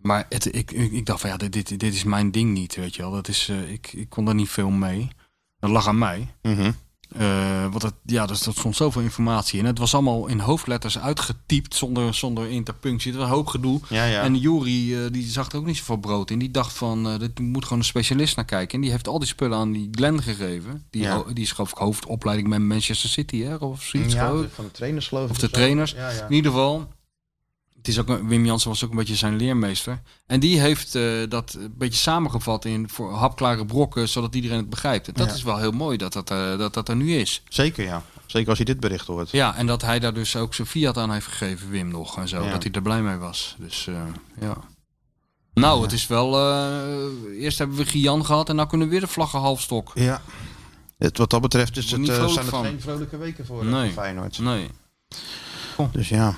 [SPEAKER 5] Maar het, ik, ik, ik dacht van ja, dit, dit, dit is mijn ding niet, weet je wel. Dat is, eh, ik, ik kon daar niet veel mee. Dat lag aan mij.
[SPEAKER 3] Mhm.
[SPEAKER 5] Eh, want dat, ja, dat, dat stond zoveel informatie in. Het was allemaal in hoofdletters uitgetypt zonder, zonder interpunctie. Het was een hoop gedoe.
[SPEAKER 3] Ja, ja.
[SPEAKER 5] En Jury eh, die zag er ook niet zoveel brood in. Die dacht van, eh dit moet gewoon een specialist naar kijken. En die heeft al die spullen aan die Glenn gegeven. Die,
[SPEAKER 3] Ja.
[SPEAKER 5] ho- die is geloof ik hoofdopleiding bij Manchester City hè, of zoiets.
[SPEAKER 3] Ja,
[SPEAKER 5] geloof ik.
[SPEAKER 3] van de trainers geloof ik
[SPEAKER 5] Of
[SPEAKER 3] of
[SPEAKER 5] de
[SPEAKER 3] zo.
[SPEAKER 5] trainers.
[SPEAKER 3] Ja, ja.
[SPEAKER 5] In ieder geval, het is ook, een- Wim Jansen was ook een beetje zijn leermeester. En die heeft eh, dat een beetje samengevat in voor hapklare brokken, zodat iedereen het begrijpt. En dat
[SPEAKER 3] Ja.
[SPEAKER 5] is wel heel mooi dat dat, eh, dat dat er nu is.
[SPEAKER 3] Zeker ja, zeker als je dit bericht hoort.
[SPEAKER 5] Ja, en dat hij daar dus ook zijn fiat aan heeft gegeven, Wim nog en zo.
[SPEAKER 3] Ja.
[SPEAKER 5] Dat hij er blij mee was. Dus eh, ja. Nou, het is wel. eh, eerst hebben we Gian gehad en nou kunnen we weer de vlaggen halfstok.
[SPEAKER 3] Ja. Het, wat dat betreft is
[SPEAKER 5] Word
[SPEAKER 3] het,
[SPEAKER 5] niet
[SPEAKER 3] eh,
[SPEAKER 5] vrolijk
[SPEAKER 3] zijn het
[SPEAKER 5] van.
[SPEAKER 3] geen vrolijke weken voor eh,
[SPEAKER 5] Nee.
[SPEAKER 3] Feyenoord.
[SPEAKER 5] Nee.
[SPEAKER 3] Dus ja.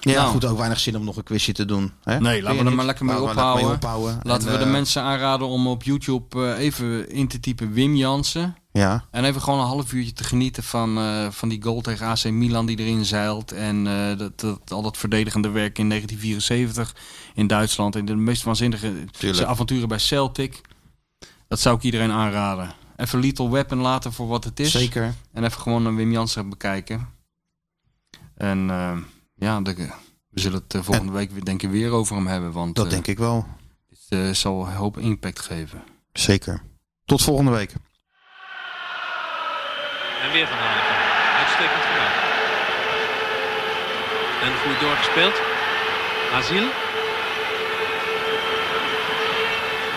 [SPEAKER 3] Ja,
[SPEAKER 5] Nou.
[SPEAKER 3] goed, ook weinig zin om nog een quizje te doen. Hè?
[SPEAKER 5] Nee,
[SPEAKER 3] Vind
[SPEAKER 5] laten
[SPEAKER 3] je
[SPEAKER 5] we er
[SPEAKER 3] niet?
[SPEAKER 5] maar lekker mee
[SPEAKER 3] Laten we lekker
[SPEAKER 5] ophouden.
[SPEAKER 3] mee
[SPEAKER 5] Laten
[SPEAKER 3] En,
[SPEAKER 5] we de
[SPEAKER 3] eh,
[SPEAKER 5] mensen aanraden om op YouTube eh, even in te typen Wim Jansen.
[SPEAKER 3] Ja.
[SPEAKER 5] En even gewoon een half uurtje te genieten van, eh, van die goal tegen AC Milan die erin zeilt. En eh, dat, dat, al dat verdedigende werk in 1974 in Duitsland. En de meest waanzinnige zijn avonturen bij Celtic. Dat zou ik iedereen aanraden. Even Little Weapon laten voor wat het is.
[SPEAKER 3] Zeker.
[SPEAKER 5] En even gewoon een Wim Jansen bekijken. En eh, ja, de- we zullen het eh, volgende week weer- denk ik weer over hem hebben. Want,
[SPEAKER 3] Dat
[SPEAKER 5] eh,
[SPEAKER 3] denk ik wel.
[SPEAKER 5] Het eh, zal een hoop impact geven.
[SPEAKER 3] Zeker. Tot volgende week.
[SPEAKER 22] En weer Van Hanegem. Uitstekend gedaan. En goed doorgespeeld. Aziel.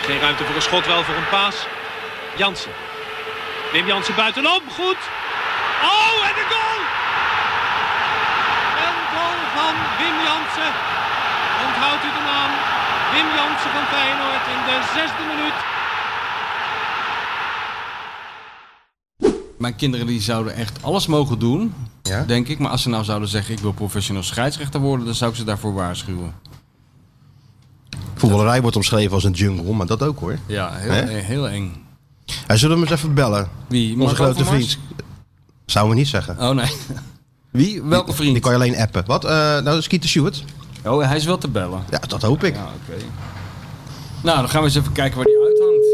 [SPEAKER 22] Geen ruimte voor een schot, wel voor een paas. Jansen. Wim Jansen buitenom. Goed. Oh, en de goal! Een goal van Wim Jansen. Onthoudt u de naam. Wim Jansen van Feyenoord in de zesde minuut.
[SPEAKER 5] Mijn kinderen die zouden echt alles mogen doen, denk ik. Maar als ze nou zouden zeggen, ik wil professioneel scheidsrechter worden, dan zou ik ze daarvoor waarschuwen.
[SPEAKER 15] Voetballerij wordt omschreven als een jungle, maar dat ook hoor.
[SPEAKER 5] Ja, heel,
[SPEAKER 15] Hè?
[SPEAKER 5] eh, heel eng.
[SPEAKER 15] Hij zullen we hem eens even bellen.
[SPEAKER 5] Wie?
[SPEAKER 15] Onze
[SPEAKER 5] Marco
[SPEAKER 15] grote
[SPEAKER 5] Overmars?
[SPEAKER 15] vriend. Zouden we niet zeggen.
[SPEAKER 5] Oh nee. Wie? Welke vriend?
[SPEAKER 15] Die kan je alleen appen. Wat? Eh nou, Skeeter Stewart.
[SPEAKER 5] Oh, hij is wel te bellen.
[SPEAKER 15] Ja, dat hoop ik.
[SPEAKER 5] Ja, oké. Nou, dan gaan we eens even kijken waar die uithangt.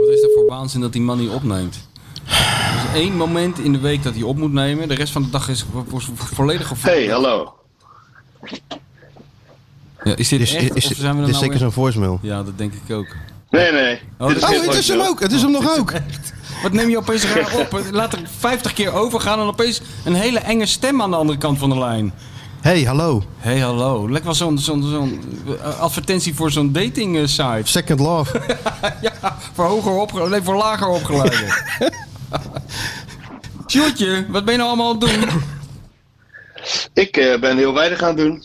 [SPEAKER 5] Wat is er voor waanzin dat die man niet opneemt? Er is één moment in de week dat hij op moet nemen. De rest van de dag is vo- vo- vo- volledig gevoel.
[SPEAKER 23] Hey, hallo.
[SPEAKER 5] Ja, is dit
[SPEAKER 15] Is-
[SPEAKER 5] echt?
[SPEAKER 15] is-
[SPEAKER 5] of zijn we er
[SPEAKER 15] dit is
[SPEAKER 5] nou
[SPEAKER 15] zeker
[SPEAKER 5] weer-
[SPEAKER 15] zo'n voicemail.
[SPEAKER 5] Ja, dat denk ik ook.
[SPEAKER 23] Nee, nee.
[SPEAKER 5] Oh,
[SPEAKER 23] Dit
[SPEAKER 5] dit-
[SPEAKER 23] geen
[SPEAKER 5] oh, het is hem
[SPEAKER 23] voicemail.
[SPEAKER 5] ook. Het is hem nog ook. Wat neem je opeens raar op? Laat er 50 keer overgaan en opeens een hele enge stem aan de andere kant van de lijn.
[SPEAKER 15] Hey, hallo.
[SPEAKER 5] Hey, hallo. Lekker wel zo'n zo'n zo'n, eh, advertentie voor zo'n dating eh, site.
[SPEAKER 15] Second love.
[SPEAKER 5] ja, voor hoger opge- nee, voor lager opgeleiden. Sjoerdje, wat ben je nou allemaal aan het doen?
[SPEAKER 23] Ik eh, ben heel weinig aan het doen.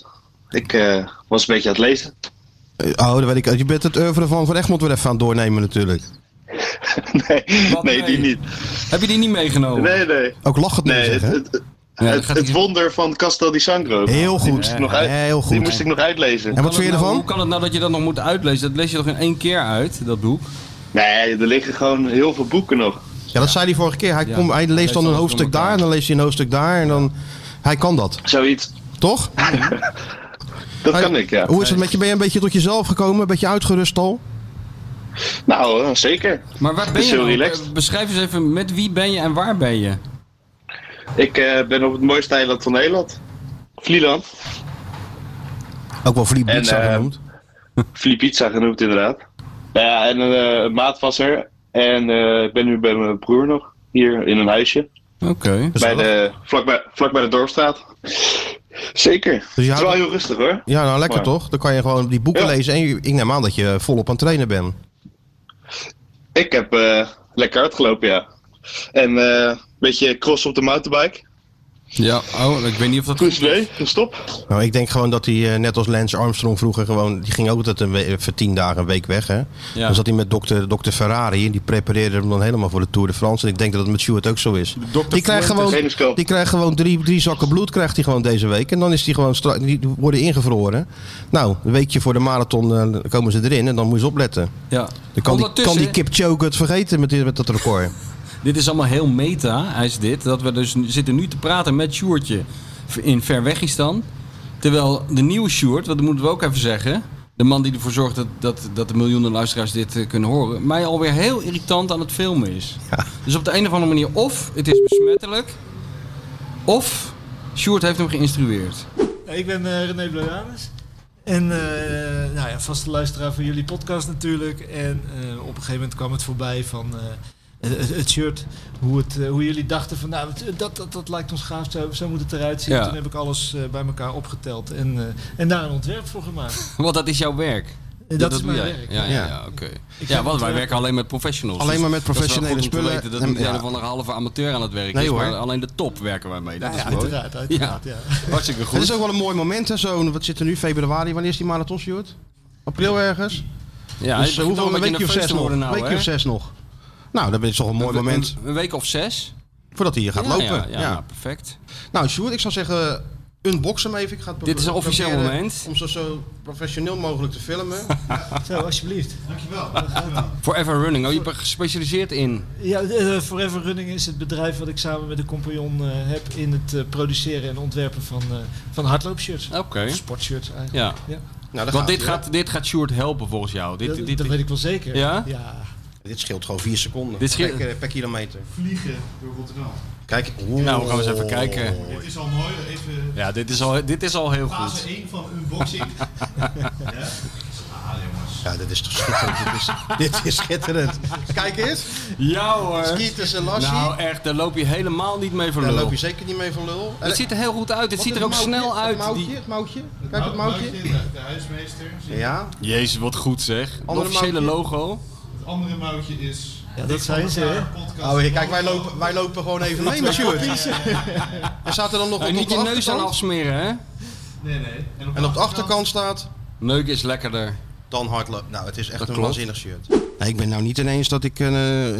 [SPEAKER 23] Ik eh, was een beetje aan het lezen.
[SPEAKER 15] Eh, Oh, dat weet ik. Je bent het oeuvre van Van Egmond weer even aan het doornemen natuurlijk.
[SPEAKER 23] nee, nee, die niet.
[SPEAKER 5] Heb je die niet meegenomen?
[SPEAKER 23] Nee, nee.
[SPEAKER 15] Ook lachend nee,
[SPEAKER 23] nee,
[SPEAKER 15] zeggen.
[SPEAKER 23] het- het- het, het wonder van Castel di Sangro.
[SPEAKER 24] Heel
[SPEAKER 23] Die
[SPEAKER 24] goed.
[SPEAKER 23] moest ik nog, uit,
[SPEAKER 24] Heel
[SPEAKER 23] Die
[SPEAKER 24] goed.
[SPEAKER 23] moest ik nog uitlezen.
[SPEAKER 24] En wat vind je ervan?
[SPEAKER 5] Hoe kan het nou dat je dat nog moet uitlezen? Dat lees je toch in één keer uit, dat boek?
[SPEAKER 23] Nee, er liggen gewoon heel veel boeken nog.
[SPEAKER 3] Ja, dat zei hij vorige keer. Hij,
[SPEAKER 23] Ja.
[SPEAKER 3] komt- hij
[SPEAKER 23] Hij
[SPEAKER 3] leest
[SPEAKER 23] leest
[SPEAKER 3] dan een
[SPEAKER 23] alles
[SPEAKER 3] hoofdstuk daar en dan leest hij een hoofdstuk daar. En dan, hij kan dat.
[SPEAKER 23] Zoiets.
[SPEAKER 3] Toch?
[SPEAKER 5] nou
[SPEAKER 23] Dat
[SPEAKER 3] Hey,
[SPEAKER 23] kan ik, ja.
[SPEAKER 3] Hoe is het met je? Ben je een beetje tot jezelf gekomen? Een beetje uitgerust al?
[SPEAKER 23] Nou, eh, zeker.
[SPEAKER 5] Maar waar
[SPEAKER 23] Het
[SPEAKER 5] ben
[SPEAKER 23] is
[SPEAKER 5] je?
[SPEAKER 23] heel
[SPEAKER 5] nou?
[SPEAKER 23] relaxed.
[SPEAKER 5] Eh, Beschrijf eens even met wie ben je en waar ben je?
[SPEAKER 23] Ik eh, ben op het mooiste eiland van Nederland. Vlieland.
[SPEAKER 3] Ook wel Vliepizza
[SPEAKER 23] eh,
[SPEAKER 3] genoemd.
[SPEAKER 23] Filipizza genoemd, inderdaad. Nou ja, en een eh, maatvasser. En eh, ik ben nu bij mijn broer nog. Hier in een huisje.
[SPEAKER 5] Oké.
[SPEAKER 23] Bij de, vlak, bij, vlak bij de Dorpstraat. Zeker.
[SPEAKER 3] Dus je
[SPEAKER 23] het is wel
[SPEAKER 3] houdt-
[SPEAKER 23] heel rustig hoor.
[SPEAKER 3] Ja, nou lekker
[SPEAKER 23] Maar-
[SPEAKER 3] toch? Dan kan je gewoon die boeken lezen. En je- ik neem aan dat je volop aan het trainen bent.
[SPEAKER 23] Ik heb eh, lekker hard gelopen, ja. En eh, een beetje cross op de mountainbike.
[SPEAKER 5] Ja, oh, ik weet niet of dat
[SPEAKER 23] goed is. Nee, stop.
[SPEAKER 3] Nou, ik denk gewoon dat hij, eh, net als Lance Armstrong vroeger, gewoon, die ging ook altijd een we- voor tien dagen een week weg. Hè?
[SPEAKER 5] Ja.
[SPEAKER 3] Dan zat hij met dokter, dokter Ferrari en die prepareerde hem dan helemaal voor de Tour de France. En ik denk dat het met Stewart ook zo is. die krijgt gewoon,
[SPEAKER 23] Trainingskamp.
[SPEAKER 3] die krijgt gewoon drie, drie zakken bloed krijgt hij gewoon deze week. En dan is die gewoon stra- die worden ingevroren. Nou, een weekje voor de marathon eh, komen ze erin en dan moet je eens opletten.
[SPEAKER 5] Ja.
[SPEAKER 3] Dan kan die, kan
[SPEAKER 5] Ondertussen-
[SPEAKER 3] die Kipchoge het vergeten met, dit- met dat record.
[SPEAKER 5] Dit is allemaal heel meta, hij is dit. Dat we dus nu- zitten nu te praten met Sjoertje in Verwegistan. Terwijl de nieuwe Sjoerd, want dat moeten we ook even zeggen... de man die ervoor zorgt dat, dat, dat de miljoenen luisteraars dit eh, kunnen horen... mij alweer heel irritant aan het filmen is. Dus op de een of andere manier, of het is besmettelijk... of Sjoerd heeft hem geïnstrueerd.
[SPEAKER 11] Ik ben eh, René Bleuanus. En eh, nou ja, vaste luisteraar van jullie podcast natuurlijk. En eh, op een gegeven moment kwam het voorbij van eh, het, het shirt. Hoe, het, eh, hoe jullie dachten van nou, het- dat, dat, dat lijkt ons gaaf. Zo, zo moet het eruit zien.
[SPEAKER 5] Ja.
[SPEAKER 11] Toen heb ik alles eh, bij elkaar opgeteld en, eh, en daar een ontwerp voor gemaakt.
[SPEAKER 5] Want dat is jouw werk.
[SPEAKER 11] Dat
[SPEAKER 5] Ja,
[SPEAKER 11] is
[SPEAKER 5] doe
[SPEAKER 11] mijn
[SPEAKER 5] jij.
[SPEAKER 11] werk,
[SPEAKER 5] Ja,
[SPEAKER 11] ja.
[SPEAKER 5] ja, ja, oké.
[SPEAKER 11] Ik
[SPEAKER 5] Ja,
[SPEAKER 11] heb
[SPEAKER 5] want
[SPEAKER 11] het,
[SPEAKER 5] wij
[SPEAKER 11] eh,
[SPEAKER 5] werken alleen met professionals.
[SPEAKER 3] Alleen
[SPEAKER 5] dus
[SPEAKER 3] maar met
[SPEAKER 5] dat is wel
[SPEAKER 3] professionele
[SPEAKER 5] goed om te
[SPEAKER 3] spullen
[SPEAKER 5] weten
[SPEAKER 3] en-
[SPEAKER 5] Dat niet
[SPEAKER 3] ja.
[SPEAKER 5] een van een halve amateur aan het werk
[SPEAKER 3] Nee,
[SPEAKER 5] is, maar
[SPEAKER 3] hoor.
[SPEAKER 5] alleen de top werken wij mee. Dat
[SPEAKER 3] Ja,
[SPEAKER 5] is
[SPEAKER 3] ja,
[SPEAKER 5] mooi.
[SPEAKER 3] uiteraard, uiteraard, ja.
[SPEAKER 5] Hartstikke goed.
[SPEAKER 3] Het is ook wel een mooi moment, hè? Zo, wat zit er nu? Februari, wanneer is die marathon, Stuart? April ergens?
[SPEAKER 5] Ja, het
[SPEAKER 3] dus,
[SPEAKER 5] begint
[SPEAKER 3] eh, hoeveel,
[SPEAKER 5] al
[SPEAKER 3] een
[SPEAKER 5] een beetje
[SPEAKER 3] weekje of
[SPEAKER 5] nerveus
[SPEAKER 3] zes
[SPEAKER 5] te
[SPEAKER 3] nog.
[SPEAKER 5] worden
[SPEAKER 3] Een
[SPEAKER 5] nou,
[SPEAKER 3] weekje
[SPEAKER 5] hè?
[SPEAKER 3] of zes nog. Nou, dat is toch een mooi
[SPEAKER 5] Een-
[SPEAKER 3] moment
[SPEAKER 5] Een, een week of zes.
[SPEAKER 3] voordat hij hier gaat
[SPEAKER 5] Ja,
[SPEAKER 3] lopen.
[SPEAKER 5] Ja, ja, perfect.
[SPEAKER 3] Nou, Stuart, ik zou zeggen, unbox hem even. Ik ga het
[SPEAKER 5] Dit is een officieel
[SPEAKER 3] proberen
[SPEAKER 5] moment.
[SPEAKER 3] Om zo, zo professioneel mogelijk te filmen.
[SPEAKER 11] Zo, alsjeblieft. Dankjewel.
[SPEAKER 5] Forever Running. Oh, je bent gespecialiseerd in.
[SPEAKER 11] Ja, eh, Forever Running is het bedrijf wat ik samen met een compagnon eh, heb in het eh, produceren en ontwerpen van, eh van hardloopshirts.
[SPEAKER 5] Oké.
[SPEAKER 11] Of Sportshirts
[SPEAKER 5] Ja.
[SPEAKER 11] eigenlijk.
[SPEAKER 3] Nou,
[SPEAKER 5] Want dit gaat, dit gaat Sjoerd helpen volgens jou. Dit,
[SPEAKER 11] Dat-
[SPEAKER 5] dit,
[SPEAKER 11] dat weet ik wel zeker.
[SPEAKER 5] Ja?
[SPEAKER 3] Dit scheelt gewoon vier seconden.
[SPEAKER 5] Dit scheelt-
[SPEAKER 3] per, per kilometer.
[SPEAKER 11] Vliegen door Rotterdam.
[SPEAKER 3] Kijk.
[SPEAKER 5] Nou, we gaan eens even kijken.
[SPEAKER 4] Oh.
[SPEAKER 11] Dit is al mooi. Even
[SPEAKER 5] Ja, dit is al, dit is al heel
[SPEAKER 11] Fase
[SPEAKER 5] goed.
[SPEAKER 11] één van unboxing.
[SPEAKER 3] Ja, dit is toch schitterend. dit, is, dit is schitterend. Kijk eens.
[SPEAKER 5] Ja hoor.
[SPEAKER 3] Skeeters en Lassie.
[SPEAKER 5] Nou echt, daar loop je helemaal niet mee voor
[SPEAKER 3] Daar
[SPEAKER 5] lul.
[SPEAKER 3] loop je zeker niet mee van lul.
[SPEAKER 5] Het ziet er heel goed uit. Het
[SPEAKER 3] Wat
[SPEAKER 5] ziet er
[SPEAKER 3] het
[SPEAKER 5] ook
[SPEAKER 3] mouwtje,
[SPEAKER 5] snel
[SPEAKER 3] het
[SPEAKER 5] uit.
[SPEAKER 3] mouwtje,
[SPEAKER 5] Die-
[SPEAKER 3] het mouwtje.
[SPEAKER 23] Nou,
[SPEAKER 3] Kijk het mouwtje.
[SPEAKER 11] de huismeester.
[SPEAKER 3] Ja.
[SPEAKER 5] Jezus, wat goed zeg. Het
[SPEAKER 3] Andere
[SPEAKER 5] officiële
[SPEAKER 3] mouwtje.
[SPEAKER 5] logo.
[SPEAKER 11] Het andere moutje is...
[SPEAKER 3] Ja, dat zijn ze, hè? Oh, hier, kijk, wij lopen, wij lopen gewoon even mee met Sjoerd. Er staat er dan nog
[SPEAKER 5] En
[SPEAKER 3] op
[SPEAKER 5] niet
[SPEAKER 3] de
[SPEAKER 5] je neus aan
[SPEAKER 3] achterkant.
[SPEAKER 5] afsmeren, hè?
[SPEAKER 11] Nee, nee.
[SPEAKER 3] En op de achterkant staat...
[SPEAKER 5] Neuk is lekkerder.
[SPEAKER 3] Dan hardlopen. Nou, het is echt
[SPEAKER 5] Dat
[SPEAKER 3] een
[SPEAKER 5] klopt.
[SPEAKER 3] waanzinnig shirt. Nee, ik ben nou niet ineens dat ik een eh,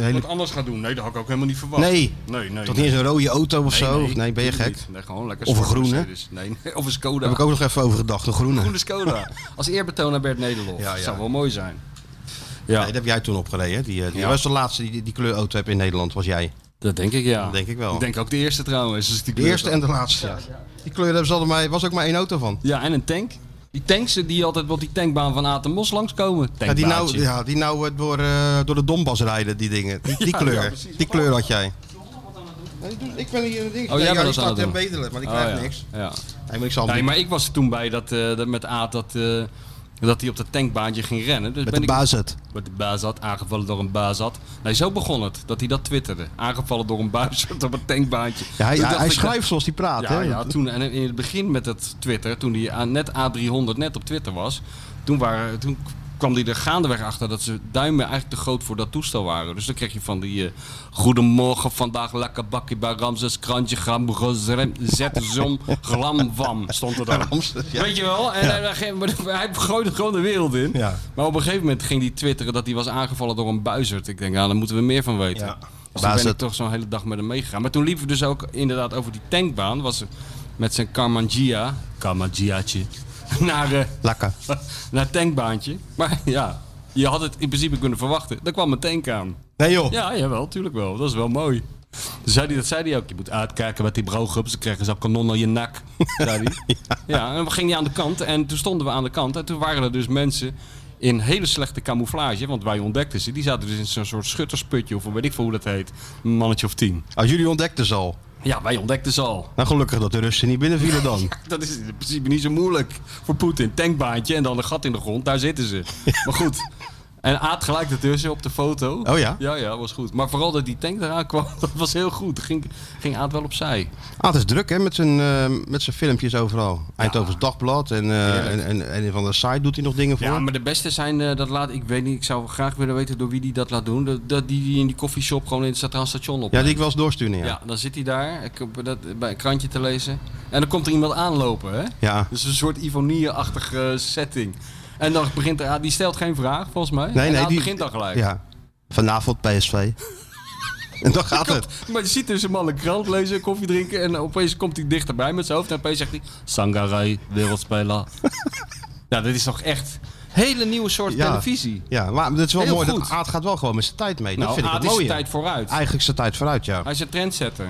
[SPEAKER 3] hele...
[SPEAKER 5] Wat anders gaat doen? Nee, dat had ik ook helemaal niet verwacht.
[SPEAKER 3] Nee,
[SPEAKER 5] nee, nee.
[SPEAKER 3] dat niet eens een rode auto of
[SPEAKER 5] Nee,
[SPEAKER 3] zo.
[SPEAKER 5] nee,
[SPEAKER 3] of nee ben je
[SPEAKER 5] natuurlijk
[SPEAKER 3] gek?
[SPEAKER 5] niet. Nee, gewoon lekker
[SPEAKER 3] Of een
[SPEAKER 5] zwarte
[SPEAKER 3] groene.
[SPEAKER 5] Mercedes. Nee, nee, of een Skoda.
[SPEAKER 3] Daar heb ik ook nog even over gedacht, de groene.
[SPEAKER 5] Groene Skoda. Als eerbetoon aan Bert Nederlof.
[SPEAKER 3] Ja, ja.
[SPEAKER 5] Dat zou wel mooi zijn.
[SPEAKER 3] Ja. dat heb jij toen opgereden. hè? Die, eh, die
[SPEAKER 5] Ja.
[SPEAKER 3] was de laatste die, die kleurauto heb in Nederland, was jij.
[SPEAKER 5] Dat denk ik, ja.
[SPEAKER 3] denk ik wel.
[SPEAKER 5] Ik denk ook de eerste trouwens. als die
[SPEAKER 3] de
[SPEAKER 5] kleur
[SPEAKER 3] eerste
[SPEAKER 5] dan.
[SPEAKER 3] en de laatste. ja. Die kleur hebben ze altijd maar, was ook maar één auto van.
[SPEAKER 5] Ja, en een tank. Die tanks die altijd op die tankbaan van Atemos langskomen.
[SPEAKER 3] Ja, die nou,
[SPEAKER 5] Tankbaantje.
[SPEAKER 3] ja, die nou eh, door, eh, door de Donbass rijden, die dingen. Die, die
[SPEAKER 5] Ja,
[SPEAKER 3] kleur.
[SPEAKER 5] ja, precies. Dus
[SPEAKER 3] die kleur had jij. Ik ben hier een ding.
[SPEAKER 5] Oh, jij bent
[SPEAKER 3] ik
[SPEAKER 5] dat aan
[SPEAKER 3] sta
[SPEAKER 5] het
[SPEAKER 3] te
[SPEAKER 5] doen.
[SPEAKER 3] bedelen, maar ik
[SPEAKER 5] Oh,
[SPEAKER 3] krijg
[SPEAKER 5] ja.
[SPEAKER 3] niks.
[SPEAKER 5] Ja.
[SPEAKER 3] Nee, maar ik zal hem
[SPEAKER 5] nee,
[SPEAKER 3] doen.
[SPEAKER 5] maar ik was er toen bij dat, eh, dat met Aad dat, eh, dat hij op dat tankbaantje ging rennen. Dus
[SPEAKER 3] Met
[SPEAKER 5] ben
[SPEAKER 3] de
[SPEAKER 5] ik-
[SPEAKER 3] Bazet.
[SPEAKER 5] Met de Bazat, aangevallen door een Bazat. Nee, zo begon het. Dat hij dat twitterde. Aangevallen door een Bazat op een tankbaantje.
[SPEAKER 3] Ja, hij,
[SPEAKER 5] Toen
[SPEAKER 3] hij,
[SPEAKER 5] dacht
[SPEAKER 3] hij
[SPEAKER 5] ik dat-
[SPEAKER 3] schrijft zoals hij praat.
[SPEAKER 5] Ja,
[SPEAKER 3] hè?
[SPEAKER 5] ja, toen en in het begin met dat Twitter, toen die aan- net A300 net op Twitter was, toen, waren, toen kwam hij er gaandeweg achter dat ze duimen eigenlijk te groot voor dat toestel waren. Dus dan kreeg je van die eh, goedemorgen vandaag lekker bakkie bij Ramses krantje gram gezrem, zet zom glam vam stond er dan. Weet je wel? En hij- hij, hij gooide gewoon de wereld in. nou, Maar op een gegeven moment ging hij twitteren dat hij was aangevallen door een buizerd. Ik denk, ja, daar moeten we meer van weten. Dus
[SPEAKER 14] Waar is
[SPEAKER 5] toen ben ik
[SPEAKER 14] het-
[SPEAKER 5] toch zo'n hele dag met hem meegegaan. Maar toen liepen we dus ook inderdaad over die tankbaan. Was met zijn Carmangia. Carmangiaatje. Naar, eh naar het tankbaantje. Maar ja, je had het in principe kunnen verwachten. Daar kwam een tank aan.
[SPEAKER 3] Nee joh.
[SPEAKER 5] Ja, jawel, tuurlijk wel. Dat is wel mooi. Toen Zei die, dat zei hij ook. Je moet uitkijken met die brouwgroep. Ze krijgen zo'n kanon aan je nak. Zei die. ja. en we gingen aan de kant. En toen stonden we aan de kant. En toen waren er dus mensen in hele slechte camouflage. Want wij ontdekten ze. Die zaten dus in zo'n soort schuttersputje. Of weet ik veel hoe dat heet. Een mannetje of tien.
[SPEAKER 14] Ah, jullie ontdekten ze al?
[SPEAKER 5] Ja, wij ontdekten ze al.
[SPEAKER 14] Nou, gelukkig dat de Russen niet binnenvielen dan.
[SPEAKER 5] Dat is in principe niet zo moeilijk voor Poetin. Tankbaantje en dan een gat in de grond, daar zitten ze. Maar goed. En Aad gelijk ertussen op de foto.
[SPEAKER 14] Oh ja?
[SPEAKER 5] Ja, ja, was goed. Maar vooral dat die tank eraan kwam, dat was heel goed. Ging, ging Aad wel opzij.
[SPEAKER 3] Ah, het is druk hè, met zijn, eh, met zijn filmpjes overal. Eindhoven's Dagblad en, eh en, en, en van de site doet hij nog dingen voor.
[SPEAKER 5] Ja, maar de beste zijn, eh, dat laat, ik weet niet, ik zou graag willen weten door wie die dat laat doen. Dat, dat die, die in die koffieshop gewoon in het Centraal Station op.
[SPEAKER 3] Ja, die ik wel eens doorsturen, ja.
[SPEAKER 5] Ja, dan zit hij daar ik, heb dat, bij een krantje te lezen. En dan komt er iemand aanlopen, hè?
[SPEAKER 3] Ja.
[SPEAKER 5] Dus een soort Ivonie-achtige setting. En dan begint er, ah, die stelt geen vraag, volgens mij. en Aad begint dan gelijk.
[SPEAKER 3] Ja. Vanavond PSV. en dan gaat het.
[SPEAKER 5] Maar je ziet dus een man een krant lezen, koffie drinken en opeens komt hij dichterbij met zijn hoofd en opeens zegt hij... Sangarai, wereldspeler. ja, dat is toch echt hele nieuwe soort
[SPEAKER 3] Ja.
[SPEAKER 5] televisie.
[SPEAKER 3] Ja, maar dat is wel
[SPEAKER 5] Heel
[SPEAKER 3] mooi.
[SPEAKER 5] goed.
[SPEAKER 3] Dat Aad gaat wel gewoon met zijn tijd mee.
[SPEAKER 5] Nou,
[SPEAKER 3] dat vind
[SPEAKER 5] Aad
[SPEAKER 3] ik
[SPEAKER 5] is
[SPEAKER 3] wel mooi.
[SPEAKER 5] zijn tijd vooruit.
[SPEAKER 3] Eigenlijk zijn tijd vooruit, ja.
[SPEAKER 5] Hij is een trendsetter.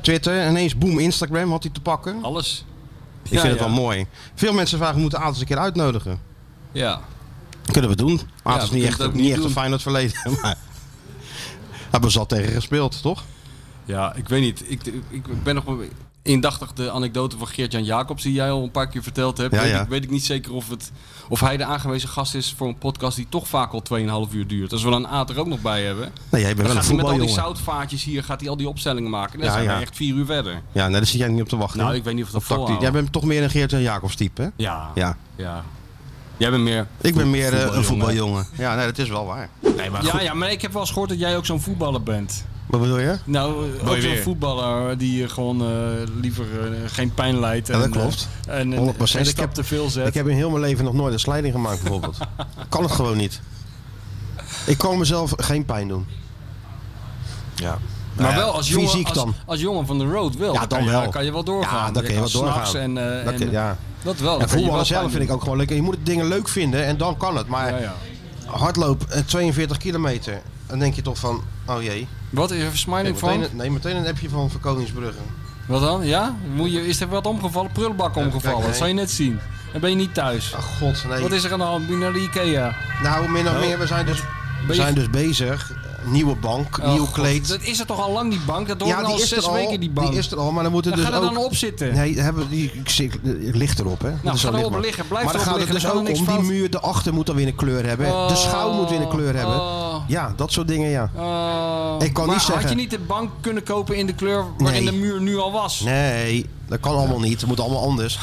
[SPEAKER 3] Twitter, ineens boom, Instagram had hij te pakken.
[SPEAKER 5] Alles.
[SPEAKER 3] Ik
[SPEAKER 5] Ja,
[SPEAKER 3] vind het
[SPEAKER 5] ja.
[SPEAKER 3] wel mooi. Veel mensen vragen, moeten Aad eens een keer uitnodigen.
[SPEAKER 5] Ja.
[SPEAKER 3] Kunnen we doen. Aad is
[SPEAKER 5] Ja, we
[SPEAKER 3] niet
[SPEAKER 5] kunnen
[SPEAKER 3] echt,
[SPEAKER 5] het ook
[SPEAKER 3] niet
[SPEAKER 5] niet
[SPEAKER 3] echt een
[SPEAKER 5] doen.
[SPEAKER 3] Feyenoord verleden. Maar hebben we zat tegen gespeeld, toch?
[SPEAKER 5] Ja, ik weet niet. Ik, ik ben nog wel indachtig de anekdote van Geert-Jan Jacobs... die jij al een paar keer verteld hebt.
[SPEAKER 3] Ja,
[SPEAKER 5] weet,
[SPEAKER 3] ja.
[SPEAKER 5] Ik, weet ik niet zeker of, het, of hij de aangewezen gast is... voor een podcast die toch vaak al 2,5 uur duurt. Als we dan Aad er ook nog bij hebben...
[SPEAKER 3] Nee, jij bent
[SPEAKER 5] dan
[SPEAKER 3] wel
[SPEAKER 5] gaat
[SPEAKER 3] een
[SPEAKER 5] hij met al die
[SPEAKER 3] voetbaljongen.
[SPEAKER 5] zoutvaartjes hier... gaat hij al die opstellingen maken. En dan
[SPEAKER 3] Ja,
[SPEAKER 5] zijn
[SPEAKER 3] ja.
[SPEAKER 5] we echt 4 uur verder.
[SPEAKER 3] Ja, nee, daar zit jij niet op te wachten.
[SPEAKER 5] Nou,
[SPEAKER 3] hè?
[SPEAKER 5] ik weet niet of dat
[SPEAKER 3] Op tactiek.
[SPEAKER 5] volhouden.
[SPEAKER 3] Jij bent toch meer een Geert en Jacobs type, hè?
[SPEAKER 5] Ja.
[SPEAKER 3] Ja.
[SPEAKER 5] ja. Jij bent meer...
[SPEAKER 3] Ik ben
[SPEAKER 5] voet-
[SPEAKER 3] meer eh, een
[SPEAKER 5] voetbaljongen.
[SPEAKER 3] voetbaljongen. Ja, nee, dat is wel waar.
[SPEAKER 5] ja, ja, maar ik heb wel eens gehoord dat jij ook zo'n voetballer bent.
[SPEAKER 3] Wat bedoel je?
[SPEAKER 5] Nou, eh,
[SPEAKER 3] Mooi
[SPEAKER 5] ook zo'n
[SPEAKER 3] weer.
[SPEAKER 5] voetballer die eh, gewoon eh, liever eh, geen pijn lijdt.
[SPEAKER 3] Ja,
[SPEAKER 5] en,
[SPEAKER 3] dat
[SPEAKER 5] eh,
[SPEAKER 3] klopt.
[SPEAKER 5] En, en,
[SPEAKER 3] 100%.
[SPEAKER 5] en
[SPEAKER 3] Ik heb-
[SPEAKER 5] stap te veel zet.
[SPEAKER 3] Ik heb in heel mijn leven nog nooit een slijding gemaakt, bijvoorbeeld. kan het gewoon niet. Ik kan mezelf geen pijn doen. Nou Ja.
[SPEAKER 5] maar wel als jongen,
[SPEAKER 3] Fysiek
[SPEAKER 5] als,
[SPEAKER 3] dan.
[SPEAKER 5] als jongen van de road wel.
[SPEAKER 3] Ja,
[SPEAKER 5] Dan
[SPEAKER 3] dan
[SPEAKER 5] kan je,
[SPEAKER 3] wel.
[SPEAKER 5] dan kan je wel doorgaan.
[SPEAKER 3] Ja, dan kan je wel
[SPEAKER 5] kan s'nachts
[SPEAKER 3] doorgaan.
[SPEAKER 5] En, eh,
[SPEAKER 3] Dat
[SPEAKER 5] en-
[SPEAKER 3] kan- ja.
[SPEAKER 5] dat wel.
[SPEAKER 3] En
[SPEAKER 5] dan kan je je
[SPEAKER 3] voetballen
[SPEAKER 5] wel
[SPEAKER 3] zelf
[SPEAKER 5] pijn
[SPEAKER 3] vind ik
[SPEAKER 5] doen.
[SPEAKER 3] ook gewoon leuk. Je moet het dingen leuk vinden en dan kan het. Maar hardloop, eh, 42 kilometer. Dan denk je toch van, oh jee.
[SPEAKER 5] Wat is er versmijning
[SPEAKER 3] Nee,
[SPEAKER 5] van?
[SPEAKER 3] meteen- Nee, meteen een appje van, van Koningsbrugge.
[SPEAKER 5] Wat dan? Ja? Moet je, is er wat omgevallen? Prullenbak omgevallen.
[SPEAKER 3] kijken,
[SPEAKER 5] Dat zal je net zien. Dan ben je niet thuis.
[SPEAKER 3] Ach god, nee.
[SPEAKER 5] Wat is er aan de hand? Moet je naar de Ikea?
[SPEAKER 3] Nou, min of
[SPEAKER 5] Nou,
[SPEAKER 3] meer, we zijn dus, we
[SPEAKER 5] je-
[SPEAKER 3] zijn dus bezig. Nieuwe bank,
[SPEAKER 5] Oh,
[SPEAKER 3] nieuw
[SPEAKER 5] God,
[SPEAKER 3] kleed.
[SPEAKER 5] Dat is er toch al lang die bank? Dat hoort al zes weken die bank.
[SPEAKER 3] is er al, maar dan moeten
[SPEAKER 5] Dan
[SPEAKER 3] dus
[SPEAKER 5] ga er
[SPEAKER 3] ook...
[SPEAKER 5] dan op zitten.
[SPEAKER 3] Nee, hebben die ik zie- het ligt erop, hè.
[SPEAKER 5] Nou,
[SPEAKER 3] is wel
[SPEAKER 5] ga erop
[SPEAKER 3] lichtbaar.
[SPEAKER 5] liggen, blijf
[SPEAKER 3] Maar dan
[SPEAKER 5] erop
[SPEAKER 3] gaat het
[SPEAKER 5] liggen,
[SPEAKER 3] dus
[SPEAKER 5] dan
[SPEAKER 3] ook
[SPEAKER 5] kan er
[SPEAKER 3] om
[SPEAKER 5] niks
[SPEAKER 3] die
[SPEAKER 5] fout.
[SPEAKER 3] muur, de achter moet dan weer een kleur hebben. de schouw moet weer een kleur hebben.
[SPEAKER 5] Oh.
[SPEAKER 3] Ja, dat soort dingen, ja.
[SPEAKER 5] Oh,
[SPEAKER 3] Ik kan
[SPEAKER 5] maar
[SPEAKER 3] niet
[SPEAKER 5] had je
[SPEAKER 3] zeggen-
[SPEAKER 5] niet de bank kunnen kopen in de kleur waarin
[SPEAKER 3] Nee.
[SPEAKER 5] de muur nu al was?
[SPEAKER 3] Nee, dat kan allemaal niet. Het moet allemaal anders.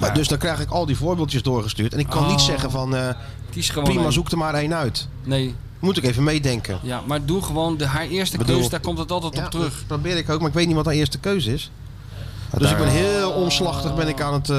[SPEAKER 3] Maar Dus dan krijg ik al die voorbeeldjes doorgestuurd. En ik kan
[SPEAKER 5] Oh.
[SPEAKER 3] niet zeggen van, eh,
[SPEAKER 5] Kies gewoon
[SPEAKER 3] prima,
[SPEAKER 5] één.
[SPEAKER 3] zoek er maar één uit.
[SPEAKER 5] Nee.
[SPEAKER 3] Moet ik even meedenken.
[SPEAKER 5] Ja, maar doe gewoon de, haar eerste
[SPEAKER 3] Bedoel-
[SPEAKER 5] keus, daar komt het altijd
[SPEAKER 3] Ja,
[SPEAKER 5] op terug.
[SPEAKER 3] Dat probeer ik ook, maar ik weet niet wat de eerste keuze is. Dus ik ben heel omslachtig ben ik aan het... eh,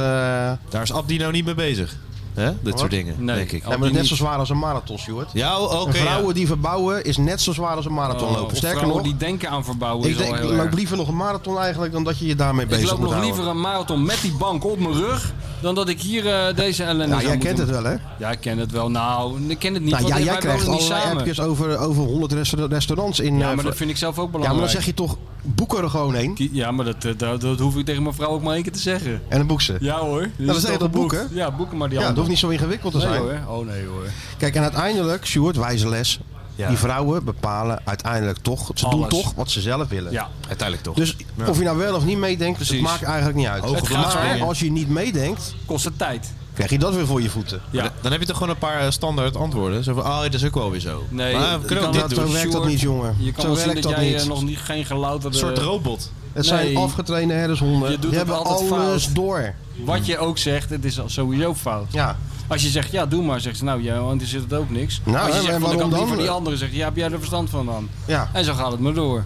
[SPEAKER 4] Daar is Abdino niet mee bezig. Hè? Dit
[SPEAKER 3] Wat?
[SPEAKER 4] soort dingen,
[SPEAKER 3] Nee,
[SPEAKER 4] denk ik.
[SPEAKER 3] Ja, maar dat is net zo zwaar als een marathon, Stuart.
[SPEAKER 4] Ja, oh, oké,
[SPEAKER 3] Een vrouwen
[SPEAKER 4] ja.
[SPEAKER 3] die verbouwen is net zo zwaar als een marathon
[SPEAKER 5] Oh,
[SPEAKER 3] lopen.
[SPEAKER 5] of
[SPEAKER 3] Sterker
[SPEAKER 5] vrouwen
[SPEAKER 3] nog,
[SPEAKER 5] die denken aan verbouwen
[SPEAKER 3] ik
[SPEAKER 5] is
[SPEAKER 3] denk,
[SPEAKER 5] al heel
[SPEAKER 3] loop
[SPEAKER 5] erg.
[SPEAKER 3] liever nog een marathon eigenlijk dan dat je je daarmee
[SPEAKER 5] Ik
[SPEAKER 3] bezig
[SPEAKER 5] loop
[SPEAKER 3] moet
[SPEAKER 5] nog
[SPEAKER 3] houden.
[SPEAKER 5] liever een marathon met die bank op mijn rug dan dat ik hier eh, deze ellende
[SPEAKER 3] Nou,
[SPEAKER 5] zou
[SPEAKER 3] jij
[SPEAKER 5] moeten
[SPEAKER 3] kent het
[SPEAKER 5] doen.
[SPEAKER 3] wel, hè?
[SPEAKER 5] Ja, ik ken het wel. Nou, ik ken het niet,
[SPEAKER 3] nou,
[SPEAKER 5] want
[SPEAKER 3] ja, jij
[SPEAKER 5] wij
[SPEAKER 3] krijgt
[SPEAKER 5] wonen niet
[SPEAKER 3] allerlei
[SPEAKER 5] samen.
[SPEAKER 3] appjes over, over 100 resta- restaurants in...
[SPEAKER 5] Ja,
[SPEAKER 3] eh,
[SPEAKER 5] maar dat
[SPEAKER 3] voor-
[SPEAKER 5] vind ik zelf ook
[SPEAKER 3] Ja,
[SPEAKER 5] belangrijk.
[SPEAKER 3] maar dan zeg je toch, boek er gewoon heen.
[SPEAKER 5] Ja, maar dat, eh, dat, dat hoef ik tegen mijn vrouw ook maar één keer te zeggen.
[SPEAKER 3] En dan boek ze. Nou,
[SPEAKER 5] Ja hoor. Dit
[SPEAKER 3] dan
[SPEAKER 5] is
[SPEAKER 3] zeg je
[SPEAKER 5] toch
[SPEAKER 3] toch boeken?
[SPEAKER 5] geboekt? Ja, boeken maar die
[SPEAKER 3] Ja, dat
[SPEAKER 5] andere.
[SPEAKER 3] hoeft niet zo ingewikkeld te
[SPEAKER 5] Nee,
[SPEAKER 3] zijn.
[SPEAKER 5] hoor. Oh nee hoor.
[SPEAKER 3] Kijk, en uiteindelijk, Stuart, wijze les.
[SPEAKER 5] Ja.
[SPEAKER 3] Die vrouwen bepalen uiteindelijk toch, ze doen
[SPEAKER 5] Alles.
[SPEAKER 3] toch wat ze zelf willen.
[SPEAKER 5] Ja, uiteindelijk toch.
[SPEAKER 3] Dus
[SPEAKER 5] Ja.
[SPEAKER 3] of je nou wel of niet meedenkt, het
[SPEAKER 5] Precies.
[SPEAKER 3] maakt eigenlijk niet uit.
[SPEAKER 5] Hoge Het gaat
[SPEAKER 3] maar
[SPEAKER 5] springen.
[SPEAKER 3] als je niet meedenkt,
[SPEAKER 5] kost het tijd.
[SPEAKER 3] krijg je dat weer voor je voeten.
[SPEAKER 4] Ja. Dan heb je toch gewoon een paar eh, standaard antwoorden. Zo van, oh, dat is ook wel weer zo.
[SPEAKER 5] Nee,
[SPEAKER 4] maar, we
[SPEAKER 5] je
[SPEAKER 4] kunnen ook
[SPEAKER 5] kan
[SPEAKER 4] dit
[SPEAKER 5] dat-
[SPEAKER 4] doen.
[SPEAKER 3] zo werkt dat
[SPEAKER 4] Sjoerd,
[SPEAKER 3] niet, jongen.
[SPEAKER 5] Je kan
[SPEAKER 3] zo
[SPEAKER 5] wel zien
[SPEAKER 3] werkt
[SPEAKER 5] dat,
[SPEAKER 3] dat,
[SPEAKER 5] jij
[SPEAKER 3] niet.
[SPEAKER 5] eh, nog niet, geen gelouterde...
[SPEAKER 4] Een soort
[SPEAKER 25] eh,
[SPEAKER 4] robot.
[SPEAKER 3] Het zijn
[SPEAKER 5] Nee.
[SPEAKER 3] afgetrainde herdershonden.
[SPEAKER 5] Je
[SPEAKER 3] die
[SPEAKER 5] doet het
[SPEAKER 3] hebben
[SPEAKER 5] altijd
[SPEAKER 3] alles
[SPEAKER 5] fout.
[SPEAKER 3] door.
[SPEAKER 5] Wat je ook zegt, het is al sowieso fout.
[SPEAKER 3] Ja.
[SPEAKER 5] Als je zegt, ja, doe maar, zegt ze, nou, ja, want er zit het ook niks.
[SPEAKER 3] Nou,
[SPEAKER 5] Als je
[SPEAKER 3] en
[SPEAKER 5] zegt, van,
[SPEAKER 3] waarom
[SPEAKER 5] ik had
[SPEAKER 3] dan?
[SPEAKER 5] liever die andere, zegt, ja, heb jij er verstand van dan?
[SPEAKER 3] Ja.
[SPEAKER 5] En zo gaat het maar door.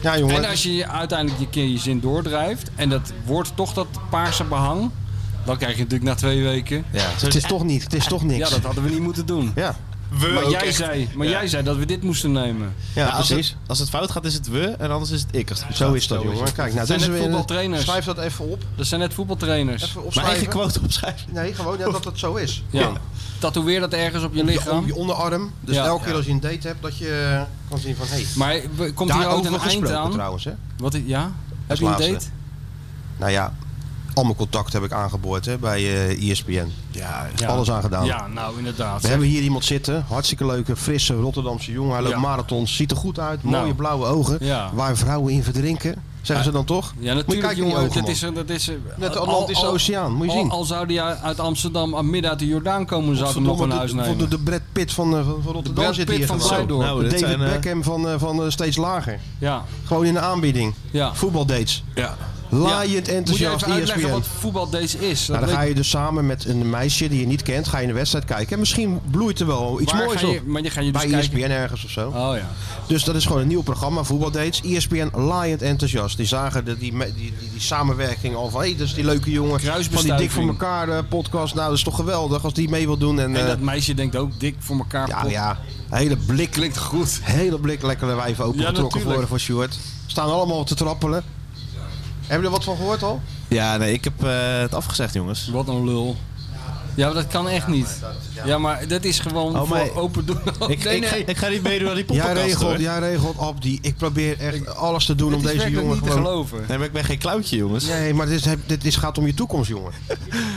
[SPEAKER 3] Ja, jongen.
[SPEAKER 5] En als je je uiteindelijk je keer je zin doordrijft en dat wordt toch dat paarse behang, dan krijg je natuurlijk na twee weken...
[SPEAKER 3] het is toch niet, het is toch niks.
[SPEAKER 5] Ja, dat hadden we niet moeten doen.
[SPEAKER 3] Ja.
[SPEAKER 4] We
[SPEAKER 25] maar
[SPEAKER 4] ook
[SPEAKER 25] jij
[SPEAKER 4] echt.
[SPEAKER 25] zei, maar
[SPEAKER 4] Ja.
[SPEAKER 25] jij zei dat we dit moesten nemen.
[SPEAKER 4] Ja, Nou, als, het, als het fout gaat is het we en anders is het ik. Als het goed
[SPEAKER 25] Zo
[SPEAKER 4] gaat.
[SPEAKER 25] is dat, jongen. Kijk, nou,
[SPEAKER 4] Het
[SPEAKER 25] dat
[SPEAKER 4] zijn
[SPEAKER 25] is
[SPEAKER 4] net
[SPEAKER 25] weer-
[SPEAKER 4] voetbaltrainers.
[SPEAKER 25] schrijf
[SPEAKER 3] dat even op.
[SPEAKER 25] Dat zijn net voetbaltrainers.
[SPEAKER 3] Even
[SPEAKER 25] Maar
[SPEAKER 3] opschrijven.
[SPEAKER 25] eigen quote
[SPEAKER 3] opschrijven? Nee, gewoon ja, dat dat zo is.
[SPEAKER 25] Ja. Tatoeëer dat ergens op je
[SPEAKER 3] Op je-
[SPEAKER 25] lichaam.
[SPEAKER 3] op je onderarm. Dus
[SPEAKER 25] Ja.
[SPEAKER 3] elke keer
[SPEAKER 25] Ja.
[SPEAKER 3] als je een date hebt, dat je kan zien van... Hey,
[SPEAKER 25] Maar we- komt
[SPEAKER 3] daar
[SPEAKER 25] hier ooit
[SPEAKER 3] over
[SPEAKER 25] een eind
[SPEAKER 3] gesproken
[SPEAKER 25] aan?
[SPEAKER 3] trouwens, hè?
[SPEAKER 25] Wat, i- ja? Heb
[SPEAKER 3] Als
[SPEAKER 25] je een
[SPEAKER 3] laatste.
[SPEAKER 25] date?
[SPEAKER 3] Nou ja, al mijn contact heb ik aangeboord hè, bij eh ESPN. Ja,
[SPEAKER 25] Ja.
[SPEAKER 3] Alles aangedaan.
[SPEAKER 25] Ja, nou inderdaad.
[SPEAKER 3] We hebben hier iemand zitten, hartstikke leuke, frisse Rotterdamse jongen. Hij loopt
[SPEAKER 25] Ja.
[SPEAKER 3] marathons, ziet er goed uit, mooie
[SPEAKER 25] Nou.
[SPEAKER 3] blauwe ogen.
[SPEAKER 25] Ja.
[SPEAKER 3] Waar vrouwen in verdrinken, zeggen ze dan toch?
[SPEAKER 25] Ja,
[SPEAKER 3] Moet je
[SPEAKER 25] natuurlijk,
[SPEAKER 3] kijken in die
[SPEAKER 25] jongen.
[SPEAKER 3] ogen,
[SPEAKER 25] Dat is,
[SPEAKER 3] man.
[SPEAKER 25] een- dat is, een-
[SPEAKER 3] Net de
[SPEAKER 25] al-
[SPEAKER 3] Atlantische
[SPEAKER 25] al-
[SPEAKER 3] Oceaan, moet je
[SPEAKER 25] al-
[SPEAKER 3] zien.
[SPEAKER 25] Al zou die uit Amsterdam aan midden uit de Jordaan komen, zou ik hem nog
[SPEAKER 3] Godverdomme,
[SPEAKER 25] een huis
[SPEAKER 3] de-
[SPEAKER 25] nemen.
[SPEAKER 3] de, de Brad Pitt van, eh, van van Rotterdam
[SPEAKER 25] Brad
[SPEAKER 3] zit
[SPEAKER 25] Pitt
[SPEAKER 3] hier
[SPEAKER 25] van
[SPEAKER 3] gewoon.
[SPEAKER 25] Zuidorp.
[SPEAKER 3] Nou,
[SPEAKER 25] Nou, dit
[SPEAKER 3] David
[SPEAKER 25] zijn, eh,
[SPEAKER 3] Beckham van, eh, van eh, steeds lager.
[SPEAKER 25] Ja.
[SPEAKER 3] Gewoon in de aanbieding.
[SPEAKER 25] Ja.
[SPEAKER 3] Voetbaldates. Ja. Laaiend
[SPEAKER 25] Moet je
[SPEAKER 3] enthousiast E
[SPEAKER 25] even
[SPEAKER 4] E
[SPEAKER 25] uitleggen
[SPEAKER 3] ESPN.
[SPEAKER 25] wat voetbal deze is? Dat
[SPEAKER 3] Nou, dan
[SPEAKER 25] weet-
[SPEAKER 3] ga je dus samen met een meisje die je niet kent, ga je een wedstrijd kijken. En misschien bloeit er wel iets
[SPEAKER 25] Waar
[SPEAKER 3] moois
[SPEAKER 25] ga je-
[SPEAKER 3] op.
[SPEAKER 25] maar die ga je dus
[SPEAKER 3] Bij E ESPN
[SPEAKER 25] kijken-
[SPEAKER 3] ergens of zo.
[SPEAKER 25] Oh ja.
[SPEAKER 3] Dus dat is gewoon een nieuw programma, E voetbaldates. ESPN laaiend enthousiast. Die zagen de, die, me- die, die, die samenwerking al van, hé, dat is die leuke jongen. Van die dik voor
[SPEAKER 25] Kruisbestuiving.
[SPEAKER 3] elkaar eh, podcast. Nou, dat is toch geweldig als die mee wil doen. En,
[SPEAKER 25] En dat
[SPEAKER 3] eh,
[SPEAKER 25] meisje denkt ook dik voor elkaar.
[SPEAKER 3] ja,
[SPEAKER 25] pot.
[SPEAKER 3] ja, hele blik.
[SPEAKER 25] Klinkt goed.
[SPEAKER 3] Hele blik lekkere wijven opengetrokken
[SPEAKER 25] natuurlijk.
[SPEAKER 3] worden voor Sjoerd. Staan allemaal te trappelen. Hebben jullie er wat van gehoord al?
[SPEAKER 4] Ja, nee, ik heb eh, het afgezegd, jongens.
[SPEAKER 25] Wat een lul. Ja, maar dat kan echt niet. ja. maar dat is gewoon
[SPEAKER 4] Oh, maar-
[SPEAKER 25] voor open doen.
[SPEAKER 4] Ik- ik ga- ik ga niet meedoen aan die
[SPEAKER 3] Jij
[SPEAKER 4] podcast,
[SPEAKER 3] regelt,
[SPEAKER 4] hoor.
[SPEAKER 3] jij regelt, Abdi. Ik probeer echt alles te doen
[SPEAKER 4] Dit
[SPEAKER 3] om
[SPEAKER 4] is
[SPEAKER 3] deze
[SPEAKER 4] werkelijk
[SPEAKER 3] jongen
[SPEAKER 4] niet te
[SPEAKER 3] gewoon...
[SPEAKER 4] geloven. Nee, maar ik ben geen klauwtje, jongens.
[SPEAKER 3] Nee, maar dit, is, dit is, gaat om je toekomst, jongen.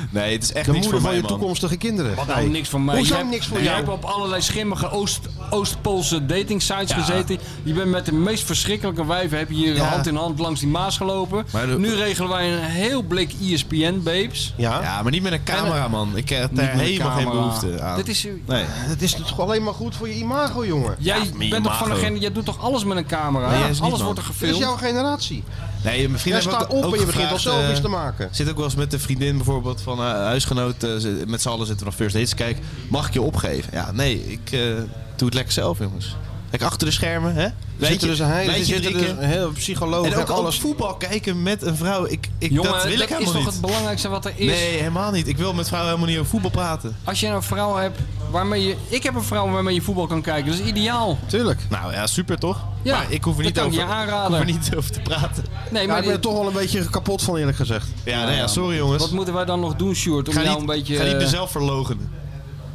[SPEAKER 4] Nee, het is echt
[SPEAKER 3] de moeder
[SPEAKER 4] niks voor
[SPEAKER 3] van
[SPEAKER 4] mij,
[SPEAKER 3] je
[SPEAKER 4] man.
[SPEAKER 3] toekomstige kinderen.
[SPEAKER 25] Wat nou
[SPEAKER 3] Nee.
[SPEAKER 25] niks van mij?
[SPEAKER 3] Hoezo
[SPEAKER 25] Jij hebt-
[SPEAKER 3] niks voor
[SPEAKER 25] Jij
[SPEAKER 3] jou?
[SPEAKER 25] hebt op allerlei schimmige Oost, Oostpoolse dating sites gezeten. Je bent met de meest verschrikkelijke wijven heb je hier
[SPEAKER 3] Ja.
[SPEAKER 25] hand in hand langs die Maas gelopen.
[SPEAKER 4] Maar de-
[SPEAKER 25] Nu regelen wij een heel blik E ESPN babes.
[SPEAKER 3] Ja,
[SPEAKER 4] maar niet met een camera, man. Ik heb daar helemaal geen behoefte aan.
[SPEAKER 25] Dit is,
[SPEAKER 4] Nee.
[SPEAKER 3] Dat is toch alleen maar goed voor je imago, jongen?
[SPEAKER 25] Jij bent toch van
[SPEAKER 4] imago.
[SPEAKER 25] degene, jij doet toch alles met een camera?
[SPEAKER 4] Nee, jij is niet,
[SPEAKER 25] alles
[SPEAKER 4] man.
[SPEAKER 25] wordt er
[SPEAKER 3] Dit is
[SPEAKER 25] gefilmd.
[SPEAKER 3] jouw generatie.
[SPEAKER 4] Nee, misschien
[SPEAKER 3] Jij
[SPEAKER 4] heb ik
[SPEAKER 3] staat
[SPEAKER 4] ook-
[SPEAKER 3] op
[SPEAKER 4] ook
[SPEAKER 3] en je begint al
[SPEAKER 4] gevraagd,
[SPEAKER 3] selfies
[SPEAKER 4] eh,
[SPEAKER 3] te maken.
[SPEAKER 4] Zit ook wel eens met de vriendin bijvoorbeeld van eh huisgenoot. eh, ze- met z'n allen zitten we nog first dates. Kijk, mag ik je opgeven? Ja, nee, ik eh, doe het lekker zelf, jongens. Kijk, achter de schermen, hè?
[SPEAKER 3] Zitten dus een hele- zitten dus een hele psycholoog
[SPEAKER 4] En
[SPEAKER 3] en
[SPEAKER 4] ook
[SPEAKER 3] alles.
[SPEAKER 4] alles. voetbal kijken met een vrouw. Ik, ik,
[SPEAKER 25] Jongen,
[SPEAKER 4] dat wil ik
[SPEAKER 25] is
[SPEAKER 4] helemaal
[SPEAKER 25] toch
[SPEAKER 4] niet.
[SPEAKER 25] het belangrijkste wat er is?
[SPEAKER 4] Nee, helemaal niet. Ik wil met vrouwen helemaal niet over voetbal praten.
[SPEAKER 25] Als je een vrouw hebt waarmee je... Ik heb een vrouw waarmee je voetbal kan kijken. Dat is ideaal.
[SPEAKER 3] Tuurlijk.
[SPEAKER 4] Nou ja, super toch?
[SPEAKER 25] Ja,
[SPEAKER 4] maar ik hoef er
[SPEAKER 25] dat
[SPEAKER 4] niet
[SPEAKER 25] kan ik
[SPEAKER 4] over,
[SPEAKER 25] je aanraden.
[SPEAKER 4] ik hoef er niet over te praten.
[SPEAKER 25] Nee,
[SPEAKER 3] Ja,
[SPEAKER 25] maar
[SPEAKER 3] ik ben er
[SPEAKER 25] die-
[SPEAKER 3] toch wel een beetje kapot van, eerlijk gezegd.
[SPEAKER 4] Ja, nou ja, sorry jongens.
[SPEAKER 25] Wat moeten wij dan nog doen, Sjoerd? Om
[SPEAKER 4] Ga
[SPEAKER 25] jou
[SPEAKER 4] niet-
[SPEAKER 25] een beetje...
[SPEAKER 4] ga niet
[SPEAKER 25] eh,
[SPEAKER 4] mezelf verlogenen.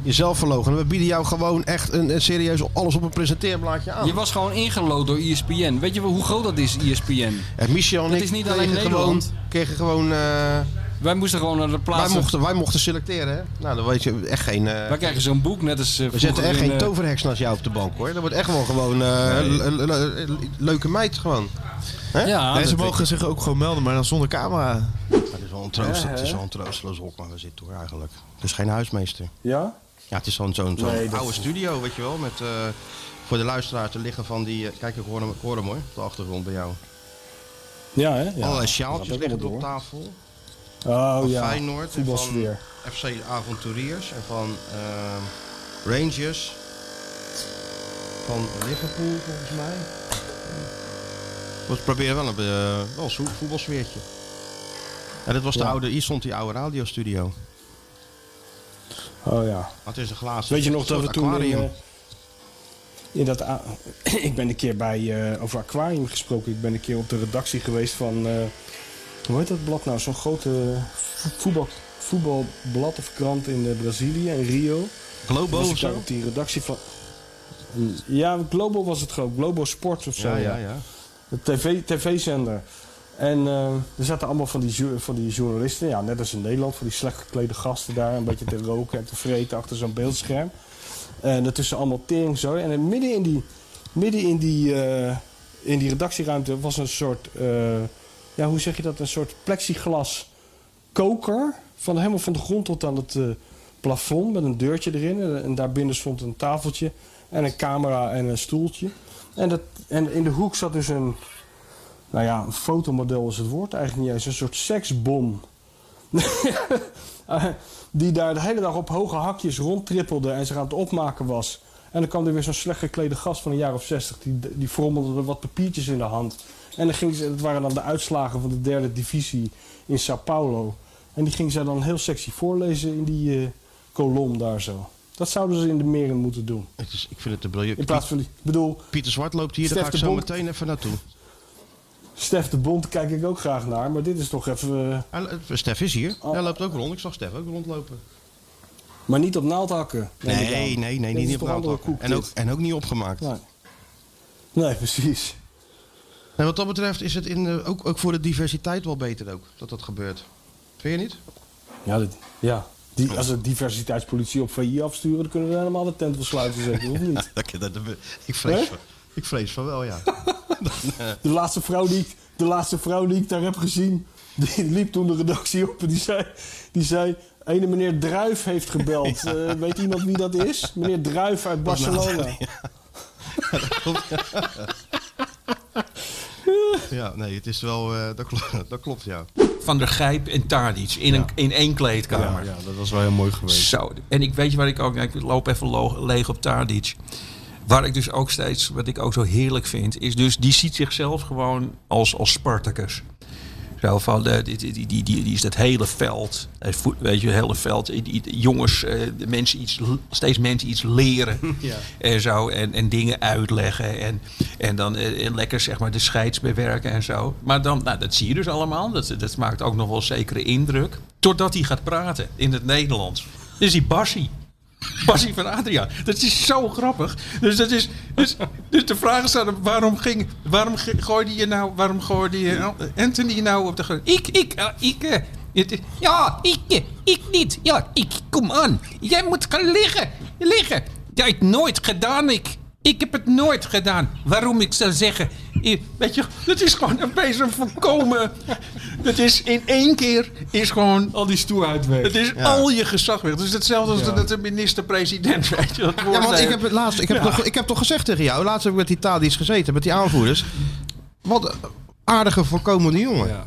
[SPEAKER 3] Jezelf verlogen. We bieden jou gewoon echt een, een serieus alles op een presenteerblaadje aan.
[SPEAKER 25] Je was gewoon ingelood door E ESPN. Weet je wel hoe groot dat is, E ESPN?
[SPEAKER 3] En Eh, Michel en
[SPEAKER 25] Dat
[SPEAKER 3] ik
[SPEAKER 25] is niet alleen
[SPEAKER 3] kregen
[SPEAKER 25] Nederland.
[SPEAKER 3] Gewoon, kregen gewoon... eh,
[SPEAKER 25] Wij moesten gewoon naar de plaats.
[SPEAKER 3] wij, mochten, wij mochten selecteren, hè? Nou, dan weet je echt geen... eh,
[SPEAKER 25] Wij krijgen zo'n boek, net als eh,
[SPEAKER 3] we
[SPEAKER 25] vroeger
[SPEAKER 3] zetten echt
[SPEAKER 25] in,
[SPEAKER 3] geen
[SPEAKER 25] eh,
[SPEAKER 3] toverheks naast jou op de bank, hoor. Dat wordt echt wel gewoon eh, le- le- le- le- leuke meid, gewoon. Hè?
[SPEAKER 4] nee, ze mogen zich ook gewoon melden, maar dan zonder camera.
[SPEAKER 3] Het is wel een troost, het is wel een troosteloos hok waar we zitten, hoor, eigenlijk. Dus geen huismeester.
[SPEAKER 5] Ja?
[SPEAKER 3] Ja, het is zo'n zo'n zo'n
[SPEAKER 5] Nee, dat
[SPEAKER 3] oude
[SPEAKER 5] is-
[SPEAKER 3] studio, weet je wel. Met, eh, voor de luisteraar te liggen van die... eh, kijk, ik hoor hem, ik hoor hem hoor, op de achtergrond bij jou.
[SPEAKER 5] Ja, hè? Ja.
[SPEAKER 4] Oh,
[SPEAKER 3] Allerlei
[SPEAKER 5] Dat
[SPEAKER 3] sjaaltjes
[SPEAKER 5] gaat
[SPEAKER 3] liggen
[SPEAKER 5] ook
[SPEAKER 3] er
[SPEAKER 5] wel
[SPEAKER 3] op
[SPEAKER 5] door.
[SPEAKER 3] tafel.
[SPEAKER 5] Oh
[SPEAKER 3] van
[SPEAKER 5] ja,
[SPEAKER 3] Feyenoord en van
[SPEAKER 5] voetbalsfeer.
[SPEAKER 3] FC Avonturiers en van ehm, Rangers. Van Liverpool volgens mij. We proberen wel een eh, wel een zo- voetbalsfeertje. En dit was de
[SPEAKER 5] Ja.
[SPEAKER 3] oude, hier stond die oude radiostudio.
[SPEAKER 5] Oh ja.
[SPEAKER 3] Maar het is een glazen
[SPEAKER 5] Weet je nog dat we
[SPEAKER 3] soort
[SPEAKER 5] toen in,
[SPEAKER 3] aquarium.
[SPEAKER 5] eh, in dat... a- ik ben een keer bij, eh, over aquarium gesproken. Ik ben een keer op de redactie geweest van... eh, hoe heet dat blad nou? Zo'n grote vo- voetbal, voetbalblad of krant in eh, Brazilië, in Rio.
[SPEAKER 3] Globo
[SPEAKER 5] Was ik
[SPEAKER 3] of
[SPEAKER 5] daar
[SPEAKER 3] zo?
[SPEAKER 5] Op die redactie van... Ja, Globo was het gewoon. Globo Sport of zo.
[SPEAKER 3] Ja, ja, ja.
[SPEAKER 5] De tv, tv-zender. En eh, er zaten allemaal van die, jour- van die journalisten, ja, net als in Nederland, van die slecht geklede gasten daar. Een beetje te roken en te vreten achter zo'n beeldscherm. En daartussen allemaal tering zo. En dan midden in die, midden in die, eh, in die redactieruimte was een soort, eh, ja, hoe zeg je dat? Een soort plexiglas koker. Van helemaal van de grond tot aan het eh, plafond met een deurtje erin. En, en daarbinnen stond een tafeltje en een camera en een stoeltje. En, dat, en in de hoek zat dus een, nou ja, een fotomodel is het woord eigenlijk niet eens. Een soort seksbom. Eh, die daar de hele dag op hoge hakjes rondtrippelde en zich aan het opmaken was. En dan kwam er weer zo'n slecht geklede gast van een jaar of zestig. Die, die frommelde er wat papiertjes in de hand. En dan ging ze, dat waren dan de uitslagen van de derde divisie in Sao Paulo. En die ging zij dan heel sexy voorlezen in die eh kolom daar zo. Dat zouden ze in de meren moeten doen.
[SPEAKER 3] Het is, ik vind het een briljant.
[SPEAKER 5] In plaats van die, ik bedoel,
[SPEAKER 3] Pieter Zwart loopt hier, daar
[SPEAKER 5] Stef
[SPEAKER 3] ga ik
[SPEAKER 5] de
[SPEAKER 3] zo
[SPEAKER 5] Bond.
[SPEAKER 3] meteen even naartoe.
[SPEAKER 5] Stef de Bond kijk ik ook graag naar, maar dit is toch even... eh,
[SPEAKER 3] Stef is hier.
[SPEAKER 5] Oh.
[SPEAKER 3] Hij loopt ook rond. Ik zag Stef ook rondlopen.
[SPEAKER 5] Maar niet op naaldhakken.
[SPEAKER 3] Nee,
[SPEAKER 5] neem ik aan.
[SPEAKER 3] nee, nee, nee
[SPEAKER 5] Dit is
[SPEAKER 3] niet op
[SPEAKER 5] toch andere
[SPEAKER 3] naaldhakken.
[SPEAKER 5] koek,
[SPEAKER 3] En ook,
[SPEAKER 5] dit?
[SPEAKER 3] en ook niet opgemaakt.
[SPEAKER 5] Nee, nee precies.
[SPEAKER 3] En wat dat betreft is het in, eh, ook, ook voor de diversiteit wel beter ook, dat dat gebeurt. Vind je niet?
[SPEAKER 5] Ja, dit- ja. Die, als we diversiteitspolitie op VI afsturen, dan kunnen we helemaal de tent wel sluiten, zeker, of niet?
[SPEAKER 3] ik, vrees
[SPEAKER 5] Hè?
[SPEAKER 3] van, ik vrees van wel, ja.
[SPEAKER 5] De laatste vrouw die ik, de laatste vrouw die ik daar heb gezien, die liep toen de redactie op en die zei, die zei ene meneer Druif heeft gebeld. Eh, weet iemand wie dat is? Meneer Druif uit
[SPEAKER 3] Dat nou-
[SPEAKER 5] Barcelona.
[SPEAKER 3] ja, nee, het is wel, eh, dat, klopt, dat klopt, ja.
[SPEAKER 10] Van der Gijp en Tadic in, een, in één kleedkamer.
[SPEAKER 3] Ja, ja, dat was wel heel mooi geweest.
[SPEAKER 10] Zo, en ik weet je waar ik ook... Ik loop even lo- leeg op Tadic. Waar ik dus ook steeds... Wat ik ook zo heerlijk vind... Is dus die ziet zichzelf gewoon als, als Spartacus. Zo van, eh, die, die, die, die, die is dat hele veld. eh, voet- Weet je, het hele veld. i- i- Jongens, eh, de mensen iets, l- steeds mensen iets leren.
[SPEAKER 13] Ja.
[SPEAKER 10] En zo. En, en dingen uitleggen. En, en dan eh, en lekker zeg maar de scheids bewerken en zo. Maar dan, nou, dat zie je dus allemaal. Dat, dat maakt ook nog wel zekere indruk. Totdat hij gaat praten in het Nederlands. Dus die Bassie. Bassie van Adria. Dat is zo grappig. Dus, dat is, dus, dus de vraag is aan hem, waarom, ging, waarom ge- gooide je nou, waarom gooide je nou Anthony nou op de grond? Ik, ik, eh, ik. eh, het is- ja, ik, eh, ik niet. Ja, ik, kom aan. Jij moet gaan liggen, liggen. Jij hebt nooit gedaan, ik. Ik heb het nooit gedaan. Waarom ik zou zeggen. eh, Weet je, dat is gewoon een beetje een voorkomen. Dat is in één keer is gewoon. Al die stoerheid weg. Het is
[SPEAKER 3] Ja.
[SPEAKER 10] al je gezag weg. Het is hetzelfde als
[SPEAKER 3] Ja.
[SPEAKER 10] dat de minister-president. Weet je, dat
[SPEAKER 3] Ja,
[SPEAKER 10] woord
[SPEAKER 3] want ik
[SPEAKER 10] heeft.
[SPEAKER 3] heb, het laatst, ik, heb
[SPEAKER 10] Ja.
[SPEAKER 3] toch, ik heb toch gezegd tegen jou, laatst heb ik met die Tadi's gezeten, met die aanvoerders. Wat eh, een aardige voorkomende jongen. Ja,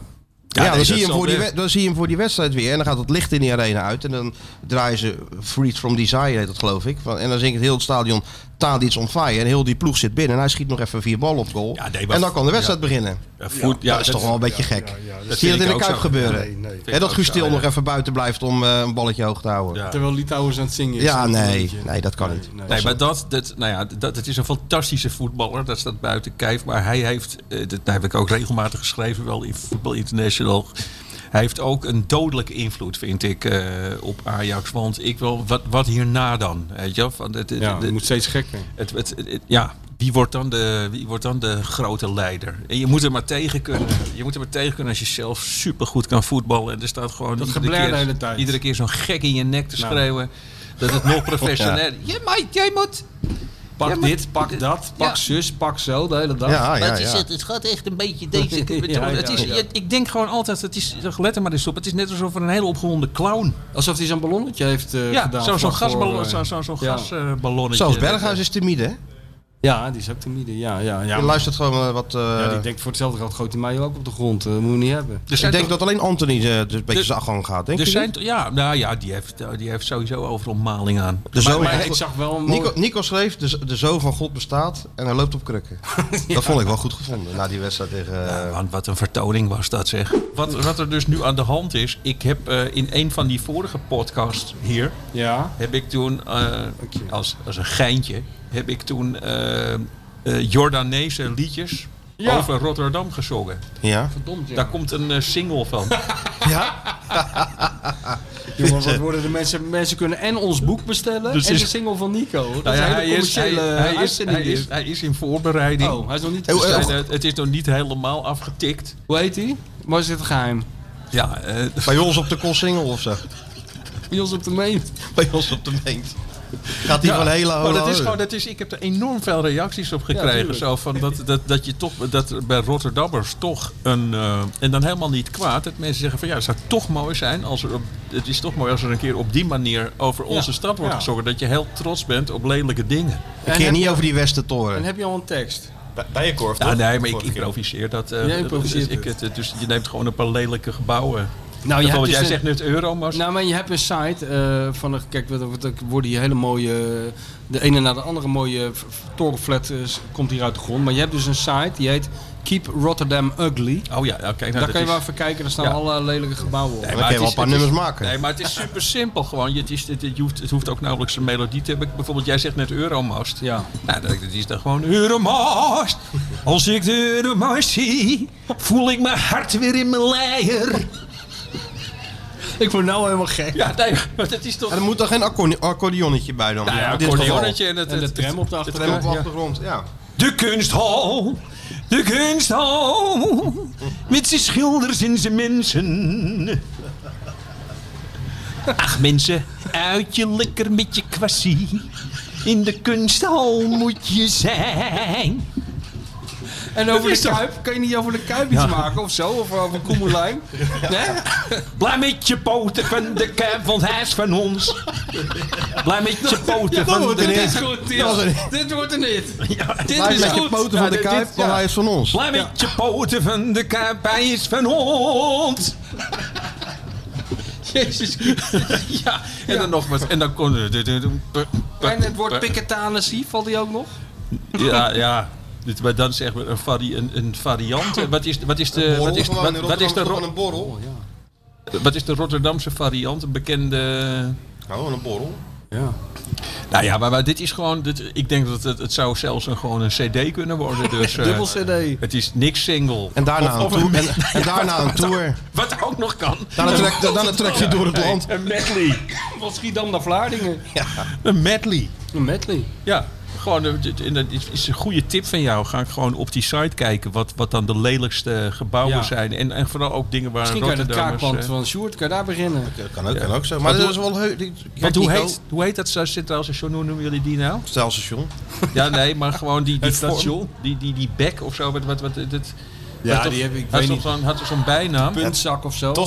[SPEAKER 10] Ja, nee,
[SPEAKER 3] dan,
[SPEAKER 10] dat
[SPEAKER 3] zie je hem
[SPEAKER 10] zal
[SPEAKER 3] voor die,
[SPEAKER 10] best.
[SPEAKER 3] wed- dan zie je hem voor die wedstrijd weer en dan gaat het licht in die arena uit. En dan draaien ze Freed from Desire, heet dat geloof ik. Van, en dan zingt het heel het stadion Tadi's on fire. En heel die ploeg zit binnen en hij schiet nog even vier ballen op goal.
[SPEAKER 10] nee, maar-
[SPEAKER 3] en dan kan de wedstrijd
[SPEAKER 10] ja.
[SPEAKER 3] beginnen.
[SPEAKER 10] Ja, voet- ja,
[SPEAKER 3] dat is
[SPEAKER 10] dat-
[SPEAKER 3] toch wel een beetje
[SPEAKER 10] ja,
[SPEAKER 3] gek.
[SPEAKER 10] ja, ja, dat
[SPEAKER 3] zie je
[SPEAKER 10] vind
[SPEAKER 3] dat in
[SPEAKER 10] ik
[SPEAKER 3] de
[SPEAKER 10] ook
[SPEAKER 3] Kuip
[SPEAKER 10] zo.
[SPEAKER 3] gebeuren.
[SPEAKER 10] Nee, nee. Vind
[SPEAKER 3] Hè,
[SPEAKER 10] ik
[SPEAKER 3] dat
[SPEAKER 10] ook
[SPEAKER 3] Gustil
[SPEAKER 10] zo,
[SPEAKER 3] nog
[SPEAKER 10] ja.
[SPEAKER 3] even buiten blijft om eh, een balletje hoog te houden.
[SPEAKER 14] Terwijl Litouwers aan het zingen is.
[SPEAKER 3] Ja,
[SPEAKER 14] Dat is een
[SPEAKER 3] nee,
[SPEAKER 14] beetje-
[SPEAKER 3] nee, dat kan niet.
[SPEAKER 10] Nee, maar dat, dat, nou ja, dat, het is een fantastische voetballer. Dat staat buiten kijf. Maar hij heeft, eh, dat daar heb ik ook regelmatig geschreven, wel in Voetbal International. Hij heeft ook een dodelijke invloed, vind ik, eh, op Ajax. Want ik wil, wat, wat hierna dan? Weet je? wel? Van, het,
[SPEAKER 26] Ja, het moet steeds
[SPEAKER 10] gekker. Het, het, het- ja, wie wordt, dan de, wie wordt dan de grote leider? En je moet er maar tegen kunnen. Je moet er maar tegen kunnen als je zelf supergoed kan voetballen. En er staat gewoon
[SPEAKER 14] Dat
[SPEAKER 10] iedere
[SPEAKER 14] geblær
[SPEAKER 10] keer,
[SPEAKER 14] de hele tijd.
[SPEAKER 10] iedere keer zo'n gek in je nek te
[SPEAKER 14] Nou.
[SPEAKER 10] schreeuwen. Dat het nog professioneel
[SPEAKER 14] Ja, maar jij moet... Pak
[SPEAKER 10] Ja, maar-
[SPEAKER 14] dit, pak dat, pak zus, pak zo, de hele dag.
[SPEAKER 27] Maar het, is, het, het gaat echt een beetje deze kant
[SPEAKER 10] Ja,
[SPEAKER 27] op.
[SPEAKER 10] het is, je- Ik denk gewoon altijd, het is, let er maar eens op, het is net alsof er een hele opgewonden clown.
[SPEAKER 14] Alsof hij zo'n ballonnetje heeft eh,
[SPEAKER 10] ja,
[SPEAKER 14] gedaan.
[SPEAKER 10] zo'n zo'n
[SPEAKER 14] vlak voor,
[SPEAKER 10] gasballon,
[SPEAKER 14] eh,
[SPEAKER 10] zo'n zo'n eh, zo'n
[SPEAKER 14] ja.
[SPEAKER 10] gasballonnetje.
[SPEAKER 3] Zelfs Berghuis is timide, hè?
[SPEAKER 14] Ja, die is ook timide. Ja, ja, ja.
[SPEAKER 3] Je luistert gewoon eh, wat... eh,
[SPEAKER 14] Ja, die denkt voor hetzelfde geld gooit hij mij ook op de grond. Dat moet je niet hebben.
[SPEAKER 3] ik denk dat alleen Anthony eh, dus een beetje zijn afgang gaat, denk
[SPEAKER 10] er
[SPEAKER 3] je
[SPEAKER 10] zijn,
[SPEAKER 3] niet?
[SPEAKER 10] to- ja, nou ja, die heeft, eh, die heeft sowieso overal maling aan.
[SPEAKER 14] Dus
[SPEAKER 3] De zoon- Hij- Nico,
[SPEAKER 10] Nico-
[SPEAKER 3] Nico schreef, de, z- de zoon van God bestaat en hij loopt op krukken. Dat vond ik wel goed gevonden, na die wedstrijd tegen... eh,
[SPEAKER 10] Want wat een vertoning was dat zeg. Wat, wat er dus nu aan de hand is, ik heb eh, in een van die vorige podcasts hier,
[SPEAKER 14] ja.
[SPEAKER 10] heb ik toen, eh, als, als een geintje, heb ik toen eh, eh, Jordaanese liedjes
[SPEAKER 14] Ja.
[SPEAKER 10] over Rotterdam gezongen.
[SPEAKER 3] Ja.
[SPEAKER 14] Verdomd, ja. Oh,
[SPEAKER 10] Daar komt een eh, single van.
[SPEAKER 14] Jongen, wat worden de mensen... Mensen kunnen en ons boek bestellen
[SPEAKER 10] Dus
[SPEAKER 14] en
[SPEAKER 10] is-
[SPEAKER 14] de single van Nico. hoor. Dat
[SPEAKER 10] Nou ja,
[SPEAKER 14] is een
[SPEAKER 10] hij,
[SPEAKER 14] hele
[SPEAKER 10] is, hij,
[SPEAKER 14] commerciële eh,
[SPEAKER 10] hij is,
[SPEAKER 14] uitzending
[SPEAKER 10] hij, is,
[SPEAKER 14] dit.
[SPEAKER 10] hij is in voorbereiding.
[SPEAKER 14] Oh, hij is nog niet
[SPEAKER 10] Dus
[SPEAKER 14] gestart.
[SPEAKER 10] hij- het, het is nog niet helemaal afgetikt.
[SPEAKER 14] Hoe heet hij? Maar is het geheim?
[SPEAKER 10] Ja, eh,
[SPEAKER 3] Bij ons op de Kossingel of zo.
[SPEAKER 14] Bij ons op de meent.
[SPEAKER 3] Bij ons op de meent. Gaat hij
[SPEAKER 10] Ja,
[SPEAKER 3] van hele
[SPEAKER 10] maar dat
[SPEAKER 3] hoge-
[SPEAKER 10] is gewoon, dat is, ik heb er enorm veel reacties op gekregen.
[SPEAKER 3] tuurlijk.
[SPEAKER 10] zo van dat, dat, dat je toch dat er bij Rotterdammers toch een. eh, en dan helemaal niet kwaad. Dat mensen zeggen van ja, het zou toch mooi zijn als er op, het is toch mooi als er een keer op die manier over onze stad wordt
[SPEAKER 14] ja.
[SPEAKER 10] gezongen. Dat je heel trots bent op lelijke dingen.
[SPEAKER 3] Een keer niet over die Westentoren.
[SPEAKER 14] En heb je al een tekst?
[SPEAKER 10] Bijenkorf, Nou,
[SPEAKER 14] toch?
[SPEAKER 10] nee, maar ik improviseer dat. eh,
[SPEAKER 14] Jij improviseert
[SPEAKER 10] ik, het, eh, dus je neemt gewoon een paar lelijke gebouwen.
[SPEAKER 14] Nou, je hebt
[SPEAKER 10] Bijvoorbeeld,
[SPEAKER 14] dus
[SPEAKER 10] jij
[SPEAKER 14] een-
[SPEAKER 10] zegt nu het euro, maar
[SPEAKER 14] Nou, maar je hebt een site eh, van, een- kijk, wat- wat- er worden hier hele mooie,
[SPEAKER 5] eh,
[SPEAKER 14] de ene na de andere mooie v- v- torenflat eh, s- komt hier uit de grond. Maar je hebt dus een site die heet
[SPEAKER 5] Keep Rotterdam Ugly.
[SPEAKER 10] Oh ja, oké. nou,
[SPEAKER 5] Daar
[SPEAKER 10] dat
[SPEAKER 5] kan je wel
[SPEAKER 10] is-
[SPEAKER 5] even kijken, daar staan
[SPEAKER 10] Ja.
[SPEAKER 5] alle lelijke gebouwen op.
[SPEAKER 10] Nee, maar het is- het is- Nee, maar het is super simpel gewoon. Je- Het, is, het, het hoeft, het hoeft ook nauwelijks een melodie te hebben. Bijvoorbeeld, jij zegt net Euromast. Ja. Nou, dat, dat is dan gewoon Euromast. Als ik de Euromast zie, voel ik mijn hart weer in mijn leier.
[SPEAKER 5] Ik word nou helemaal gek.
[SPEAKER 10] Ja, nee, maar dat is toch...
[SPEAKER 3] En er moet dan geen accordeon- accordeonnetje bij dan?
[SPEAKER 10] Nou ja,
[SPEAKER 3] in dit
[SPEAKER 10] accordeonnetje
[SPEAKER 3] geval.
[SPEAKER 10] en het- En de het- tram op de
[SPEAKER 3] De
[SPEAKER 10] achtergrond.
[SPEAKER 3] tram op de
[SPEAKER 10] Ja.
[SPEAKER 3] achtergrond, ja.
[SPEAKER 10] De kunsthal, de kunsthal, met zijn schilders en zijn mensen. Ach mensen, uit je lekker met je kwassie. In de kunsthal moet je zijn.
[SPEAKER 5] En over
[SPEAKER 10] Dat is
[SPEAKER 5] de
[SPEAKER 10] toch-
[SPEAKER 5] Kuip, kan je niet over de Kuip iets
[SPEAKER 10] Ja.
[SPEAKER 5] maken of zo? Of over Koemelijn? Nee?
[SPEAKER 10] Blij met je poten van de kuip, want hij is van ons. Blij met je
[SPEAKER 5] Oh,
[SPEAKER 10] poten
[SPEAKER 3] Ja, dat
[SPEAKER 10] van
[SPEAKER 3] wordt
[SPEAKER 10] de
[SPEAKER 3] een
[SPEAKER 10] Dit
[SPEAKER 3] hit.
[SPEAKER 10] is goed, dit-
[SPEAKER 3] Dat was een
[SPEAKER 5] Dit wordt een hit.
[SPEAKER 3] Dit Blij is met je goed. poten van
[SPEAKER 5] Nou,
[SPEAKER 3] de
[SPEAKER 10] dit-
[SPEAKER 3] Kuip,
[SPEAKER 10] dit-
[SPEAKER 3] maar hij is van ons.
[SPEAKER 10] Blij met je poten van de Kuip, hij is van ons. Jezus Christus. Ja, en dan nog wat. En dan kon...
[SPEAKER 5] En het woord piketanesie, valt die ook nog?
[SPEAKER 10] Ja, ja. Dit, maar dan is echt een, vari, een, een variant. Eh, Wat is, wat is de...
[SPEAKER 3] Borrel
[SPEAKER 10] Wat is,
[SPEAKER 3] gewoon
[SPEAKER 10] wat,
[SPEAKER 3] in
[SPEAKER 10] wat is de
[SPEAKER 3] Rotterdam,
[SPEAKER 10] ro-
[SPEAKER 3] gewoon een borrel.
[SPEAKER 10] wat is de Rotterdamse variant? Een bekende...
[SPEAKER 3] Oh, een borrel.
[SPEAKER 10] Ja. Nou ja, maar, maar dit is gewoon. Dit, ik denk dat het, het zou zelfs een, gewoon een CD kunnen worden. Dus, eh,
[SPEAKER 3] Dubbel CD.
[SPEAKER 10] Het is niks single.
[SPEAKER 3] En daarna een tour. En- en
[SPEAKER 10] Ja,
[SPEAKER 3] daarna
[SPEAKER 10] wat-
[SPEAKER 3] een tour.
[SPEAKER 10] Wat, wat ook nog kan.
[SPEAKER 3] Dan een trek- dan een trekje door het land.
[SPEAKER 10] Een medley.
[SPEAKER 5] Van Schiedam naar Vlaardingen.
[SPEAKER 3] Ja.
[SPEAKER 10] Een medley.
[SPEAKER 5] Een medley.
[SPEAKER 10] Ja. Gewoon, eh, dit- en dat is- is een goede tip van jou. Ga ik gewoon op die site kijken wat, wat dan de lelijkste gebouwen
[SPEAKER 5] Ja.
[SPEAKER 10] zijn. En, en vooral ook dingen waar
[SPEAKER 5] Misschien kan je het
[SPEAKER 10] Rotterdammers,
[SPEAKER 5] kraakpand
[SPEAKER 10] eh,
[SPEAKER 5] van Sjoerd, kan je daar beginnen.
[SPEAKER 3] Kan ook,
[SPEAKER 10] Ja.
[SPEAKER 3] kan ook zo. Maar
[SPEAKER 10] Want
[SPEAKER 3] dat
[SPEAKER 10] hoe-
[SPEAKER 3] is wel heus.
[SPEAKER 10] Want hoe heet, hoe heet dat zo- centraal station? Hoe noemen jullie die nou?
[SPEAKER 3] Centraal station.
[SPEAKER 10] Ja, nee, maar gewoon die, die
[SPEAKER 3] Het
[SPEAKER 10] vorm,
[SPEAKER 3] station?
[SPEAKER 10] die, die, die bek of zo. Wat, wat, wat, dit,
[SPEAKER 3] Ja,
[SPEAKER 10] had
[SPEAKER 3] die
[SPEAKER 10] toch-
[SPEAKER 3] heb ik-
[SPEAKER 10] Had
[SPEAKER 3] weet
[SPEAKER 10] toch
[SPEAKER 3] niet.
[SPEAKER 10] zo'n- had toch zo'n bijnaam?
[SPEAKER 3] Ja.
[SPEAKER 5] Puntzak of
[SPEAKER 10] eh,
[SPEAKER 5] zo.
[SPEAKER 3] Oh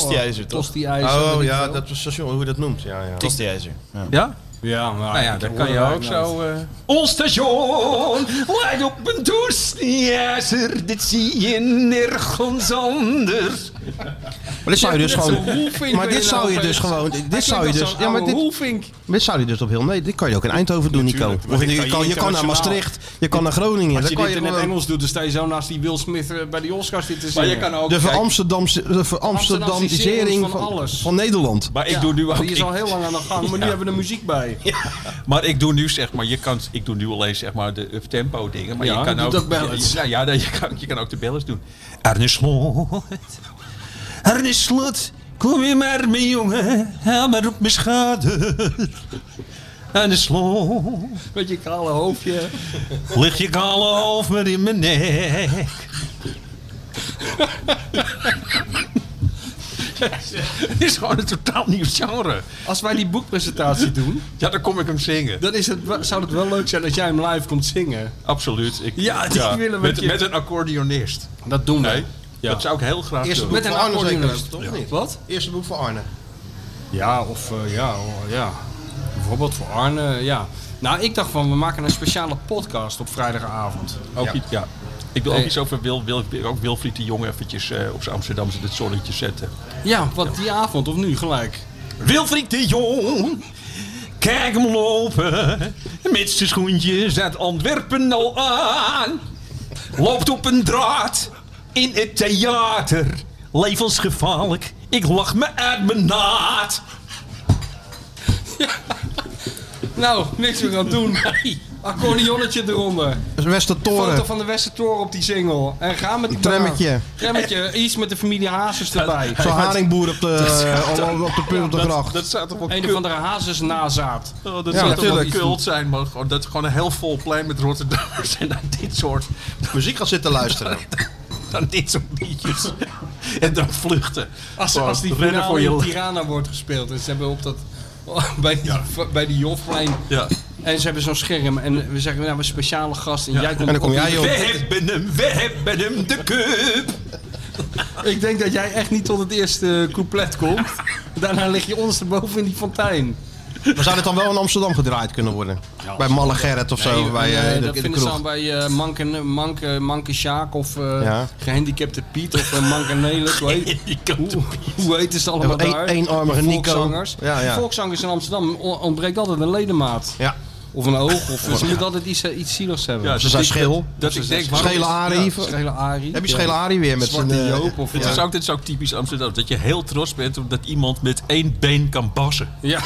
[SPEAKER 3] ja, dat was station, hoe je dat noemt. Ja, ja.
[SPEAKER 10] Tosti-ijzer, Ja?
[SPEAKER 5] Ja, maar
[SPEAKER 10] nou ja,
[SPEAKER 5] ik
[SPEAKER 10] dan
[SPEAKER 5] heb
[SPEAKER 10] kan je ook
[SPEAKER 5] horen-
[SPEAKER 10] zo... eh, Ons station lijkt op een toestijzer. Dit zie je nergens anders.
[SPEAKER 3] Maar dit zou je dus
[SPEAKER 10] Ja, net
[SPEAKER 3] gewoon.
[SPEAKER 10] zo'n Roelvink
[SPEAKER 3] Maar
[SPEAKER 10] ben je
[SPEAKER 3] dit zou
[SPEAKER 10] nou
[SPEAKER 3] je dus
[SPEAKER 10] opeens.
[SPEAKER 3] gewoon.
[SPEAKER 10] Hij
[SPEAKER 3] Dit
[SPEAKER 10] klinkt
[SPEAKER 3] zou je
[SPEAKER 10] als
[SPEAKER 3] dus.
[SPEAKER 10] zo'n
[SPEAKER 3] Ja, maar
[SPEAKER 10] oude
[SPEAKER 3] dit,
[SPEAKER 5] Roelvink.
[SPEAKER 3] dit zou je dus op heel. Nee, dit kan je ook in Eindhoven doen, Nico. Of
[SPEAKER 5] dit
[SPEAKER 3] je,
[SPEAKER 5] kan
[SPEAKER 3] kan,
[SPEAKER 5] je
[SPEAKER 3] je kan naar
[SPEAKER 5] internationaal.
[SPEAKER 3] Maastricht, je kan naar Groningen.
[SPEAKER 5] Als
[SPEAKER 3] dan
[SPEAKER 5] je
[SPEAKER 3] kan
[SPEAKER 5] dit in het
[SPEAKER 3] gewoon-
[SPEAKER 5] Engels doet, dan sta je zo naast die Will Smith eh, bij die Oscars zitten
[SPEAKER 10] Maar je
[SPEAKER 5] zingen.
[SPEAKER 10] kan ook-
[SPEAKER 3] De
[SPEAKER 10] Kijk.
[SPEAKER 3] veramsterdamse- de veramsterdamisering
[SPEAKER 5] Amsterdamisering
[SPEAKER 3] van,
[SPEAKER 5] van
[SPEAKER 3] van,
[SPEAKER 5] alles.
[SPEAKER 3] Nederland.
[SPEAKER 10] Maar ik
[SPEAKER 5] Ja,
[SPEAKER 10] doe nu ook...
[SPEAKER 5] Die is
[SPEAKER 10] ik-
[SPEAKER 5] al heel lang aan de gang, maar nu
[SPEAKER 10] Ja.
[SPEAKER 5] hebben we er muziek bij.
[SPEAKER 10] Maar ik doe nu zeg maar, je kan, ik doe nu alleen zeg maar de up-tempo dingen. Maar
[SPEAKER 5] Ja,
[SPEAKER 10] je kan
[SPEAKER 5] doe
[SPEAKER 10] ook,
[SPEAKER 5] ook ballads.
[SPEAKER 10] Ja, ja, nee, je, kan, je kan ook de ballads doen. Arne Slot. Arne Slot, kom je maar mijn jongen. Haal maar op mijn schouder. Arne Slot,
[SPEAKER 5] Met je kale hoofdje.
[SPEAKER 10] lig je kale hoofd maar in mijn nek. Het is gewoon een totaal nieuw genre.
[SPEAKER 5] Als wij die boekpresentatie doen,
[SPEAKER 10] Ja, dan kom ik hem zingen.
[SPEAKER 5] dan is het, wel- zou het wel leuk zijn als jij hem live komt zingen.
[SPEAKER 10] Absoluut. Ik,
[SPEAKER 5] Ja, die willen we
[SPEAKER 10] met,
[SPEAKER 5] je-
[SPEAKER 10] met een accordeonist.
[SPEAKER 5] Dat doen we.
[SPEAKER 10] Nee, Dat zou ik heel graag
[SPEAKER 3] Eerste
[SPEAKER 10] doen.
[SPEAKER 3] boek
[SPEAKER 5] Met
[SPEAKER 3] van
[SPEAKER 5] een
[SPEAKER 3] Arne zeker,
[SPEAKER 5] accordeonist.
[SPEAKER 3] toch?
[SPEAKER 5] Ja.
[SPEAKER 3] Niet?
[SPEAKER 5] Wat?
[SPEAKER 3] Eerste boek van Arne.
[SPEAKER 5] Ja, of eh, ja, oh, ja. Bijvoorbeeld voor Arne, ja. Nou, ik dacht van, we maken een speciale podcast op vrijdagavond.
[SPEAKER 10] Ook iets, ja. Ik wil ook
[SPEAKER 5] Nee.
[SPEAKER 10] iets over Wil, Wil, ook Wilfried de Jong eventjes eh, op zijn Amsterdamse dit zonnetje zetten.
[SPEAKER 5] Ja, wat die avond of nu gelijk?
[SPEAKER 10] Wilfried de Jong, kijk hem lopen. Met zijn schoentjes uit Antwerpen al aan. Loopt op een draad in het theater. Levensgevaarlijk, ik lach me uit mijn naad.
[SPEAKER 5] Nou, niks meer aan doen. Accordeonnetje eronder.
[SPEAKER 3] Dat is Westertoren.
[SPEAKER 5] Foto van de Westertoren op die single. En ga met die
[SPEAKER 3] Tremmetje.
[SPEAKER 5] banaan. Tremmetje, iets met de familie Hazes erbij.
[SPEAKER 3] Zo'n haringboer op de, eh, op, op de punt op de gracht.
[SPEAKER 10] Dat zou toch wel
[SPEAKER 5] Een
[SPEAKER 10] kut-
[SPEAKER 5] of andere Hazes nazaat.
[SPEAKER 10] Oh, dat
[SPEAKER 3] Ja,
[SPEAKER 10] zou toch wel
[SPEAKER 3] natuurlijk.
[SPEAKER 10] kult zijn, maar gewoon, dat is gewoon een heel vol plein met Rotterdammers en dan dit soort...
[SPEAKER 3] Muziek gaat zitten luisteren.
[SPEAKER 10] Dan dit soort liedjes. en dan vluchten.
[SPEAKER 5] Als,
[SPEAKER 10] Gewoon
[SPEAKER 5] als die
[SPEAKER 10] rennen
[SPEAKER 5] finale in
[SPEAKER 10] le-
[SPEAKER 5] Tirana wordt gespeeld en ze hebben op dat... Bij die, bij die Joflijn.
[SPEAKER 10] Ja.
[SPEAKER 5] En ze hebben zo'n scherm en we zeggen, nou, we hebben een speciale gast en
[SPEAKER 10] Ja.
[SPEAKER 5] jij komt
[SPEAKER 10] We hebben hem, we hebben hem, de cup.
[SPEAKER 5] Ik denk dat jij echt niet tot het eerste couplet komt. Daarna lig je ondersteboven in die fontein.
[SPEAKER 3] Maar zou dit dan wel in Amsterdam gedraaid kunnen worden? bij Malle Gerrit of zo,
[SPEAKER 5] Nee,
[SPEAKER 3] bij
[SPEAKER 5] nee,
[SPEAKER 3] eh, de, in
[SPEAKER 5] dat
[SPEAKER 3] de
[SPEAKER 5] vinden ze
[SPEAKER 3] kroeg.
[SPEAKER 5] dan bij eh, Mank en Mank, eh, Manke Sjaak of eh,
[SPEAKER 3] Ja.
[SPEAKER 5] Gehandicapte Piet of uh, Manke Nelis. hoe heet- hoe- Hoe heet ze allemaal
[SPEAKER 3] Of een-
[SPEAKER 5] daar?
[SPEAKER 3] eenarmige
[SPEAKER 5] De
[SPEAKER 3] Nico.
[SPEAKER 5] Volkszangers.
[SPEAKER 3] Ja, ja.
[SPEAKER 5] De Volkszangers in Amsterdam on- ontbreekt altijd een ledemaat.
[SPEAKER 3] Ja.
[SPEAKER 5] Of een oog. Of, ze moeten altijd iets, eh, iets zieligs hebben.
[SPEAKER 3] Ja, ze zijn scheel.
[SPEAKER 5] Of
[SPEAKER 3] Dat
[SPEAKER 5] ze
[SPEAKER 3] ik
[SPEAKER 5] zijn
[SPEAKER 3] denk, waarom
[SPEAKER 5] scheel.
[SPEAKER 3] is-
[SPEAKER 5] Ari.
[SPEAKER 3] ja,
[SPEAKER 5] schele Ari.
[SPEAKER 3] Heb je schele Ari weer met
[SPEAKER 5] Zwarte
[SPEAKER 3] zijn, eh,
[SPEAKER 5] Joop of...
[SPEAKER 3] Het
[SPEAKER 10] Dit, is ook, dit is ook typisch Amsterdam. Dat je heel trots bent omdat iemand met één been kan bassen.
[SPEAKER 5] Ja.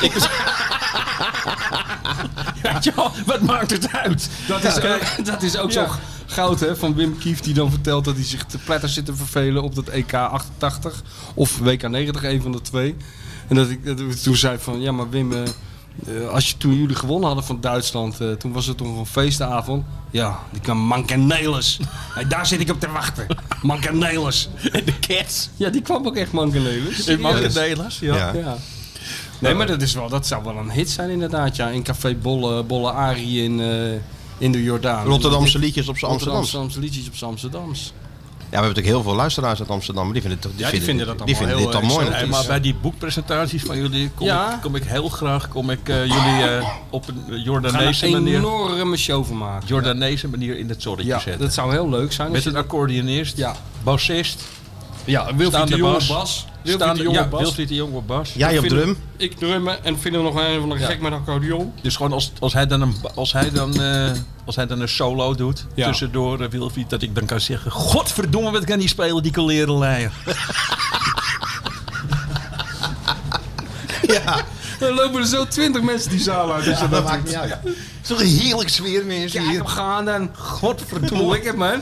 [SPEAKER 10] wat maakt het uit?
[SPEAKER 5] Dat is, ook, dat is ook
[SPEAKER 10] Ja.
[SPEAKER 5] zo goud hè, van Wim Kieft die dan vertelt dat hij zich te pletter zit te vervelen op dat EK 88 of WK 90, een van de twee. En dat ik dat ik toen zei van ja maar Wim, eh, eh, als je, toen jullie gewonnen hadden van Duitsland, eh, toen was het toch een feestavond. Ja, die kwam Mancanelis. Hey, daar zit ik op te wachten. Mancanelis. En de cats. Ja, die kwam ook echt Mancanelis.
[SPEAKER 10] In Mancanelis, ja. Ja.
[SPEAKER 5] ja. Nee, maar dat, is wel, dat zou wel een hit zijn inderdaad. Ja. In Café Bolle, Bolle Arie in, eh, in de Jordaan.
[SPEAKER 3] Rotterdamse liedjes op z'n
[SPEAKER 5] Rotterdamse
[SPEAKER 3] Amsterdams.
[SPEAKER 5] liedjes op z'n Amsterdams.
[SPEAKER 3] we hebben natuurlijk heel veel luisteraars uit Amsterdam. Maar die vinden, het- die
[SPEAKER 5] Ja, die
[SPEAKER 3] vinden,
[SPEAKER 5] vinden dat
[SPEAKER 3] die
[SPEAKER 5] allemaal
[SPEAKER 3] vinden dit dan
[SPEAKER 5] heel, eh,
[SPEAKER 3] mooi.
[SPEAKER 5] exotisch.
[SPEAKER 3] natuurlijk.
[SPEAKER 10] maar bij die boekpresentaties van jullie kom,
[SPEAKER 5] Ja.
[SPEAKER 10] ik, kom ik heel graag kom ik, eh, jullie eh, op een eh, Jordaanese
[SPEAKER 5] We gaan er
[SPEAKER 10] manier...
[SPEAKER 5] een enorme show van maken.
[SPEAKER 10] Jordaanese manier in het zonnetje
[SPEAKER 5] Ja,
[SPEAKER 10] zetten.
[SPEAKER 5] dat zou heel leuk zijn.
[SPEAKER 10] Met een accordeonist, bassist.
[SPEAKER 5] Ja, Wilfried de Jong op bas. Wilfried
[SPEAKER 10] Wilfried
[SPEAKER 5] de
[SPEAKER 10] de
[SPEAKER 5] Jong
[SPEAKER 10] ja,
[SPEAKER 5] op bas.
[SPEAKER 10] Wilfried de Jong op bas.
[SPEAKER 5] Jij
[SPEAKER 10] Ik
[SPEAKER 5] op
[SPEAKER 10] vind
[SPEAKER 5] drum.
[SPEAKER 10] hem-
[SPEAKER 5] Ik drummen en vinden we nog een van de
[SPEAKER 10] Ja.
[SPEAKER 5] gek met accordeon.
[SPEAKER 10] Dus gewoon als, als hij dan een, als hij dan, eh, als hij dan een solo doet,
[SPEAKER 5] Ja.
[SPEAKER 10] tussendoor eh, Wilfried, dat ik dan kan zeggen... Godverdomme, wat kan die spelen, die kolerenleier.
[SPEAKER 3] Ja.
[SPEAKER 5] Er lopen er zo twintig mensen die zaal uit. dus
[SPEAKER 3] Ja, Dus dat maakt niet uit. Het is toch een heerlijk sfeer, mensen
[SPEAKER 5] Kijk
[SPEAKER 3] hier.
[SPEAKER 5] hem gaan dan. Godverdomme. Lekker man.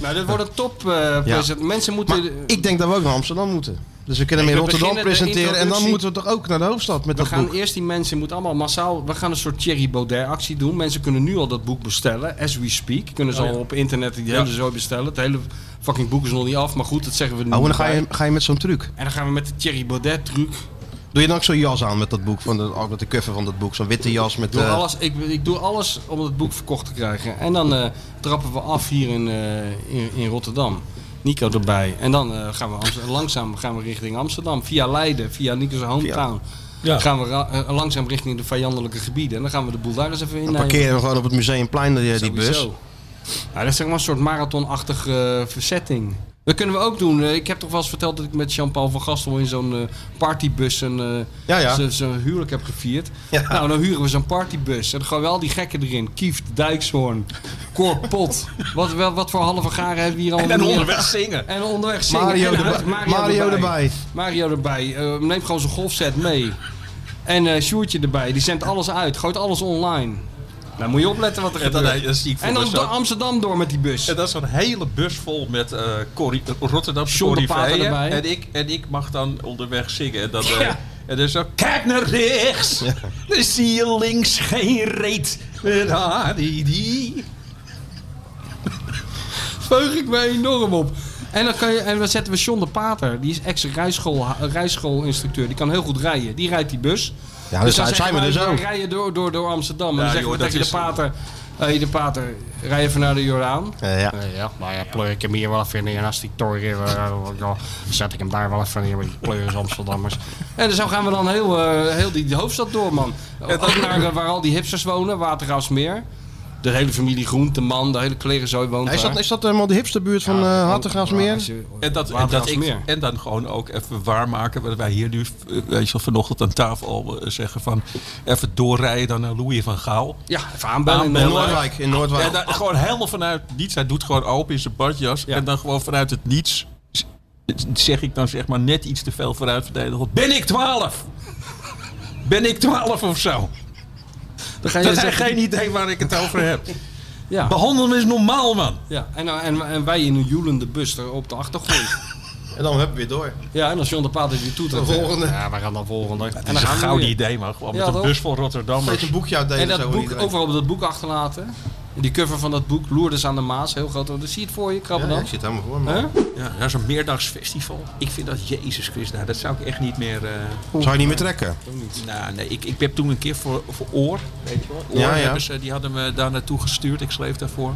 [SPEAKER 5] nou, dit wordt een top eh,
[SPEAKER 3] Ja.
[SPEAKER 5] present. Mensen moeten...
[SPEAKER 3] Maar ik denk dat we ook naar Amsterdam moeten. Dus we kunnen
[SPEAKER 5] Ik
[SPEAKER 3] hem in
[SPEAKER 5] wil
[SPEAKER 3] Rotterdam
[SPEAKER 5] beginnen de
[SPEAKER 3] presenteren. En dan
[SPEAKER 5] introductie.
[SPEAKER 3] moeten we toch ook naar de hoofdstad met
[SPEAKER 5] We
[SPEAKER 3] dat
[SPEAKER 5] gaan
[SPEAKER 3] boek.
[SPEAKER 5] eerst die mensen, je moet allemaal massaal, we gaan een soort Thierry Baudet actie doen. Mensen kunnen nu al dat boek bestellen, as we speak. Kunnen ze
[SPEAKER 3] Oh,
[SPEAKER 5] al
[SPEAKER 3] ja.
[SPEAKER 5] op internet die
[SPEAKER 3] Ja.
[SPEAKER 5] hele zooi bestellen. Het hele fucking boek is nog niet af, maar goed, dat zeggen we nu.
[SPEAKER 3] Oh, en dan ga
[SPEAKER 5] bij.
[SPEAKER 3] je, ga je met zo'n truc.
[SPEAKER 5] En dan gaan we met de Thierry Baudet truc.
[SPEAKER 3] Doe je dan ook zo'n jas aan met dat boek, van de, ook met de cover van dat boek? Zo'n witte jas
[SPEAKER 5] Ik
[SPEAKER 3] met...
[SPEAKER 5] doe,
[SPEAKER 3] eh,
[SPEAKER 5] alles, ik, ik doe alles om het boek verkocht te krijgen. En dan eh, trappen we af hier in, eh, in, in Rotterdam. Nico erbij. En dan eh, gaan we Amst- langzaam gaan we richting Amsterdam. Via Leiden, via Nico's hometown.
[SPEAKER 10] Ja.
[SPEAKER 5] Gaan we ra- eh, langzaam richting de vijandelijke gebieden. En dan gaan we de boel daar eens even in. eh,
[SPEAKER 3] dan parkeren we gewoon op het Museumplein die, eh, die bus.
[SPEAKER 5] Sowieso. Ja, dat is zeg maar een soort marathonachtige eh, verzetting. Dat kunnen we ook doen. Eh, Ik heb toch wel eens verteld dat ik met Jean-Paul van Gastel in zo'n eh, partybus een, eh,
[SPEAKER 3] Ja, ja.
[SPEAKER 5] z- zo'n huwelijk heb gevierd. Nou, dan huren we zo'n partybus. En dan gaan we al die gekken erin. Kieft, Dijkshoorn, Korpot. wat, wel, wat voor halve garen hebben we hier allemaal?
[SPEAKER 10] En dan
[SPEAKER 5] neer?
[SPEAKER 10] onderweg zingen.
[SPEAKER 5] En onderweg zingen.
[SPEAKER 3] Mario
[SPEAKER 5] En
[SPEAKER 3] erbij.
[SPEAKER 5] huis-
[SPEAKER 3] Mario erbij.
[SPEAKER 5] Mario erbij. Eh, neem gewoon zo'n golfset mee. En eh Sjoertje erbij. Die zendt alles uit. Gooit alles online. Nou, moet je opletten wat er
[SPEAKER 10] En dan-
[SPEAKER 5] gebeurt.
[SPEAKER 10] dat zie ik voor
[SPEAKER 5] en dan
[SPEAKER 10] me
[SPEAKER 5] door
[SPEAKER 10] zo.
[SPEAKER 5] Amsterdam door met die bus.
[SPEAKER 10] En dat is een hele bus vol met eh corri- eh, Rotterdamse
[SPEAKER 5] John de Pater
[SPEAKER 10] corriveeën.
[SPEAKER 5] erbij.
[SPEAKER 10] En ik, en ik mag dan onderweg zingen. En dan, eh,
[SPEAKER 5] Ja.
[SPEAKER 10] en dan zo, kijk naar rechts, dan zie je links geen reet. En ah, die, die.
[SPEAKER 5] Veug ik me enorm op. En dan, kan je, en dan zetten we John de Pater. Die is ex-rijschoolinstructeur. die kan heel goed rijden. Die rijdt die bus.
[SPEAKER 3] Ja, dus
[SPEAKER 5] dan
[SPEAKER 3] zijn
[SPEAKER 5] zeggen
[SPEAKER 3] we er zo.
[SPEAKER 5] rijden door, door, door Amsterdam. En
[SPEAKER 3] Ja,
[SPEAKER 5] dan zeggen
[SPEAKER 3] joh,
[SPEAKER 5] we
[SPEAKER 3] dat
[SPEAKER 5] tegen de
[SPEAKER 3] is-
[SPEAKER 5] Pater... Hey, de Pater, rij even naar de Jordaan.
[SPEAKER 3] Eh, ja.
[SPEAKER 5] ja, nou ja, pleur ik hem hier wel even neer. En als die toren hier, eh, dan zet ik hem daar wel even neer. Maar die pleuris Amsterdammers. En zo gaan we dan heel, eh, heel die hoofdstad door, man. Ook naar eh, waar al die hipsters wonen, Watergraafsmeer. De hele familie Groenteman, de hele klerenzooi woont
[SPEAKER 3] Ja, is,
[SPEAKER 5] daar.
[SPEAKER 3] dat, is dat helemaal de hipste buurt van eh Hattegraafsmeer?
[SPEAKER 10] En, dat, en, dat ik,
[SPEAKER 5] Watergraafsmeer.
[SPEAKER 10] en dan gewoon ook even waarmaken wat wij hier nu, eh, weet je wel, vanochtend aan tafel al eh, zeggen van even doorrijden dan naar Louis van Gaal.
[SPEAKER 5] Ja, even aanbellen in Noordwijk, in Noordwijk.
[SPEAKER 10] En dan gewoon helemaal vanuit niets. Hij doet gewoon open in zijn badjas. En dan gewoon vanuit het niets z- zeg ik dan zeg maar net iets te veel vooruit verdedigd. Ben ik 12? Ben ik 12 of zo?
[SPEAKER 5] Dan
[SPEAKER 10] ga
[SPEAKER 5] je
[SPEAKER 10] je dat
[SPEAKER 5] zeggen-
[SPEAKER 10] hij geen idee waar ik het over heb.
[SPEAKER 5] Ja.
[SPEAKER 10] Behandel me eens normaal, man.
[SPEAKER 5] Ja, en, eh, en, en wij in een joelende bus er op de achtergrond.
[SPEAKER 3] En dan hebben we weer door.
[SPEAKER 5] Ja, en als John de Pater die toetert.
[SPEAKER 3] De volgende.
[SPEAKER 5] Ja, we gaan dan volgende. En
[SPEAKER 10] Het is
[SPEAKER 5] dan
[SPEAKER 10] een
[SPEAKER 5] gaan we
[SPEAKER 10] gouden
[SPEAKER 5] weer.
[SPEAKER 10] idee, man. Gewoon
[SPEAKER 5] Ja,
[SPEAKER 10] met een
[SPEAKER 5] toch?
[SPEAKER 10] bus vol Rotterdammers.
[SPEAKER 3] Steeds een boekje uitdelen
[SPEAKER 5] En dat
[SPEAKER 3] zo aan
[SPEAKER 5] boek,
[SPEAKER 3] iedereen.
[SPEAKER 5] overal op dat boek achterlaten. En die cover van dat boek, Loerders aan de Maas, heel groot. Dan zie je het voor je, krabben
[SPEAKER 10] Ja,
[SPEAKER 5] dan.
[SPEAKER 10] ik
[SPEAKER 3] zie het helemaal voor
[SPEAKER 5] Hè?
[SPEAKER 10] Ja, dat is een meerdagsfestival. Ik vind dat, jezus Christus, nou, dat zou ik echt niet meer... eh,
[SPEAKER 3] Zou je niet meer trekken?
[SPEAKER 10] Nou, nee, ik, ik heb toen een keer voor, voor Oor, weet je wel. Oor
[SPEAKER 3] Ja, ja.
[SPEAKER 10] hebben ze- die hadden me daar naartoe gestuurd. Ik schreef daarvoor.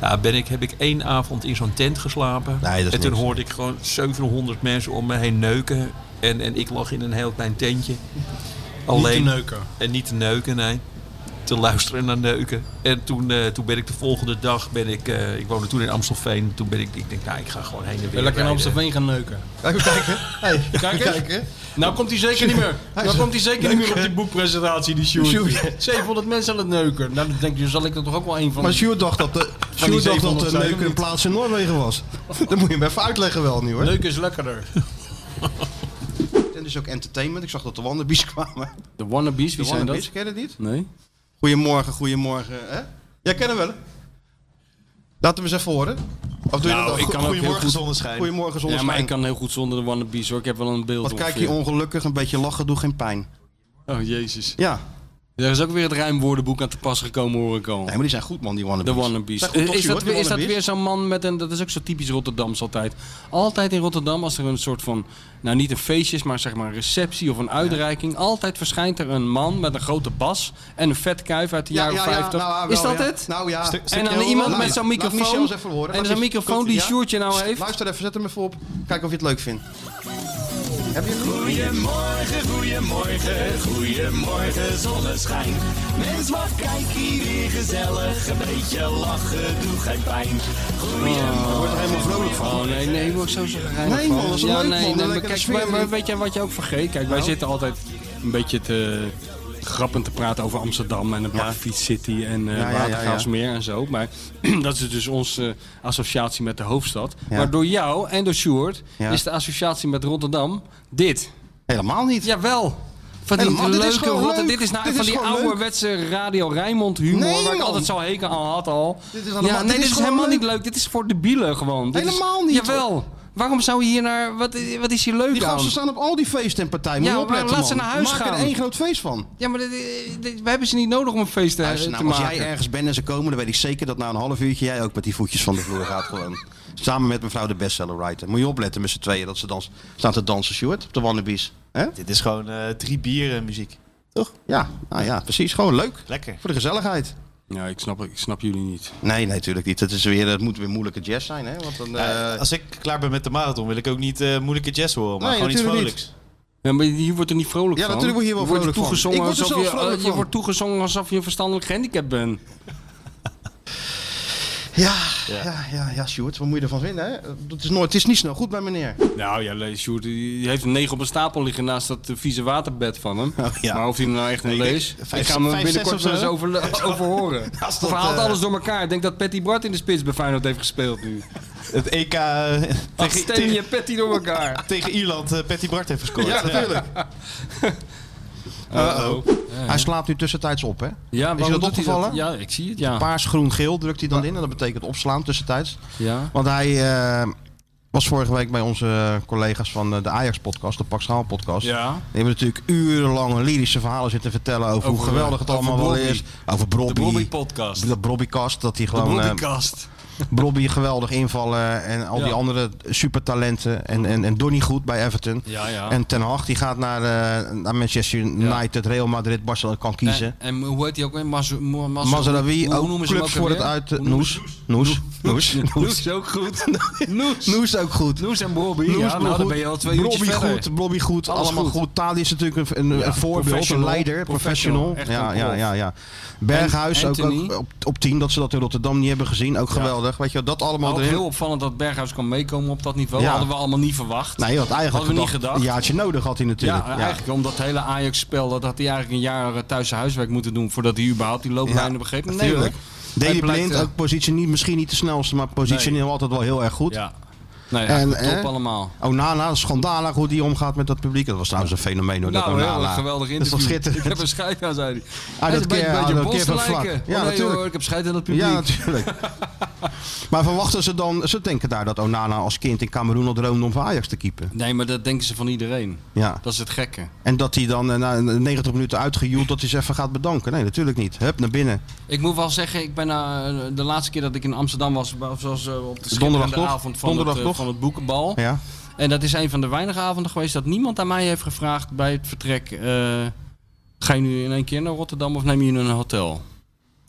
[SPEAKER 10] Nou, ben ik, heb ik één avond in zo'n tent geslapen.
[SPEAKER 3] Nee, dat is
[SPEAKER 10] en toen
[SPEAKER 3] niks.
[SPEAKER 10] hoorde ik gewoon 700 mensen om me heen neuken. En, en ik lag in een heel klein tentje.
[SPEAKER 28] te neuken.
[SPEAKER 10] En niet te neuken, nee. te luisteren naar Neuken. En toen, eh, toen ben ik de volgende dag, ben ik, eh, ik woonde toen in Amstelveen. Toen ben ik, ik denk, nou ik ga gewoon heen en weer
[SPEAKER 5] Wil lekker in
[SPEAKER 10] rijden.
[SPEAKER 5] Amstelveen gaan neuken.
[SPEAKER 3] Kijk eens kijken. Hey.
[SPEAKER 5] Kijk eens.
[SPEAKER 3] Kijken.
[SPEAKER 5] Nou komt hij zeker niet meer.
[SPEAKER 3] Hij
[SPEAKER 5] Nou
[SPEAKER 3] is-
[SPEAKER 5] komt hij zeker niet meer op die boekpresentatie, die Sjoerd.
[SPEAKER 3] Sjoerd.
[SPEAKER 5] 700 mensen aan het neuken. Nou, dan denk je, zal ik er toch ook wel een van...
[SPEAKER 3] Maar Sjoerd dacht dat de,
[SPEAKER 5] Van die
[SPEAKER 3] Sjoerd dacht dat
[SPEAKER 5] 700
[SPEAKER 3] de
[SPEAKER 5] zijn
[SPEAKER 3] leuke
[SPEAKER 5] er niet.
[SPEAKER 3] plaats in Noorwegen was. Dan moet je hem even uitleggen wel nu hoor.
[SPEAKER 5] Leuk is lekkerder.
[SPEAKER 3] En dus ook entertainment. Ik zag dat de Wannabies kwamen.
[SPEAKER 5] De Wannabies,
[SPEAKER 3] De
[SPEAKER 5] wie zijn
[SPEAKER 3] Wannabies,
[SPEAKER 5] dat?
[SPEAKER 3] ken je dat niet?
[SPEAKER 5] Nee.
[SPEAKER 3] Goedemorgen, goedemorgen. Hè? Jij kent hem wel hè? Laat hem eens even horen. Of doe je dat
[SPEAKER 5] Nou,
[SPEAKER 3] al?
[SPEAKER 5] ik kan ook heel goed...
[SPEAKER 3] Goedemorgen
[SPEAKER 5] Ja, maar
[SPEAKER 3] zonneschijn.
[SPEAKER 5] ik kan heel goed zonder de Wannabies hoor. Ik heb wel een beeld
[SPEAKER 3] Wat kijk je
[SPEAKER 5] ongeveer.
[SPEAKER 3] ongelukkig, een beetje lachen, doe geen pijn.
[SPEAKER 5] Oh, jezus.
[SPEAKER 3] Ja.
[SPEAKER 5] Er is ook weer het rijmwoordenboek aan te pas gekomen, hoor ik al. Nee,
[SPEAKER 3] maar die zijn goed, man, die wannabes.
[SPEAKER 5] De wannabes. Eh,
[SPEAKER 3] Zijn goed, toch,
[SPEAKER 5] is,
[SPEAKER 3] Sjoerd,
[SPEAKER 5] dat,
[SPEAKER 3] die
[SPEAKER 5] weer- is dat
[SPEAKER 3] wannabes?
[SPEAKER 5] weer zo'n man met een... Dat is ook zo typisch Rotterdams altijd. Altijd in Rotterdam, als er een soort van... Nou, niet een feestje is, maar zeg maar een receptie of een uitreiking. Altijd verschijnt er een man met een grote bas en een vet kuif uit de
[SPEAKER 3] Ja,
[SPEAKER 5] jaren
[SPEAKER 3] ja, ja,
[SPEAKER 5] 50.
[SPEAKER 3] nou, ja,
[SPEAKER 5] is
[SPEAKER 3] wel,
[SPEAKER 5] dat
[SPEAKER 3] ja.
[SPEAKER 5] het?
[SPEAKER 3] Nou, ja. Stuk-
[SPEAKER 5] en
[SPEAKER 3] stukje
[SPEAKER 5] dan
[SPEAKER 3] horen.
[SPEAKER 5] iemand
[SPEAKER 3] Laat-
[SPEAKER 5] met zo'n
[SPEAKER 3] laat Michel
[SPEAKER 5] microfoon.
[SPEAKER 3] eens even horen.
[SPEAKER 5] En
[SPEAKER 3] Laat
[SPEAKER 5] zo'n
[SPEAKER 3] Mich-
[SPEAKER 5] microfoon
[SPEAKER 3] Komt-
[SPEAKER 5] die
[SPEAKER 3] ja?
[SPEAKER 5] Sjoerdje nou
[SPEAKER 3] St-
[SPEAKER 5] heeft.
[SPEAKER 3] Luister even, zet hem even op. Kijk of je het leuk vindt. Heb je hem?
[SPEAKER 23] Goedemorgen, goedemorgen, goedemorgen zonneschijn. Mens mag kijk hier weer gezellig, een beetje lachen, doe geen pijn.
[SPEAKER 5] Oh, wordt er helemaal vrolijk van. Oh nee, nee, word ik zo zo gereinig
[SPEAKER 23] Nee, man, dat is
[SPEAKER 5] ja,
[SPEAKER 23] leuk,
[SPEAKER 5] nee,
[SPEAKER 23] man.
[SPEAKER 5] Nee,
[SPEAKER 23] Dan
[SPEAKER 5] maar,
[SPEAKER 23] lekker
[SPEAKER 5] kijk,
[SPEAKER 23] de
[SPEAKER 5] maar,
[SPEAKER 23] sfeer
[SPEAKER 5] maar
[SPEAKER 23] in.
[SPEAKER 5] weet je wat je ook vergeet? Kijk,
[SPEAKER 29] Nou.
[SPEAKER 5] wij zitten altijd een beetje te grappend te praten over Amsterdam en een paar fiets City en eh
[SPEAKER 29] Ja, ja, ja,
[SPEAKER 5] Watergaasmeer en zo. Maar dat is dus onze associatie met de hoofdstad.
[SPEAKER 29] Ja.
[SPEAKER 5] Maar door jou en door Sjoerd
[SPEAKER 29] Ja.
[SPEAKER 5] is de associatie met Rotterdam dit.
[SPEAKER 3] Helemaal niet.
[SPEAKER 5] Jawel. Van die
[SPEAKER 29] Helemaal, dit is
[SPEAKER 5] leuke
[SPEAKER 29] gewoon
[SPEAKER 5] rotte-
[SPEAKER 29] leuk.
[SPEAKER 5] Dit is nou
[SPEAKER 29] Dit
[SPEAKER 5] van
[SPEAKER 29] is
[SPEAKER 5] die
[SPEAKER 29] gewoon leuk.
[SPEAKER 5] ouderwetse Radio Rijnmond humor
[SPEAKER 29] Nee,
[SPEAKER 5] waar ik
[SPEAKER 29] man.
[SPEAKER 5] altijd zo hekel aan had al.
[SPEAKER 29] Dit is
[SPEAKER 5] ja,
[SPEAKER 29] allemaal-
[SPEAKER 5] nee,
[SPEAKER 29] dit
[SPEAKER 5] dit
[SPEAKER 29] is
[SPEAKER 5] is,
[SPEAKER 29] gewoon
[SPEAKER 5] helemaal
[SPEAKER 29] leuk.
[SPEAKER 5] niet leuk. Dit is voor debielen gewoon. Dit is-
[SPEAKER 3] Helemaal niet,
[SPEAKER 5] Jawel. Waarom zou je hier naar... Wat, wat is hier leuk
[SPEAKER 3] Die
[SPEAKER 5] aan?
[SPEAKER 3] gasten staan op al die feesten en partijen. Moet
[SPEAKER 5] Ja,
[SPEAKER 3] je
[SPEAKER 5] maar
[SPEAKER 3] opletten,
[SPEAKER 5] laat ze
[SPEAKER 3] man.
[SPEAKER 5] naar huis
[SPEAKER 3] Maak er
[SPEAKER 5] gaan.
[SPEAKER 3] één groot feest van.
[SPEAKER 5] Ja, maar dit- dit- we hebben ze niet nodig om een feest te,
[SPEAKER 3] Luister, nou,
[SPEAKER 5] te
[SPEAKER 3] als
[SPEAKER 5] maken.
[SPEAKER 3] jij ergens bent en ze komen, dan weet ik zeker dat na een half uurtje jij ook met die voetjes van de vloer gaat gewoon. Samen met mevrouw de bestseller writer. Moet je opletten met z'n tweeën dat ze dans, staan te dansen, Stuart, op de wannabies.
[SPEAKER 4] Dit is gewoon eh, drie bieren muziek.
[SPEAKER 3] Toch? Ja, nou ja, precies. Gewoon leuk.
[SPEAKER 4] Lekker.
[SPEAKER 3] Voor de gezelligheid.
[SPEAKER 5] Ja, ik snap, ik snap jullie niet.
[SPEAKER 3] Nee, nee, natuurlijk niet. Het, is weer, het moet weer moeilijke jazz zijn, hè? Want dan, eh,
[SPEAKER 4] Ja, als ik klaar ben met de marathon, wil ik ook niet eh, moeilijke jazz horen, maar
[SPEAKER 3] Nee,
[SPEAKER 4] gewoon iets
[SPEAKER 3] natuurlijk
[SPEAKER 4] vrolijks.
[SPEAKER 5] Ja, maar hier wordt er niet vrolijk
[SPEAKER 3] Ja,
[SPEAKER 5] van.
[SPEAKER 3] natuurlijk word je hier wel
[SPEAKER 5] wordt
[SPEAKER 3] vrolijk van.
[SPEAKER 5] toegezongen
[SPEAKER 3] Ik word er
[SPEAKER 5] alsof
[SPEAKER 3] zelf
[SPEAKER 5] je,
[SPEAKER 3] vrolijk
[SPEAKER 5] eh,
[SPEAKER 3] van.
[SPEAKER 5] Je wordt toegezongen alsof je een verstandelijk gehandicap bent.
[SPEAKER 3] Ja, ja, ja, ja, Sjoerd, wat moet je ervan vinden, hè? Het is, nooit, het is niet snel goed bij meneer.
[SPEAKER 5] Nou ja, lees, Sjoerd die heeft een 9 op een stapel liggen naast dat eh, vieze waterbed van hem. Maar of hij hem nou echt een
[SPEAKER 3] Oh, Ik denk,
[SPEAKER 5] lees,
[SPEAKER 3] vijf-
[SPEAKER 5] ik ga hem
[SPEAKER 3] vijf,
[SPEAKER 5] binnenkort
[SPEAKER 3] zes
[SPEAKER 5] wel
[SPEAKER 3] of
[SPEAKER 5] eens
[SPEAKER 3] zo.
[SPEAKER 5] over, overhoren.
[SPEAKER 3] Als
[SPEAKER 5] of
[SPEAKER 3] dat,
[SPEAKER 5] hij haalt
[SPEAKER 3] eh,
[SPEAKER 5] alles door elkaar. Ik denk dat Patty Bart in de spits bij Feyenoord heeft gespeeld nu.
[SPEAKER 4] Het EK
[SPEAKER 5] tegen, stem je Patty door elkaar.
[SPEAKER 4] tegen Ierland eh, Patty Bart heeft gescoord.
[SPEAKER 5] Ja, natuurlijk.
[SPEAKER 3] eh, Uh-oh.
[SPEAKER 5] ja.
[SPEAKER 3] Hij slaapt nu tussentijds op, hè?
[SPEAKER 5] Ja,
[SPEAKER 3] is je dat
[SPEAKER 5] waarom doet hij dat?
[SPEAKER 3] opgevallen?
[SPEAKER 5] Ja, ik zie het, ja.
[SPEAKER 3] Paars, groen, geel drukt hij dan in en dat betekent opslaan tussentijds.
[SPEAKER 5] Ja.
[SPEAKER 3] Want hij eh, was vorige week bij onze collega's van eh, de Ajax-podcast, de Pax podcast
[SPEAKER 5] Ja.
[SPEAKER 3] Die hebben natuurlijk urenlange lyrische verhalen zitten vertellen over, hoe
[SPEAKER 5] Over,
[SPEAKER 3] geweldig het
[SPEAKER 5] eh,
[SPEAKER 3] allemaal
[SPEAKER 5] over
[SPEAKER 3] wel
[SPEAKER 5] Brobby.
[SPEAKER 3] is. Over Brobby.
[SPEAKER 5] De Brobby-podcast.
[SPEAKER 3] De Brobbycast, dat hij
[SPEAKER 5] De
[SPEAKER 3] gewoon... eh,
[SPEAKER 5] Brobbykast.
[SPEAKER 3] Brobby geweldig invallen en al
[SPEAKER 5] Ja.
[SPEAKER 3] die andere supertalenten. En, en, en Donny goed bij Everton.
[SPEAKER 5] Ja, ja.
[SPEAKER 3] En Ten Hag die gaat naar, eh, naar Manchester United, Real Madrid, Barcelona kan kiezen.
[SPEAKER 5] En, en hoe heet hij ook weer? Mazu- Mo- Mazu-
[SPEAKER 3] Mazarawi,
[SPEAKER 5] hoe- hoe
[SPEAKER 3] ook
[SPEAKER 5] noemen ze hem
[SPEAKER 3] club
[SPEAKER 5] ook
[SPEAKER 3] voor het
[SPEAKER 5] alweer?
[SPEAKER 3] uit...
[SPEAKER 5] Hoe noemen ze-
[SPEAKER 3] Noes. Noes. Noes.
[SPEAKER 5] Noes is ook goed. Noes.
[SPEAKER 3] Noes ook goed.
[SPEAKER 5] Noes en Bobby.
[SPEAKER 3] Noes,
[SPEAKER 5] ja, nou,
[SPEAKER 3] goed.
[SPEAKER 5] dan ben je al twee uurtjes
[SPEAKER 3] Bobby
[SPEAKER 5] verder.
[SPEAKER 3] goed, Bobby goed,
[SPEAKER 5] Alles
[SPEAKER 3] allemaal goed.
[SPEAKER 5] goed.
[SPEAKER 3] Tadi is natuurlijk een, een,
[SPEAKER 5] Ja,
[SPEAKER 3] een voorbeeld, een
[SPEAKER 5] professional.
[SPEAKER 3] leider, professional.
[SPEAKER 5] Professional, echt
[SPEAKER 3] ja,
[SPEAKER 5] een
[SPEAKER 3] ja, ja, ja.
[SPEAKER 5] prof.
[SPEAKER 3] Berghuis
[SPEAKER 5] En
[SPEAKER 3] ook,
[SPEAKER 5] Anthony.
[SPEAKER 3] ook op, op 10, dat ze dat in Rotterdam niet hebben gezien. Ook
[SPEAKER 5] Ja.
[SPEAKER 3] geweldig. Weet je, wel, dat allemaal
[SPEAKER 5] Ook
[SPEAKER 3] erin.
[SPEAKER 5] heel opvallend dat Berghuis kan meekomen op dat niveau.
[SPEAKER 3] Ja.
[SPEAKER 5] Hadden we allemaal niet verwacht.
[SPEAKER 3] Nee, je had eigenlijk
[SPEAKER 5] Hadden we niet
[SPEAKER 3] gedacht,
[SPEAKER 5] gedacht.
[SPEAKER 3] een jaartje nodig had hij natuurlijk.
[SPEAKER 5] Ja, eigenlijk om dat hele Ajax-spel, dat had hij eigenlijk een jaar eh, thuis zijn huiswerk moeten doen voordat hij überhaupt die looplijnen begreep. Nee, hoor.
[SPEAKER 3] natuurlijk. Daily
[SPEAKER 5] Hij blijkt,
[SPEAKER 3] Blind,
[SPEAKER 5] eh,
[SPEAKER 3] ook positie niet, misschien niet de snelste, maar positioneel altijd wel heel erg goed.
[SPEAKER 5] Ja. Nee, top
[SPEAKER 3] eh,
[SPEAKER 5] allemaal.
[SPEAKER 3] Onana, schandalig hoe die omgaat met dat publiek. Dat was trouwens een fenomeen hoor, dat
[SPEAKER 5] Nou, heel
[SPEAKER 3] Onana.
[SPEAKER 5] geweldig
[SPEAKER 3] Dat is toch
[SPEAKER 5] interview.
[SPEAKER 3] schitterend.
[SPEAKER 5] Ik heb een scheid aan, zei hij.
[SPEAKER 3] Ah,
[SPEAKER 5] Hij is
[SPEAKER 3] dat
[SPEAKER 5] een beetje-
[SPEAKER 3] keer- ah,
[SPEAKER 5] beetje
[SPEAKER 3] dat keer
[SPEAKER 5] bos
[SPEAKER 3] van
[SPEAKER 5] te
[SPEAKER 3] vlak.
[SPEAKER 5] lijken.
[SPEAKER 3] Ja,
[SPEAKER 5] Oh, nee,
[SPEAKER 3] natuurlijk.
[SPEAKER 5] hoor, ik heb scheid aan dat publiek.
[SPEAKER 3] Ja, natuurlijk. maar verwachten ze dan, ze denken daar dat Onana als kind in Cameroen al droomde om voor Ajax te keepen.
[SPEAKER 5] Nee, maar dat denken ze van iedereen.
[SPEAKER 3] Ja.
[SPEAKER 5] Dat is het gekke.
[SPEAKER 3] En dat hij dan eh, na 90 minuten uitgejoeld dat hij ze even gaat bedanken. Nee, natuurlijk niet. Hup, naar binnen.
[SPEAKER 5] Ik moet wel zeggen, ik ben eh, de laatste keer dat ik in Amsterdam was, was, was eh, op de
[SPEAKER 3] Donderdag
[SPEAKER 5] schitterende
[SPEAKER 3] toch?
[SPEAKER 5] avond van,
[SPEAKER 3] Donderdag
[SPEAKER 5] het, eh,
[SPEAKER 3] toch?
[SPEAKER 5] van het boekenbal.
[SPEAKER 3] Ja.
[SPEAKER 5] En dat is een van de weinige avonden geweest dat niemand aan mij heeft gevraagd bij het vertrek. eh, ga je nu in één keer naar Rotterdam of neem je een hotel?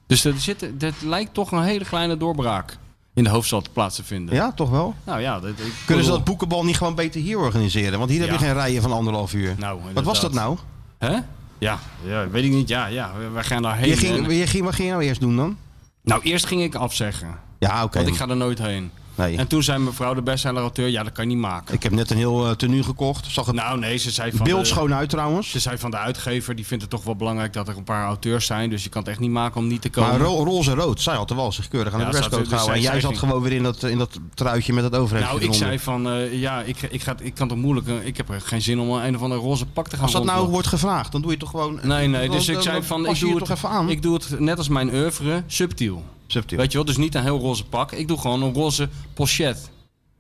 [SPEAKER 5] Dus dat, zit, dat lijkt toch een hele kleine doorbraak in de hoofdstad plaats te vinden.
[SPEAKER 3] Ja, toch wel?
[SPEAKER 5] Nou ja, dat, ik-
[SPEAKER 3] Kunnen ze dat boekenbal niet gewoon beter hier organiseren? Want hier heb je
[SPEAKER 5] Ja. Nou,
[SPEAKER 3] geen rijen van anderhalf uur. Wat was
[SPEAKER 5] inderdaad.
[SPEAKER 3] dat nou?
[SPEAKER 5] Hè? Ja, ja, weet ik niet. Ja, ja, we- we gaan daarheen.
[SPEAKER 3] Je ging,
[SPEAKER 5] En-
[SPEAKER 3] je ging, wat ging je nou eerst doen dan?
[SPEAKER 5] Nou, eerst ging ik afzeggen.
[SPEAKER 3] Ja, oké.
[SPEAKER 5] Want ik ga er nooit heen.
[SPEAKER 3] Nee.
[SPEAKER 5] En toen zei mevrouw de bestseller-auteur, ja, dat kan je niet maken.
[SPEAKER 3] Ik heb net een heel eh, tenue gekocht. Zag het
[SPEAKER 5] Nou nee, ze zei van...
[SPEAKER 3] beeldschoon
[SPEAKER 5] de,
[SPEAKER 3] uit trouwens.
[SPEAKER 5] Ze zei van de uitgever, die vindt het toch wel belangrijk dat er een paar auteurs zijn. Dus je kan het echt niet maken om niet te komen.
[SPEAKER 3] Maar ro roze en rood, zij had er wel zich keurig aan
[SPEAKER 5] Ja,
[SPEAKER 3] de
[SPEAKER 5] ze had
[SPEAKER 3] dresscode
[SPEAKER 5] er- dus
[SPEAKER 3] gehouden. en
[SPEAKER 5] zij-
[SPEAKER 3] jij
[SPEAKER 5] zij
[SPEAKER 3] zat
[SPEAKER 5] ging-
[SPEAKER 3] gewoon weer in dat, in dat truitje met dat overhemdje
[SPEAKER 5] nou, ik
[SPEAKER 3] eronder.
[SPEAKER 5] zei van, eh, ja, ik, ik, ga, ik kan toch moeilijk... eh, Ik heb er geen zin om een of ander roze pak te gaan
[SPEAKER 3] Als dat nou
[SPEAKER 5] rondlopen.
[SPEAKER 3] wordt gevraagd, dan doe je toch gewoon...
[SPEAKER 5] Nee, nee,
[SPEAKER 3] dan-
[SPEAKER 5] dus ik
[SPEAKER 3] dan-
[SPEAKER 5] zei
[SPEAKER 3] dan
[SPEAKER 5] van,
[SPEAKER 3] pas
[SPEAKER 5] ik
[SPEAKER 3] je
[SPEAKER 5] doe,
[SPEAKER 3] je toch
[SPEAKER 5] het,
[SPEAKER 3] even aan.
[SPEAKER 5] ik doe het net als mijn oeuvre, subtiel.
[SPEAKER 3] Subtiel.
[SPEAKER 5] Weet je wel, dus niet een heel roze pak. Ik doe gewoon een roze pochet.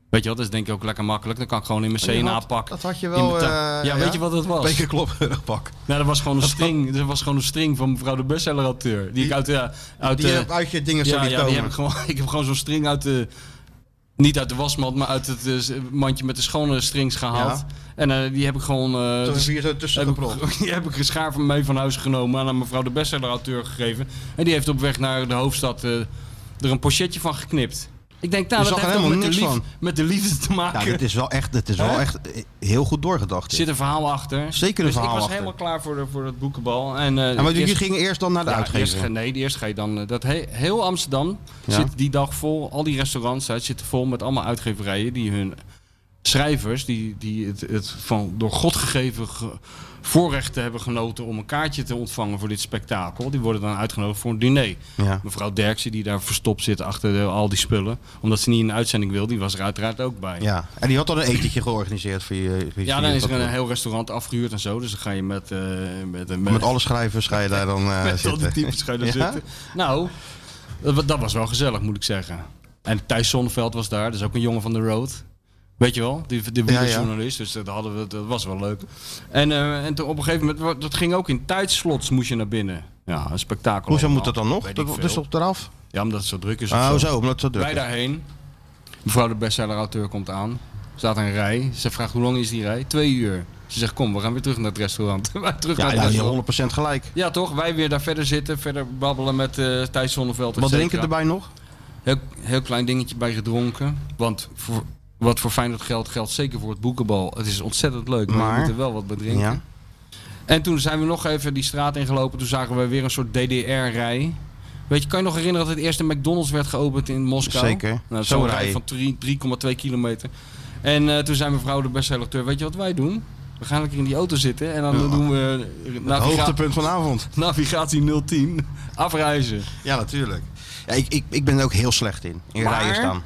[SPEAKER 5] Weet je wel, dat is denk ik ook lekker makkelijk. Dan kan ik gewoon in
[SPEAKER 3] Maar Oh, je
[SPEAKER 5] mijn CNA
[SPEAKER 3] had-
[SPEAKER 5] pak.
[SPEAKER 3] dat had je
[SPEAKER 5] in
[SPEAKER 3] wel,
[SPEAKER 5] mijn ta-
[SPEAKER 3] eh,
[SPEAKER 5] ja,
[SPEAKER 3] ja?
[SPEAKER 5] weet je wat dat was?
[SPEAKER 3] Bekerklopperig pak.
[SPEAKER 5] Nou, dat was gewoon een string. Dat was gewoon een string van mevrouw de bestseller-auteur. Die, ik uit, de- uit,
[SPEAKER 3] die
[SPEAKER 5] de-
[SPEAKER 3] heb uit je dingen zo
[SPEAKER 5] ja,
[SPEAKER 3] niet
[SPEAKER 5] ja,
[SPEAKER 3] komen.
[SPEAKER 5] Die heb ik, gewoon, ik heb gewoon zo'n string uit de... Niet uit de wasmand, maar uit het eh, mandje met de schone strings gehaald.
[SPEAKER 3] Ja.
[SPEAKER 5] En eh, die heb ik gewoon... eh,
[SPEAKER 3] Toen heb
[SPEAKER 5] dus-
[SPEAKER 3] je hier zo tussen
[SPEAKER 5] heb ik-
[SPEAKER 3] gepropt.
[SPEAKER 5] Die heb ik geschaar van mee van huis genomen en aan mevrouw de bestseller-auteur gegeven. En die heeft op weg naar de hoofdstad eh, er een pochetje van geknipt. Ik denk, nou,
[SPEAKER 3] Je
[SPEAKER 5] dat
[SPEAKER 3] zag er
[SPEAKER 5] heeft toch met
[SPEAKER 3] helemaal
[SPEAKER 5] de,
[SPEAKER 3] niks
[SPEAKER 5] lief- met de liefde te maken.
[SPEAKER 3] Ja, dit is wel echt, dit is wel
[SPEAKER 5] Hè?
[SPEAKER 3] echt eh, heel goed doorgedacht.
[SPEAKER 5] Er
[SPEAKER 3] dit.
[SPEAKER 5] zit een verhaal achter.
[SPEAKER 3] Zeker een
[SPEAKER 5] dus
[SPEAKER 3] verhaal
[SPEAKER 5] ik was
[SPEAKER 3] achter.
[SPEAKER 5] helemaal klaar voor, de, voor het boekenbal. En, eh,
[SPEAKER 3] En maar dus jullie
[SPEAKER 5] eerst-
[SPEAKER 3] gingen eerst dan naar de
[SPEAKER 5] Ja,
[SPEAKER 3] uitgever?
[SPEAKER 5] eerst ga- nee, eerst ga je dan... eh, Dat he- heel Amsterdam
[SPEAKER 3] Ja.
[SPEAKER 5] zit die dag vol. Al die restaurants uit zitten vol met allemaal uitgeverijen... die hun schrijvers, die, die het, het van door God gegeven ge- voorrecht hebben genoten... om een kaartje te ontvangen voor dit spektakel. Die worden dan uitgenodigd voor een diner.
[SPEAKER 3] Ja.
[SPEAKER 5] Mevrouw Derksen, die daar verstopt zit achter de- al die spullen... omdat ze niet in de uitzending wil, die was er uiteraard ook bij.
[SPEAKER 3] Ja, en die had dan een etentje georganiseerd voor je. voor je-
[SPEAKER 5] Ja,
[SPEAKER 3] voor
[SPEAKER 5] dan
[SPEAKER 3] je
[SPEAKER 5] is er een
[SPEAKER 3] patroon.
[SPEAKER 5] heel restaurant afgehuurd en zo. Dus dan ga je met... eh, met, met,
[SPEAKER 3] Met alle schrijvers ga je daar dan eh,
[SPEAKER 5] met al
[SPEAKER 3] zitten.
[SPEAKER 5] die types ga je daar
[SPEAKER 3] Ja?
[SPEAKER 5] zitten. Nou, dat, wa- dat was wel gezellig, moet ik zeggen. En Thijs Zonneveld was daar, dat is ook een jongen van de road. Weet je wel, die, die
[SPEAKER 3] Ja, ja.
[SPEAKER 5] wielerjournalist, dus dat, hadden we, dat was wel leuk. En, eh, en toen op een gegeven moment, wa- dat ging ook in tijdslots moest je naar binnen. Ja, een spektakel.
[SPEAKER 3] Hoezo
[SPEAKER 5] allemaal.
[SPEAKER 3] moet dat dan nog?
[SPEAKER 5] Weet
[SPEAKER 3] Dat-
[SPEAKER 5] ik
[SPEAKER 3] dat
[SPEAKER 5] veel.
[SPEAKER 3] is op eraf?
[SPEAKER 5] Ja, omdat het zo druk is.
[SPEAKER 3] Oh,
[SPEAKER 5] of
[SPEAKER 3] zo, omdat het zo druk
[SPEAKER 5] Wij
[SPEAKER 3] is.
[SPEAKER 5] daarheen. Mevrouw de bestseller-auteur komt aan. Staat een rij. Ze vraagt hoe lang is die rij? Twee uur. Ze zegt kom, we gaan weer terug naar het restaurant. Wij terug
[SPEAKER 3] Ja,
[SPEAKER 5] naar het
[SPEAKER 3] ja, je
[SPEAKER 5] restaurant.
[SPEAKER 3] 100% gelijk.
[SPEAKER 5] Ja, toch? Wij weer daar verder zitten, verder babbelen met eh, Thijs Zonneveld. et
[SPEAKER 3] Wat
[SPEAKER 5] cetera.
[SPEAKER 3] drinken erbij nog?
[SPEAKER 5] Heel, heel klein dingetje bij gedronken. Want voor, wat voor Feyenoord geldt, geldt zeker voor het boekenbal. Het is ontzettend leuk, maar,
[SPEAKER 3] Maar-
[SPEAKER 5] je moet er wel wat bij drinken.
[SPEAKER 3] Ja.
[SPEAKER 5] En toen zijn we nog even die straat ingelopen. Toen zagen we weer een soort DDR-rij. Weet je, kan je nog herinneren dat het eerste McDonald's werd geopend in Moskou?
[SPEAKER 3] Zeker.
[SPEAKER 5] Nou,
[SPEAKER 3] Zo'n
[SPEAKER 5] Zo'n rij
[SPEAKER 3] rij.
[SPEAKER 5] van drie- 3,2 kilometer. En eh, toen zei mevrouw de bestseller, weet je wat wij doen? We gaan lekker in die auto zitten en dan
[SPEAKER 3] Ja.
[SPEAKER 5] doen we... eh,
[SPEAKER 3] Het
[SPEAKER 5] naviga-
[SPEAKER 3] hoogtepunt vanavond.
[SPEAKER 5] Navigatie 010. Afreizen.
[SPEAKER 3] Ja, natuurlijk. Ja, ik, ik, ik ben er ook heel slecht in. In
[SPEAKER 5] Maar-
[SPEAKER 3] rijen staan.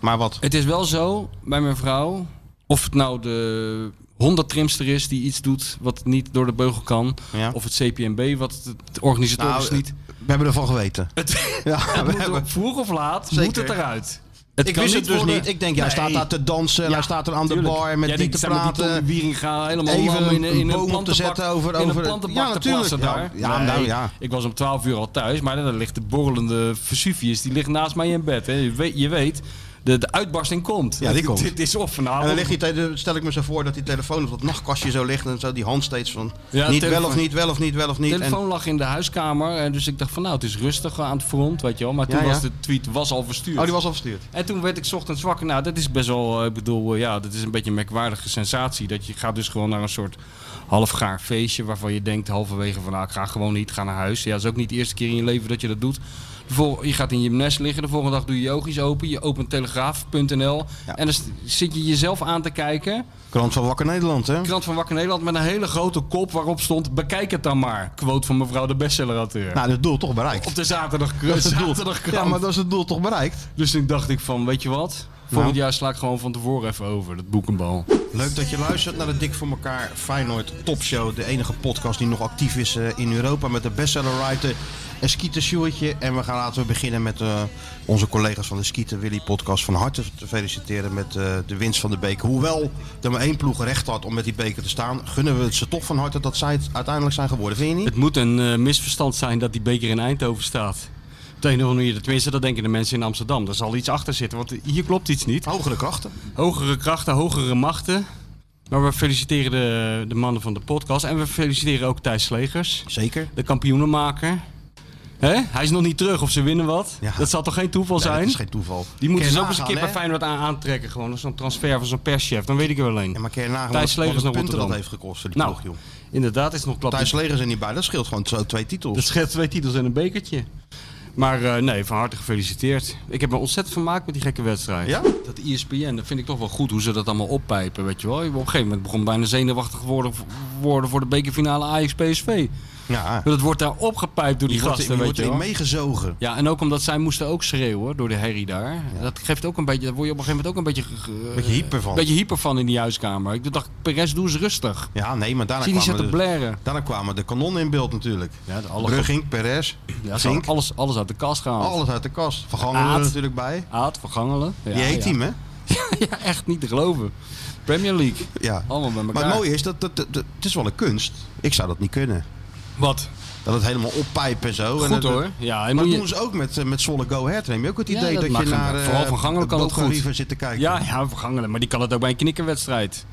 [SPEAKER 3] Maar wat?
[SPEAKER 5] Het is wel zo bij mijn vrouw, of het nou de Honda trimster is die iets doet wat niet door de beugel kan, of het CPMB wat het- het organisatorisch
[SPEAKER 3] Nou,
[SPEAKER 5] niet.
[SPEAKER 3] We hebben ervan geweten. ja, we
[SPEAKER 5] het moet
[SPEAKER 3] hebben-
[SPEAKER 5] er- vroeg of laat moet
[SPEAKER 3] Zeker.
[SPEAKER 5] het eruit.
[SPEAKER 3] ik wist het dus niet. Ik denk, jij
[SPEAKER 5] Nee.
[SPEAKER 3] staat daar te dansen, en hij staat er aan
[SPEAKER 5] tuurlijk.
[SPEAKER 3] de bar met
[SPEAKER 5] Jij
[SPEAKER 3] die
[SPEAKER 5] denkt,
[SPEAKER 3] te
[SPEAKER 5] zij moet die
[SPEAKER 3] praten.
[SPEAKER 5] Tommy Wieringa helemaal
[SPEAKER 3] even
[SPEAKER 5] lam in, in
[SPEAKER 3] een boom op te
[SPEAKER 5] plantenbak-
[SPEAKER 3] zetten over...
[SPEAKER 5] in
[SPEAKER 3] over
[SPEAKER 5] een plantenbak
[SPEAKER 3] ja,
[SPEAKER 5] te
[SPEAKER 3] natuurlijk.
[SPEAKER 5] plassen
[SPEAKER 3] Ja,
[SPEAKER 5] daar.
[SPEAKER 3] ja, nou
[SPEAKER 5] Nee,
[SPEAKER 3] ja.
[SPEAKER 5] Ik was om 12 uur al thuis, maar dan ligt de borrelende Vesuvius, die ligt naast mij in bed. Hè. Je weet, je weet de, de uitbarsting komt.
[SPEAKER 3] Ja, die komt.
[SPEAKER 5] Dit is of
[SPEAKER 3] En
[SPEAKER 5] vanavond.
[SPEAKER 3] dan ligt die tele- stel ik me zo voor dat die telefoon op dat nachtkastje zo ligt en zo die hand steeds van
[SPEAKER 5] Ja,
[SPEAKER 3] niet
[SPEAKER 5] telefoon.
[SPEAKER 3] wel of niet, wel of niet, wel of
[SPEAKER 5] De
[SPEAKER 3] niet.
[SPEAKER 5] telefoon lag in de huiskamer, en dus ik dacht van nou, het is rustig aan het front, weet je wel. Maar toen
[SPEAKER 3] Ja, ja.
[SPEAKER 5] was de tweet was al verstuurd.
[SPEAKER 3] Oh, die was al verstuurd.
[SPEAKER 5] En toen werd ik 's ochtends wakker. Nou, dat is best wel, eh, ik bedoel, eh, ja, dat is een beetje een merkwaardige sensatie. Dat je gaat dus gewoon naar een soort halfgaar feestje waarvan je denkt halverwege van nou, ik ga gewoon niet, ik ga naar huis. Ja, dat is ook niet de eerste keer in je leven dat je dat doet. De vol- Je gaat in je nest liggen, de volgende dag doe je je oogjes open, je opent telegraaf.nl en dan s- zit je jezelf aan te kijken.
[SPEAKER 3] Krant van Wakker Nederland, hè?
[SPEAKER 5] Krant van Wakker Nederland met een hele grote kop waarop stond: Bekijk het dan maar. Quote van mevrouw de bestsellerauteur.
[SPEAKER 3] Nou, dat doel toch bereikt.
[SPEAKER 5] Op de zaterdag,
[SPEAKER 3] Dat is het doel.
[SPEAKER 5] zaterdagkrant.
[SPEAKER 3] Ja, maar dat is het doel toch bereikt? Nou.
[SPEAKER 5] Dus toen dacht ik van, weet je wat? Volgend jaar sla ik gewoon van tevoren even over, dat boekenbal.
[SPEAKER 3] Leuk dat je luistert naar de Dik voor elkaar Feyenoord Topshow. De enige podcast die nog actief is eh, in Europa met de bestsellerwriter Skeeter Sjoertje. En we gaan laten we beginnen met eh, onze collega's van de Skeeter Willy podcast. Van harte te feliciteren met eh, de winst van de beker. Hoewel er maar één ploeg recht had om met die beker te staan, gunnen we het ze toch van harte dat zij het uiteindelijk zijn geworden. Vind je niet?
[SPEAKER 5] Het moet een eh, misverstand zijn dat die beker in Eindhoven staat. Op de een of andere manier, tenminste, dat denken de mensen in Amsterdam. Daar zal iets achter zitten, want hier klopt iets niet.
[SPEAKER 3] Hogere krachten.
[SPEAKER 5] Hogere krachten, hogere machten. Maar we feliciteren de, de mannen van de podcast. En we feliciteren ook Thijs Slegers.
[SPEAKER 3] Zeker.
[SPEAKER 5] De kampioenenmaker. Hè? Hij is nog niet terug of ze winnen wat. Dat zal toch geen toeval
[SPEAKER 3] Nee, dat
[SPEAKER 5] zijn?
[SPEAKER 3] is geen toeval.
[SPEAKER 5] Die moeten
[SPEAKER 3] Kun
[SPEAKER 5] ze
[SPEAKER 3] je
[SPEAKER 5] ook eens een keer
[SPEAKER 3] nagaan,
[SPEAKER 5] bij
[SPEAKER 3] hè?
[SPEAKER 5] Feyenoord aan- aantrekken. Gewoon zo'n transfer van zo'n perschef. Dan weet ik er wel een. Ja, maar
[SPEAKER 3] wat-
[SPEAKER 5] Thijs Slegers
[SPEAKER 3] wat punten
[SPEAKER 5] naar Rotterdam.
[SPEAKER 3] dat heeft gekost voor die
[SPEAKER 5] nou,
[SPEAKER 3] ploeg, joh.
[SPEAKER 5] Inderdaad, is nog klap.
[SPEAKER 3] Thijs Slegers er niet bij. Dat scheelt gewoon zo twee titels.
[SPEAKER 5] Dat scheelt twee titels en een bekertje. Maar eh, nee, van harte gefeliciteerd. Ik heb me ontzettend vermaakt met die gekke wedstrijd.
[SPEAKER 3] Ja?
[SPEAKER 5] Dat E ESPN, dat vind ik toch wel goed hoe ze dat allemaal oppijpen, weet je wel. Op een gegeven moment begon ik bijna zenuwachtig worden, worden voor de bekerfinale Ajax-PSV.
[SPEAKER 3] Ja.
[SPEAKER 5] Dat wordt daar opgepijpt door die
[SPEAKER 3] Je wordt-
[SPEAKER 5] gasten,
[SPEAKER 3] je
[SPEAKER 5] weet
[SPEAKER 3] wordt
[SPEAKER 5] je wel.
[SPEAKER 3] erin meegezogen.
[SPEAKER 5] Ja, en ook omdat zij moesten ook schreeuwen door de herrie daar. Dat geeft ook een beetje, daar word je op een gegeven moment ook een beetje... ge-
[SPEAKER 3] Beetje hyper van.
[SPEAKER 5] beetje hyper van in die huiskamer. Ik dacht, Perez, doe eens rustig.
[SPEAKER 3] Ja, nee, maar daarna
[SPEAKER 5] Zie die
[SPEAKER 3] kwamen
[SPEAKER 5] zitten
[SPEAKER 3] de-
[SPEAKER 5] blaren.
[SPEAKER 3] Daarna kwamen de kanonnen in beeld natuurlijk.
[SPEAKER 5] Ja,
[SPEAKER 3] Brugging, Perez,
[SPEAKER 5] Ja, ze
[SPEAKER 3] Zink.
[SPEAKER 5] hadden alles, alles uit de kast gehaald.
[SPEAKER 3] Alles uit de kast. Van
[SPEAKER 5] Ah,
[SPEAKER 3] Gangelen er natuurlijk bij.
[SPEAKER 5] Aad, Van Gangelen. Ja,
[SPEAKER 3] Die heet
[SPEAKER 5] ja.
[SPEAKER 3] team, hè?
[SPEAKER 5] ja, echt niet te geloven. Premier League.
[SPEAKER 3] Ja.
[SPEAKER 5] Allemaal bij elkaar.
[SPEAKER 3] Maar het mooie is, dat, dat, dat- dat- het is wel een kunst. Ik zou dat niet kunnen.
[SPEAKER 5] Wat?
[SPEAKER 3] Dat het helemaal oppijpen en zo.
[SPEAKER 5] Goed,
[SPEAKER 3] en, dat-
[SPEAKER 5] hoor. Ja,
[SPEAKER 3] maar
[SPEAKER 5] en moet
[SPEAKER 3] dat
[SPEAKER 5] je-
[SPEAKER 3] doen ze ook met, eh, met Zwolle Go Ahead. Neem je ook het
[SPEAKER 5] Ja,
[SPEAKER 3] idee dat,
[SPEAKER 5] mag
[SPEAKER 3] je naar...
[SPEAKER 5] hem.
[SPEAKER 3] eh,
[SPEAKER 5] Vooral van Gangelen kan het
[SPEAKER 3] Boca
[SPEAKER 5] goed.
[SPEAKER 3] River zit te kijken.
[SPEAKER 5] Ja, ja, van Gangelen. Maar die kan het ook bij een knikkerwedstrijd.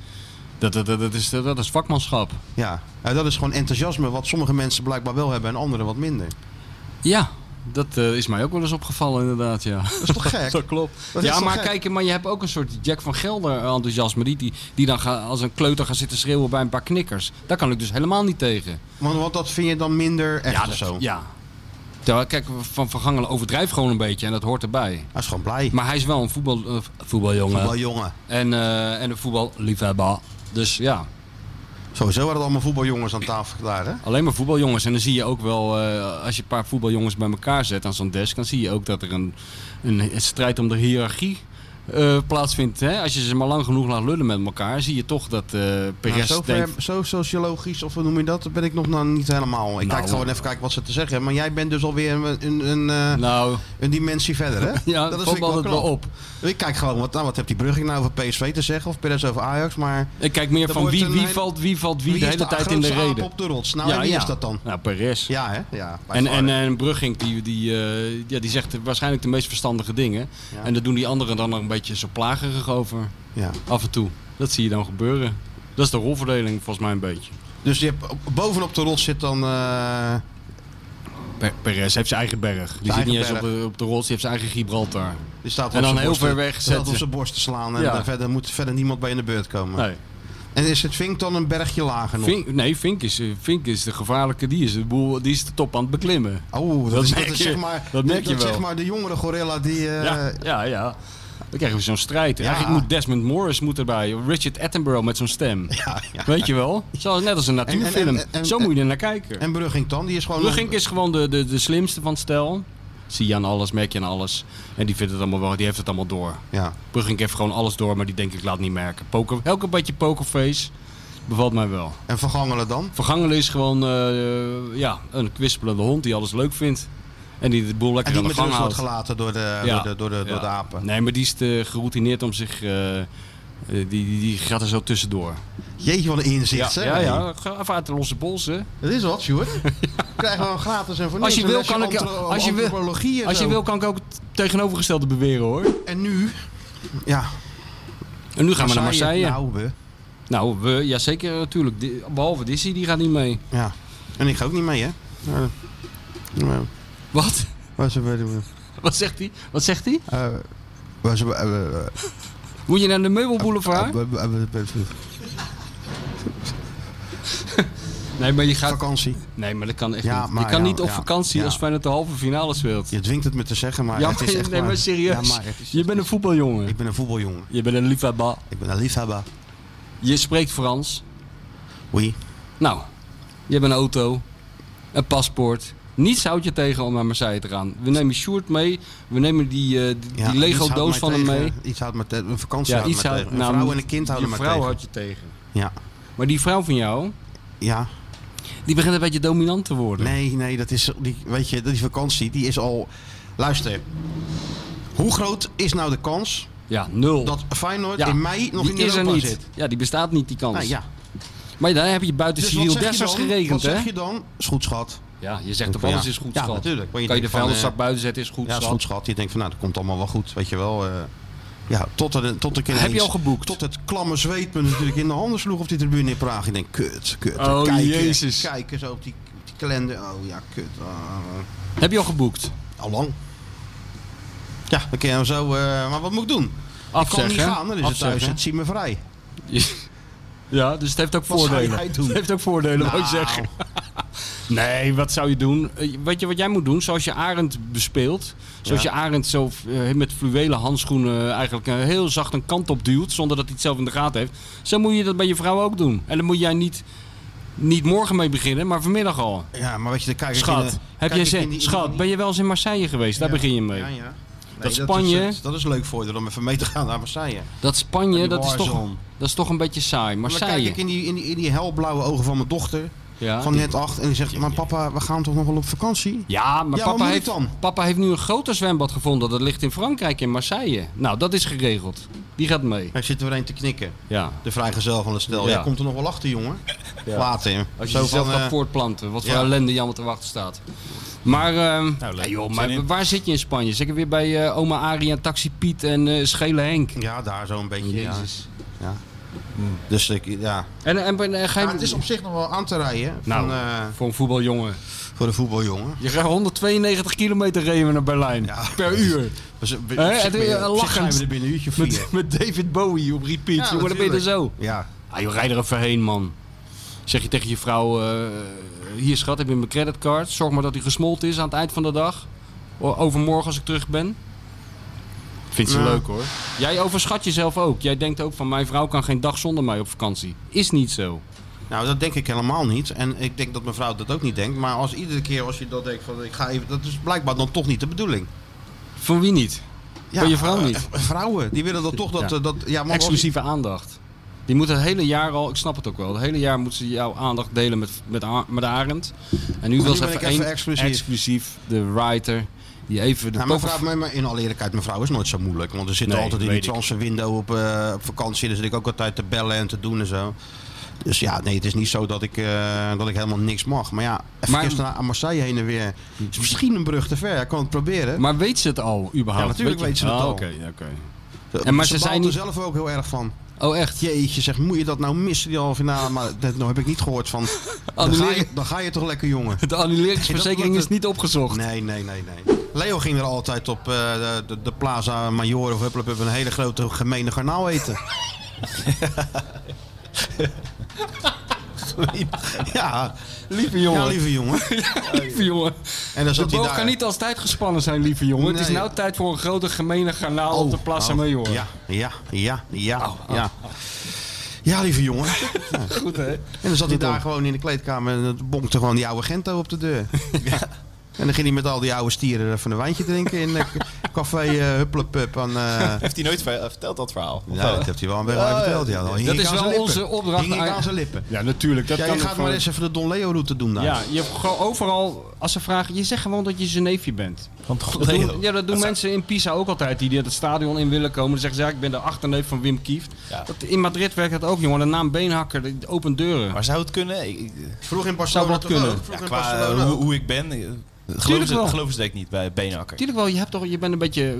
[SPEAKER 5] Dat, dat, dat, dat is, dat is vakmanschap.
[SPEAKER 3] Ja. Nou, dat is gewoon enthousiasme wat sommige mensen blijkbaar wel hebben en anderen wat minder.
[SPEAKER 5] Ja, dat eh, is mij ook wel eens opgevallen inderdaad, ja. Dat is
[SPEAKER 3] toch gek?
[SPEAKER 5] dat klopt.
[SPEAKER 3] Dat is
[SPEAKER 5] ja,
[SPEAKER 3] toch
[SPEAKER 5] maar
[SPEAKER 3] gek?
[SPEAKER 5] kijk, maar je hebt ook een soort Jack van Gelder enthousiasme. Die, die, die dan gaat- als een kleuter gaat zitten schreeuwen bij een paar knikkers. Daar kan ik dus helemaal niet tegen.
[SPEAKER 3] Want, want dat vind je dan minder echt
[SPEAKER 5] ja,
[SPEAKER 3] of
[SPEAKER 5] dat-
[SPEAKER 3] zo?
[SPEAKER 5] Ja. Terwijl, kijk, Van Van Gangelen overdrijft gewoon een beetje en dat hoort erbij.
[SPEAKER 3] Hij is gewoon blij.
[SPEAKER 5] Maar hij is wel een voetbal, eh, voetbaljongen.
[SPEAKER 3] Voetbaljongen.
[SPEAKER 5] En, eh, en een voetballiefhebber. Dus ja.
[SPEAKER 3] Sowieso waren het allemaal voetbaljongens aan tafel klaar, hè?
[SPEAKER 5] Alleen maar voetbaljongens. En dan zie je ook wel, eh, als je een paar voetbaljongens bij elkaar zet aan zo'n desk, dan zie je ook dat er een, een strijd om de hiërarchie eh, plaatsvindt. Hè? Als je ze maar lang genoeg laat lullen met elkaar, zie je toch dat eh
[SPEAKER 3] Nou,
[SPEAKER 5] Perez
[SPEAKER 3] zo, ver-
[SPEAKER 5] denkt...
[SPEAKER 3] zo sociologisch, of hoe noem je dat, dat ben ik nog nou niet helemaal. Ik
[SPEAKER 5] Nou,
[SPEAKER 3] kijk gewoon even kijken wat ze te zeggen hebben. Maar jij bent dus alweer een, een, een, eh, een dimensie verder, hè?
[SPEAKER 5] Nou.
[SPEAKER 3] dat
[SPEAKER 5] Ja, valt
[SPEAKER 3] is vind ik
[SPEAKER 5] me altijd wel
[SPEAKER 3] knap.
[SPEAKER 5] op.
[SPEAKER 3] Ik kijk gewoon, wat, nou, wat heeft die Brugging nou over PSV te zeggen? Of Perez over Ajax, maar...
[SPEAKER 5] Ik kijk meer
[SPEAKER 3] Dan
[SPEAKER 5] van
[SPEAKER 3] wordt
[SPEAKER 5] wie,
[SPEAKER 3] een
[SPEAKER 5] wie
[SPEAKER 3] hele-
[SPEAKER 5] valt wie, valt wie,
[SPEAKER 3] Wie
[SPEAKER 5] de
[SPEAKER 3] is
[SPEAKER 5] hele
[SPEAKER 3] de
[SPEAKER 5] tijd in de
[SPEAKER 3] grootste aap
[SPEAKER 5] reden.
[SPEAKER 3] op de rots? Nou, en wie is dat dan?
[SPEAKER 5] Nou, Perez.
[SPEAKER 3] Ja, hè? Ja, bij
[SPEAKER 5] en,
[SPEAKER 3] far.
[SPEAKER 5] en, en Brugging, die, die, eh, ja, die zegt waarschijnlijk de meest verstandige dingen.
[SPEAKER 3] Ja.
[SPEAKER 5] En daar doen die anderen dan nog een beetje zo plagerig over.
[SPEAKER 3] Ja.
[SPEAKER 5] Af en toe. Dat zie je dan gebeuren. Dat is de rolverdeling volgens mij een beetje.
[SPEAKER 3] Dus je hebt, op- bovenop de rots zit dan... eh,
[SPEAKER 5] Per Perez heeft zijn eigen berg. Die
[SPEAKER 3] Zijn
[SPEAKER 5] zit niet eens
[SPEAKER 3] eigen
[SPEAKER 5] op de, op de rots, die heeft zijn eigen Gibraltar.
[SPEAKER 3] die staat
[SPEAKER 5] en
[SPEAKER 3] op
[SPEAKER 5] dan
[SPEAKER 3] zijn
[SPEAKER 5] heel
[SPEAKER 3] borst te-
[SPEAKER 5] ver weg
[SPEAKER 3] staat
[SPEAKER 5] zetten.
[SPEAKER 3] op zijn borst te slaan. En
[SPEAKER 5] Ja.
[SPEAKER 3] dan verder moet verder niemand bij in de beurt komen.
[SPEAKER 5] Nee.
[SPEAKER 3] En is het Vink dan een bergje lager nog?
[SPEAKER 5] Vink, nee, Vink is, eh, Vink is de gevaarlijke. Die is de, boel, die is de top aan het beklimmen.
[SPEAKER 3] Oh, dat, is, dat is zeg maar,
[SPEAKER 5] dat merk je wel.
[SPEAKER 3] zeg maar de jongere gorilla die... eh,
[SPEAKER 5] Ja, ja, ja. Dan krijgen we zo'n strijd.
[SPEAKER 3] Ja.
[SPEAKER 5] Eigenlijk moet Desmond Morris moet erbij. Richard Attenborough met zo'n stem.
[SPEAKER 3] ja.
[SPEAKER 5] Weet je wel? Zoals, net als een natuurfilm.
[SPEAKER 3] en- en-
[SPEAKER 5] Zo moet je er naar kijken.
[SPEAKER 3] En Brugging dan? Die is gewoon...
[SPEAKER 5] Brugink is gewoon de, de, de slimste van het stel. Zie je aan alles, merk je aan alles. En die vindt het allemaal wel, die heeft het allemaal door.
[SPEAKER 3] Ja.
[SPEAKER 5] Brugink heeft gewoon alles door, maar die denk ik laat niet merken. Poker, elke beetje pokerface bevalt mij wel.
[SPEAKER 3] En Vergangelen dan?
[SPEAKER 5] Vergangelen is gewoon eh, ja, een kwispelende hond die alles leuk vindt. En die de boel
[SPEAKER 3] En
[SPEAKER 5] lekker
[SPEAKER 3] die
[SPEAKER 5] aan de
[SPEAKER 3] met
[SPEAKER 5] gang
[SPEAKER 3] rust wordt
[SPEAKER 5] houdt.
[SPEAKER 3] gelaten door de,
[SPEAKER 5] Ja.
[SPEAKER 3] door de, door de, door de
[SPEAKER 5] Ja.
[SPEAKER 3] apen.
[SPEAKER 5] Nee, maar die is te geroutineerd om zich. eh, eh, die, die, die gaat er zo tussendoor.
[SPEAKER 3] Jeetje, wat een inzicht,
[SPEAKER 5] ja,
[SPEAKER 3] zeg.
[SPEAKER 5] Ja, ja, ga even uit de losse bolsen.
[SPEAKER 3] Dat is wat, Sjoerd. Krijgen we gewoon gratis en voor
[SPEAKER 5] Als
[SPEAKER 3] niks
[SPEAKER 5] je
[SPEAKER 3] een
[SPEAKER 5] wil,
[SPEAKER 3] lesje
[SPEAKER 5] kan ik,
[SPEAKER 3] antro-
[SPEAKER 5] als je wil,
[SPEAKER 3] antropologie en
[SPEAKER 5] als je
[SPEAKER 3] zo.
[SPEAKER 5] wil kan ik ook het tegenovergestelde beweren hoor.
[SPEAKER 3] En nu? Ja.
[SPEAKER 5] En nu gaan we naar
[SPEAKER 3] Marseille.
[SPEAKER 5] Marseille.
[SPEAKER 3] Nou, we.
[SPEAKER 5] Nou, we, ja zeker natuurlijk. Di- Behalve Dizzy, die gaat niet mee.
[SPEAKER 3] Ja. En ik ga ook niet mee, hè? Ja. Ja.
[SPEAKER 5] Wat?
[SPEAKER 3] Waar ze bij de...
[SPEAKER 5] Wat zegt hij? Wat zegt hij?
[SPEAKER 3] eh, Waar ze bij... eh, eh,
[SPEAKER 5] Moet je naar de meubelboulevard?
[SPEAKER 3] eh, eh, eh, eh, eh,
[SPEAKER 5] Nee, maar je gaat...
[SPEAKER 3] Vakantie.
[SPEAKER 5] Nee, maar dat kan echt
[SPEAKER 3] Ja,
[SPEAKER 5] niet.
[SPEAKER 3] maar
[SPEAKER 5] je kan
[SPEAKER 3] ja,
[SPEAKER 5] niet op
[SPEAKER 3] ja,
[SPEAKER 5] vakantie
[SPEAKER 3] ja.
[SPEAKER 5] als Feyenoord de halve finale speelt.
[SPEAKER 3] Je dwingt het me te zeggen, maar
[SPEAKER 5] ja,
[SPEAKER 3] het is echt
[SPEAKER 5] nee, maar serieus.
[SPEAKER 3] Ja, maar het is-
[SPEAKER 5] je bent een voetbaljongen.
[SPEAKER 3] Ik ben een voetbaljongen.
[SPEAKER 5] Je bent een liefhebber.
[SPEAKER 3] Ik ben een liefhebber.
[SPEAKER 5] Je spreekt Frans.
[SPEAKER 3] Oui.
[SPEAKER 5] Nou, je hebt een auto, een paspoort. Niets houdt je tegen om naar Marseille te gaan. We nemen Sjoerd mee, we nemen die, eh,
[SPEAKER 3] Ja,
[SPEAKER 5] die, die
[SPEAKER 3] iets houdt
[SPEAKER 5] Lego-doos
[SPEAKER 3] mij
[SPEAKER 5] van hem
[SPEAKER 3] tegen.
[SPEAKER 5] mee.
[SPEAKER 3] Iets houdt me te- Een vakantie
[SPEAKER 5] Ja,
[SPEAKER 3] houdt
[SPEAKER 5] iets
[SPEAKER 3] me
[SPEAKER 5] houdt-
[SPEAKER 3] tegen. Een
[SPEAKER 5] nou,
[SPEAKER 3] vrouw en een kind houden
[SPEAKER 5] je
[SPEAKER 3] me
[SPEAKER 5] vrouw
[SPEAKER 3] tegen.
[SPEAKER 5] houdt je tegen.
[SPEAKER 3] Ja.
[SPEAKER 5] Maar die vrouw van jou,
[SPEAKER 3] Ja.
[SPEAKER 5] die begint een beetje dominant te worden.
[SPEAKER 3] Ah. Nee, nee, dat is, die, weet je, die vakantie die is al... Luister, hoe groot is nou de kans
[SPEAKER 5] Ja, nul.
[SPEAKER 3] dat Feyenoord
[SPEAKER 5] ja,
[SPEAKER 3] in mei nog
[SPEAKER 5] die
[SPEAKER 3] in
[SPEAKER 5] is
[SPEAKER 3] Europa
[SPEAKER 5] er niet.
[SPEAKER 3] zit?
[SPEAKER 5] Ja, die bestaat niet, die kans.
[SPEAKER 3] Nou, ja.
[SPEAKER 5] Maar daar heb je buiten
[SPEAKER 3] Dus
[SPEAKER 5] Cyril
[SPEAKER 3] wat zeg je
[SPEAKER 5] Dessers
[SPEAKER 3] dan?
[SPEAKER 5] geregend,
[SPEAKER 3] Wat
[SPEAKER 5] hè?
[SPEAKER 3] zeg je dan? Is goed, schat.
[SPEAKER 5] Ja, je zegt op
[SPEAKER 3] Ja.
[SPEAKER 5] alles is goed,
[SPEAKER 3] Ja,
[SPEAKER 5] schat.
[SPEAKER 3] natuurlijk. Want
[SPEAKER 5] Kan
[SPEAKER 3] je
[SPEAKER 5] je de
[SPEAKER 3] denkt van,
[SPEAKER 5] vuilniszak
[SPEAKER 3] eh,
[SPEAKER 5] buiten zetten, is goed,
[SPEAKER 3] ja, is goed, schat. Je denkt van, nou, dat komt allemaal wel goed, weet je wel. eh. ja, tot er, tot er
[SPEAKER 5] Heb je al
[SPEAKER 3] geboekt? Tot het klamme zweet me natuurlijk in de handen sloeg op die tribune in Praag. Ik denk, kut, kut.
[SPEAKER 5] Oh,
[SPEAKER 3] kijken,
[SPEAKER 5] Jezus.
[SPEAKER 3] Kijken zo op die, op die kalender. Oh ja, kut. ah.
[SPEAKER 5] Heb je al geboekt?
[SPEAKER 3] Allang. Ja, dan kun je hem zo... eh, maar wat moet ik doen?
[SPEAKER 5] Afzeggen,
[SPEAKER 3] ik kan
[SPEAKER 5] hè?
[SPEAKER 3] niet gaan, dan is het thuis.
[SPEAKER 5] Afzeggen.
[SPEAKER 3] Het ziet me vrij.
[SPEAKER 5] Ja, dus het heeft ook
[SPEAKER 3] Wat zou
[SPEAKER 5] voordelen.
[SPEAKER 3] jij doen?
[SPEAKER 5] Het heeft ook voordelen, moet ik
[SPEAKER 3] Nou.
[SPEAKER 5] zeggen. nee, wat zou je doen? Eh, Weet je wat jij moet doen? Zoals je Arend bespeelt. Zoals
[SPEAKER 11] Ja.
[SPEAKER 5] je Arend zo eh, met fluwelen handschoenen eigenlijk eh, heel zacht een kant op duwt. Zonder dat hij het zelf in de gaten heeft. Zo moet je dat bij je vrouw ook doen. En dan moet jij niet, niet morgen mee beginnen, maar vanmiddag al.
[SPEAKER 3] Ja, maar weet je, de kijk ik
[SPEAKER 5] Schat,
[SPEAKER 3] in de-
[SPEAKER 5] heb
[SPEAKER 3] kijk
[SPEAKER 5] jij
[SPEAKER 3] ik
[SPEAKER 5] zin-
[SPEAKER 3] in die- in
[SPEAKER 5] schat ben je wel eens in Marseille geweest? Daar begin je mee.
[SPEAKER 3] Ja, ja. Nee,
[SPEAKER 5] dat Spanje...
[SPEAKER 3] Is, dat is leuk voor je, om even mee te gaan naar Marseille.
[SPEAKER 5] Dat
[SPEAKER 3] Naar
[SPEAKER 5] Spanje,
[SPEAKER 3] die
[SPEAKER 5] dat is, toch,
[SPEAKER 3] warzone.
[SPEAKER 5] dat is toch een beetje saai.
[SPEAKER 3] Maar dan
[SPEAKER 5] Marseille.
[SPEAKER 3] kijk ik in die, in, die, in die helblauwe ogen van mijn dochter.
[SPEAKER 5] Ja.
[SPEAKER 3] Van net acht. En die zegt, maar papa, we gaan toch nog wel op vakantie?
[SPEAKER 5] Ja, maar
[SPEAKER 3] Ja, wat
[SPEAKER 5] papa,
[SPEAKER 3] moet ik
[SPEAKER 5] heeft,
[SPEAKER 3] dan?
[SPEAKER 5] papa heeft nu een groter zwembad gevonden. Dat ligt in Frankrijk, in Marseille. Nou, dat is geregeld. Die gaat mee.
[SPEAKER 3] Hij zit er een te knikken.
[SPEAKER 5] Ja.
[SPEAKER 3] De vrijgezel van het stel.
[SPEAKER 5] Ja.
[SPEAKER 3] Jij komt er nog wel achter, jongen.
[SPEAKER 5] Ja.
[SPEAKER 3] Later.
[SPEAKER 5] Als je
[SPEAKER 3] Zo
[SPEAKER 5] jezelf
[SPEAKER 3] van,
[SPEAKER 5] gaat
[SPEAKER 3] eh,
[SPEAKER 5] voortplanten. Wat voor
[SPEAKER 3] ja.
[SPEAKER 5] ellende je allemaal te wachten staat. Maar, ehm, ja, joh, maar
[SPEAKER 3] Zin in.
[SPEAKER 5] waar zit je in Spanje? Zeker weer bij eh, oma Aria, Taxi Piet en eh Schele Henk.
[SPEAKER 3] Ja, daar zo'n beetje. ja.
[SPEAKER 5] Jezus.
[SPEAKER 3] Ja. Dus ik, ja.
[SPEAKER 5] En, en, en, eh, ga je-
[SPEAKER 3] Maar het is op zich nog wel aan te rijden.
[SPEAKER 5] Nou,
[SPEAKER 3] van, eh,
[SPEAKER 5] voor een voetbaljongen.
[SPEAKER 3] Voor een voetbaljongen.
[SPEAKER 5] Je gaat 192 kilometer remen naar Berlijn. Per uur.
[SPEAKER 3] Dus,
[SPEAKER 5] Hè?
[SPEAKER 3] op zich
[SPEAKER 5] En,
[SPEAKER 3] ben je- op
[SPEAKER 5] eh,
[SPEAKER 3] zich zijn we
[SPEAKER 5] Lachend.
[SPEAKER 3] er binnen een uurtje of vier.
[SPEAKER 5] Met, met David Bowie op repeat.
[SPEAKER 3] Ja,
[SPEAKER 5] jongen, dan ben je er zo.
[SPEAKER 3] natuurlijk. Ja.
[SPEAKER 5] Ah, joh, rij er even heen, man. Zeg je tegen je vrouw... eh, hier, schat, heb je mijn creditcard. Zorg maar dat die gesmolten is aan het eind van de dag. O- Overmorgen als ik terug ben. Vindt ze
[SPEAKER 11] Nou.
[SPEAKER 5] leuk, hoor. Jij overschat jezelf ook. Jij denkt ook van... Mijn vrouw kan geen dag zonder mij op vakantie. Is niet zo.
[SPEAKER 3] Nou, dat denk ik helemaal niet. En ik denk dat mevrouw dat ook niet denkt. Maar als iedere keer als je dat denkt van ik ga even. Dat is blijkbaar dan toch niet de bedoeling.
[SPEAKER 5] Van wie niet? Van je vrouw niet?
[SPEAKER 3] eh, Vrouwen, die willen dan toch dat. eh, dat ja, maar als-
[SPEAKER 5] Exclusieve aandacht. Die moet het hele jaar al, ik snap het ook wel, het hele jaar moeten ze jouw aandacht delen met, met, A- met Arend. En nu
[SPEAKER 3] Nu
[SPEAKER 5] wil ze
[SPEAKER 3] ben ik
[SPEAKER 5] even,
[SPEAKER 3] even
[SPEAKER 5] één
[SPEAKER 3] exclusief.
[SPEAKER 5] exclusief, de writer, die even de
[SPEAKER 3] Nou,
[SPEAKER 5] koffer-
[SPEAKER 3] mevrouw, maar, maar in alle eerlijkheid, mevrouw is nooit zo moeilijk. Want er zitten
[SPEAKER 5] Nee,
[SPEAKER 3] altijd in
[SPEAKER 5] weet
[SPEAKER 3] die
[SPEAKER 5] ik.
[SPEAKER 3] transferwindow op, eh, op vakantie. Dan zit ik ook altijd te bellen en te doen en zo. Dus ja, nee, het is niet zo dat ik, eh, dat ik helemaal niks mag. Maar ja, even
[SPEAKER 5] Maar-
[SPEAKER 3] gisteren naar Marseille heen en weer. Is misschien een brug te ver. Ik kan het proberen.
[SPEAKER 5] Maar weet ze het al überhaupt?
[SPEAKER 3] Ja, natuurlijk
[SPEAKER 5] Weet
[SPEAKER 3] weet
[SPEAKER 5] je-
[SPEAKER 3] ze het
[SPEAKER 5] Oh,
[SPEAKER 3] al.
[SPEAKER 5] oké, ja, oké.
[SPEAKER 3] Ze-
[SPEAKER 5] En maar ze
[SPEAKER 3] ze
[SPEAKER 5] zijn
[SPEAKER 3] baalt er
[SPEAKER 5] niet-
[SPEAKER 3] zelf ook heel erg van.
[SPEAKER 5] Oh, echt?
[SPEAKER 3] Jeetje, zeg, moet je dat nou missen, die halve finale? Maar dat nou heb ik niet gehoord van. Dan ga, je,
[SPEAKER 5] Annuleren-
[SPEAKER 3] dan ga je toch lekker, jongen.
[SPEAKER 5] De annuleringsverzekering is niet opgezocht.
[SPEAKER 3] Nee, nee, nee, nee. Leo ging er altijd op eh, de, de, de Plaza Major of Hupplepup een hele grote gemene garnaal eten. ja,
[SPEAKER 5] Lieve jongen.
[SPEAKER 3] Ja, lieve jongen.
[SPEAKER 5] lieve jongen.
[SPEAKER 3] En dan zat
[SPEAKER 5] de
[SPEAKER 3] hij
[SPEAKER 5] boog
[SPEAKER 3] daar.
[SPEAKER 5] kan niet als tijd gespannen zijn, lieve jongen. Het is
[SPEAKER 3] Nee.
[SPEAKER 5] nou tijd voor een grote gemene garnaal op de Plaza
[SPEAKER 3] oh,
[SPEAKER 5] Major.
[SPEAKER 3] Ja, ja, ja, ja, ja. Ja, lieve jongen.
[SPEAKER 5] Goed, hè? En
[SPEAKER 3] dan zat hij daar gewoon in de kleedkamer en het bonkte gewoon die oude Gento op de deur. En dan ging hij met al die oude stieren even een wijntje drinken in eh, café eh, Hupplepup. aan, eh,
[SPEAKER 4] Heeft hij nooit ver- verteld dat verhaal? Of
[SPEAKER 3] Ja,
[SPEAKER 4] wel?
[SPEAKER 3] dat heeft hij wel een beetje
[SPEAKER 4] Ja,
[SPEAKER 3] verteld. Ja, dan hing
[SPEAKER 5] Oh, dat
[SPEAKER 3] ik
[SPEAKER 5] is
[SPEAKER 3] aan
[SPEAKER 5] wel
[SPEAKER 3] zijn lippen.
[SPEAKER 5] onze opdracht.
[SPEAKER 3] Hing ik aan zijn lippen.
[SPEAKER 5] Ja, natuurlijk. Dat
[SPEAKER 3] Ja,
[SPEAKER 5] kan
[SPEAKER 3] je
[SPEAKER 5] ook
[SPEAKER 3] gaat maar
[SPEAKER 5] gewoon-
[SPEAKER 3] eens even de Don Leo route doen daar.
[SPEAKER 5] Ja, je hebt gewoon overal, als ze vragen, je zegt gewoon dat je zijn neefje bent. dat
[SPEAKER 3] Leo.
[SPEAKER 5] doen, ja, dat doen mensen in Pisa ook altijd, die die het stadion in willen komen. Dan zeggen ze, ja, ik ben de achterneef van Wim Kieft. Dat, in Madrid werkt dat ook, jongen. De naam Beenhakker, die opent deuren. Maar
[SPEAKER 4] zou het kunnen?
[SPEAKER 3] Vroeg in
[SPEAKER 5] Zou dat kunnen?
[SPEAKER 4] Ja, qua eh, hoe, hoe ik ben, eh, geloven
[SPEAKER 5] Tuurlijk
[SPEAKER 4] ze,
[SPEAKER 5] wel.
[SPEAKER 4] geloven ze denk ik niet bij Beenhakker.
[SPEAKER 5] Tuurlijk wel, je, hebt toch, je bent een beetje,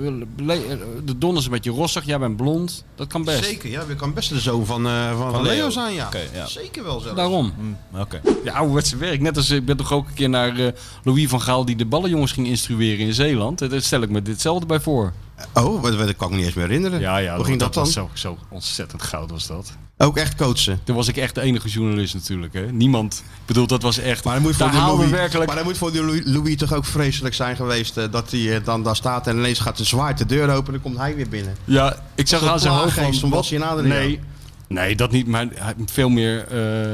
[SPEAKER 5] eh, de don is een beetje rossig, jij bent blond. Dat kan best.
[SPEAKER 3] Zeker, ja. Je kan best de zoon van, eh, van, van Leo.
[SPEAKER 5] Leo.
[SPEAKER 3] zijn, ja.
[SPEAKER 5] Oké, ja.
[SPEAKER 3] Zeker wel zelfs.
[SPEAKER 5] Daarom.
[SPEAKER 4] Oké.
[SPEAKER 5] Ja, ouderwetse werk. Net als eh, ik ben toch ook een keer naar eh, Louis van Gaal die de ballenjongens ging instrueren in Zeeland. Eh, Daar stel ik me ditzelfde bij voor.
[SPEAKER 3] Oh, dat, dat kan ik me niet eens meer herinneren.
[SPEAKER 5] Ja, ja,
[SPEAKER 3] Hoe ging dat,
[SPEAKER 5] was
[SPEAKER 3] dan?
[SPEAKER 5] Zo, zo ontzettend goud was dat.
[SPEAKER 3] Ook echt coachen.
[SPEAKER 5] Toen was ik echt de enige journalist natuurlijk. Hè. Niemand. Ik bedoel, dat was echt. Maar
[SPEAKER 3] Moet voor
[SPEAKER 5] daar
[SPEAKER 3] die
[SPEAKER 5] haalden
[SPEAKER 3] Louis-
[SPEAKER 5] werkelijk.
[SPEAKER 3] Maar dat moet voor die Louis, Louis toch ook vreselijk zijn geweest. eh, dat hij eh, dan daar staat en ineens gaat de zwaard de deur open en dan komt hij weer binnen.
[SPEAKER 5] Ja, ik zag
[SPEAKER 3] Zo'n
[SPEAKER 5] aan zijn hoofd
[SPEAKER 3] plaaggeest
[SPEAKER 5] van,
[SPEAKER 3] van
[SPEAKER 5] wat-
[SPEAKER 3] Bassie en Adriaan.
[SPEAKER 5] Nee, nee, dat niet. Maar hij- veel meer... eh,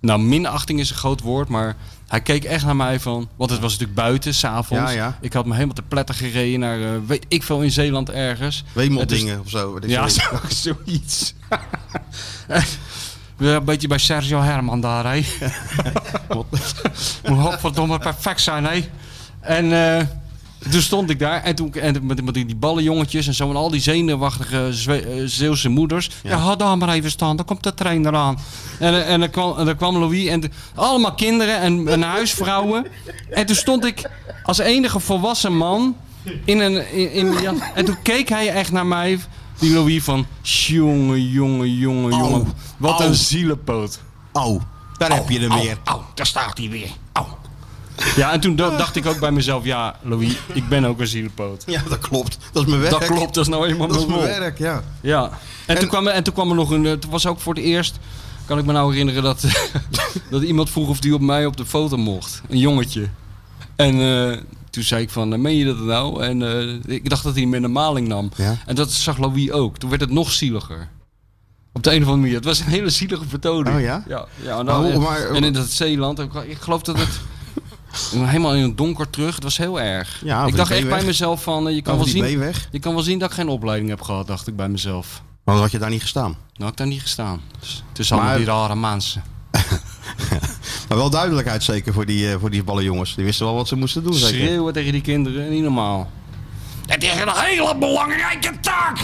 [SPEAKER 5] nou, minachting is een groot woord, maar... Hij keek echt naar mij van... Want het was natuurlijk buiten, s'avonds.
[SPEAKER 3] Ja, ja.
[SPEAKER 5] Ik had me helemaal te pletter gereden naar... eh, weet ik veel, in Zeeland ergens.
[SPEAKER 3] Wemeldingen
[SPEAKER 5] Het
[SPEAKER 3] of zo, weet ik
[SPEAKER 5] Ja,
[SPEAKER 3] veel.
[SPEAKER 5] zo- zoiets. Weer een beetje bij Sergio Herman daar, hè. Moet godverdomme perfect zijn, hè. En eh, toen stond ik daar. En toen en met, met die ballenjongetjes en zo. En al die zenuwachtige Zwe- eh, Zeeuwse moeders. Ja, ga daar maar even staan. Dan komt de trainer aan. En, eh, en dan kwam, en dan kwam Louis. En de- allemaal kinderen en, en huisvrouwen. En toen stond ik als enige volwassen man... In een, in, in mijn jas. En toen keek hij echt naar mij, die Louis, van... Jongen, jongen, jongen, jongen. Wat
[SPEAKER 3] Au.
[SPEAKER 5] een zielenpoot.
[SPEAKER 3] Oh, daar heb je hem
[SPEAKER 5] Au,
[SPEAKER 3] weer.
[SPEAKER 5] au, daar staat hij weer. Au,
[SPEAKER 10] Ja, en toen da- dacht ik ook bij mezelf, ja, Louis, ik ben ook een zielepoot.
[SPEAKER 23] Ja, dat klopt. Dat is mijn werk.
[SPEAKER 10] Dat klopt, dat is nou eenmaal
[SPEAKER 23] Dat is
[SPEAKER 10] mijn
[SPEAKER 23] mijn
[SPEAKER 10] rol.
[SPEAKER 23] werk, ja.
[SPEAKER 10] Ja. En, toen kwam er, en toen kwam er nog een. eh, Toen was ook voor het eerst. Kan ik me nou herinneren dat, dat iemand vroeg of die op mij op de foto mocht. Een jongetje. En eh, toen zei ik van, eh, meen je dat nou? En eh, ik dacht dat hij me in de maling nam. En dat zag Louis ook. Toen werd het nog zieliger. Op de een of andere manier. Het was een hele zielige vertoning.
[SPEAKER 23] Oh ja?
[SPEAKER 10] Ja. ja
[SPEAKER 5] nou,
[SPEAKER 10] en, dan-
[SPEAKER 23] Maar hoe- maar-
[SPEAKER 10] en in dat Zeeland. ik- Ik geloof dat het... Nou, Helemaal in het donker terug. Het was heel erg.
[SPEAKER 23] Ja, over
[SPEAKER 10] ik
[SPEAKER 23] die
[SPEAKER 10] dacht echt
[SPEAKER 23] B-weg.
[SPEAKER 10] bij mezelf van... eh, je, kan wel
[SPEAKER 23] Over die
[SPEAKER 10] zien,
[SPEAKER 23] B-weg.
[SPEAKER 10] je kan wel zien dat ik geen opleiding heb gehad, dacht ik bij mezelf.
[SPEAKER 23] Maar had je daar niet gestaan?
[SPEAKER 10] Nou, had ik daar niet gestaan. Dus het is allemaal die rare mensen.
[SPEAKER 23] Maar wel duidelijkheid zeker voor die, eh, voor die ballenjongens. Die wisten wel wat ze moesten doen. Zeker.
[SPEAKER 10] Schreeuwen tegen die kinderen, niet normaal.
[SPEAKER 12] Het is een hele belangrijke taak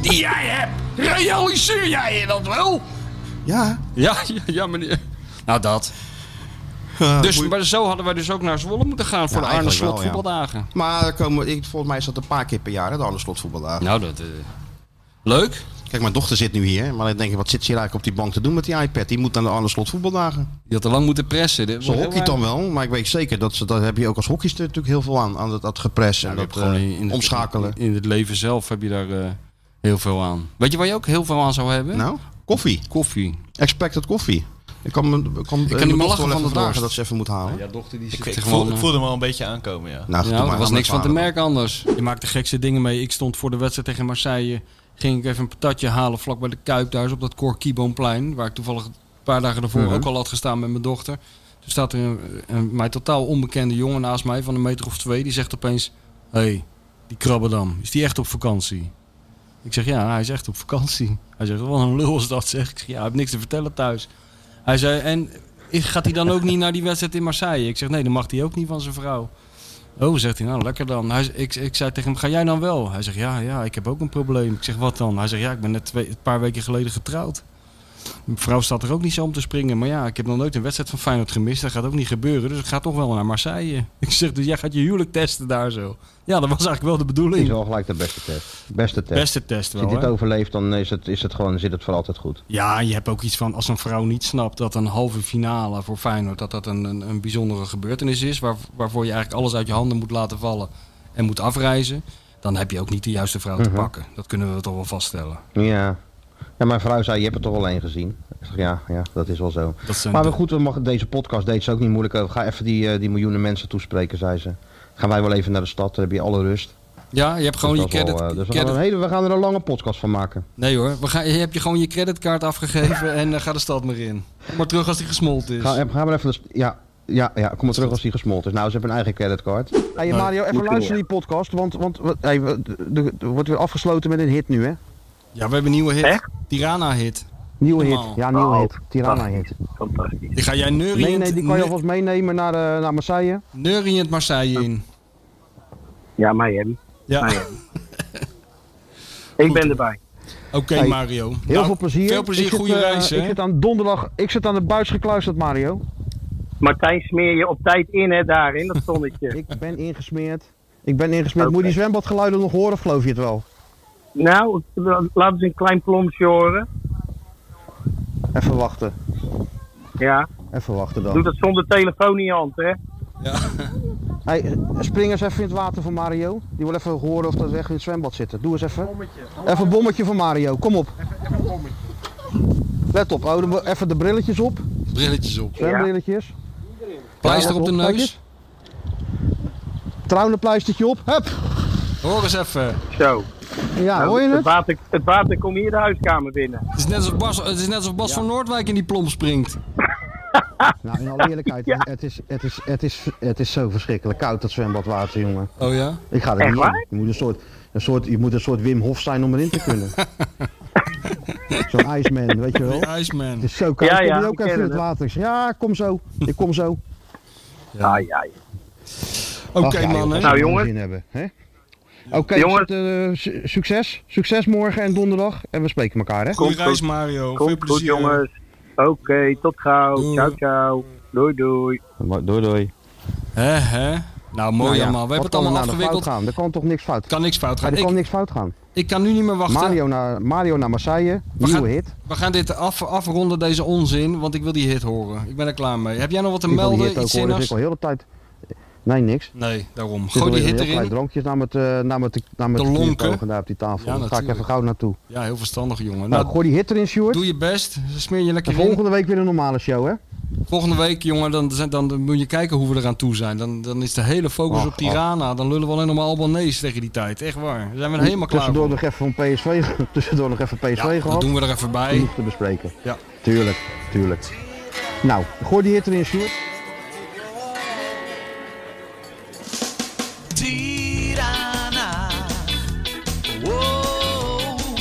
[SPEAKER 12] die jij hebt. Realiseer jij je dat wel?
[SPEAKER 23] Ja.
[SPEAKER 10] Ja, ja, ja meneer. Nou, dat. dus maar zo hadden wij dus ook naar Zwolle moeten gaan voor
[SPEAKER 23] Eh, Ja,
[SPEAKER 10] de Arne
[SPEAKER 23] eigenlijk
[SPEAKER 10] Slot
[SPEAKER 23] wel, ja.
[SPEAKER 10] voetbaldagen.
[SPEAKER 23] Maar er komen, ik, volgens mij is dat een paar keer per jaar, hè, de Arne Slot voetbaldagen.
[SPEAKER 10] Nou, dat... leuk.
[SPEAKER 23] Kijk, mijn dochter zit nu hier. Maar dan denk je, wat zit ze hier eigenlijk op die bank te doen met die iPad? Die moet naar de Arne Slot voetbaldagen.
[SPEAKER 10] Je had te lang moeten pressen. Dit
[SPEAKER 23] Ze
[SPEAKER 10] wordt heel
[SPEAKER 23] hockeyt dan
[SPEAKER 10] erg.
[SPEAKER 23] wel, maar ik weet zeker dat ze, daar heb je ook als hockeyster natuurlijk heel veel aan. Aan dat, dat gepres en dat
[SPEAKER 10] Gewoon
[SPEAKER 23] eh,
[SPEAKER 10] in, in het-
[SPEAKER 23] omschakelen.
[SPEAKER 10] In het leven zelf heb je daar eh, heel veel aan. Weet je waar je ook heel veel aan zou hebben?
[SPEAKER 23] Nou, koffie.
[SPEAKER 10] Koffie.
[SPEAKER 23] Expected koffie. Ik kan, me- ik kan,
[SPEAKER 10] Ik
[SPEAKER 23] eh,
[SPEAKER 10] kan niet
[SPEAKER 23] mijn
[SPEAKER 10] meer
[SPEAKER 23] dochter
[SPEAKER 10] lachen
[SPEAKER 23] wel
[SPEAKER 10] van
[SPEAKER 23] even
[SPEAKER 10] de
[SPEAKER 23] vragen
[SPEAKER 10] dorst.
[SPEAKER 23] dat ze even moet halen.
[SPEAKER 10] Ja, dochter die
[SPEAKER 4] Ik,
[SPEAKER 10] zit
[SPEAKER 4] ik,
[SPEAKER 10] er
[SPEAKER 4] voel,
[SPEAKER 3] eh.
[SPEAKER 10] gewoon...
[SPEAKER 4] ik voelde me al een beetje aankomen, ja.
[SPEAKER 23] Nou,
[SPEAKER 10] Ja, er was niks van te merken anders.
[SPEAKER 5] Je maakt de gekste dingen mee. Ik stond voor de wedstrijd tegen Marseille. Ging ik even een patatje halen vlak bij de Kuip thuis op dat Corquibonplein. Waar ik toevallig een paar dagen daarvoor
[SPEAKER 10] Mhm.
[SPEAKER 5] ook al had gestaan met mijn dochter. Toen staat er een, een mij totaal onbekende jongen naast mij van een meter of twee. Die zegt opeens, hé, hey, die Krabbedam, is die echt op vakantie? Ik zeg, ja, hij is echt op vakantie. Hij zegt, wat een lul is dat, zeg. Ik zeg, ja, hij heeft niks te vertellen thuis. Hij zei, en gaat hij dan ook niet naar die wedstrijd in Marseille? Ik zeg, nee, dan mag hij ook niet van zijn vrouw. Oh, zegt hij, nou lekker dan. Hij, z- ik, ik zei tegen hem, ga jij dan wel? Hij zegt, ja, ja, ik heb ook een probleem. Ik zeg, wat dan? Hij zegt, ja, ik ben net twee, een paar weken geleden getrouwd. Mijn vrouw staat er ook niet zo om te springen. Maar ja, ik heb nog nooit een wedstrijd van Feyenoord gemist. Dat gaat ook niet gebeuren, dus ik ga toch wel naar Marseille. Ik zeg, dus jij gaat je huwelijk testen daar zo. Ja, dat was eigenlijk wel de
[SPEAKER 3] Het is
[SPEAKER 5] bedoeling.
[SPEAKER 3] wel gelijk de beste test. Beste test.
[SPEAKER 5] Beste test wel,
[SPEAKER 3] Als je dit
[SPEAKER 5] hè?
[SPEAKER 3] overleeft, dan is het, is het gewoon, zit het voor altijd goed.
[SPEAKER 5] Ja, je hebt ook iets van als een vrouw niet snapt dat een halve finale voor Feyenoord dat dat een, een, een bijzondere gebeurtenis is, waar, waarvoor je eigenlijk alles uit je handen moet laten vallen en moet afreizen, dan heb je ook niet de juiste vrouw te
[SPEAKER 3] Mhm.
[SPEAKER 5] pakken. Dat kunnen we toch wel vaststellen.
[SPEAKER 3] Ja. ja, mijn vrouw zei, je hebt er toch wel één gezien? Ik zeg, ja, ja, dat is wel zo.
[SPEAKER 5] Dat zijn
[SPEAKER 3] maar
[SPEAKER 5] de-
[SPEAKER 3] goed, we mag, deze podcast deed ze ook niet moeilijk over. Ga even die, eh, die miljoenen mensen toespreken, zei ze. Gaan wij wel even naar de stad, dan heb je alle rust.
[SPEAKER 5] Ja, je hebt gewoon je
[SPEAKER 3] Dus dat is wel,
[SPEAKER 5] credit.
[SPEAKER 3] eh, dus we gaan,
[SPEAKER 5] credit-
[SPEAKER 3] er een hele, we gaan er een lange podcast van maken.
[SPEAKER 5] Nee hoor, we gaan, je hebt je gewoon je creditkaart afgegeven en eh, ga de stad maar in. Kom maar terug als die gesmolten is.
[SPEAKER 3] Ga, eh, ga maar even... de st- Ja, ja, ja, kom maar terug als die gesmolten is. Nou, ze hebben een eigen creditcard. Hey
[SPEAKER 5] Nee,
[SPEAKER 3] Mario,
[SPEAKER 5] moet
[SPEAKER 3] even
[SPEAKER 5] je
[SPEAKER 3] luisteren die podcast, want, want wat- hey, we- de- de- wordt weer afgesloten met een hit nu, hè?
[SPEAKER 5] Ja, we hebben een nieuwe hit. Tirana hit.
[SPEAKER 3] Nieuwe
[SPEAKER 5] Normaal.
[SPEAKER 3] hit. Ja,
[SPEAKER 11] Oh.
[SPEAKER 3] nieuwe hit. Tirana hit.
[SPEAKER 5] Die ga jij neuriënd,
[SPEAKER 3] Nee, nee, die kan je
[SPEAKER 5] ne-
[SPEAKER 3] alvast meenemen naar, eh, naar Marseille.
[SPEAKER 5] neuriënd Marseille in.
[SPEAKER 11] Ja, Miami.
[SPEAKER 5] Ja.
[SPEAKER 11] Miami. ik ben erbij.
[SPEAKER 5] Oké
[SPEAKER 3] Hey,
[SPEAKER 5] Mario.
[SPEAKER 3] Heel
[SPEAKER 5] Nou,
[SPEAKER 3] veel plezier.
[SPEAKER 5] Veel plezier,
[SPEAKER 3] Ik zit,
[SPEAKER 5] goede
[SPEAKER 3] eh,
[SPEAKER 5] reis hè.
[SPEAKER 3] Ik zit aan donderdag, ik zit aan de buis gekluisterd, Mario.
[SPEAKER 11] Martijn, smeer je op tijd in, hè, daar, in dat zonnetje.
[SPEAKER 3] ik ben ingesmeerd. Ik ben ingesmeerd. Moet je die zwembadgeluiden nog horen of geloof je het wel?
[SPEAKER 11] Nou, laten we een klein plompje horen.
[SPEAKER 3] Even wachten.
[SPEAKER 11] Ja.
[SPEAKER 3] Even wachten
[SPEAKER 11] Doe
[SPEAKER 3] dan.
[SPEAKER 11] dat zonder telefoon in je hand, hè.
[SPEAKER 3] Hey, spring eens even in het water voor Mario. Die wil even horen of dat we echt in het zwembad zitten. Doe eens even. Even een bommetje voor Mario. Kom op. Let op. Oh, de- even de brilletjes op.
[SPEAKER 5] Brilletjes op.
[SPEAKER 3] Zwembrilletjes.
[SPEAKER 5] Pleister
[SPEAKER 3] Ja,
[SPEAKER 5] op de
[SPEAKER 3] kijk
[SPEAKER 5] neus.
[SPEAKER 3] eens. Trouwen een pleistertje op. Hup.
[SPEAKER 5] Hoor eens even.
[SPEAKER 11] Zo.
[SPEAKER 3] Ja,
[SPEAKER 11] Nou,
[SPEAKER 3] hoor je
[SPEAKER 11] het?
[SPEAKER 3] het?
[SPEAKER 11] Water, het water komt hier de huiskamer binnen.
[SPEAKER 5] Het is net alsof Bas, het is net alsof Bas van Noordwijk in die plomp springt.
[SPEAKER 3] Nou, in alle eerlijkheid, het, is, het, is, het, is, het is zo verschrikkelijk koud dat zwembadwater, jongen.
[SPEAKER 5] Oh ja?
[SPEAKER 3] Ik ga er
[SPEAKER 5] Echt
[SPEAKER 3] niet
[SPEAKER 5] waar?
[SPEAKER 3] in. Je moet een soort, een soort, je moet een soort Wim Hof zijn om erin te kunnen. Zo'n Iceman, weet je wel.
[SPEAKER 5] Die Iceman.
[SPEAKER 3] Het is zo koud.
[SPEAKER 5] Ja,
[SPEAKER 3] ik
[SPEAKER 5] ja,
[SPEAKER 3] wil
[SPEAKER 5] ik
[SPEAKER 3] ook even
[SPEAKER 5] ken
[SPEAKER 3] in het
[SPEAKER 5] het.
[SPEAKER 3] water. Ik zeg, ja, kom zo. Ik kom zo.
[SPEAKER 11] Ja, ja.
[SPEAKER 5] Oké,
[SPEAKER 3] Ach, ja, joh,
[SPEAKER 5] man, hè?
[SPEAKER 3] wat
[SPEAKER 5] Nou,
[SPEAKER 3] we
[SPEAKER 5] jongens.
[SPEAKER 3] zin hebben, hè? Oké,
[SPEAKER 5] Jongens.
[SPEAKER 3] zit, eh, su- succes. Succes morgen en donderdag. En we spreken elkaar, hè?
[SPEAKER 5] Goeie reis Mario.
[SPEAKER 11] Komt goed,
[SPEAKER 5] Veel plezier.
[SPEAKER 11] jongens. Oké, tot gauw. Ciao, ciao. Doei, doei.
[SPEAKER 3] Doei, doei.
[SPEAKER 5] Hè, hè? Nou, mooi
[SPEAKER 3] Wat
[SPEAKER 5] allemaal. We hebben het
[SPEAKER 3] kan er
[SPEAKER 5] allemaal
[SPEAKER 3] nou nog
[SPEAKER 5] afgewikkeld.
[SPEAKER 3] fout gaan? Er kan toch niks fout
[SPEAKER 5] Kan niks fout
[SPEAKER 3] Ja,
[SPEAKER 5] gaan.
[SPEAKER 3] Er kan
[SPEAKER 5] Ik-
[SPEAKER 3] niks fout gaan.
[SPEAKER 5] Ik kan nu niet meer wachten.
[SPEAKER 3] Mario naar, Mario naar Marseille,
[SPEAKER 5] We
[SPEAKER 3] nieuwe
[SPEAKER 5] gaan-
[SPEAKER 3] hit.
[SPEAKER 5] We gaan dit af, afronden, deze onzin, want ik wil die hit horen. Ik ben er klaar mee. Heb jij nog wat te
[SPEAKER 3] Ik wil die
[SPEAKER 5] melden?
[SPEAKER 3] hit ook
[SPEAKER 5] Iets
[SPEAKER 3] horen, dus
[SPEAKER 5] zinnigs?
[SPEAKER 3] ik al heel de tijd... Nee, niks.
[SPEAKER 5] Nee, daarom.
[SPEAKER 3] Ik zit
[SPEAKER 5] Gooi die
[SPEAKER 3] alweer
[SPEAKER 5] hit
[SPEAKER 3] een heel klein
[SPEAKER 5] erin.
[SPEAKER 3] drankjes naar me te, naar me te, naar me
[SPEAKER 5] Te
[SPEAKER 3] te
[SPEAKER 5] lonken.
[SPEAKER 3] knipogen daar op die tafel.
[SPEAKER 5] Ja,
[SPEAKER 3] Daar ga ik
[SPEAKER 5] natuurlijk.
[SPEAKER 3] even gauw naartoe.
[SPEAKER 5] Ja, heel verstandig, jongen.
[SPEAKER 3] Nou, gooi die hit erin, Sjoerd.
[SPEAKER 5] Doe je best. Smeer je lekker
[SPEAKER 3] En
[SPEAKER 5] in.
[SPEAKER 3] volgende week weer een normale show, hè?
[SPEAKER 5] Volgende week, jongen, dan, zijn- dan moet je kijken hoe we eraan toe zijn. Dan, dan is de hele focus
[SPEAKER 3] Ach,
[SPEAKER 5] op Tirana. Dan lullen we alleen nog maar Albanese tegen die tijd. Echt waar. Dan zijn we er helemaal klaar
[SPEAKER 3] tussendoor
[SPEAKER 5] voor.
[SPEAKER 3] nog even van PSV, ge- tussendoor nog even PSV
[SPEAKER 5] Ja,
[SPEAKER 3] gehad.
[SPEAKER 5] dat doen we er even bij.
[SPEAKER 3] Genoeg te bespreken.
[SPEAKER 5] Ja.
[SPEAKER 3] Tuurlijk, tuurlijk. Nou, gooi die hit erin, Sjoerd.
[SPEAKER 1] Tirana. Wow.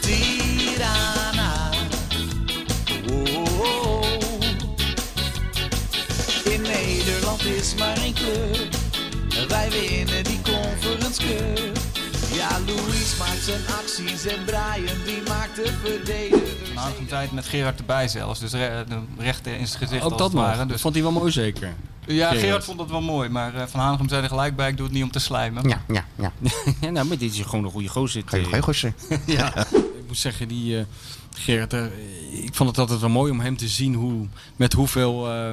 [SPEAKER 1] Tirana. Wow. In Nederland is maar één club. Wij winnen die Conference Cup. Ja, Louis maakt zijn acties en Brian die maakt de verdediger.
[SPEAKER 14] Een aardige tijd met Gerard erbij zelfs. Dus re de rechter in zijn gezicht
[SPEAKER 5] Ook
[SPEAKER 14] als
[SPEAKER 5] dat
[SPEAKER 14] het
[SPEAKER 5] nog.
[SPEAKER 14] ware.
[SPEAKER 5] Dat
[SPEAKER 14] Dus
[SPEAKER 5] vond hij wel mooi zeker.
[SPEAKER 14] ja, Gerard vond dat wel mooi, maar eh, Van Hanegem zei er gelijk bij, ik doe het niet om te slijmen.
[SPEAKER 5] Ja, ja, ja. nou, maar dit is gewoon een goede gozer.
[SPEAKER 14] Geen-
[SPEAKER 5] eh.
[SPEAKER 14] geen gozer.
[SPEAKER 5] ja. Ik moet zeggen, die eh, Gerrit, eh, ik vond het altijd wel mooi om hem te zien hoe, met hoeveel... eh,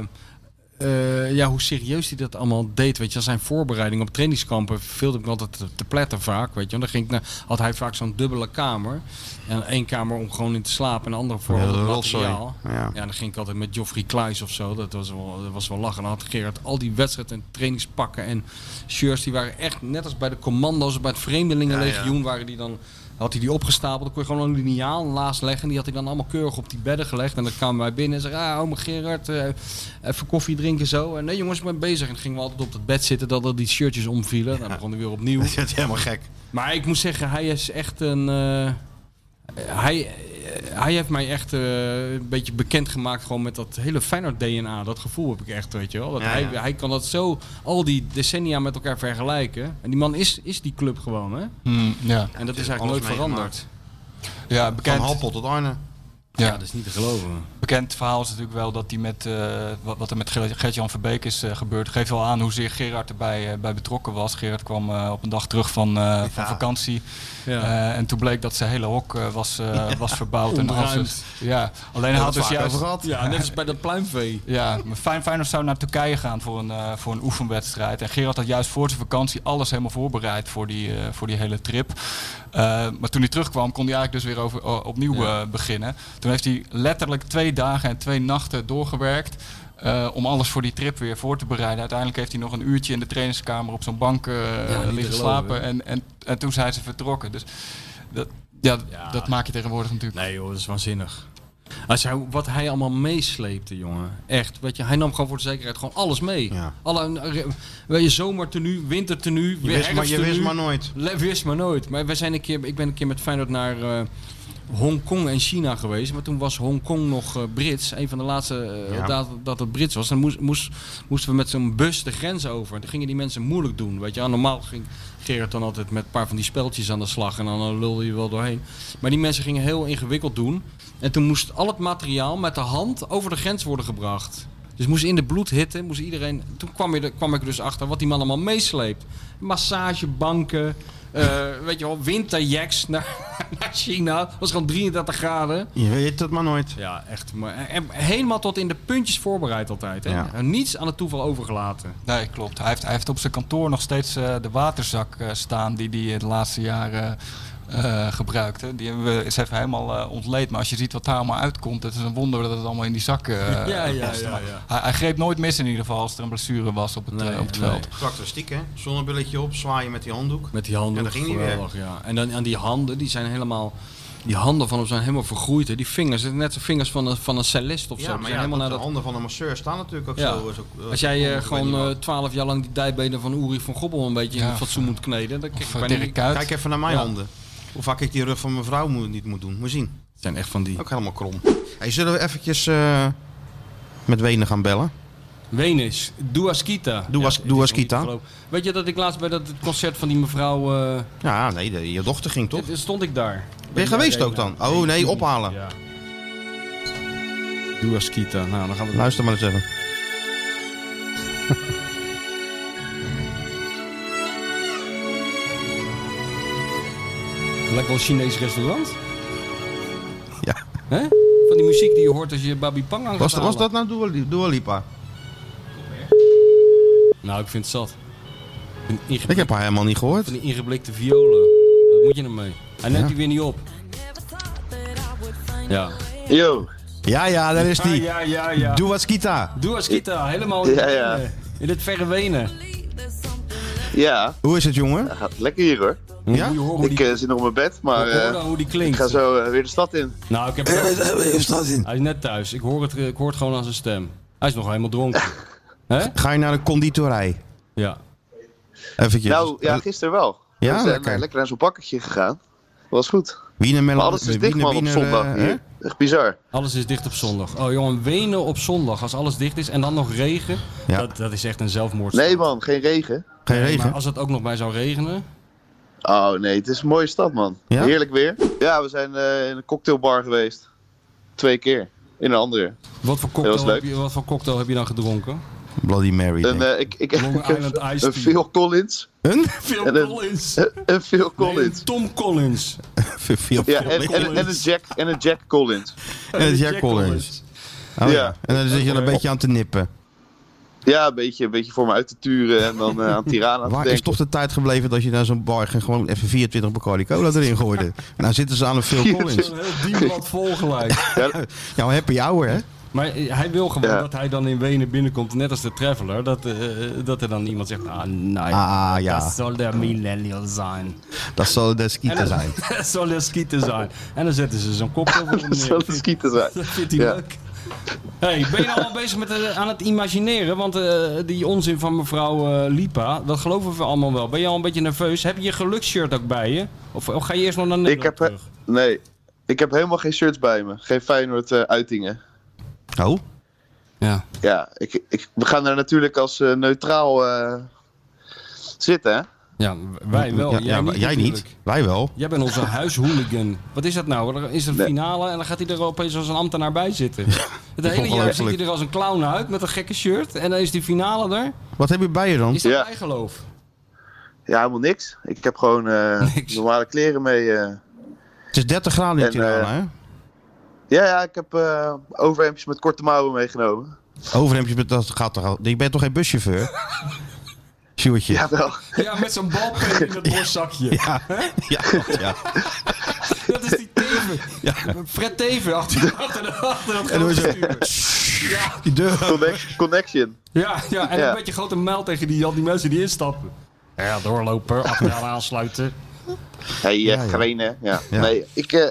[SPEAKER 5] eh, ja, hoe serieus hij dat allemaal deed. Weet je, als zijn voorbereiding op trainingskampen viel ik me altijd te, te pletten vaak. Weet je. En dan ging ik naar, had hij vaak zo'n dubbele kamer. En één kamer om gewoon in te slapen en een andere voor
[SPEAKER 4] Ja,
[SPEAKER 5] al het
[SPEAKER 4] dat rotzooi.
[SPEAKER 5] materiaal.
[SPEAKER 4] Ja.
[SPEAKER 5] Ja, dan ging ik altijd met Geoffrey Kluis of zo. Dat was wel, dat was wel lachen. Dan had Gerard al die wedstrijd en trainingspakken en shirts. Die waren echt net als bij de commando's, bij het Vreemdelingenlegioen.
[SPEAKER 6] Ja, ja.
[SPEAKER 5] waren die dan, had hij die opgestapeld. Dan kon je gewoon een liniaal naast leggen. Die had hij dan allemaal keurig op die bedden gelegd. En dan kwamen wij binnen en zeiden, ah, oma Gerard, eh, even koffie drinken zo. En nee jongens, ik ben bezig. En dan gingen we altijd op het bed zitten dat er die shirtjes omvielen. Dan begon hij weer opnieuw. Dat
[SPEAKER 4] is helemaal gek.
[SPEAKER 5] Maar ik moet zeggen, hij is echt een... eh, hij, hij heeft mij echt eh, een beetje bekend gemaakt gewoon met dat hele Feyenoord DNA. Dat gevoel heb ik echt, weet je wel. Dat
[SPEAKER 6] Ja,
[SPEAKER 5] hij,
[SPEAKER 6] ja.
[SPEAKER 5] hij kan dat zo al die decennia met elkaar vergelijken. En die man is, is die club gewoon, hè?
[SPEAKER 14] Hmm, ja.
[SPEAKER 5] En dat is
[SPEAKER 4] Alles
[SPEAKER 5] eigenlijk nooit veranderd.
[SPEAKER 4] meegemaakt.
[SPEAKER 14] Ja, bekend.
[SPEAKER 4] Van Happel tot Arne.
[SPEAKER 5] Ja, dat is niet te geloven.
[SPEAKER 14] Bekend verhaal is natuurlijk wel dat die met, eh, wat, wat er met Ger- Gert-Jan Verbeek is eh, gebeurd. Geeft wel aan hoezeer Gerard erbij eh, bij betrokken was. Gerard kwam eh, op een dag terug van, eh, van vakantie.
[SPEAKER 5] Ja.
[SPEAKER 14] Eh, en toen bleek dat zijn hele hok eh, was, eh, was verbouwd. en
[SPEAKER 5] Ontruimd.
[SPEAKER 14] alles. ja, alleen
[SPEAKER 5] Hebben
[SPEAKER 14] hij
[SPEAKER 5] we
[SPEAKER 14] had
[SPEAKER 5] het
[SPEAKER 14] dus
[SPEAKER 5] vaak
[SPEAKER 14] juist...
[SPEAKER 5] over gehad. Ja, net als bij dat pluimvee.
[SPEAKER 14] Ja, maar Fijn Feyenoord zou naar Turkije gaan voor een, eh, voor een oefenwedstrijd. En Gerard had juist voor zijn vakantie alles helemaal voorbereid voor die, eh, voor die hele trip. Eh, maar toen hij terugkwam, kon hij eigenlijk dus weer over, o- opnieuw
[SPEAKER 5] Ja.
[SPEAKER 14] eh, beginnen. Toen heeft hij letterlijk twee dagen en twee nachten doorgewerkt. eh, om alles voor die trip weer voor te bereiden. Uiteindelijk heeft hij nog een uurtje in de trainingskamer op zo'n bank eh,
[SPEAKER 5] niet te
[SPEAKER 14] liggen
[SPEAKER 5] geloven.
[SPEAKER 14] slapen. En, en, en toen zijn ze vertrokken. Dus dat, ja, dat maak je tegenwoordig natuurlijk.
[SPEAKER 5] Nee joh, dat is waanzinnig. Als hij, wat hij allemaal meesleepte, jongen. Echt. Weet je, hij nam gewoon voor de zekerheid gewoon alles mee. Alle, weet je, zomertenu, wintertenu,
[SPEAKER 4] Je wist maar- je
[SPEAKER 5] herfsttenue.
[SPEAKER 4] wist maar nooit.
[SPEAKER 5] Le, wist maar nooit. Maar wij zijn een keer, ik ben een keer met Feyenoord naar eh, Hongkong en China geweest. Maar toen was Hongkong nog eh, Brits. Een van de laatste eh,
[SPEAKER 6] Ja.
[SPEAKER 5] dat, dat het Brits was. Dan moest, moest, moesten we met zo'n bus de grens over. En toen gingen die mensen moeilijk doen. Weet je, wel. normaal ging Gerard dan altijd met een paar van die speltjes aan de slag. En dan eh, lulde je wel doorheen. Maar die mensen gingen heel ingewikkeld doen. En toen moest al het materiaal met de hand over de grens worden gebracht. Dus moest in de bloedhitte, moest iedereen... Toen kwam, je, er- kwam ik er dus achter wat die man allemaal meesleept. Massagebanken, eh, weet je wel, winterjacks naar, naar China. Dat was gewoon 33 graden.
[SPEAKER 4] Je weet het maar nooit.
[SPEAKER 5] Ja, echt. Maar, en helemaal tot in de puntjes voorbereid altijd. Hè?
[SPEAKER 14] Ja.
[SPEAKER 5] En Niets aan het toeval overgelaten.
[SPEAKER 14] Nee, klopt. Hij heeft, hij heeft op zijn kantoor nog steeds eh, de waterzak eh, staan die hij de laatste jaren eh, gebruikte. Die hebben we is even helemaal eh, ontleed. Maar als je ziet wat daar allemaal uitkomt, het is een wonder dat het allemaal in die zak eh
[SPEAKER 5] Ja, ja, ja,
[SPEAKER 14] paste. Maar
[SPEAKER 5] ja.
[SPEAKER 14] Hij, hij greep nooit mis in ieder geval als er een blessure was op het, eh, op het veld.
[SPEAKER 4] Karakteristiek, hè? Zonnebrilletje op, zwaaien met die handdoek.
[SPEAKER 5] Met die handen.
[SPEAKER 4] En dan ging hij
[SPEAKER 5] geweldig,
[SPEAKER 4] weer.
[SPEAKER 5] ja. En dan aan die handen, die zijn helemaal. Die handen van hem zijn helemaal vergroeid. Hè. Die vingers, het zijn net de vingers van een, van een cellist of zo.
[SPEAKER 4] Ja,
[SPEAKER 5] Die
[SPEAKER 4] maar
[SPEAKER 5] zijn
[SPEAKER 4] ja,
[SPEAKER 5] helemaal
[SPEAKER 4] dat
[SPEAKER 5] naar
[SPEAKER 4] de
[SPEAKER 5] dat-
[SPEAKER 4] handen van een masseur staan natuurlijk ook
[SPEAKER 5] Ja.
[SPEAKER 4] zo, zo. eh,
[SPEAKER 5] Als jij eh,
[SPEAKER 4] ik weet niet
[SPEAKER 5] gewoon
[SPEAKER 4] wat.
[SPEAKER 5] twaalf jaar lang die dijbenen van Uri van Gobbel een beetje in fatsoen moet kneden, dan krijg je bijna niet-
[SPEAKER 4] Kijk even naar mijn
[SPEAKER 5] Ja.
[SPEAKER 4] handen. Hoe vaak ik die rug van mijn vrouw moet, niet moet doen. Moet je zien.
[SPEAKER 5] Het zijn echt van die.
[SPEAKER 4] Ook helemaal krom. Hey, zullen we eventjes eh, met Wenen gaan bellen?
[SPEAKER 5] Wenis, Duaskita.
[SPEAKER 4] Duas, Duaskita.
[SPEAKER 5] Weet je dat ik laatst bij dat concert van die mevrouw. eh,
[SPEAKER 4] Ja, nee, de- je dochter ging toch?
[SPEAKER 5] dit- stond ik daar.
[SPEAKER 4] Ben je geweest ook dan? Oh nee, ophalen.
[SPEAKER 5] Ja. Duaskita. Nou, dan gaan we
[SPEAKER 4] Luister maar eens even.
[SPEAKER 5] Lijkt wel een Chinees restaurant.
[SPEAKER 3] Ja.
[SPEAKER 5] Hè? Van die muziek die je hoort als je Babi Pang aan
[SPEAKER 3] Was, dat- was dat nou Dua Li- Dua Lipa?
[SPEAKER 5] Nou, ik vind het zat. Een ingeblik-
[SPEAKER 3] Ik heb haar helemaal niet gehoord.
[SPEAKER 5] Van die ingeblikte violen. Wat moet je ermee? Hij neemt
[SPEAKER 3] Ja.
[SPEAKER 5] die weer niet op. Ja.
[SPEAKER 3] Yo. Ja, Ah ja, daar is die.
[SPEAKER 5] Ja, ja, ja.
[SPEAKER 3] Doe wat skita.
[SPEAKER 5] Doe als Kita, helemaal
[SPEAKER 23] Ja, ja.
[SPEAKER 5] in het verre Wenen.
[SPEAKER 23] Ja.
[SPEAKER 3] Hoe is het, jongen?
[SPEAKER 23] Dat gaat lekker hier, hoor.
[SPEAKER 3] Ja?
[SPEAKER 23] Ik eh, zit nog op mijn bed, maar
[SPEAKER 5] Ik hoor
[SPEAKER 23] eh,
[SPEAKER 5] nou hoe die klinkt.
[SPEAKER 23] ik ga zo eh, weer de stad in.
[SPEAKER 5] Nou, ik heb Hij is net thuis. Ik hoor het, eh, ik hoor het gewoon aan zijn stem. Hij is nog helemaal dronken. Hè?
[SPEAKER 3] Ga je naar een conditorij?
[SPEAKER 5] Ja.
[SPEAKER 3] Eventjes.
[SPEAKER 23] Nou, ja, gisteren wel.
[SPEAKER 3] Ja,
[SPEAKER 23] we zijn
[SPEAKER 3] lekker.
[SPEAKER 23] eh, lekker naar zo'n bakketje gegaan. Was goed.
[SPEAKER 3] Wiener melon-
[SPEAKER 23] Maar alles is dicht,
[SPEAKER 3] wiener-
[SPEAKER 23] man, op
[SPEAKER 3] wiener,
[SPEAKER 23] zondag.
[SPEAKER 3] eh,
[SPEAKER 23] hier. Echt bizar.
[SPEAKER 5] Alles is dicht op zondag. Oh jongen, Wenen op zondag. Als alles dicht is en dan nog regen.
[SPEAKER 3] Ja.
[SPEAKER 5] Dat, dat is echt een zelfmoord.
[SPEAKER 23] Nee, man, geen regen.
[SPEAKER 3] Geen
[SPEAKER 5] Maar als het ook nog bij zou regenen.
[SPEAKER 23] Oh nee, het is een mooie stad, man.
[SPEAKER 5] Ja?
[SPEAKER 23] Heerlijk weer. Ja, we zijn eh, in een cocktailbar geweest. Twee keer. In een andere.
[SPEAKER 5] Wat voor,
[SPEAKER 23] Dat was
[SPEAKER 5] cocktail
[SPEAKER 23] leuk.
[SPEAKER 5] heb je, wat voor cocktail heb je dan gedronken?
[SPEAKER 3] Bloody Mary.
[SPEAKER 23] Een,
[SPEAKER 3] denk ik.
[SPEAKER 23] eh, ik, ik,
[SPEAKER 5] Long Island Iced
[SPEAKER 23] een
[SPEAKER 5] Tea.
[SPEAKER 23] Phil Collins.
[SPEAKER 3] Een?
[SPEAKER 23] En
[SPEAKER 5] Phil
[SPEAKER 23] een-
[SPEAKER 5] Collins.
[SPEAKER 23] Een, een Phil Collins.
[SPEAKER 5] Tom Collins.
[SPEAKER 3] Veel- veel-
[SPEAKER 23] Ja, en, en, en, een Jack, en een Jack Collins.
[SPEAKER 3] En het Jack Collins. Oh, ja.
[SPEAKER 23] Ja.
[SPEAKER 3] En dan zit je er een beetje aan te nippen.
[SPEAKER 23] Ja, een beetje, een beetje voor me uit te turen en dan eh, aan Tirana te
[SPEAKER 3] Waar is
[SPEAKER 23] denken.
[SPEAKER 3] toch de tijd gebleven dat je naar zo'n bar ging gewoon even 24 Bacardi Cola erin gooide? nou zitten ze aan een Phil Collins.
[SPEAKER 5] Een heel dienblad vol gelijk.
[SPEAKER 3] Ja, maar happy hour, hè?
[SPEAKER 5] Maar eh, hij wil gewoon
[SPEAKER 3] Ja.
[SPEAKER 5] dat hij dan in Wenen binnenkomt, net als de Traveler. Dat, eh, dat er dan iemand zegt, ah nee,
[SPEAKER 3] Ah, ja.
[SPEAKER 5] dat zal de millennial zijn.
[SPEAKER 3] Dat zal de
[SPEAKER 5] En
[SPEAKER 3] skieten
[SPEAKER 5] dan-
[SPEAKER 3] zijn.
[SPEAKER 5] dat zal de skieten zijn. En dan zetten ze zo'n kop over hem
[SPEAKER 23] Dat zal de skieten zijn.
[SPEAKER 5] Dat vindt hij
[SPEAKER 23] Ja.
[SPEAKER 5] leuk. hey, ben je nou al bezig met eh, aan het imagineren? Want eh, die onzin van mevrouw eh, Lipa, dat geloven we allemaal wel. Ben je al een beetje nerveus? Heb je je geluksshirt ook bij je? Of, of ga je eerst nog naar Nederland
[SPEAKER 23] Ik heb, eh,
[SPEAKER 5] terug?
[SPEAKER 23] nee, ik heb helemaal geen shirts bij me. Geen Feyenoord eh, uitingen.
[SPEAKER 3] Oh?
[SPEAKER 5] Ja.
[SPEAKER 23] Ja, ik, ik, we gaan daar natuurlijk als eh, neutraal eh, zitten, hè?
[SPEAKER 5] Ja, wij wel.
[SPEAKER 3] Ja,
[SPEAKER 5] jij
[SPEAKER 3] ja,
[SPEAKER 5] niet,
[SPEAKER 3] jij niet.
[SPEAKER 5] natuurlijk.
[SPEAKER 3] Wij wel.
[SPEAKER 5] Jij bent onze huishooligan. Wat is dat nou? Er is een finale en dan gaat hij er opeens als een ambtenaar bij zitten. Het hele jaar ziet hij
[SPEAKER 3] Ongelooflijk.
[SPEAKER 5] er als een clown uit met een gekke shirt. En dan is die finale er.
[SPEAKER 3] Wat heb je bij je dan?
[SPEAKER 5] Is dat bijgeloof?
[SPEAKER 23] Ja, helemaal niks. Ik heb gewoon eh, normale kleren mee. eh.
[SPEAKER 3] Het is 30 graden in
[SPEAKER 23] En,
[SPEAKER 3] Tirana,
[SPEAKER 23] eh,
[SPEAKER 3] hè?
[SPEAKER 23] Ja, ja, ik heb eh overhemdjes met korte mouwen meegenomen.
[SPEAKER 3] Overhemdjes, met- dat gaat toch al. Je bent toch geen buschauffeur? Sjoertje.
[SPEAKER 23] Ja, wel.
[SPEAKER 5] Ja, met zo'n balpen in het borstzakje.
[SPEAKER 3] Ja. Ja, ja.
[SPEAKER 5] Dat is die Teven. Fred Teven achter, achter, achter dat
[SPEAKER 23] En hoe
[SPEAKER 5] grote
[SPEAKER 23] is het?
[SPEAKER 5] stuur. Ja.
[SPEAKER 3] Die
[SPEAKER 23] Connection.
[SPEAKER 5] Ja, ja, en
[SPEAKER 23] Ja.
[SPEAKER 5] een beetje grote mijl tegen die, al die mensen die instappen. Ja, doorlopen, achteraan aansluiten.
[SPEAKER 23] Hey,
[SPEAKER 5] Ja,
[SPEAKER 23] ja,
[SPEAKER 5] ja.
[SPEAKER 23] Grenen. Ja.
[SPEAKER 5] Ja.
[SPEAKER 23] Nee, ik, eh,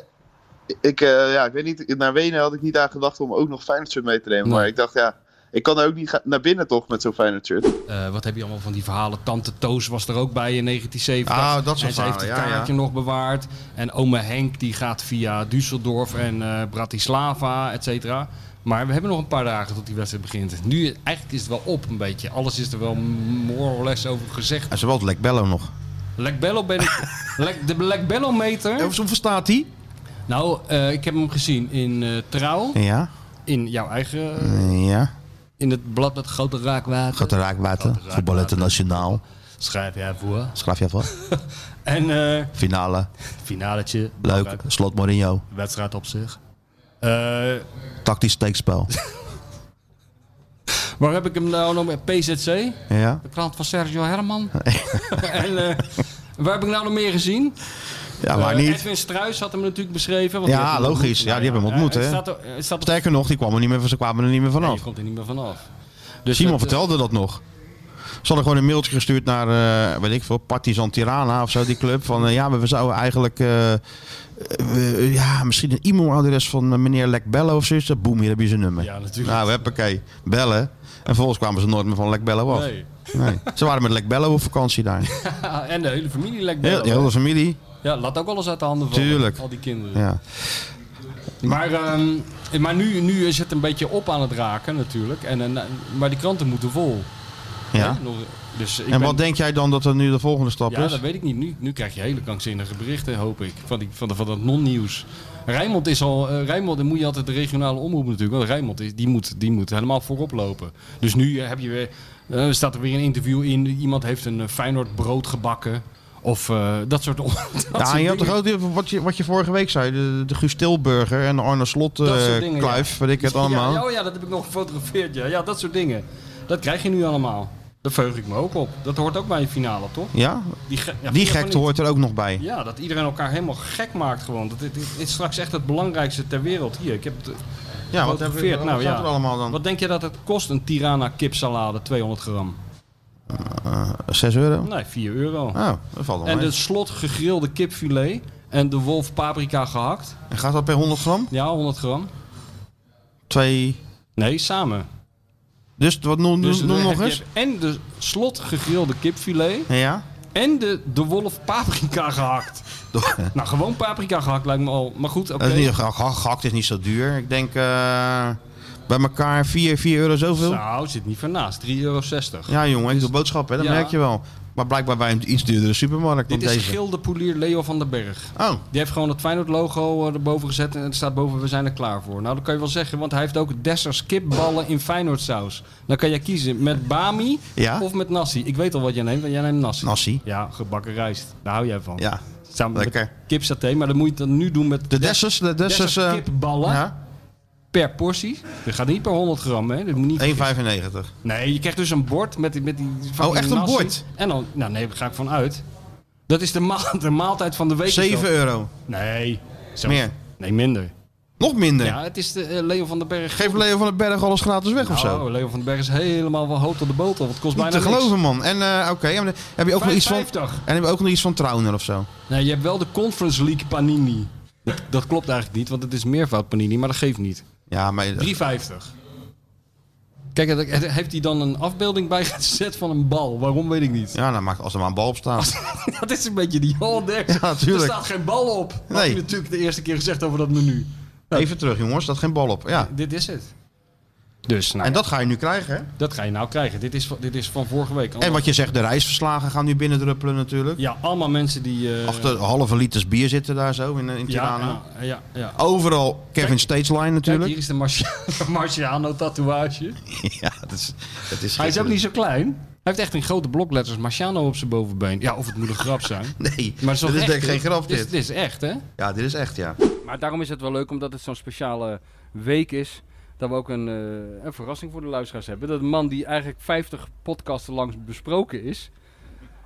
[SPEAKER 23] ik, eh, ja, ik weet niet, naar Wenen had ik niet aan gedacht om ook nog Feyenoord shirt mee te nemen. Maar ik dacht, ja, ik kan er ook niet ga- naar binnen toch met zo'n Feyenoord shirt.
[SPEAKER 5] Eh, wat heb je allemaal van die verhalen? Tante Toos was er ook bij in 1970.
[SPEAKER 23] Ah, dat soort
[SPEAKER 5] En ze heeft het
[SPEAKER 23] verhalen, ja,
[SPEAKER 5] kaartje nog bewaard. En ome Henk die gaat via Düsseldorf en eh, Bratislava, et cetera. Maar we hebben nog een paar dagen tot die wedstrijd begint. Nu eigenlijk is het wel op een beetje. Alles is er wel more or less over gezegd.
[SPEAKER 3] En Ah, ze wel het Lek Bello nog.
[SPEAKER 5] Lek Bello ben ik... Lek- de Lek Bello meter...
[SPEAKER 3] hoeveel staat hij?
[SPEAKER 5] Nou, eh, ik heb hem gezien in eh, Trouw.
[SPEAKER 3] Ja.
[SPEAKER 5] In jouw eigen...
[SPEAKER 3] Ja.
[SPEAKER 5] In het blad met grote raakwater.
[SPEAKER 3] Grote raakwater. Voetbal internationaal.
[SPEAKER 5] Schrijf jij voor.
[SPEAKER 3] Schrijf je voor.
[SPEAKER 5] En... eh,
[SPEAKER 3] Finale.
[SPEAKER 5] Finaletje.
[SPEAKER 3] Leuk. Slot Mourinho.
[SPEAKER 5] Wedstrijd op zich. Eh,
[SPEAKER 3] Tactisch steekspel.
[SPEAKER 5] waar heb ik hem nou nog meer? PZC?
[SPEAKER 3] Ja.
[SPEAKER 5] De krant van Sergio Herman. en eh, waar heb ik nou nog meer gezien?
[SPEAKER 3] Ja, waar
[SPEAKER 5] Eh,
[SPEAKER 3] niet?
[SPEAKER 5] Edwin Struis had hem natuurlijk beschreven. want die heeft
[SPEAKER 3] Ja,
[SPEAKER 5] hem
[SPEAKER 3] logisch.
[SPEAKER 5] ontmoet.
[SPEAKER 3] Ja, die hebben hem ontmoet,
[SPEAKER 5] eh,
[SPEAKER 3] hè?
[SPEAKER 5] het staat er- het staat er-
[SPEAKER 3] Sterker nog, die kwamen er niet meer, ze kwamen er niet meer
[SPEAKER 5] Nee,
[SPEAKER 3] vanaf.
[SPEAKER 5] je komt er niet meer vanaf.
[SPEAKER 3] Simon
[SPEAKER 5] dat, eh,
[SPEAKER 3] vertelde dat nog. Ze hadden gewoon een mailtje gestuurd naar, eh weet ik veel, Partizan Tirana of zo, die club. Van, eh, ja, maar we zouden eigenlijk, eh, eh, we- ja, misschien een e-mailadres van eh, meneer Lek Bello of zoiets. Boem, hier heb je zijn nummer.
[SPEAKER 5] Ja, natuurlijk.
[SPEAKER 3] Nou, hoppakee, bellen. En vervolgens kwamen ze nooit meer van Lek Bello af.
[SPEAKER 5] Nee.
[SPEAKER 3] Nee. Ze waren met Lek Bello op vakantie daar.
[SPEAKER 5] en de hele familie lijkt
[SPEAKER 3] Heel,
[SPEAKER 5] wel.
[SPEAKER 3] heel de familie.
[SPEAKER 5] Ja, laat ook alles uit de handen vallen.
[SPEAKER 3] Tuurlijk.
[SPEAKER 5] Al die kinderen.
[SPEAKER 3] Ja.
[SPEAKER 5] Maar, ehm, maar nu, nu is het een beetje op aan het raken natuurlijk. En, en, maar die kranten moeten vol.
[SPEAKER 3] Ja.
[SPEAKER 5] Hè? Nog- Dus ik
[SPEAKER 3] En
[SPEAKER 5] ben-
[SPEAKER 3] wat denk jij dan dat er nu de volgende stap
[SPEAKER 5] Ja,
[SPEAKER 3] is?
[SPEAKER 5] dat weet ik niet. Nu, nu krijg je hele krankzinnige berichten, hoop ik. Van, die, van, de- van dat non-nieuws. Rijnmond is al... eh Rijnmond, dan moet je altijd de regionale omroep natuurlijk. Want Rijnmond is, die moet, die moet helemaal voorop lopen. Dus nu eh, heb je weer, eh, staat er weer een interview in. Iemand heeft een eh, Feyenoord brood gebakken.
[SPEAKER 30] Of eh, dat soort on- dat soort
[SPEAKER 3] ja, en je
[SPEAKER 30] dingen.
[SPEAKER 3] had toch ook die- wat je, wat je vorige week zei, de, de Guus Tilburger en de Arne Slot eh,
[SPEAKER 5] Dat soort dingen, ja.
[SPEAKER 3] kluif, weet ik het
[SPEAKER 5] Ja,
[SPEAKER 3] allemaal.
[SPEAKER 5] Ja, oh ja, dat heb ik nog gefotografeerd. Ja. ja, dat soort dingen. Dat krijg je nu allemaal. Daar veug ik me ook op. Dat hoort ook bij een finale, toch?
[SPEAKER 3] Ja?
[SPEAKER 5] Die, ge- ja, vind
[SPEAKER 3] Die
[SPEAKER 5] je van
[SPEAKER 3] gekte
[SPEAKER 5] niet?
[SPEAKER 3] hoort er ook nog bij.
[SPEAKER 5] Ja, dat iedereen elkaar helemaal gek maakt gewoon. Dat dit- dit is straks echt het belangrijkste ter wereld. Hier, ik heb het eh,
[SPEAKER 3] Ja, wat hebben we-
[SPEAKER 5] gefotografeerd.
[SPEAKER 3] wat
[SPEAKER 5] nou,
[SPEAKER 3] staat
[SPEAKER 5] ja.
[SPEAKER 3] er allemaal dan?
[SPEAKER 5] Wat denk je dat het kost, een Tirana kipsalade, 200 gram?
[SPEAKER 3] Eh, 6 euro?
[SPEAKER 5] Nee, 4 euro.
[SPEAKER 3] Oh, dat valt wel
[SPEAKER 5] En
[SPEAKER 3] mee.
[SPEAKER 5] de slot gegrilde kipfilet en de wolf paprika gehakt.
[SPEAKER 3] En gaat dat per 100 gram?
[SPEAKER 5] Ja, 100 gram.
[SPEAKER 3] Twee...
[SPEAKER 5] Nee, samen.
[SPEAKER 3] Dus wat noem,
[SPEAKER 5] Dus
[SPEAKER 3] noem
[SPEAKER 5] dan
[SPEAKER 3] nog
[SPEAKER 5] heb je
[SPEAKER 3] eens?
[SPEAKER 5] En de slot gegrilde kipfilet.
[SPEAKER 3] Ja?
[SPEAKER 5] En de, de wolf paprika gehakt. nou, gewoon paprika gehakt lijkt me al. Maar goed, oké.
[SPEAKER 3] Dat is niet, geha- gehakt is niet zo duur. Ik denk eh, bij elkaar 4, 4 euro zoveel.
[SPEAKER 5] Nou, zit niet van naast. 3,60 euro.
[SPEAKER 3] Ja jongen, ik doe boodschappen, hè, dat
[SPEAKER 5] Ja.
[SPEAKER 3] merk je wel. Maar blijkbaar bij een iets duurdere supermarkt dan
[SPEAKER 5] Dit is
[SPEAKER 3] deze.
[SPEAKER 5] Gildepoelier Leo van den Berg.
[SPEAKER 3] Oh.
[SPEAKER 5] Die heeft gewoon het Feyenoord logo eh, erboven gezet en het staat boven we zijn er klaar voor. Nou, dat kan je wel zeggen, want hij heeft ook Dessers kipballen in Feyenoord saus. Dan kan je kiezen met bami
[SPEAKER 3] Ja.
[SPEAKER 5] of met nasi. Ik weet al wat jij neemt, want jij neemt nasi.
[SPEAKER 3] Nasi.
[SPEAKER 5] Ja, gebakken rijst. Daar hou jij van.
[SPEAKER 3] Ja,
[SPEAKER 5] Samen
[SPEAKER 3] lekker.
[SPEAKER 5] met kipsaté, maar dan moet je dat nu doen met
[SPEAKER 3] De Dessers, de Dessers, eh,
[SPEAKER 5] kipballen. Per portie. Dit gaat niet per 100 gram, hè? Dit moet niet
[SPEAKER 3] 1,95.
[SPEAKER 5] Nee, je krijgt dus een bord met die. Met die fucking
[SPEAKER 3] Oh, echt een
[SPEAKER 5] nasi.
[SPEAKER 3] bord?
[SPEAKER 5] En dan, nou nee, daar ga ik van uit. Dat is de, maal- de maaltijd van de week. is dat.
[SPEAKER 3] 7 euro.
[SPEAKER 5] Nee. Zo.
[SPEAKER 3] Meer.
[SPEAKER 5] Nee, minder.
[SPEAKER 3] Nog minder?
[SPEAKER 5] Ja, het is de eh, Leo van den Berg.
[SPEAKER 3] Geef Leo van den Berg alles gratis weg of zo?
[SPEAKER 5] Nou, Leo van den Berg is helemaal van hoofd tot de botel. Het kost
[SPEAKER 3] Niet
[SPEAKER 5] bijna
[SPEAKER 3] te
[SPEAKER 5] niks.
[SPEAKER 3] geloven man. En eh, oké, en dan heb je ook nog iets van...
[SPEAKER 5] 55.
[SPEAKER 3] En heb je ook nog iets van Trauner of zo?
[SPEAKER 5] Nee, je hebt wel de Conference League Panini. Dat, dat klopt eigenlijk niet, want het is meervoud Panini, maar dat geeft niet.
[SPEAKER 3] Ja, maar...
[SPEAKER 5] 3,50. Kijk, het- het- heeft hij dan een afbeelding bijgezet van een bal? Waarom weet ik niet.
[SPEAKER 3] Ja, dan maakt als er maar een bal op staat.
[SPEAKER 5] dat is een beetje die Hollandex.
[SPEAKER 3] natuurlijk.
[SPEAKER 5] Er staat geen bal op. Had
[SPEAKER 3] Nee.
[SPEAKER 5] hij natuurlijk de eerste keer gezegd over dat menu. Nou,
[SPEAKER 3] Even terug jongens, dat geen bal op. Ja.
[SPEAKER 5] Dit is het. Dus, nou
[SPEAKER 3] en dat ga je nu krijgen hè?
[SPEAKER 5] Dat ga je nou krijgen. Dit is, van- dit is van vorige week.
[SPEAKER 3] En wat je zegt, de reisverslagen gaan nu binnendruppelen natuurlijk.
[SPEAKER 5] Ja, allemaal mensen die... eh,
[SPEAKER 3] Achter halve liters bier zitten daar zo in, eh, in
[SPEAKER 5] ja,
[SPEAKER 3] Tirana.
[SPEAKER 5] ja, ja, ja.
[SPEAKER 3] Overal Kevin Stageline
[SPEAKER 5] Kijk,
[SPEAKER 3] natuurlijk.
[SPEAKER 5] hier is de Marcia- Marciano tatoeage.
[SPEAKER 3] ja, dat is, dat is...
[SPEAKER 5] Hij is ook niet zo klein. Hij heeft echt in grote blokletters Marciano op zijn bovenbeen. Ja, of het moet een grap zijn.
[SPEAKER 3] Nee,
[SPEAKER 5] maar
[SPEAKER 3] dit
[SPEAKER 5] het wel
[SPEAKER 3] is
[SPEAKER 5] echt,
[SPEAKER 3] denk ik geen
[SPEAKER 5] hè?
[SPEAKER 3] grap, dit.
[SPEAKER 5] Dit is echt, hè?
[SPEAKER 3] Ja, dit is echt, ja.
[SPEAKER 5] Maar daarom is het wel leuk, omdat het zo'n speciale week is. Dat we ook een, eh, een verrassing voor de luisteraars hebben. Dat een man die eigenlijk 50 podcasten lang besproken is.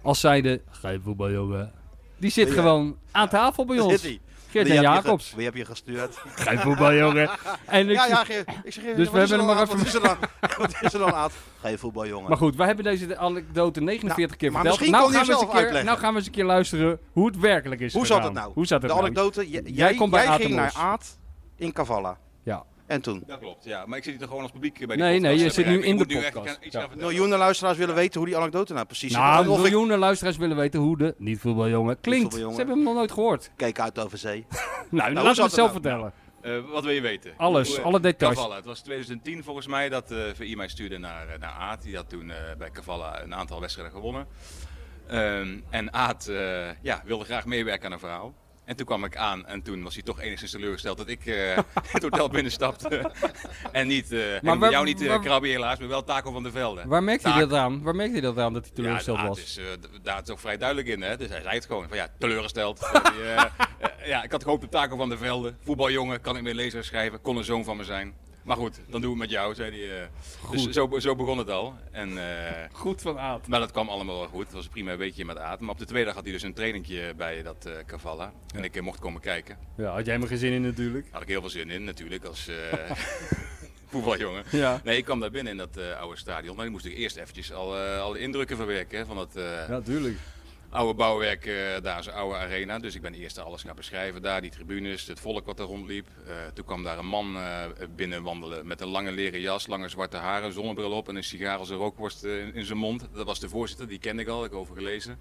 [SPEAKER 5] Als zijde. Ga je voetbal, jongen? Die zit
[SPEAKER 31] Ja.
[SPEAKER 5] gewoon aan tafel bij
[SPEAKER 31] Daar
[SPEAKER 5] ons.
[SPEAKER 31] zit hij.
[SPEAKER 5] Geert
[SPEAKER 31] Wie
[SPEAKER 5] en
[SPEAKER 31] heb je ge-
[SPEAKER 5] Jacobs.
[SPEAKER 31] Wie heb je gestuurd?
[SPEAKER 5] Ga je voetbal, jongen? En ik-
[SPEAKER 31] ja, ja, Geert. Ik zeg, Geert,
[SPEAKER 5] Dus
[SPEAKER 31] wat
[SPEAKER 5] we
[SPEAKER 31] is er
[SPEAKER 5] hebben hem
[SPEAKER 31] dan
[SPEAKER 5] maar
[SPEAKER 31] aan? Wat is er
[SPEAKER 5] even.
[SPEAKER 31] dan? Wat is er dan aan? Ga je voetbal, jongen.
[SPEAKER 5] Maar goed, wij hebben deze anekdote 49 keer
[SPEAKER 31] maar
[SPEAKER 5] verteld.
[SPEAKER 31] misschien
[SPEAKER 5] Nou
[SPEAKER 31] kon hij
[SPEAKER 5] gaan,
[SPEAKER 31] zelf
[SPEAKER 5] we eens een keer,
[SPEAKER 31] uitleggen.
[SPEAKER 5] nou gaan we eens een keer luisteren hoe het werkelijk is
[SPEAKER 31] Hoe zat
[SPEAKER 5] gegaan.
[SPEAKER 31] het nou?
[SPEAKER 5] Hoe zat het
[SPEAKER 31] de
[SPEAKER 5] nou?
[SPEAKER 31] anekdote, j- jij,
[SPEAKER 5] komt bij
[SPEAKER 31] jij ging naar
[SPEAKER 5] Atemos.
[SPEAKER 31] Aad in Cavalla.
[SPEAKER 5] Ja.
[SPEAKER 31] En toen?
[SPEAKER 14] Dat klopt, ja. Maar ik zit hier toch gewoon als publiek bij de
[SPEAKER 5] Nee, nee,
[SPEAKER 31] je zit
[SPEAKER 14] podcast, begrijp
[SPEAKER 31] nu
[SPEAKER 14] ik.
[SPEAKER 31] in
[SPEAKER 14] Ik
[SPEAKER 31] de
[SPEAKER 14] moet nu echt
[SPEAKER 31] podcast.
[SPEAKER 14] aan iets gaan vertellen.
[SPEAKER 31] Miljoenen luisteraars willen weten hoe die anekdote nou precies
[SPEAKER 5] Nou,
[SPEAKER 31] zit. Of ik-
[SPEAKER 5] miljoenen luisteraars willen weten hoe de niet-voetbaljongen klinkt.
[SPEAKER 31] voetbaljongen.
[SPEAKER 5] Ze hebben hem nog nooit gehoord.
[SPEAKER 31] Kijk uit over zee.
[SPEAKER 5] Nou,
[SPEAKER 31] hoe
[SPEAKER 5] laten we
[SPEAKER 31] zat
[SPEAKER 5] het zelf
[SPEAKER 31] nou?
[SPEAKER 5] vertellen.
[SPEAKER 14] Eh, wat wil je weten?
[SPEAKER 5] Alles, alle
[SPEAKER 14] eh,
[SPEAKER 5] details.
[SPEAKER 14] Cavalla. Het was 2010 volgens mij dat eh VI mij stuurde naar, eh, naar Aad. Die had toen eh, bij Cavalla een aantal wedstrijden gewonnen. Ehm, en Aad eh, ja, wilde graag meewerken aan een verhaal. En toen kwam ik aan en toen was hij toch enigszins teleurgesteld dat ik eh, het hotel binnenstapte. en niet, eh, en
[SPEAKER 5] Maar waar-
[SPEAKER 14] jou niet eh
[SPEAKER 5] waar-
[SPEAKER 14] krabben helaas, maar wel Taco van der Velde.
[SPEAKER 5] Waar merkte
[SPEAKER 14] Taco-
[SPEAKER 5] hij dat aan? Waar merkte hij dat aan dat hij teleurgesteld
[SPEAKER 14] Nou, ja, Aad
[SPEAKER 5] was?
[SPEAKER 14] is eh, d- daar toch vrij duidelijk in, hè? Dus hij zei het gewoon. Van, ja, teleurgesteld. Eh, die, eh, eh, ja, ik had gehoopt op Taco van der Velde. Voetbaljongen, kan ik meer lezen en schrijven. Kon een zoon van me zijn. Maar goed, dan doen we het met jou, zei hij. eh. Dus
[SPEAKER 5] Goed.
[SPEAKER 14] zo, be- zo begon het al. En, eh,
[SPEAKER 5] Goed van Aad.
[SPEAKER 14] Maar dat kwam allemaal wel goed. Het was een prima weekje met Aad. Maar op de tweede dag had hij dus een trainingje bij dat eh Cavalla. En ik eh, mocht komen kijken.
[SPEAKER 5] Ja, had jij me geen zin in natuurlijk.
[SPEAKER 14] Daar had ik heel veel zin in, natuurlijk, als eh, voetbaljongen.
[SPEAKER 5] Ja.
[SPEAKER 14] Nee, ik kwam daar binnen in dat eh, oude stadion. Maar dan moest ik eerst eventjes al, eh, alle indrukken verwerken hè, van dat... eh,
[SPEAKER 5] Ja, tuurlijk.
[SPEAKER 14] oude bouwwerk eh, daar, zijn oude arena. Dus ik ben eerst alles gaan beschrijven daar, die tribunes, het volk wat er rondliep. Eh, toen kwam daar een man eh, binnen wandelen met een lange leren jas, lange zwarte haren, zonnebril op en een sigaar als een rookworst eh, in, in zijn mond. Dat was de voorzitter, die kende ik al, heb ik over gelezen.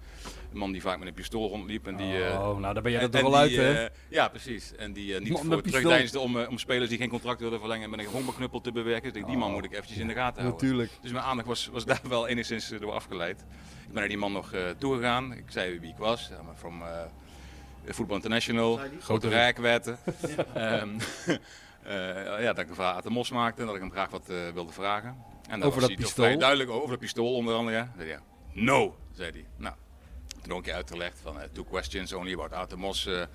[SPEAKER 14] Een man die vaak met een pistool rondliep en die... eh,
[SPEAKER 5] Oh, nou, daar ben jij
[SPEAKER 14] en-
[SPEAKER 5] er toch
[SPEAKER 14] en
[SPEAKER 5] wel uit,
[SPEAKER 14] die,
[SPEAKER 5] hè?
[SPEAKER 14] eh, ja, precies. En die eh, niet
[SPEAKER 5] Man met
[SPEAKER 14] voor
[SPEAKER 5] pistool.
[SPEAKER 14] terugdeinsde om, eh, om spelers die geen contract wilden verlengen met een hongerknuppel te bewerken. Dus ik denk, die man moet ik eventjes in de gaten houden.
[SPEAKER 5] Oh. Natuurlijk.
[SPEAKER 14] Dus mijn aandacht was, was daar wel enigszins eh, door afgeleid. Ik ben naar die man nog toe toegegaan. Ik zei wie ik was. Ja, maar from eh Football International. Grote rijkwetten. Ehm, eh, ja, dat ik een vraag aan de mos maakte en dat ik hem graag wat eh, wilde vragen. En daar
[SPEAKER 5] Over
[SPEAKER 14] was
[SPEAKER 5] dat
[SPEAKER 14] hij toch
[SPEAKER 5] pistool?
[SPEAKER 14] vrij duidelijk over dat pistool onder andere. Ja. Zei hij, ja, no, zei hij. Nou, Toen ook een keer uitgelegd van eh, two questions only about Atemos. eh, eh,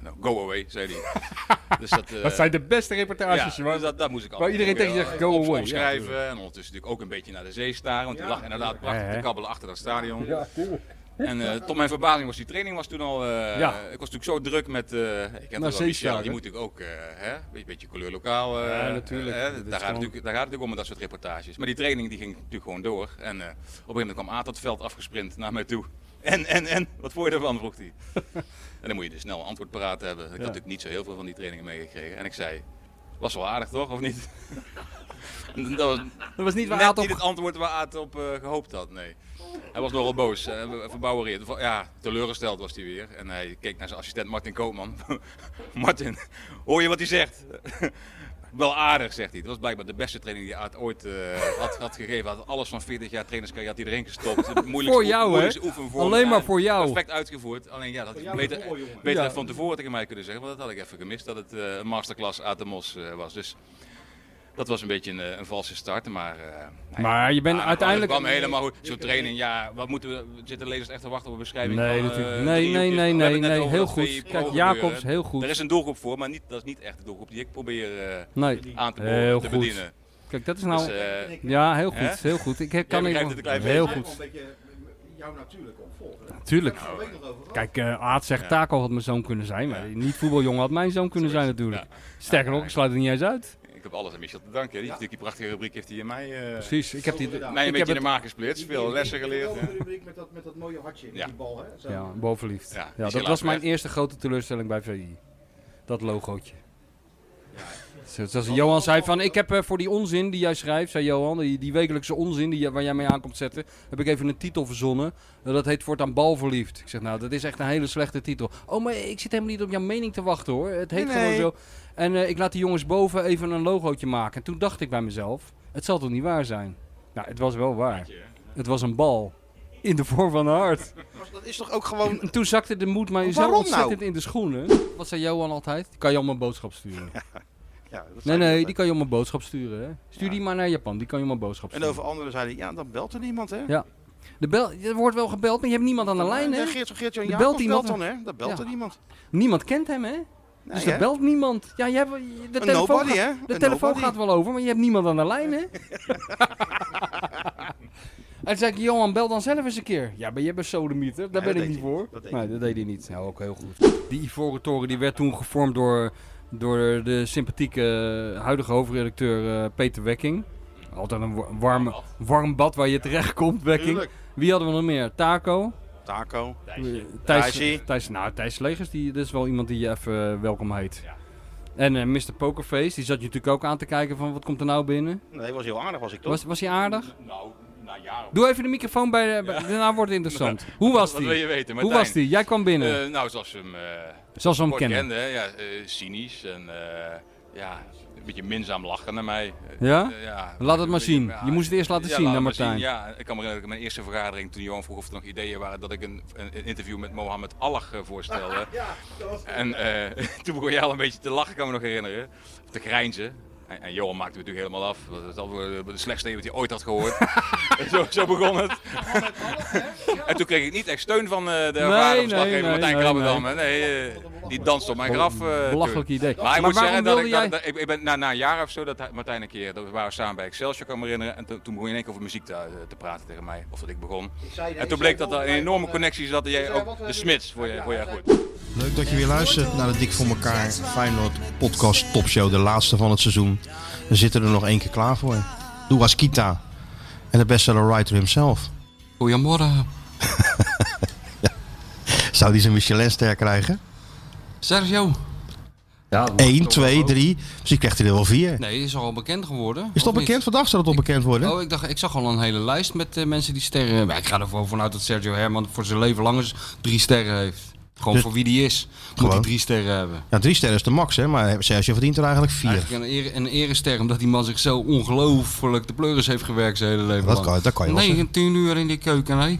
[SPEAKER 14] nou, go away, zei hij. dus eh,
[SPEAKER 5] Dat zijn de beste reportages,
[SPEAKER 14] Ja,
[SPEAKER 5] waar-
[SPEAKER 14] dus dat, dat moest ik
[SPEAKER 5] waar
[SPEAKER 14] altijd
[SPEAKER 5] iedereen tegen je
[SPEAKER 14] proberen,
[SPEAKER 5] zegt, go
[SPEAKER 14] eh, op-
[SPEAKER 5] away.
[SPEAKER 14] Opschrijven
[SPEAKER 5] Ja,
[SPEAKER 14] en ondertussen natuurlijk ook een beetje naar de zee staren. Want die lag inderdaad prachtig
[SPEAKER 5] Ja,
[SPEAKER 14] te
[SPEAKER 5] hè.
[SPEAKER 14] kabbelen achter dat stadion.
[SPEAKER 5] Ja, tuurlijk.
[SPEAKER 14] En eh, tot mijn verbazing was die training was toen al. eh,
[SPEAKER 5] Ja.
[SPEAKER 14] Ik was natuurlijk zo druk met. eh ik ken
[SPEAKER 5] Naar
[SPEAKER 14] dat wel Michel,
[SPEAKER 5] Zeestraat,
[SPEAKER 14] die
[SPEAKER 5] hè?
[SPEAKER 14] moet natuurlijk ook. eh hè, een beetje- beetje kleurlokaal. eh,
[SPEAKER 5] Ja, natuurlijk.
[SPEAKER 14] eh, daar,
[SPEAKER 5] Dit is
[SPEAKER 14] gaat het
[SPEAKER 5] gewoon-
[SPEAKER 14] natuurlijk, daar gaat het ook om met dat soort reportages. Maar die training die ging natuurlijk gewoon door. En eh, op een gegeven moment kwam Aad dat veld afgesprint naar mij toe. En, en, en, wat vond je ervan? vroeg hij. en dan moet je dus snel een antwoord paraat hebben. Ik had natuurlijk niet zo heel veel van die trainingen meegekregen. En ik zei, was wel aardig toch, of niet? dat, was
[SPEAKER 5] Dat was niet waar
[SPEAKER 14] net
[SPEAKER 5] Aad op-
[SPEAKER 14] niet het antwoord waar Aad op eh, gehoopt had, nee. Hij was nogal boos, eh, verbouwereerd. Va- Ja, teleurgesteld was hij weer. En hij keek naar zijn assistent Martin Koopman. Martin, hoor je wat hij zegt? Wel aardig, zegt hij. Het was blijkbaar de beste training die Aad ooit eh, had, had gegeven. Hij had alles van 40 jaar trainerscarrière had hij erin gestopt. Het moeilijkste
[SPEAKER 5] Voor
[SPEAKER 14] oe-
[SPEAKER 5] jou, hè?
[SPEAKER 14] moeilijkste oefenvorm.
[SPEAKER 5] Alleen maar
[SPEAKER 14] Ja,
[SPEAKER 5] voor jou.
[SPEAKER 14] Perfect uitgevoerd. Alleen ja, dat had
[SPEAKER 5] Voor
[SPEAKER 14] je
[SPEAKER 5] jou
[SPEAKER 14] beter,
[SPEAKER 5] ervoor, jongen.
[SPEAKER 14] beter
[SPEAKER 5] Ja.
[SPEAKER 14] even van tevoren tegen mij kunnen zeggen. Want dat had ik even gemist, dat het eh, een masterclass Atemos eh was. Dus dat was een beetje een, eh, een valse start, maar... eh,
[SPEAKER 5] Maar je bent
[SPEAKER 14] Ah,
[SPEAKER 5] uiteindelijk...
[SPEAKER 14] Dat kwam helemaal goed. Zo'n training, ja, wat moeten we... Zitten lezers echt te wachten op een beschrijving?
[SPEAKER 5] Nee,
[SPEAKER 14] van, eh,
[SPEAKER 5] natuurlijk. Nee,
[SPEAKER 14] driehoekjes?
[SPEAKER 5] nee, nee,
[SPEAKER 14] We hebben het
[SPEAKER 5] nee,
[SPEAKER 14] net over
[SPEAKER 5] heel
[SPEAKER 14] dat
[SPEAKER 5] goed.
[SPEAKER 14] VPRO
[SPEAKER 5] Kijk,
[SPEAKER 14] gebeuren.
[SPEAKER 5] Jacobs, heel goed.
[SPEAKER 14] Er is een doelgroep voor, maar niet, dat is niet echt de doelgroep die ik probeer eh,
[SPEAKER 5] Nee,
[SPEAKER 14] aan te,
[SPEAKER 5] heel
[SPEAKER 14] te
[SPEAKER 5] goed.
[SPEAKER 14] bedienen.
[SPEAKER 5] Kijk, dat is nou...
[SPEAKER 14] Dus, eh,
[SPEAKER 5] ja, heel goed,
[SPEAKER 14] hè?
[SPEAKER 5] heel goed. Ik
[SPEAKER 14] Jij
[SPEAKER 5] kan
[SPEAKER 14] begrijpt het
[SPEAKER 5] even-
[SPEAKER 14] een klein
[SPEAKER 5] Heel
[SPEAKER 14] beetje.
[SPEAKER 5] goed.
[SPEAKER 32] Jou natuurlijk opvolgen.
[SPEAKER 5] Tuurlijk.
[SPEAKER 14] Nou,
[SPEAKER 5] Kijk, eh Aad zegt
[SPEAKER 14] Ja.
[SPEAKER 5] Taco had mijn zoon kunnen zijn, maar niet voetbaljongen had mijn zoon kunnen zijn natuurlijk. Sterker nog, ik sluit het niet eens uit.
[SPEAKER 14] Ik heb alles aan Michel te danken. Die, heeft natuurlijk die prachtige rubriek heeft hij in mij... eh,
[SPEAKER 5] Precies, ik heb die-
[SPEAKER 14] Mij een
[SPEAKER 5] ik
[SPEAKER 14] beetje
[SPEAKER 5] heb
[SPEAKER 14] in de
[SPEAKER 5] het-
[SPEAKER 14] maak gesplitst. Veel lessen geleerd. ja.
[SPEAKER 32] rubriek met dat, met dat mooie hartje in
[SPEAKER 14] Ja.
[SPEAKER 32] die bal, hè? Zo.
[SPEAKER 5] Ja, bovenliefd.
[SPEAKER 14] Ja,
[SPEAKER 5] Ja,
[SPEAKER 14] is
[SPEAKER 5] dat
[SPEAKER 14] helaas
[SPEAKER 5] was mijn
[SPEAKER 14] weg.
[SPEAKER 5] eerste grote teleurstelling bij VI. Dat logootje. Zo- Zoals Johan zei van, ik heb eh, voor die onzin die jij schrijft, zei Johan, die, die wekelijkse onzin die, jij- waar jij mee aankomt zetten, heb ik even een titel verzonnen. Eh, dat heet voortaan Balverliefd. Ik zeg, nou, dat is echt een hele slechte titel. Oh, maar ik zit helemaal niet op jouw mening te wachten hoor. Het heet
[SPEAKER 11] Nee,
[SPEAKER 5] gewoon
[SPEAKER 11] nee.
[SPEAKER 5] zo. En eh, ik laat die jongens boven even een logootje maken. En toen dacht ik bij mezelf, het zal toch niet waar zijn? Nou, het was wel waar. Het was een bal. In de vorm van een hart.
[SPEAKER 3] Dat is toch ook gewoon
[SPEAKER 5] En toen zakte de moed mij zo
[SPEAKER 3] Waarom
[SPEAKER 5] ontzettend
[SPEAKER 3] nou?
[SPEAKER 5] in de schoenen. Wat zei Johan altijd? Die kan je allemaal een boodschap sturen.
[SPEAKER 3] Ja, dat
[SPEAKER 5] nee,
[SPEAKER 3] zei
[SPEAKER 5] nee,
[SPEAKER 3] hij
[SPEAKER 5] die kan je allemaal een boodschap sturen. Hè. Stuur die maar naar Japan, die kan je allemaal een boodschap
[SPEAKER 3] En
[SPEAKER 5] sturen.
[SPEAKER 3] over anderen zeiden, ja, dan belt er niemand, hè?
[SPEAKER 5] Ja. De bel, er wordt wel gebeld, maar je hebt niemand aan de
[SPEAKER 3] Ja,
[SPEAKER 5] lijn, hè?
[SPEAKER 3] Geert- Geert-Jan
[SPEAKER 5] Er
[SPEAKER 3] Jacobs belt dan, hè? Dan belt er niemand.
[SPEAKER 5] Niemand kent hem, hè? dus er
[SPEAKER 3] hè?
[SPEAKER 5] belt niemand. Ja, je hebt, je- de
[SPEAKER 3] Een
[SPEAKER 5] telefoon,
[SPEAKER 3] nobody,
[SPEAKER 5] gaat,
[SPEAKER 3] hè?
[SPEAKER 5] De
[SPEAKER 3] Een
[SPEAKER 5] telefoon
[SPEAKER 3] nobody.
[SPEAKER 5] gaat wel over, maar je hebt niemand aan de lijn, hè? en toen zei ik, Johan, bel dan zelf eens een keer. Ja, maar je bent sodemieter, daar
[SPEAKER 11] Nee,
[SPEAKER 5] ben
[SPEAKER 11] dat
[SPEAKER 5] ik
[SPEAKER 11] deed
[SPEAKER 5] niet
[SPEAKER 11] hij
[SPEAKER 5] voor.
[SPEAKER 11] niet. Dat deed
[SPEAKER 5] nee,
[SPEAKER 11] hij
[SPEAKER 5] dat deed hij niet. Nou, ook heel goed. Die Ivoren Toren die werd toen gevormd door, door de sympathieke eh, huidige hoofdredacteur eh, Peter Wekking. Altijd een wa- warm, warm bad waar je terecht komt, Wekking.
[SPEAKER 3] Tuurlijk.
[SPEAKER 5] Wie hadden we nog meer? Taco.
[SPEAKER 3] Taco.
[SPEAKER 5] Thijs, Thijs, nou, Thijs Legers, die, dat is wel iemand die je even eh, welkom heet. En eh, Mr. Pokerface, die zat je natuurlijk ook aan te kijken van wat komt er nou binnen.
[SPEAKER 3] Nee, was heel aardig, was ik toch?
[SPEAKER 5] Was, was hij aardig?
[SPEAKER 14] Nou, na jaren.
[SPEAKER 5] Doe even de microfoon bij de... bij- Daarna wordt het interessant. Hoe was
[SPEAKER 14] Wat
[SPEAKER 5] die?
[SPEAKER 14] wil je weten,
[SPEAKER 5] Hoe
[SPEAKER 14] Martijn?
[SPEAKER 5] was die? Jij kwam binnen.
[SPEAKER 14] Eh, nou, zoals we hem, eh,
[SPEAKER 5] Zoals we hem
[SPEAKER 14] kort
[SPEAKER 5] kennen.
[SPEAKER 14] kenden, hè. ja, eh, cynisch en eh, ja, een beetje minzaam lachen naar mij. Eh,
[SPEAKER 5] Ja?
[SPEAKER 14] eh, ja.
[SPEAKER 5] Laat het maar zien. Je moest het eerst laten
[SPEAKER 14] Ja,
[SPEAKER 5] zien
[SPEAKER 14] laat
[SPEAKER 5] naar
[SPEAKER 14] maar
[SPEAKER 5] Martijn.
[SPEAKER 14] zien. Ja, ik kan me herinneren, mijn eerste vergadering toen Johan vroeg of er nog ideeën waren, dat ik een, een, een interview met Mohammed Allag eh, voorstelde. en eh, toen begon jij al een beetje te lachen, kan me nog herinneren. Of te grijnzen. En, en Johan maakte het natuurlijk helemaal af. Dat was altijd de slechtste idee wat hij ooit had gehoord. zo, zo begon het. en toen kreeg ik niet echt steun van eh, de ervaren
[SPEAKER 5] nee,
[SPEAKER 14] verslaggever
[SPEAKER 5] nee,
[SPEAKER 14] Martijn
[SPEAKER 5] nee,
[SPEAKER 14] Krabbendam. hè. Nee, eh, die danst op mijn graf. eh,
[SPEAKER 5] belachelijk
[SPEAKER 14] toen.
[SPEAKER 5] idee.
[SPEAKER 14] Maar ik
[SPEAKER 5] Maar
[SPEAKER 14] moet zeggen
[SPEAKER 5] waarom
[SPEAKER 14] dat
[SPEAKER 5] wilde
[SPEAKER 14] ik, dat, dat- Nou, ik, ik ben, na, na een jaar of zo, dat hij- Martijn een keer, dat we waren samen bij Excelsior, kan ik me herinneren. En toen toen begon je in één keer over muziek te, eh, te praten tegen mij. Of dat ik begon.
[SPEAKER 3] zei, oh, nee, eh,
[SPEAKER 14] en
[SPEAKER 3] ik
[SPEAKER 14] toen bleek
[SPEAKER 3] zei,
[SPEAKER 14] dat er een enorme connectie zat. dat Jij ook
[SPEAKER 3] eh,
[SPEAKER 14] de Smits voor je, voor je goed.
[SPEAKER 3] Leuk dat je weer luistert naar de Dik voor elkaar Feyenoord podcast topshow. De laatste van het seizoen. We zitten er nog één keer klaar voor. Duas Kita. En de bestseller writer himself.
[SPEAKER 5] Goedemorgen.
[SPEAKER 3] Zou die zijn Michelinster krijgen?
[SPEAKER 5] Sergio.
[SPEAKER 3] Ja,
[SPEAKER 5] dat mag
[SPEAKER 3] 1,
[SPEAKER 5] toch wel
[SPEAKER 3] 2,
[SPEAKER 5] ook.
[SPEAKER 3] 3. Misschien krijgt hij er wel 4.
[SPEAKER 5] Nee, is al bekend geworden.
[SPEAKER 3] Is dat bekend? Vandaag zal dat al bekend worden.
[SPEAKER 5] Oh, ik, dacht, ik zag al een hele lijst met eh, mensen die sterren hebben. Ik ga ervoor vanuit dat Sergio Herman voor zijn leven lang eens drie sterren heeft. Gewoon
[SPEAKER 3] Dus-
[SPEAKER 5] voor wie die is, moet hij
[SPEAKER 3] Gewoon.
[SPEAKER 5] drie sterren hebben.
[SPEAKER 3] Ja, 3 sterren is de max, hè? Maar Sergio verdient er eigenlijk 4.
[SPEAKER 5] Eigenlijk een, ere, een erester, omdat die man zich zo ongelooflijk de pleuris heeft gewerkt zijn hele leven
[SPEAKER 3] Dat
[SPEAKER 5] lang.
[SPEAKER 3] kan- dat kan je wel zeggen.
[SPEAKER 5] 19 uur in die keuken, hè?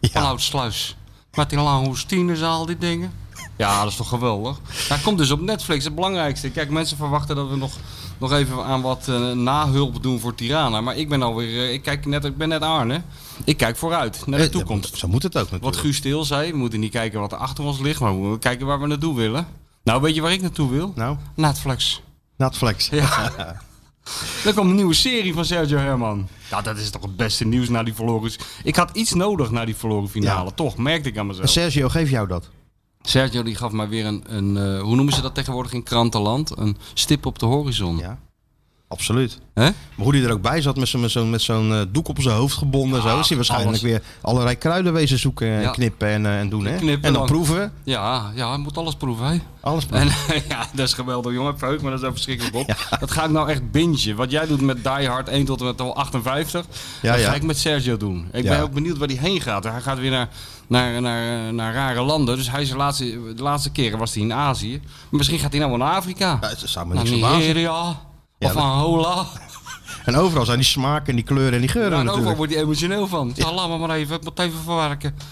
[SPEAKER 5] Vanuit Sluis. Met die lange hoestinezaal, die dingen. Ja, dat is toch geweldig. Hij komt dus op Netflix, het belangrijkste. Kijk, mensen verwachten dat we nog, nog even aan wat eh, nahulp doen voor Tirana. Maar ik ben alweer, eh, ik, kijk net, ik ben net Arne. Ik kijk vooruit naar de toekomst.
[SPEAKER 3] Eh, Zo moet het ook natuurlijk.
[SPEAKER 5] Wat Guus Stil zei, we moeten niet kijken wat er achter ons ligt, maar we moeten kijken waar we naartoe willen. Nou, weet je waar ik naartoe wil?
[SPEAKER 3] Nou?
[SPEAKER 5] Netflix.
[SPEAKER 3] Netflix.
[SPEAKER 5] Ja. Er komt een nieuwe serie van Sergio Herman. Ja, dat is toch het beste nieuws na die verloren... Ik had iets nodig na die verloren finale, toch? Merkte ik aan mezelf.
[SPEAKER 3] Sergio, geef jou dat.
[SPEAKER 5] Sergio die gaf mij weer een, een eh, hoe noemen ze dat tegenwoordig in krantenland? Een stip op de horizon.
[SPEAKER 3] Ja, absoluut.
[SPEAKER 5] Hè?
[SPEAKER 3] Maar hoe hij er ook bij zat met zo'n met zo'n- met zo'n eh, doek op zijn hoofd gebonden. en zo is hij waarschijnlijk
[SPEAKER 5] alles.
[SPEAKER 3] weer allerlei kruiden wezen zoeken en
[SPEAKER 5] Ja.
[SPEAKER 3] knippen en, eh, en doen. Hè?
[SPEAKER 5] Knippen
[SPEAKER 3] en dan proeven.
[SPEAKER 5] Ja, ja, hij moet alles proeven. Hè?
[SPEAKER 3] Alles
[SPEAKER 5] proeven. En, ja, dat is geweldig, jongen. Verheug me daar zo verschrikkelijk op. Dat ga ik nou echt bingen. Wat jij doet met Die Hard 1 tot en met al 58,
[SPEAKER 3] Ja,
[SPEAKER 5] dat
[SPEAKER 3] ja.
[SPEAKER 5] ga ik met Sergio doen. Ik
[SPEAKER 3] Ja.
[SPEAKER 5] ben ook benieuwd waar hij heen gaat. Hij gaat weer naar, naar, naar, naar rare landen. Dus hij is de laatste, de laatste keren was hij in Azië. Maar misschien gaat hij nou wel naar Afrika. Ja,
[SPEAKER 3] het zou me
[SPEAKER 5] naar
[SPEAKER 3] niks verbazen.
[SPEAKER 5] Nigeria.
[SPEAKER 3] Ja,
[SPEAKER 5] Of
[SPEAKER 3] dat-
[SPEAKER 5] Angola.
[SPEAKER 3] En overal zijn die smaken en die kleuren en die geuren
[SPEAKER 5] Ja, en overal
[SPEAKER 3] natuurlijk.
[SPEAKER 5] wordt hij emotioneel van. Ja, laat me maar even, ik moet even verwerken.
[SPEAKER 3] Het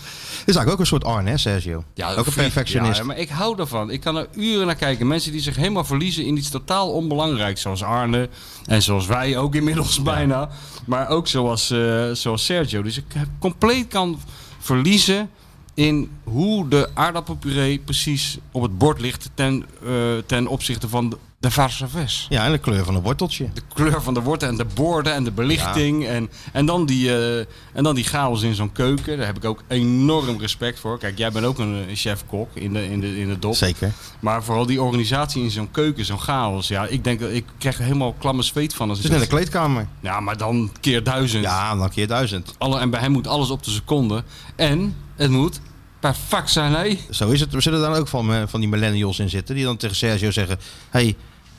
[SPEAKER 3] is eigenlijk ook een soort Arne, hè, Sergio? ook een
[SPEAKER 5] freak.
[SPEAKER 3] perfectionist.
[SPEAKER 5] Ja, maar ik hou daarvan. Ik kan er uren naar kijken. Mensen die zich helemaal verliezen in iets totaal onbelangrijks. Zoals Arne. En zoals wij ook inmiddels bijna. Maar ook zoals, eh, zoals Sergio. Dus ik compleet kan verliezen in hoe de aardappelpuree precies op het bord ligt. Ten, eh, ten opzichte van de, de verse vis.
[SPEAKER 3] Ja, en de kleur van een worteltje.
[SPEAKER 5] De kleur van de wortel en de borden en de belichting. En, en, dan die, eh, en dan die chaos in zo'n keuken. Daar heb ik ook enorm respect voor. Kijk, jij bent ook een eh, chef-kok in de, in, de, in de dop.
[SPEAKER 3] Zeker.
[SPEAKER 5] Maar vooral die organisatie in zo'n keuken, zo'n chaos. Ja, ik denk dat ik krijg er helemaal klamme zweet van. Als
[SPEAKER 3] Het
[SPEAKER 5] ik
[SPEAKER 3] is net
[SPEAKER 5] dat-
[SPEAKER 3] een kleedkamer.
[SPEAKER 5] Ja, maar dan keer duizend.
[SPEAKER 3] Ja, dan keer duizend.
[SPEAKER 5] Alle, en bij hem moet alles op de seconde. En het moet perfect zijn, hè?
[SPEAKER 3] Zo is het. We zullen daar ook van, eh, van die millennials in zitten. Die dan tegen Sergio zeggen... Hé, hey,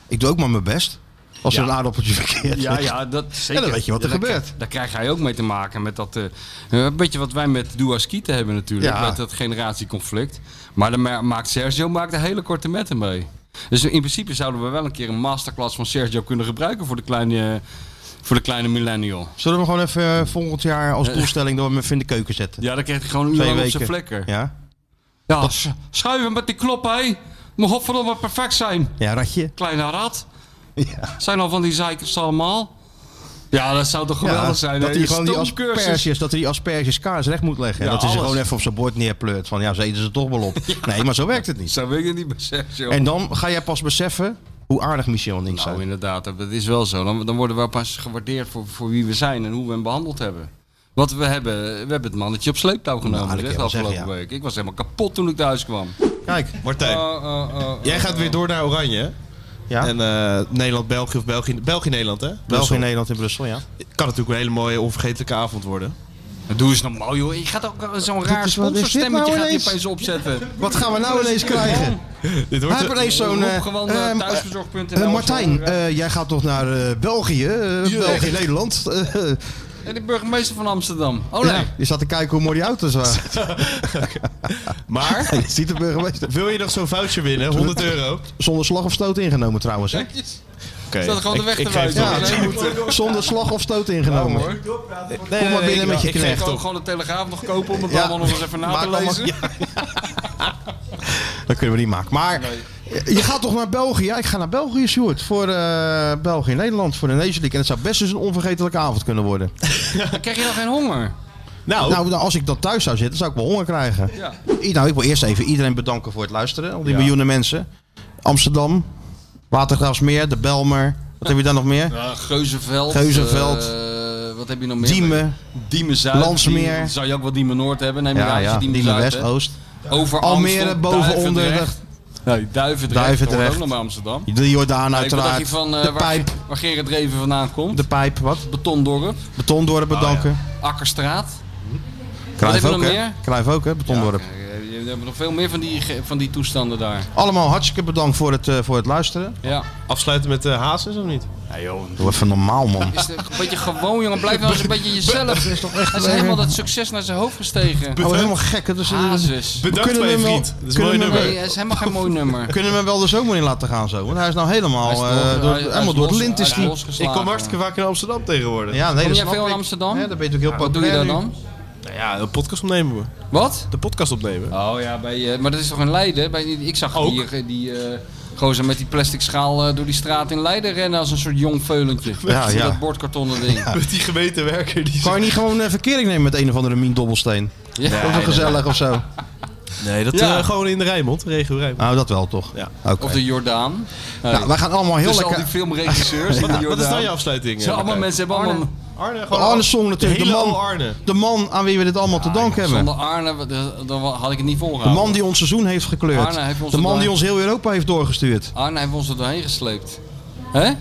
[SPEAKER 3] ik doe ook maar mijn best. Als er
[SPEAKER 5] Ja.
[SPEAKER 3] een aardappeltje verkeerd
[SPEAKER 5] Ja,
[SPEAKER 3] ligt.
[SPEAKER 5] ja, dat zeker.
[SPEAKER 3] En dan weet je wat er
[SPEAKER 5] Ja, daar
[SPEAKER 3] gebeurt.
[SPEAKER 5] krijg- Daar krijgt hij ook mee te maken met dat. eh, een beetje wat wij met Duaskite hebben natuurlijk.
[SPEAKER 3] Ja.
[SPEAKER 5] Met dat generatieconflict. Maar dan ma- maakt Sergio maakt de hele korte metten mee. Dus in principe zouden we wel een keer een masterclass van Sergio kunnen gebruiken voor de kleine, voor de kleine millennial.
[SPEAKER 3] Zullen we hem gewoon even eh, volgend jaar als
[SPEAKER 5] Eh.
[SPEAKER 3] doelstelling... door hem even in de keuken zetten?
[SPEAKER 5] Ja, dan krijgt hij gewoon een uur
[SPEAKER 3] Twee
[SPEAKER 5] lang op
[SPEAKER 3] weken.
[SPEAKER 5] zijn vlekken.
[SPEAKER 3] Ja?
[SPEAKER 5] Ja, s- schuiven met die klop, hé. Moet godverdomme perfect zijn.
[SPEAKER 3] Ja, ratje.
[SPEAKER 5] Kleine rat. Zijn al van die zeikers allemaal. Ja, dat zou toch geweldig
[SPEAKER 3] Ja,
[SPEAKER 5] zijn.
[SPEAKER 3] dat
[SPEAKER 5] hè?
[SPEAKER 3] hij
[SPEAKER 5] Je
[SPEAKER 3] gewoon die
[SPEAKER 5] stoomcursus.
[SPEAKER 3] asperges, dat hij die asperges kaars recht moet leggen.
[SPEAKER 5] Ja,
[SPEAKER 3] dat hij ze
[SPEAKER 5] alles.
[SPEAKER 3] gewoon even op zijn bord neerpleurt. Van ja, ze eten ze toch wel op. Nee, maar zo werkt het niet.
[SPEAKER 5] Zo weet ik het niet bij Sergio.
[SPEAKER 3] En dan ga jij pas beseffen hoe aardig Michel niet
[SPEAKER 5] Nou,
[SPEAKER 3] zijn.
[SPEAKER 5] inderdaad, dat dat is wel zo. Dan, dan worden we pas gewaardeerd voor, voor wie we zijn en hoe we hem behandeld hebben. Want we hebben, we hebben het mannetje op sleeptouw genomen
[SPEAKER 3] Nou, dat
[SPEAKER 5] zeg,
[SPEAKER 3] kan
[SPEAKER 5] de
[SPEAKER 3] je wel
[SPEAKER 5] afgelopen
[SPEAKER 3] zeggen,
[SPEAKER 5] week. Ik was helemaal kapot toen ik thuis kwam. Oh,
[SPEAKER 3] Kijk,
[SPEAKER 4] Martijn. Jij gaat weer door naar Oranje. hè?
[SPEAKER 3] Ja.
[SPEAKER 4] En eh, Nederland-België of België- België-Nederland, hè? Brussel.
[SPEAKER 3] België-Nederland in Brussel, ja.
[SPEAKER 4] Kan natuurlijk een hele mooie, onvergetelijke avond worden.
[SPEAKER 5] Doe eens normaal, joh. Je gaat ook zo'n
[SPEAKER 3] raar
[SPEAKER 5] raar
[SPEAKER 3] is- wat is dit
[SPEAKER 5] sponsorstemmetje
[SPEAKER 3] nou
[SPEAKER 5] gaat
[SPEAKER 3] ineens?
[SPEAKER 5] je opeens opzetten.
[SPEAKER 3] Wat gaan we nou ineens krijgen?
[SPEAKER 4] Dit
[SPEAKER 3] Hij heeft ineens zo'n... eh,
[SPEAKER 5] Roep gewoon,
[SPEAKER 3] eh,
[SPEAKER 5] eh, thuisbezorgd.nl.
[SPEAKER 3] eh, Martijn, eh, jij gaat toch naar eh, België? eh, België-Nederland? Eh,
[SPEAKER 5] En de burgemeester van Amsterdam. Oh nee.
[SPEAKER 3] Je zat te kijken hoe mooi die auto's waren.
[SPEAKER 4] Maar...
[SPEAKER 3] Je ziet de burgemeester.
[SPEAKER 4] Wil je nog zo'n voucher winnen? 100 euro?
[SPEAKER 3] Zonder slag of stoot ingenomen trouwens, hè?
[SPEAKER 4] Oké.
[SPEAKER 5] Staat gewoon de weg
[SPEAKER 4] ik
[SPEAKER 5] te
[SPEAKER 4] geef
[SPEAKER 5] wijzen.
[SPEAKER 4] het
[SPEAKER 5] Ja,
[SPEAKER 4] wel.
[SPEAKER 5] dat moet, eh.
[SPEAKER 3] Zonder slag of stoot ingenomen.
[SPEAKER 5] hoor.
[SPEAKER 3] Kom maar binnen met je
[SPEAKER 5] Ik ga
[SPEAKER 3] knecht.
[SPEAKER 5] gewoon, gewoon de Telegraaf nog kopen om het
[SPEAKER 3] Ja.
[SPEAKER 5] allemaal nog eens even na
[SPEAKER 3] Maak
[SPEAKER 5] te
[SPEAKER 3] allemaal-
[SPEAKER 5] lezen.
[SPEAKER 3] Dat kunnen we niet maken. Maar je gaat toch naar België? Ja, ik ga naar België, Sjoerd. Voor eh, België en Nederland, voor de Nation League. En het zou best eens een onvergetelijke avond kunnen worden.
[SPEAKER 5] Dan krijg je dan geen honger.
[SPEAKER 3] Nou, nou, als ik dan thuis zou zitten, zou ik wel honger krijgen.
[SPEAKER 5] Ja.
[SPEAKER 3] I- Nou, ik wil eerst even iedereen bedanken voor het luisteren. Al die
[SPEAKER 5] Ja.
[SPEAKER 3] miljoenen mensen. Amsterdam, Watergraafsmeer, de Belmer. Wat heb je daar nog meer?
[SPEAKER 5] Ja, Geuzenveld.
[SPEAKER 3] Geuzenveld.
[SPEAKER 5] eh, wat heb je nog meer?
[SPEAKER 3] Diemen.
[SPEAKER 5] Diemen Zuid.
[SPEAKER 3] Landsmeer.
[SPEAKER 5] Diemen- zou je ook wel Diemen Noord hebben? Neem je
[SPEAKER 3] Ja,
[SPEAKER 5] aan, als
[SPEAKER 3] ja,
[SPEAKER 5] je Diemen,
[SPEAKER 3] Diemen
[SPEAKER 5] Zuid
[SPEAKER 3] West,
[SPEAKER 5] hebt.
[SPEAKER 3] Oost.
[SPEAKER 5] Over
[SPEAKER 3] Almere,
[SPEAKER 5] Amsterdam,
[SPEAKER 3] boven, onder,
[SPEAKER 5] Duivendrecht. Nee, Duivendrecht.
[SPEAKER 3] Duivendrecht.
[SPEAKER 5] hoort ook nog bij Amsterdam.
[SPEAKER 3] De Jordaan
[SPEAKER 5] Nee, wat dacht
[SPEAKER 3] uiteraard.
[SPEAKER 5] je van, eh,
[SPEAKER 3] de
[SPEAKER 5] waar,
[SPEAKER 3] Pijp.
[SPEAKER 5] waar Gerrit Reven vandaan komt?
[SPEAKER 3] De Pijp, wat?
[SPEAKER 5] Betondorp.
[SPEAKER 3] Betondorp bedanken.
[SPEAKER 5] Akkerstraat. Wat
[SPEAKER 3] Kruif
[SPEAKER 5] hebben we
[SPEAKER 3] ook,
[SPEAKER 5] nog
[SPEAKER 3] hè?
[SPEAKER 5] meer?
[SPEAKER 3] Kruif ook, hè? Betondorp.
[SPEAKER 5] Eh, Je hebt nog veel meer van die, ge- van die toestanden daar.
[SPEAKER 3] Allemaal hartstikke bedankt voor het, eh, voor het luisteren.
[SPEAKER 5] Ja.
[SPEAKER 4] Afsluiten met eh Hazes of niet?
[SPEAKER 5] Nee joh.
[SPEAKER 3] Doe even normaal, man.
[SPEAKER 5] Is het een beetje gewoon, jongen. Blijf nou eens een beetje jezelf. Hij is helemaal dat succes naar zijn hoofd gestegen.
[SPEAKER 3] Oh, helemaal gek. hè? Dus, eh,
[SPEAKER 5] Hazes.
[SPEAKER 3] we kunnen hem wel- kunnen hem-
[SPEAKER 5] Nee, hij is helemaal geen mooi nummer.
[SPEAKER 3] Kunnen we hem wel de zomer in laten gaan zo? Want hij is nou helemaal,
[SPEAKER 5] Hij is
[SPEAKER 3] eh,
[SPEAKER 5] los-
[SPEAKER 3] door,
[SPEAKER 5] hij- hij
[SPEAKER 3] helemaal
[SPEAKER 5] is
[SPEAKER 3] door het
[SPEAKER 5] los-
[SPEAKER 3] lint is
[SPEAKER 5] hij is
[SPEAKER 3] die.
[SPEAKER 5] losgeslagen. Ik kom hartstikke
[SPEAKER 4] vaak in Amsterdam tegenwoordig.
[SPEAKER 3] Ja, nee,
[SPEAKER 5] Kom
[SPEAKER 3] dat
[SPEAKER 5] jij
[SPEAKER 3] snap
[SPEAKER 5] veel in
[SPEAKER 3] ik.
[SPEAKER 5] Amsterdam?
[SPEAKER 3] Ja, dat ben je ook heel
[SPEAKER 5] Wat doe je
[SPEAKER 3] populair
[SPEAKER 5] daar
[SPEAKER 3] nu.
[SPEAKER 5] dan?
[SPEAKER 33] Nou ja, de podcast opnemen we.
[SPEAKER 11] Wat?
[SPEAKER 33] De podcast opnemen.
[SPEAKER 11] Oh ja, bij, eh, maar dat is toch in Leiden? Bij, ik zag
[SPEAKER 33] Ook.
[SPEAKER 11] die, eh, die eh, gozer met die plastic schaal eh, door die straat in Leiden rennen als een soort jong veulentje.
[SPEAKER 3] Ja,
[SPEAKER 11] Met
[SPEAKER 3] ja.
[SPEAKER 11] Dat bordkartonnen ding.
[SPEAKER 3] Met
[SPEAKER 33] die gemeentewerker. Die
[SPEAKER 3] Kan je niet gewoon een verkering nemen met een of andere Mien Dobbelsteen?
[SPEAKER 11] Ja.
[SPEAKER 3] Ja,
[SPEAKER 11] Nee, nee,
[SPEAKER 3] of gezellig
[SPEAKER 11] nee.
[SPEAKER 3] of zo.
[SPEAKER 33] Nee, dat
[SPEAKER 3] Ja.
[SPEAKER 33] eh, gewoon in de Rijnmond, regio Rijnmond.
[SPEAKER 3] Nou, dat wel toch?
[SPEAKER 33] Ja.
[SPEAKER 3] Oké.
[SPEAKER 11] Of de Jordaan.
[SPEAKER 3] Nou, wij gaan allemaal heel
[SPEAKER 11] dus
[SPEAKER 3] lekker-
[SPEAKER 11] al die filmregisseurs van de
[SPEAKER 33] Wat-
[SPEAKER 11] Jordaan.
[SPEAKER 33] wat is dan je afsluiting,
[SPEAKER 11] Ze
[SPEAKER 33] eh,
[SPEAKER 11] allemaal
[SPEAKER 33] Martijn?
[SPEAKER 11] mensen hebben allemaal...
[SPEAKER 33] Arne,
[SPEAKER 3] De Arne Song natuurlijk. De, man, de man aan wie we dit allemaal te danken hebben.
[SPEAKER 11] Zonder Arne wat- eh, dan had ik het niet
[SPEAKER 3] De
[SPEAKER 11] volgehouden.
[SPEAKER 3] man die ons seizoen heeft gekleurd.
[SPEAKER 11] Arne heeft ons
[SPEAKER 3] de man
[SPEAKER 11] erbij.
[SPEAKER 3] die ons heel Europa heeft doorgestuurd.
[SPEAKER 11] Arne heeft ons er doorheen gesleept. Hè?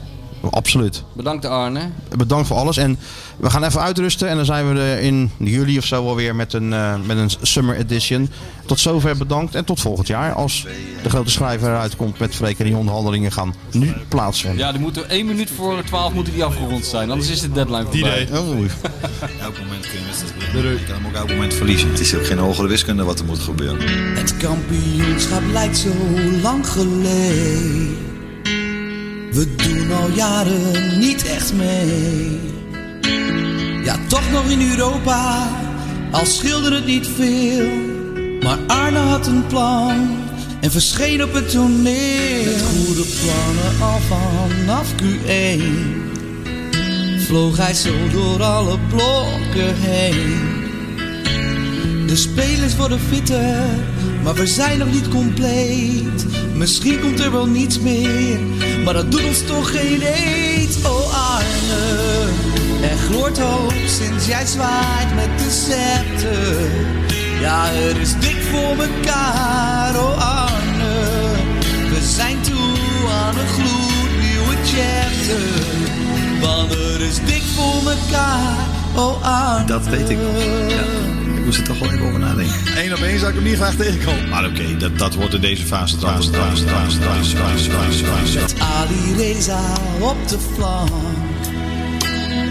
[SPEAKER 3] Absoluut.
[SPEAKER 11] Bedankt Arne.
[SPEAKER 3] Bedankt voor alles. En we gaan even uitrusten. En dan zijn we er in juli of zo alweer met een, eh, met een summer edition. Tot zover bedankt. En tot volgend jaar. Als de grote schrijver eruit komt met Freek en die onderhandelingen gaan nu plaatsvinden.
[SPEAKER 11] Ja, die moeten 1 minuut voor 12 moeten die afgerond zijn. Anders is de deadline
[SPEAKER 3] Die
[SPEAKER 11] voorbij.
[SPEAKER 3] deed. Oh, oei.
[SPEAKER 18] Elk moment kun je wedstrijd winnen. Je kan hem ook elk moment verliezen. Het is ook geen hogere wiskunde wat er moet gebeuren.
[SPEAKER 1] Het kampioenschap lijkt zo lang geleden. We doen al jaren niet echt mee. Ja, toch nog in Europa, al schilderde het niet veel. Maar Arne had een plan en verscheen op het toneel. Met goede plannen al vanaf Q1 vloog hij zo door alle blokken heen. De spelers worden fitter, maar we zijn nog niet compleet. Misschien komt er wel niets meer, maar dat doet ons toch geen eet. Oh Arne, er gloort hoop sinds jij zwaait met de scepter. Ja, het is dik voor mekaar, oh Arne. We zijn toe aan een gloednieuwe chapter. Want er is dik voor mekaar, oh Arne.
[SPEAKER 18] Dat weet ik nog. Ja. Ik moest er toch wel even over nadenken.
[SPEAKER 23] Eén op één zou ik hem niet graag tegenkomen.
[SPEAKER 18] Maar oké, dat, dat wordt in deze fase trouwens.
[SPEAKER 1] Met Ali Reza op de flank.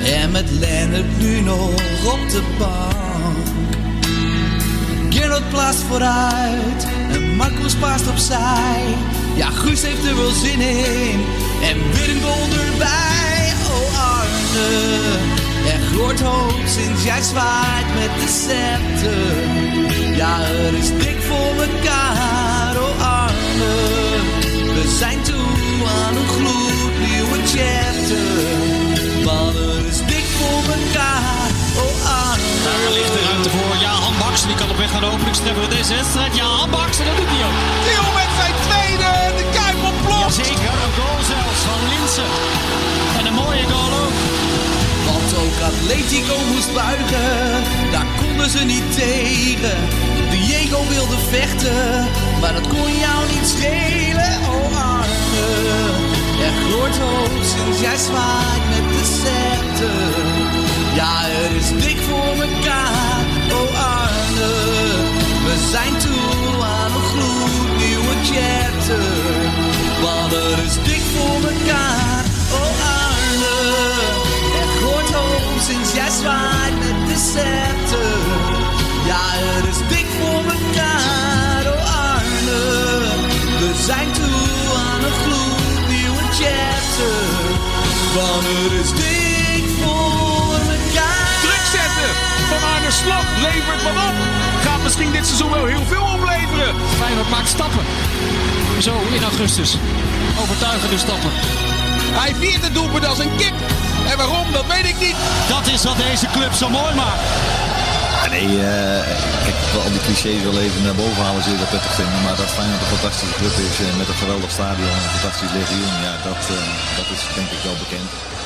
[SPEAKER 1] En met Lennart nu nog op de bank. Gerard plaatst vooruit. En Marcus paast opzij. Ja, Guus heeft er wel zin in. En Willem Bol erbij. Oh Arne, er gloort hoop sinds jij zwaait met de scepter. Ja, er is dik voor elkaar. Oh Arne. We zijn toe aan een gloednieuwe chapter. Want er is dik voor elkaar, oh Arne.
[SPEAKER 34] Daar ligt de ruimte voor. Ja, Han Baksen, die kan op weg naar de openingstreffer van deze wedstrijd. Ja, Han Baksen, dat doet hij ook. Die met zijn tweede en de Kuip ontploft. Jazeker, een goal zelfs van Linsen. En een mooie goal ook.
[SPEAKER 1] Want ook Atletico moest buigen, daar konden ze niet tegen. Diego wilde vechten, maar dat kon jou niet schelen, oh Arne. Er gloort hoop sinds jij zwaait met de scepter. Ja, er is dik voor elkaar, oh Arne. We zijn toe aan een gloednieuwe chapter. Want er is dik voor elkaar, oh Arne. Er gloort hoop sinds jij zwaait met de scepter. Ja, het is dik voor elkaar, oh Arne. We zijn toe aan een gloednieuwe chapter. Want het is dik voor elkaar.
[SPEAKER 34] Druk zetten van Arne Slot levert wat op. Gaat misschien dit seizoen wel heel veel opleveren. Feyenoord maakt stappen. Zo in augustus. Overtuigende stappen. Hij viert het doelpunt als een kip. En waarom, dat weet ik niet. Dat is wat deze club zo mooi maakt.
[SPEAKER 18] Ja, Nee, eh, kijk, ik wil al die clichés wel even naar boven halen, zul je dat prettig vinden. Maar dat Feyenoord een fantastische club is eh, met een geweldig stadion en een fantastisch legioen, ja, dat, eh, dat is denk ik wel bekend.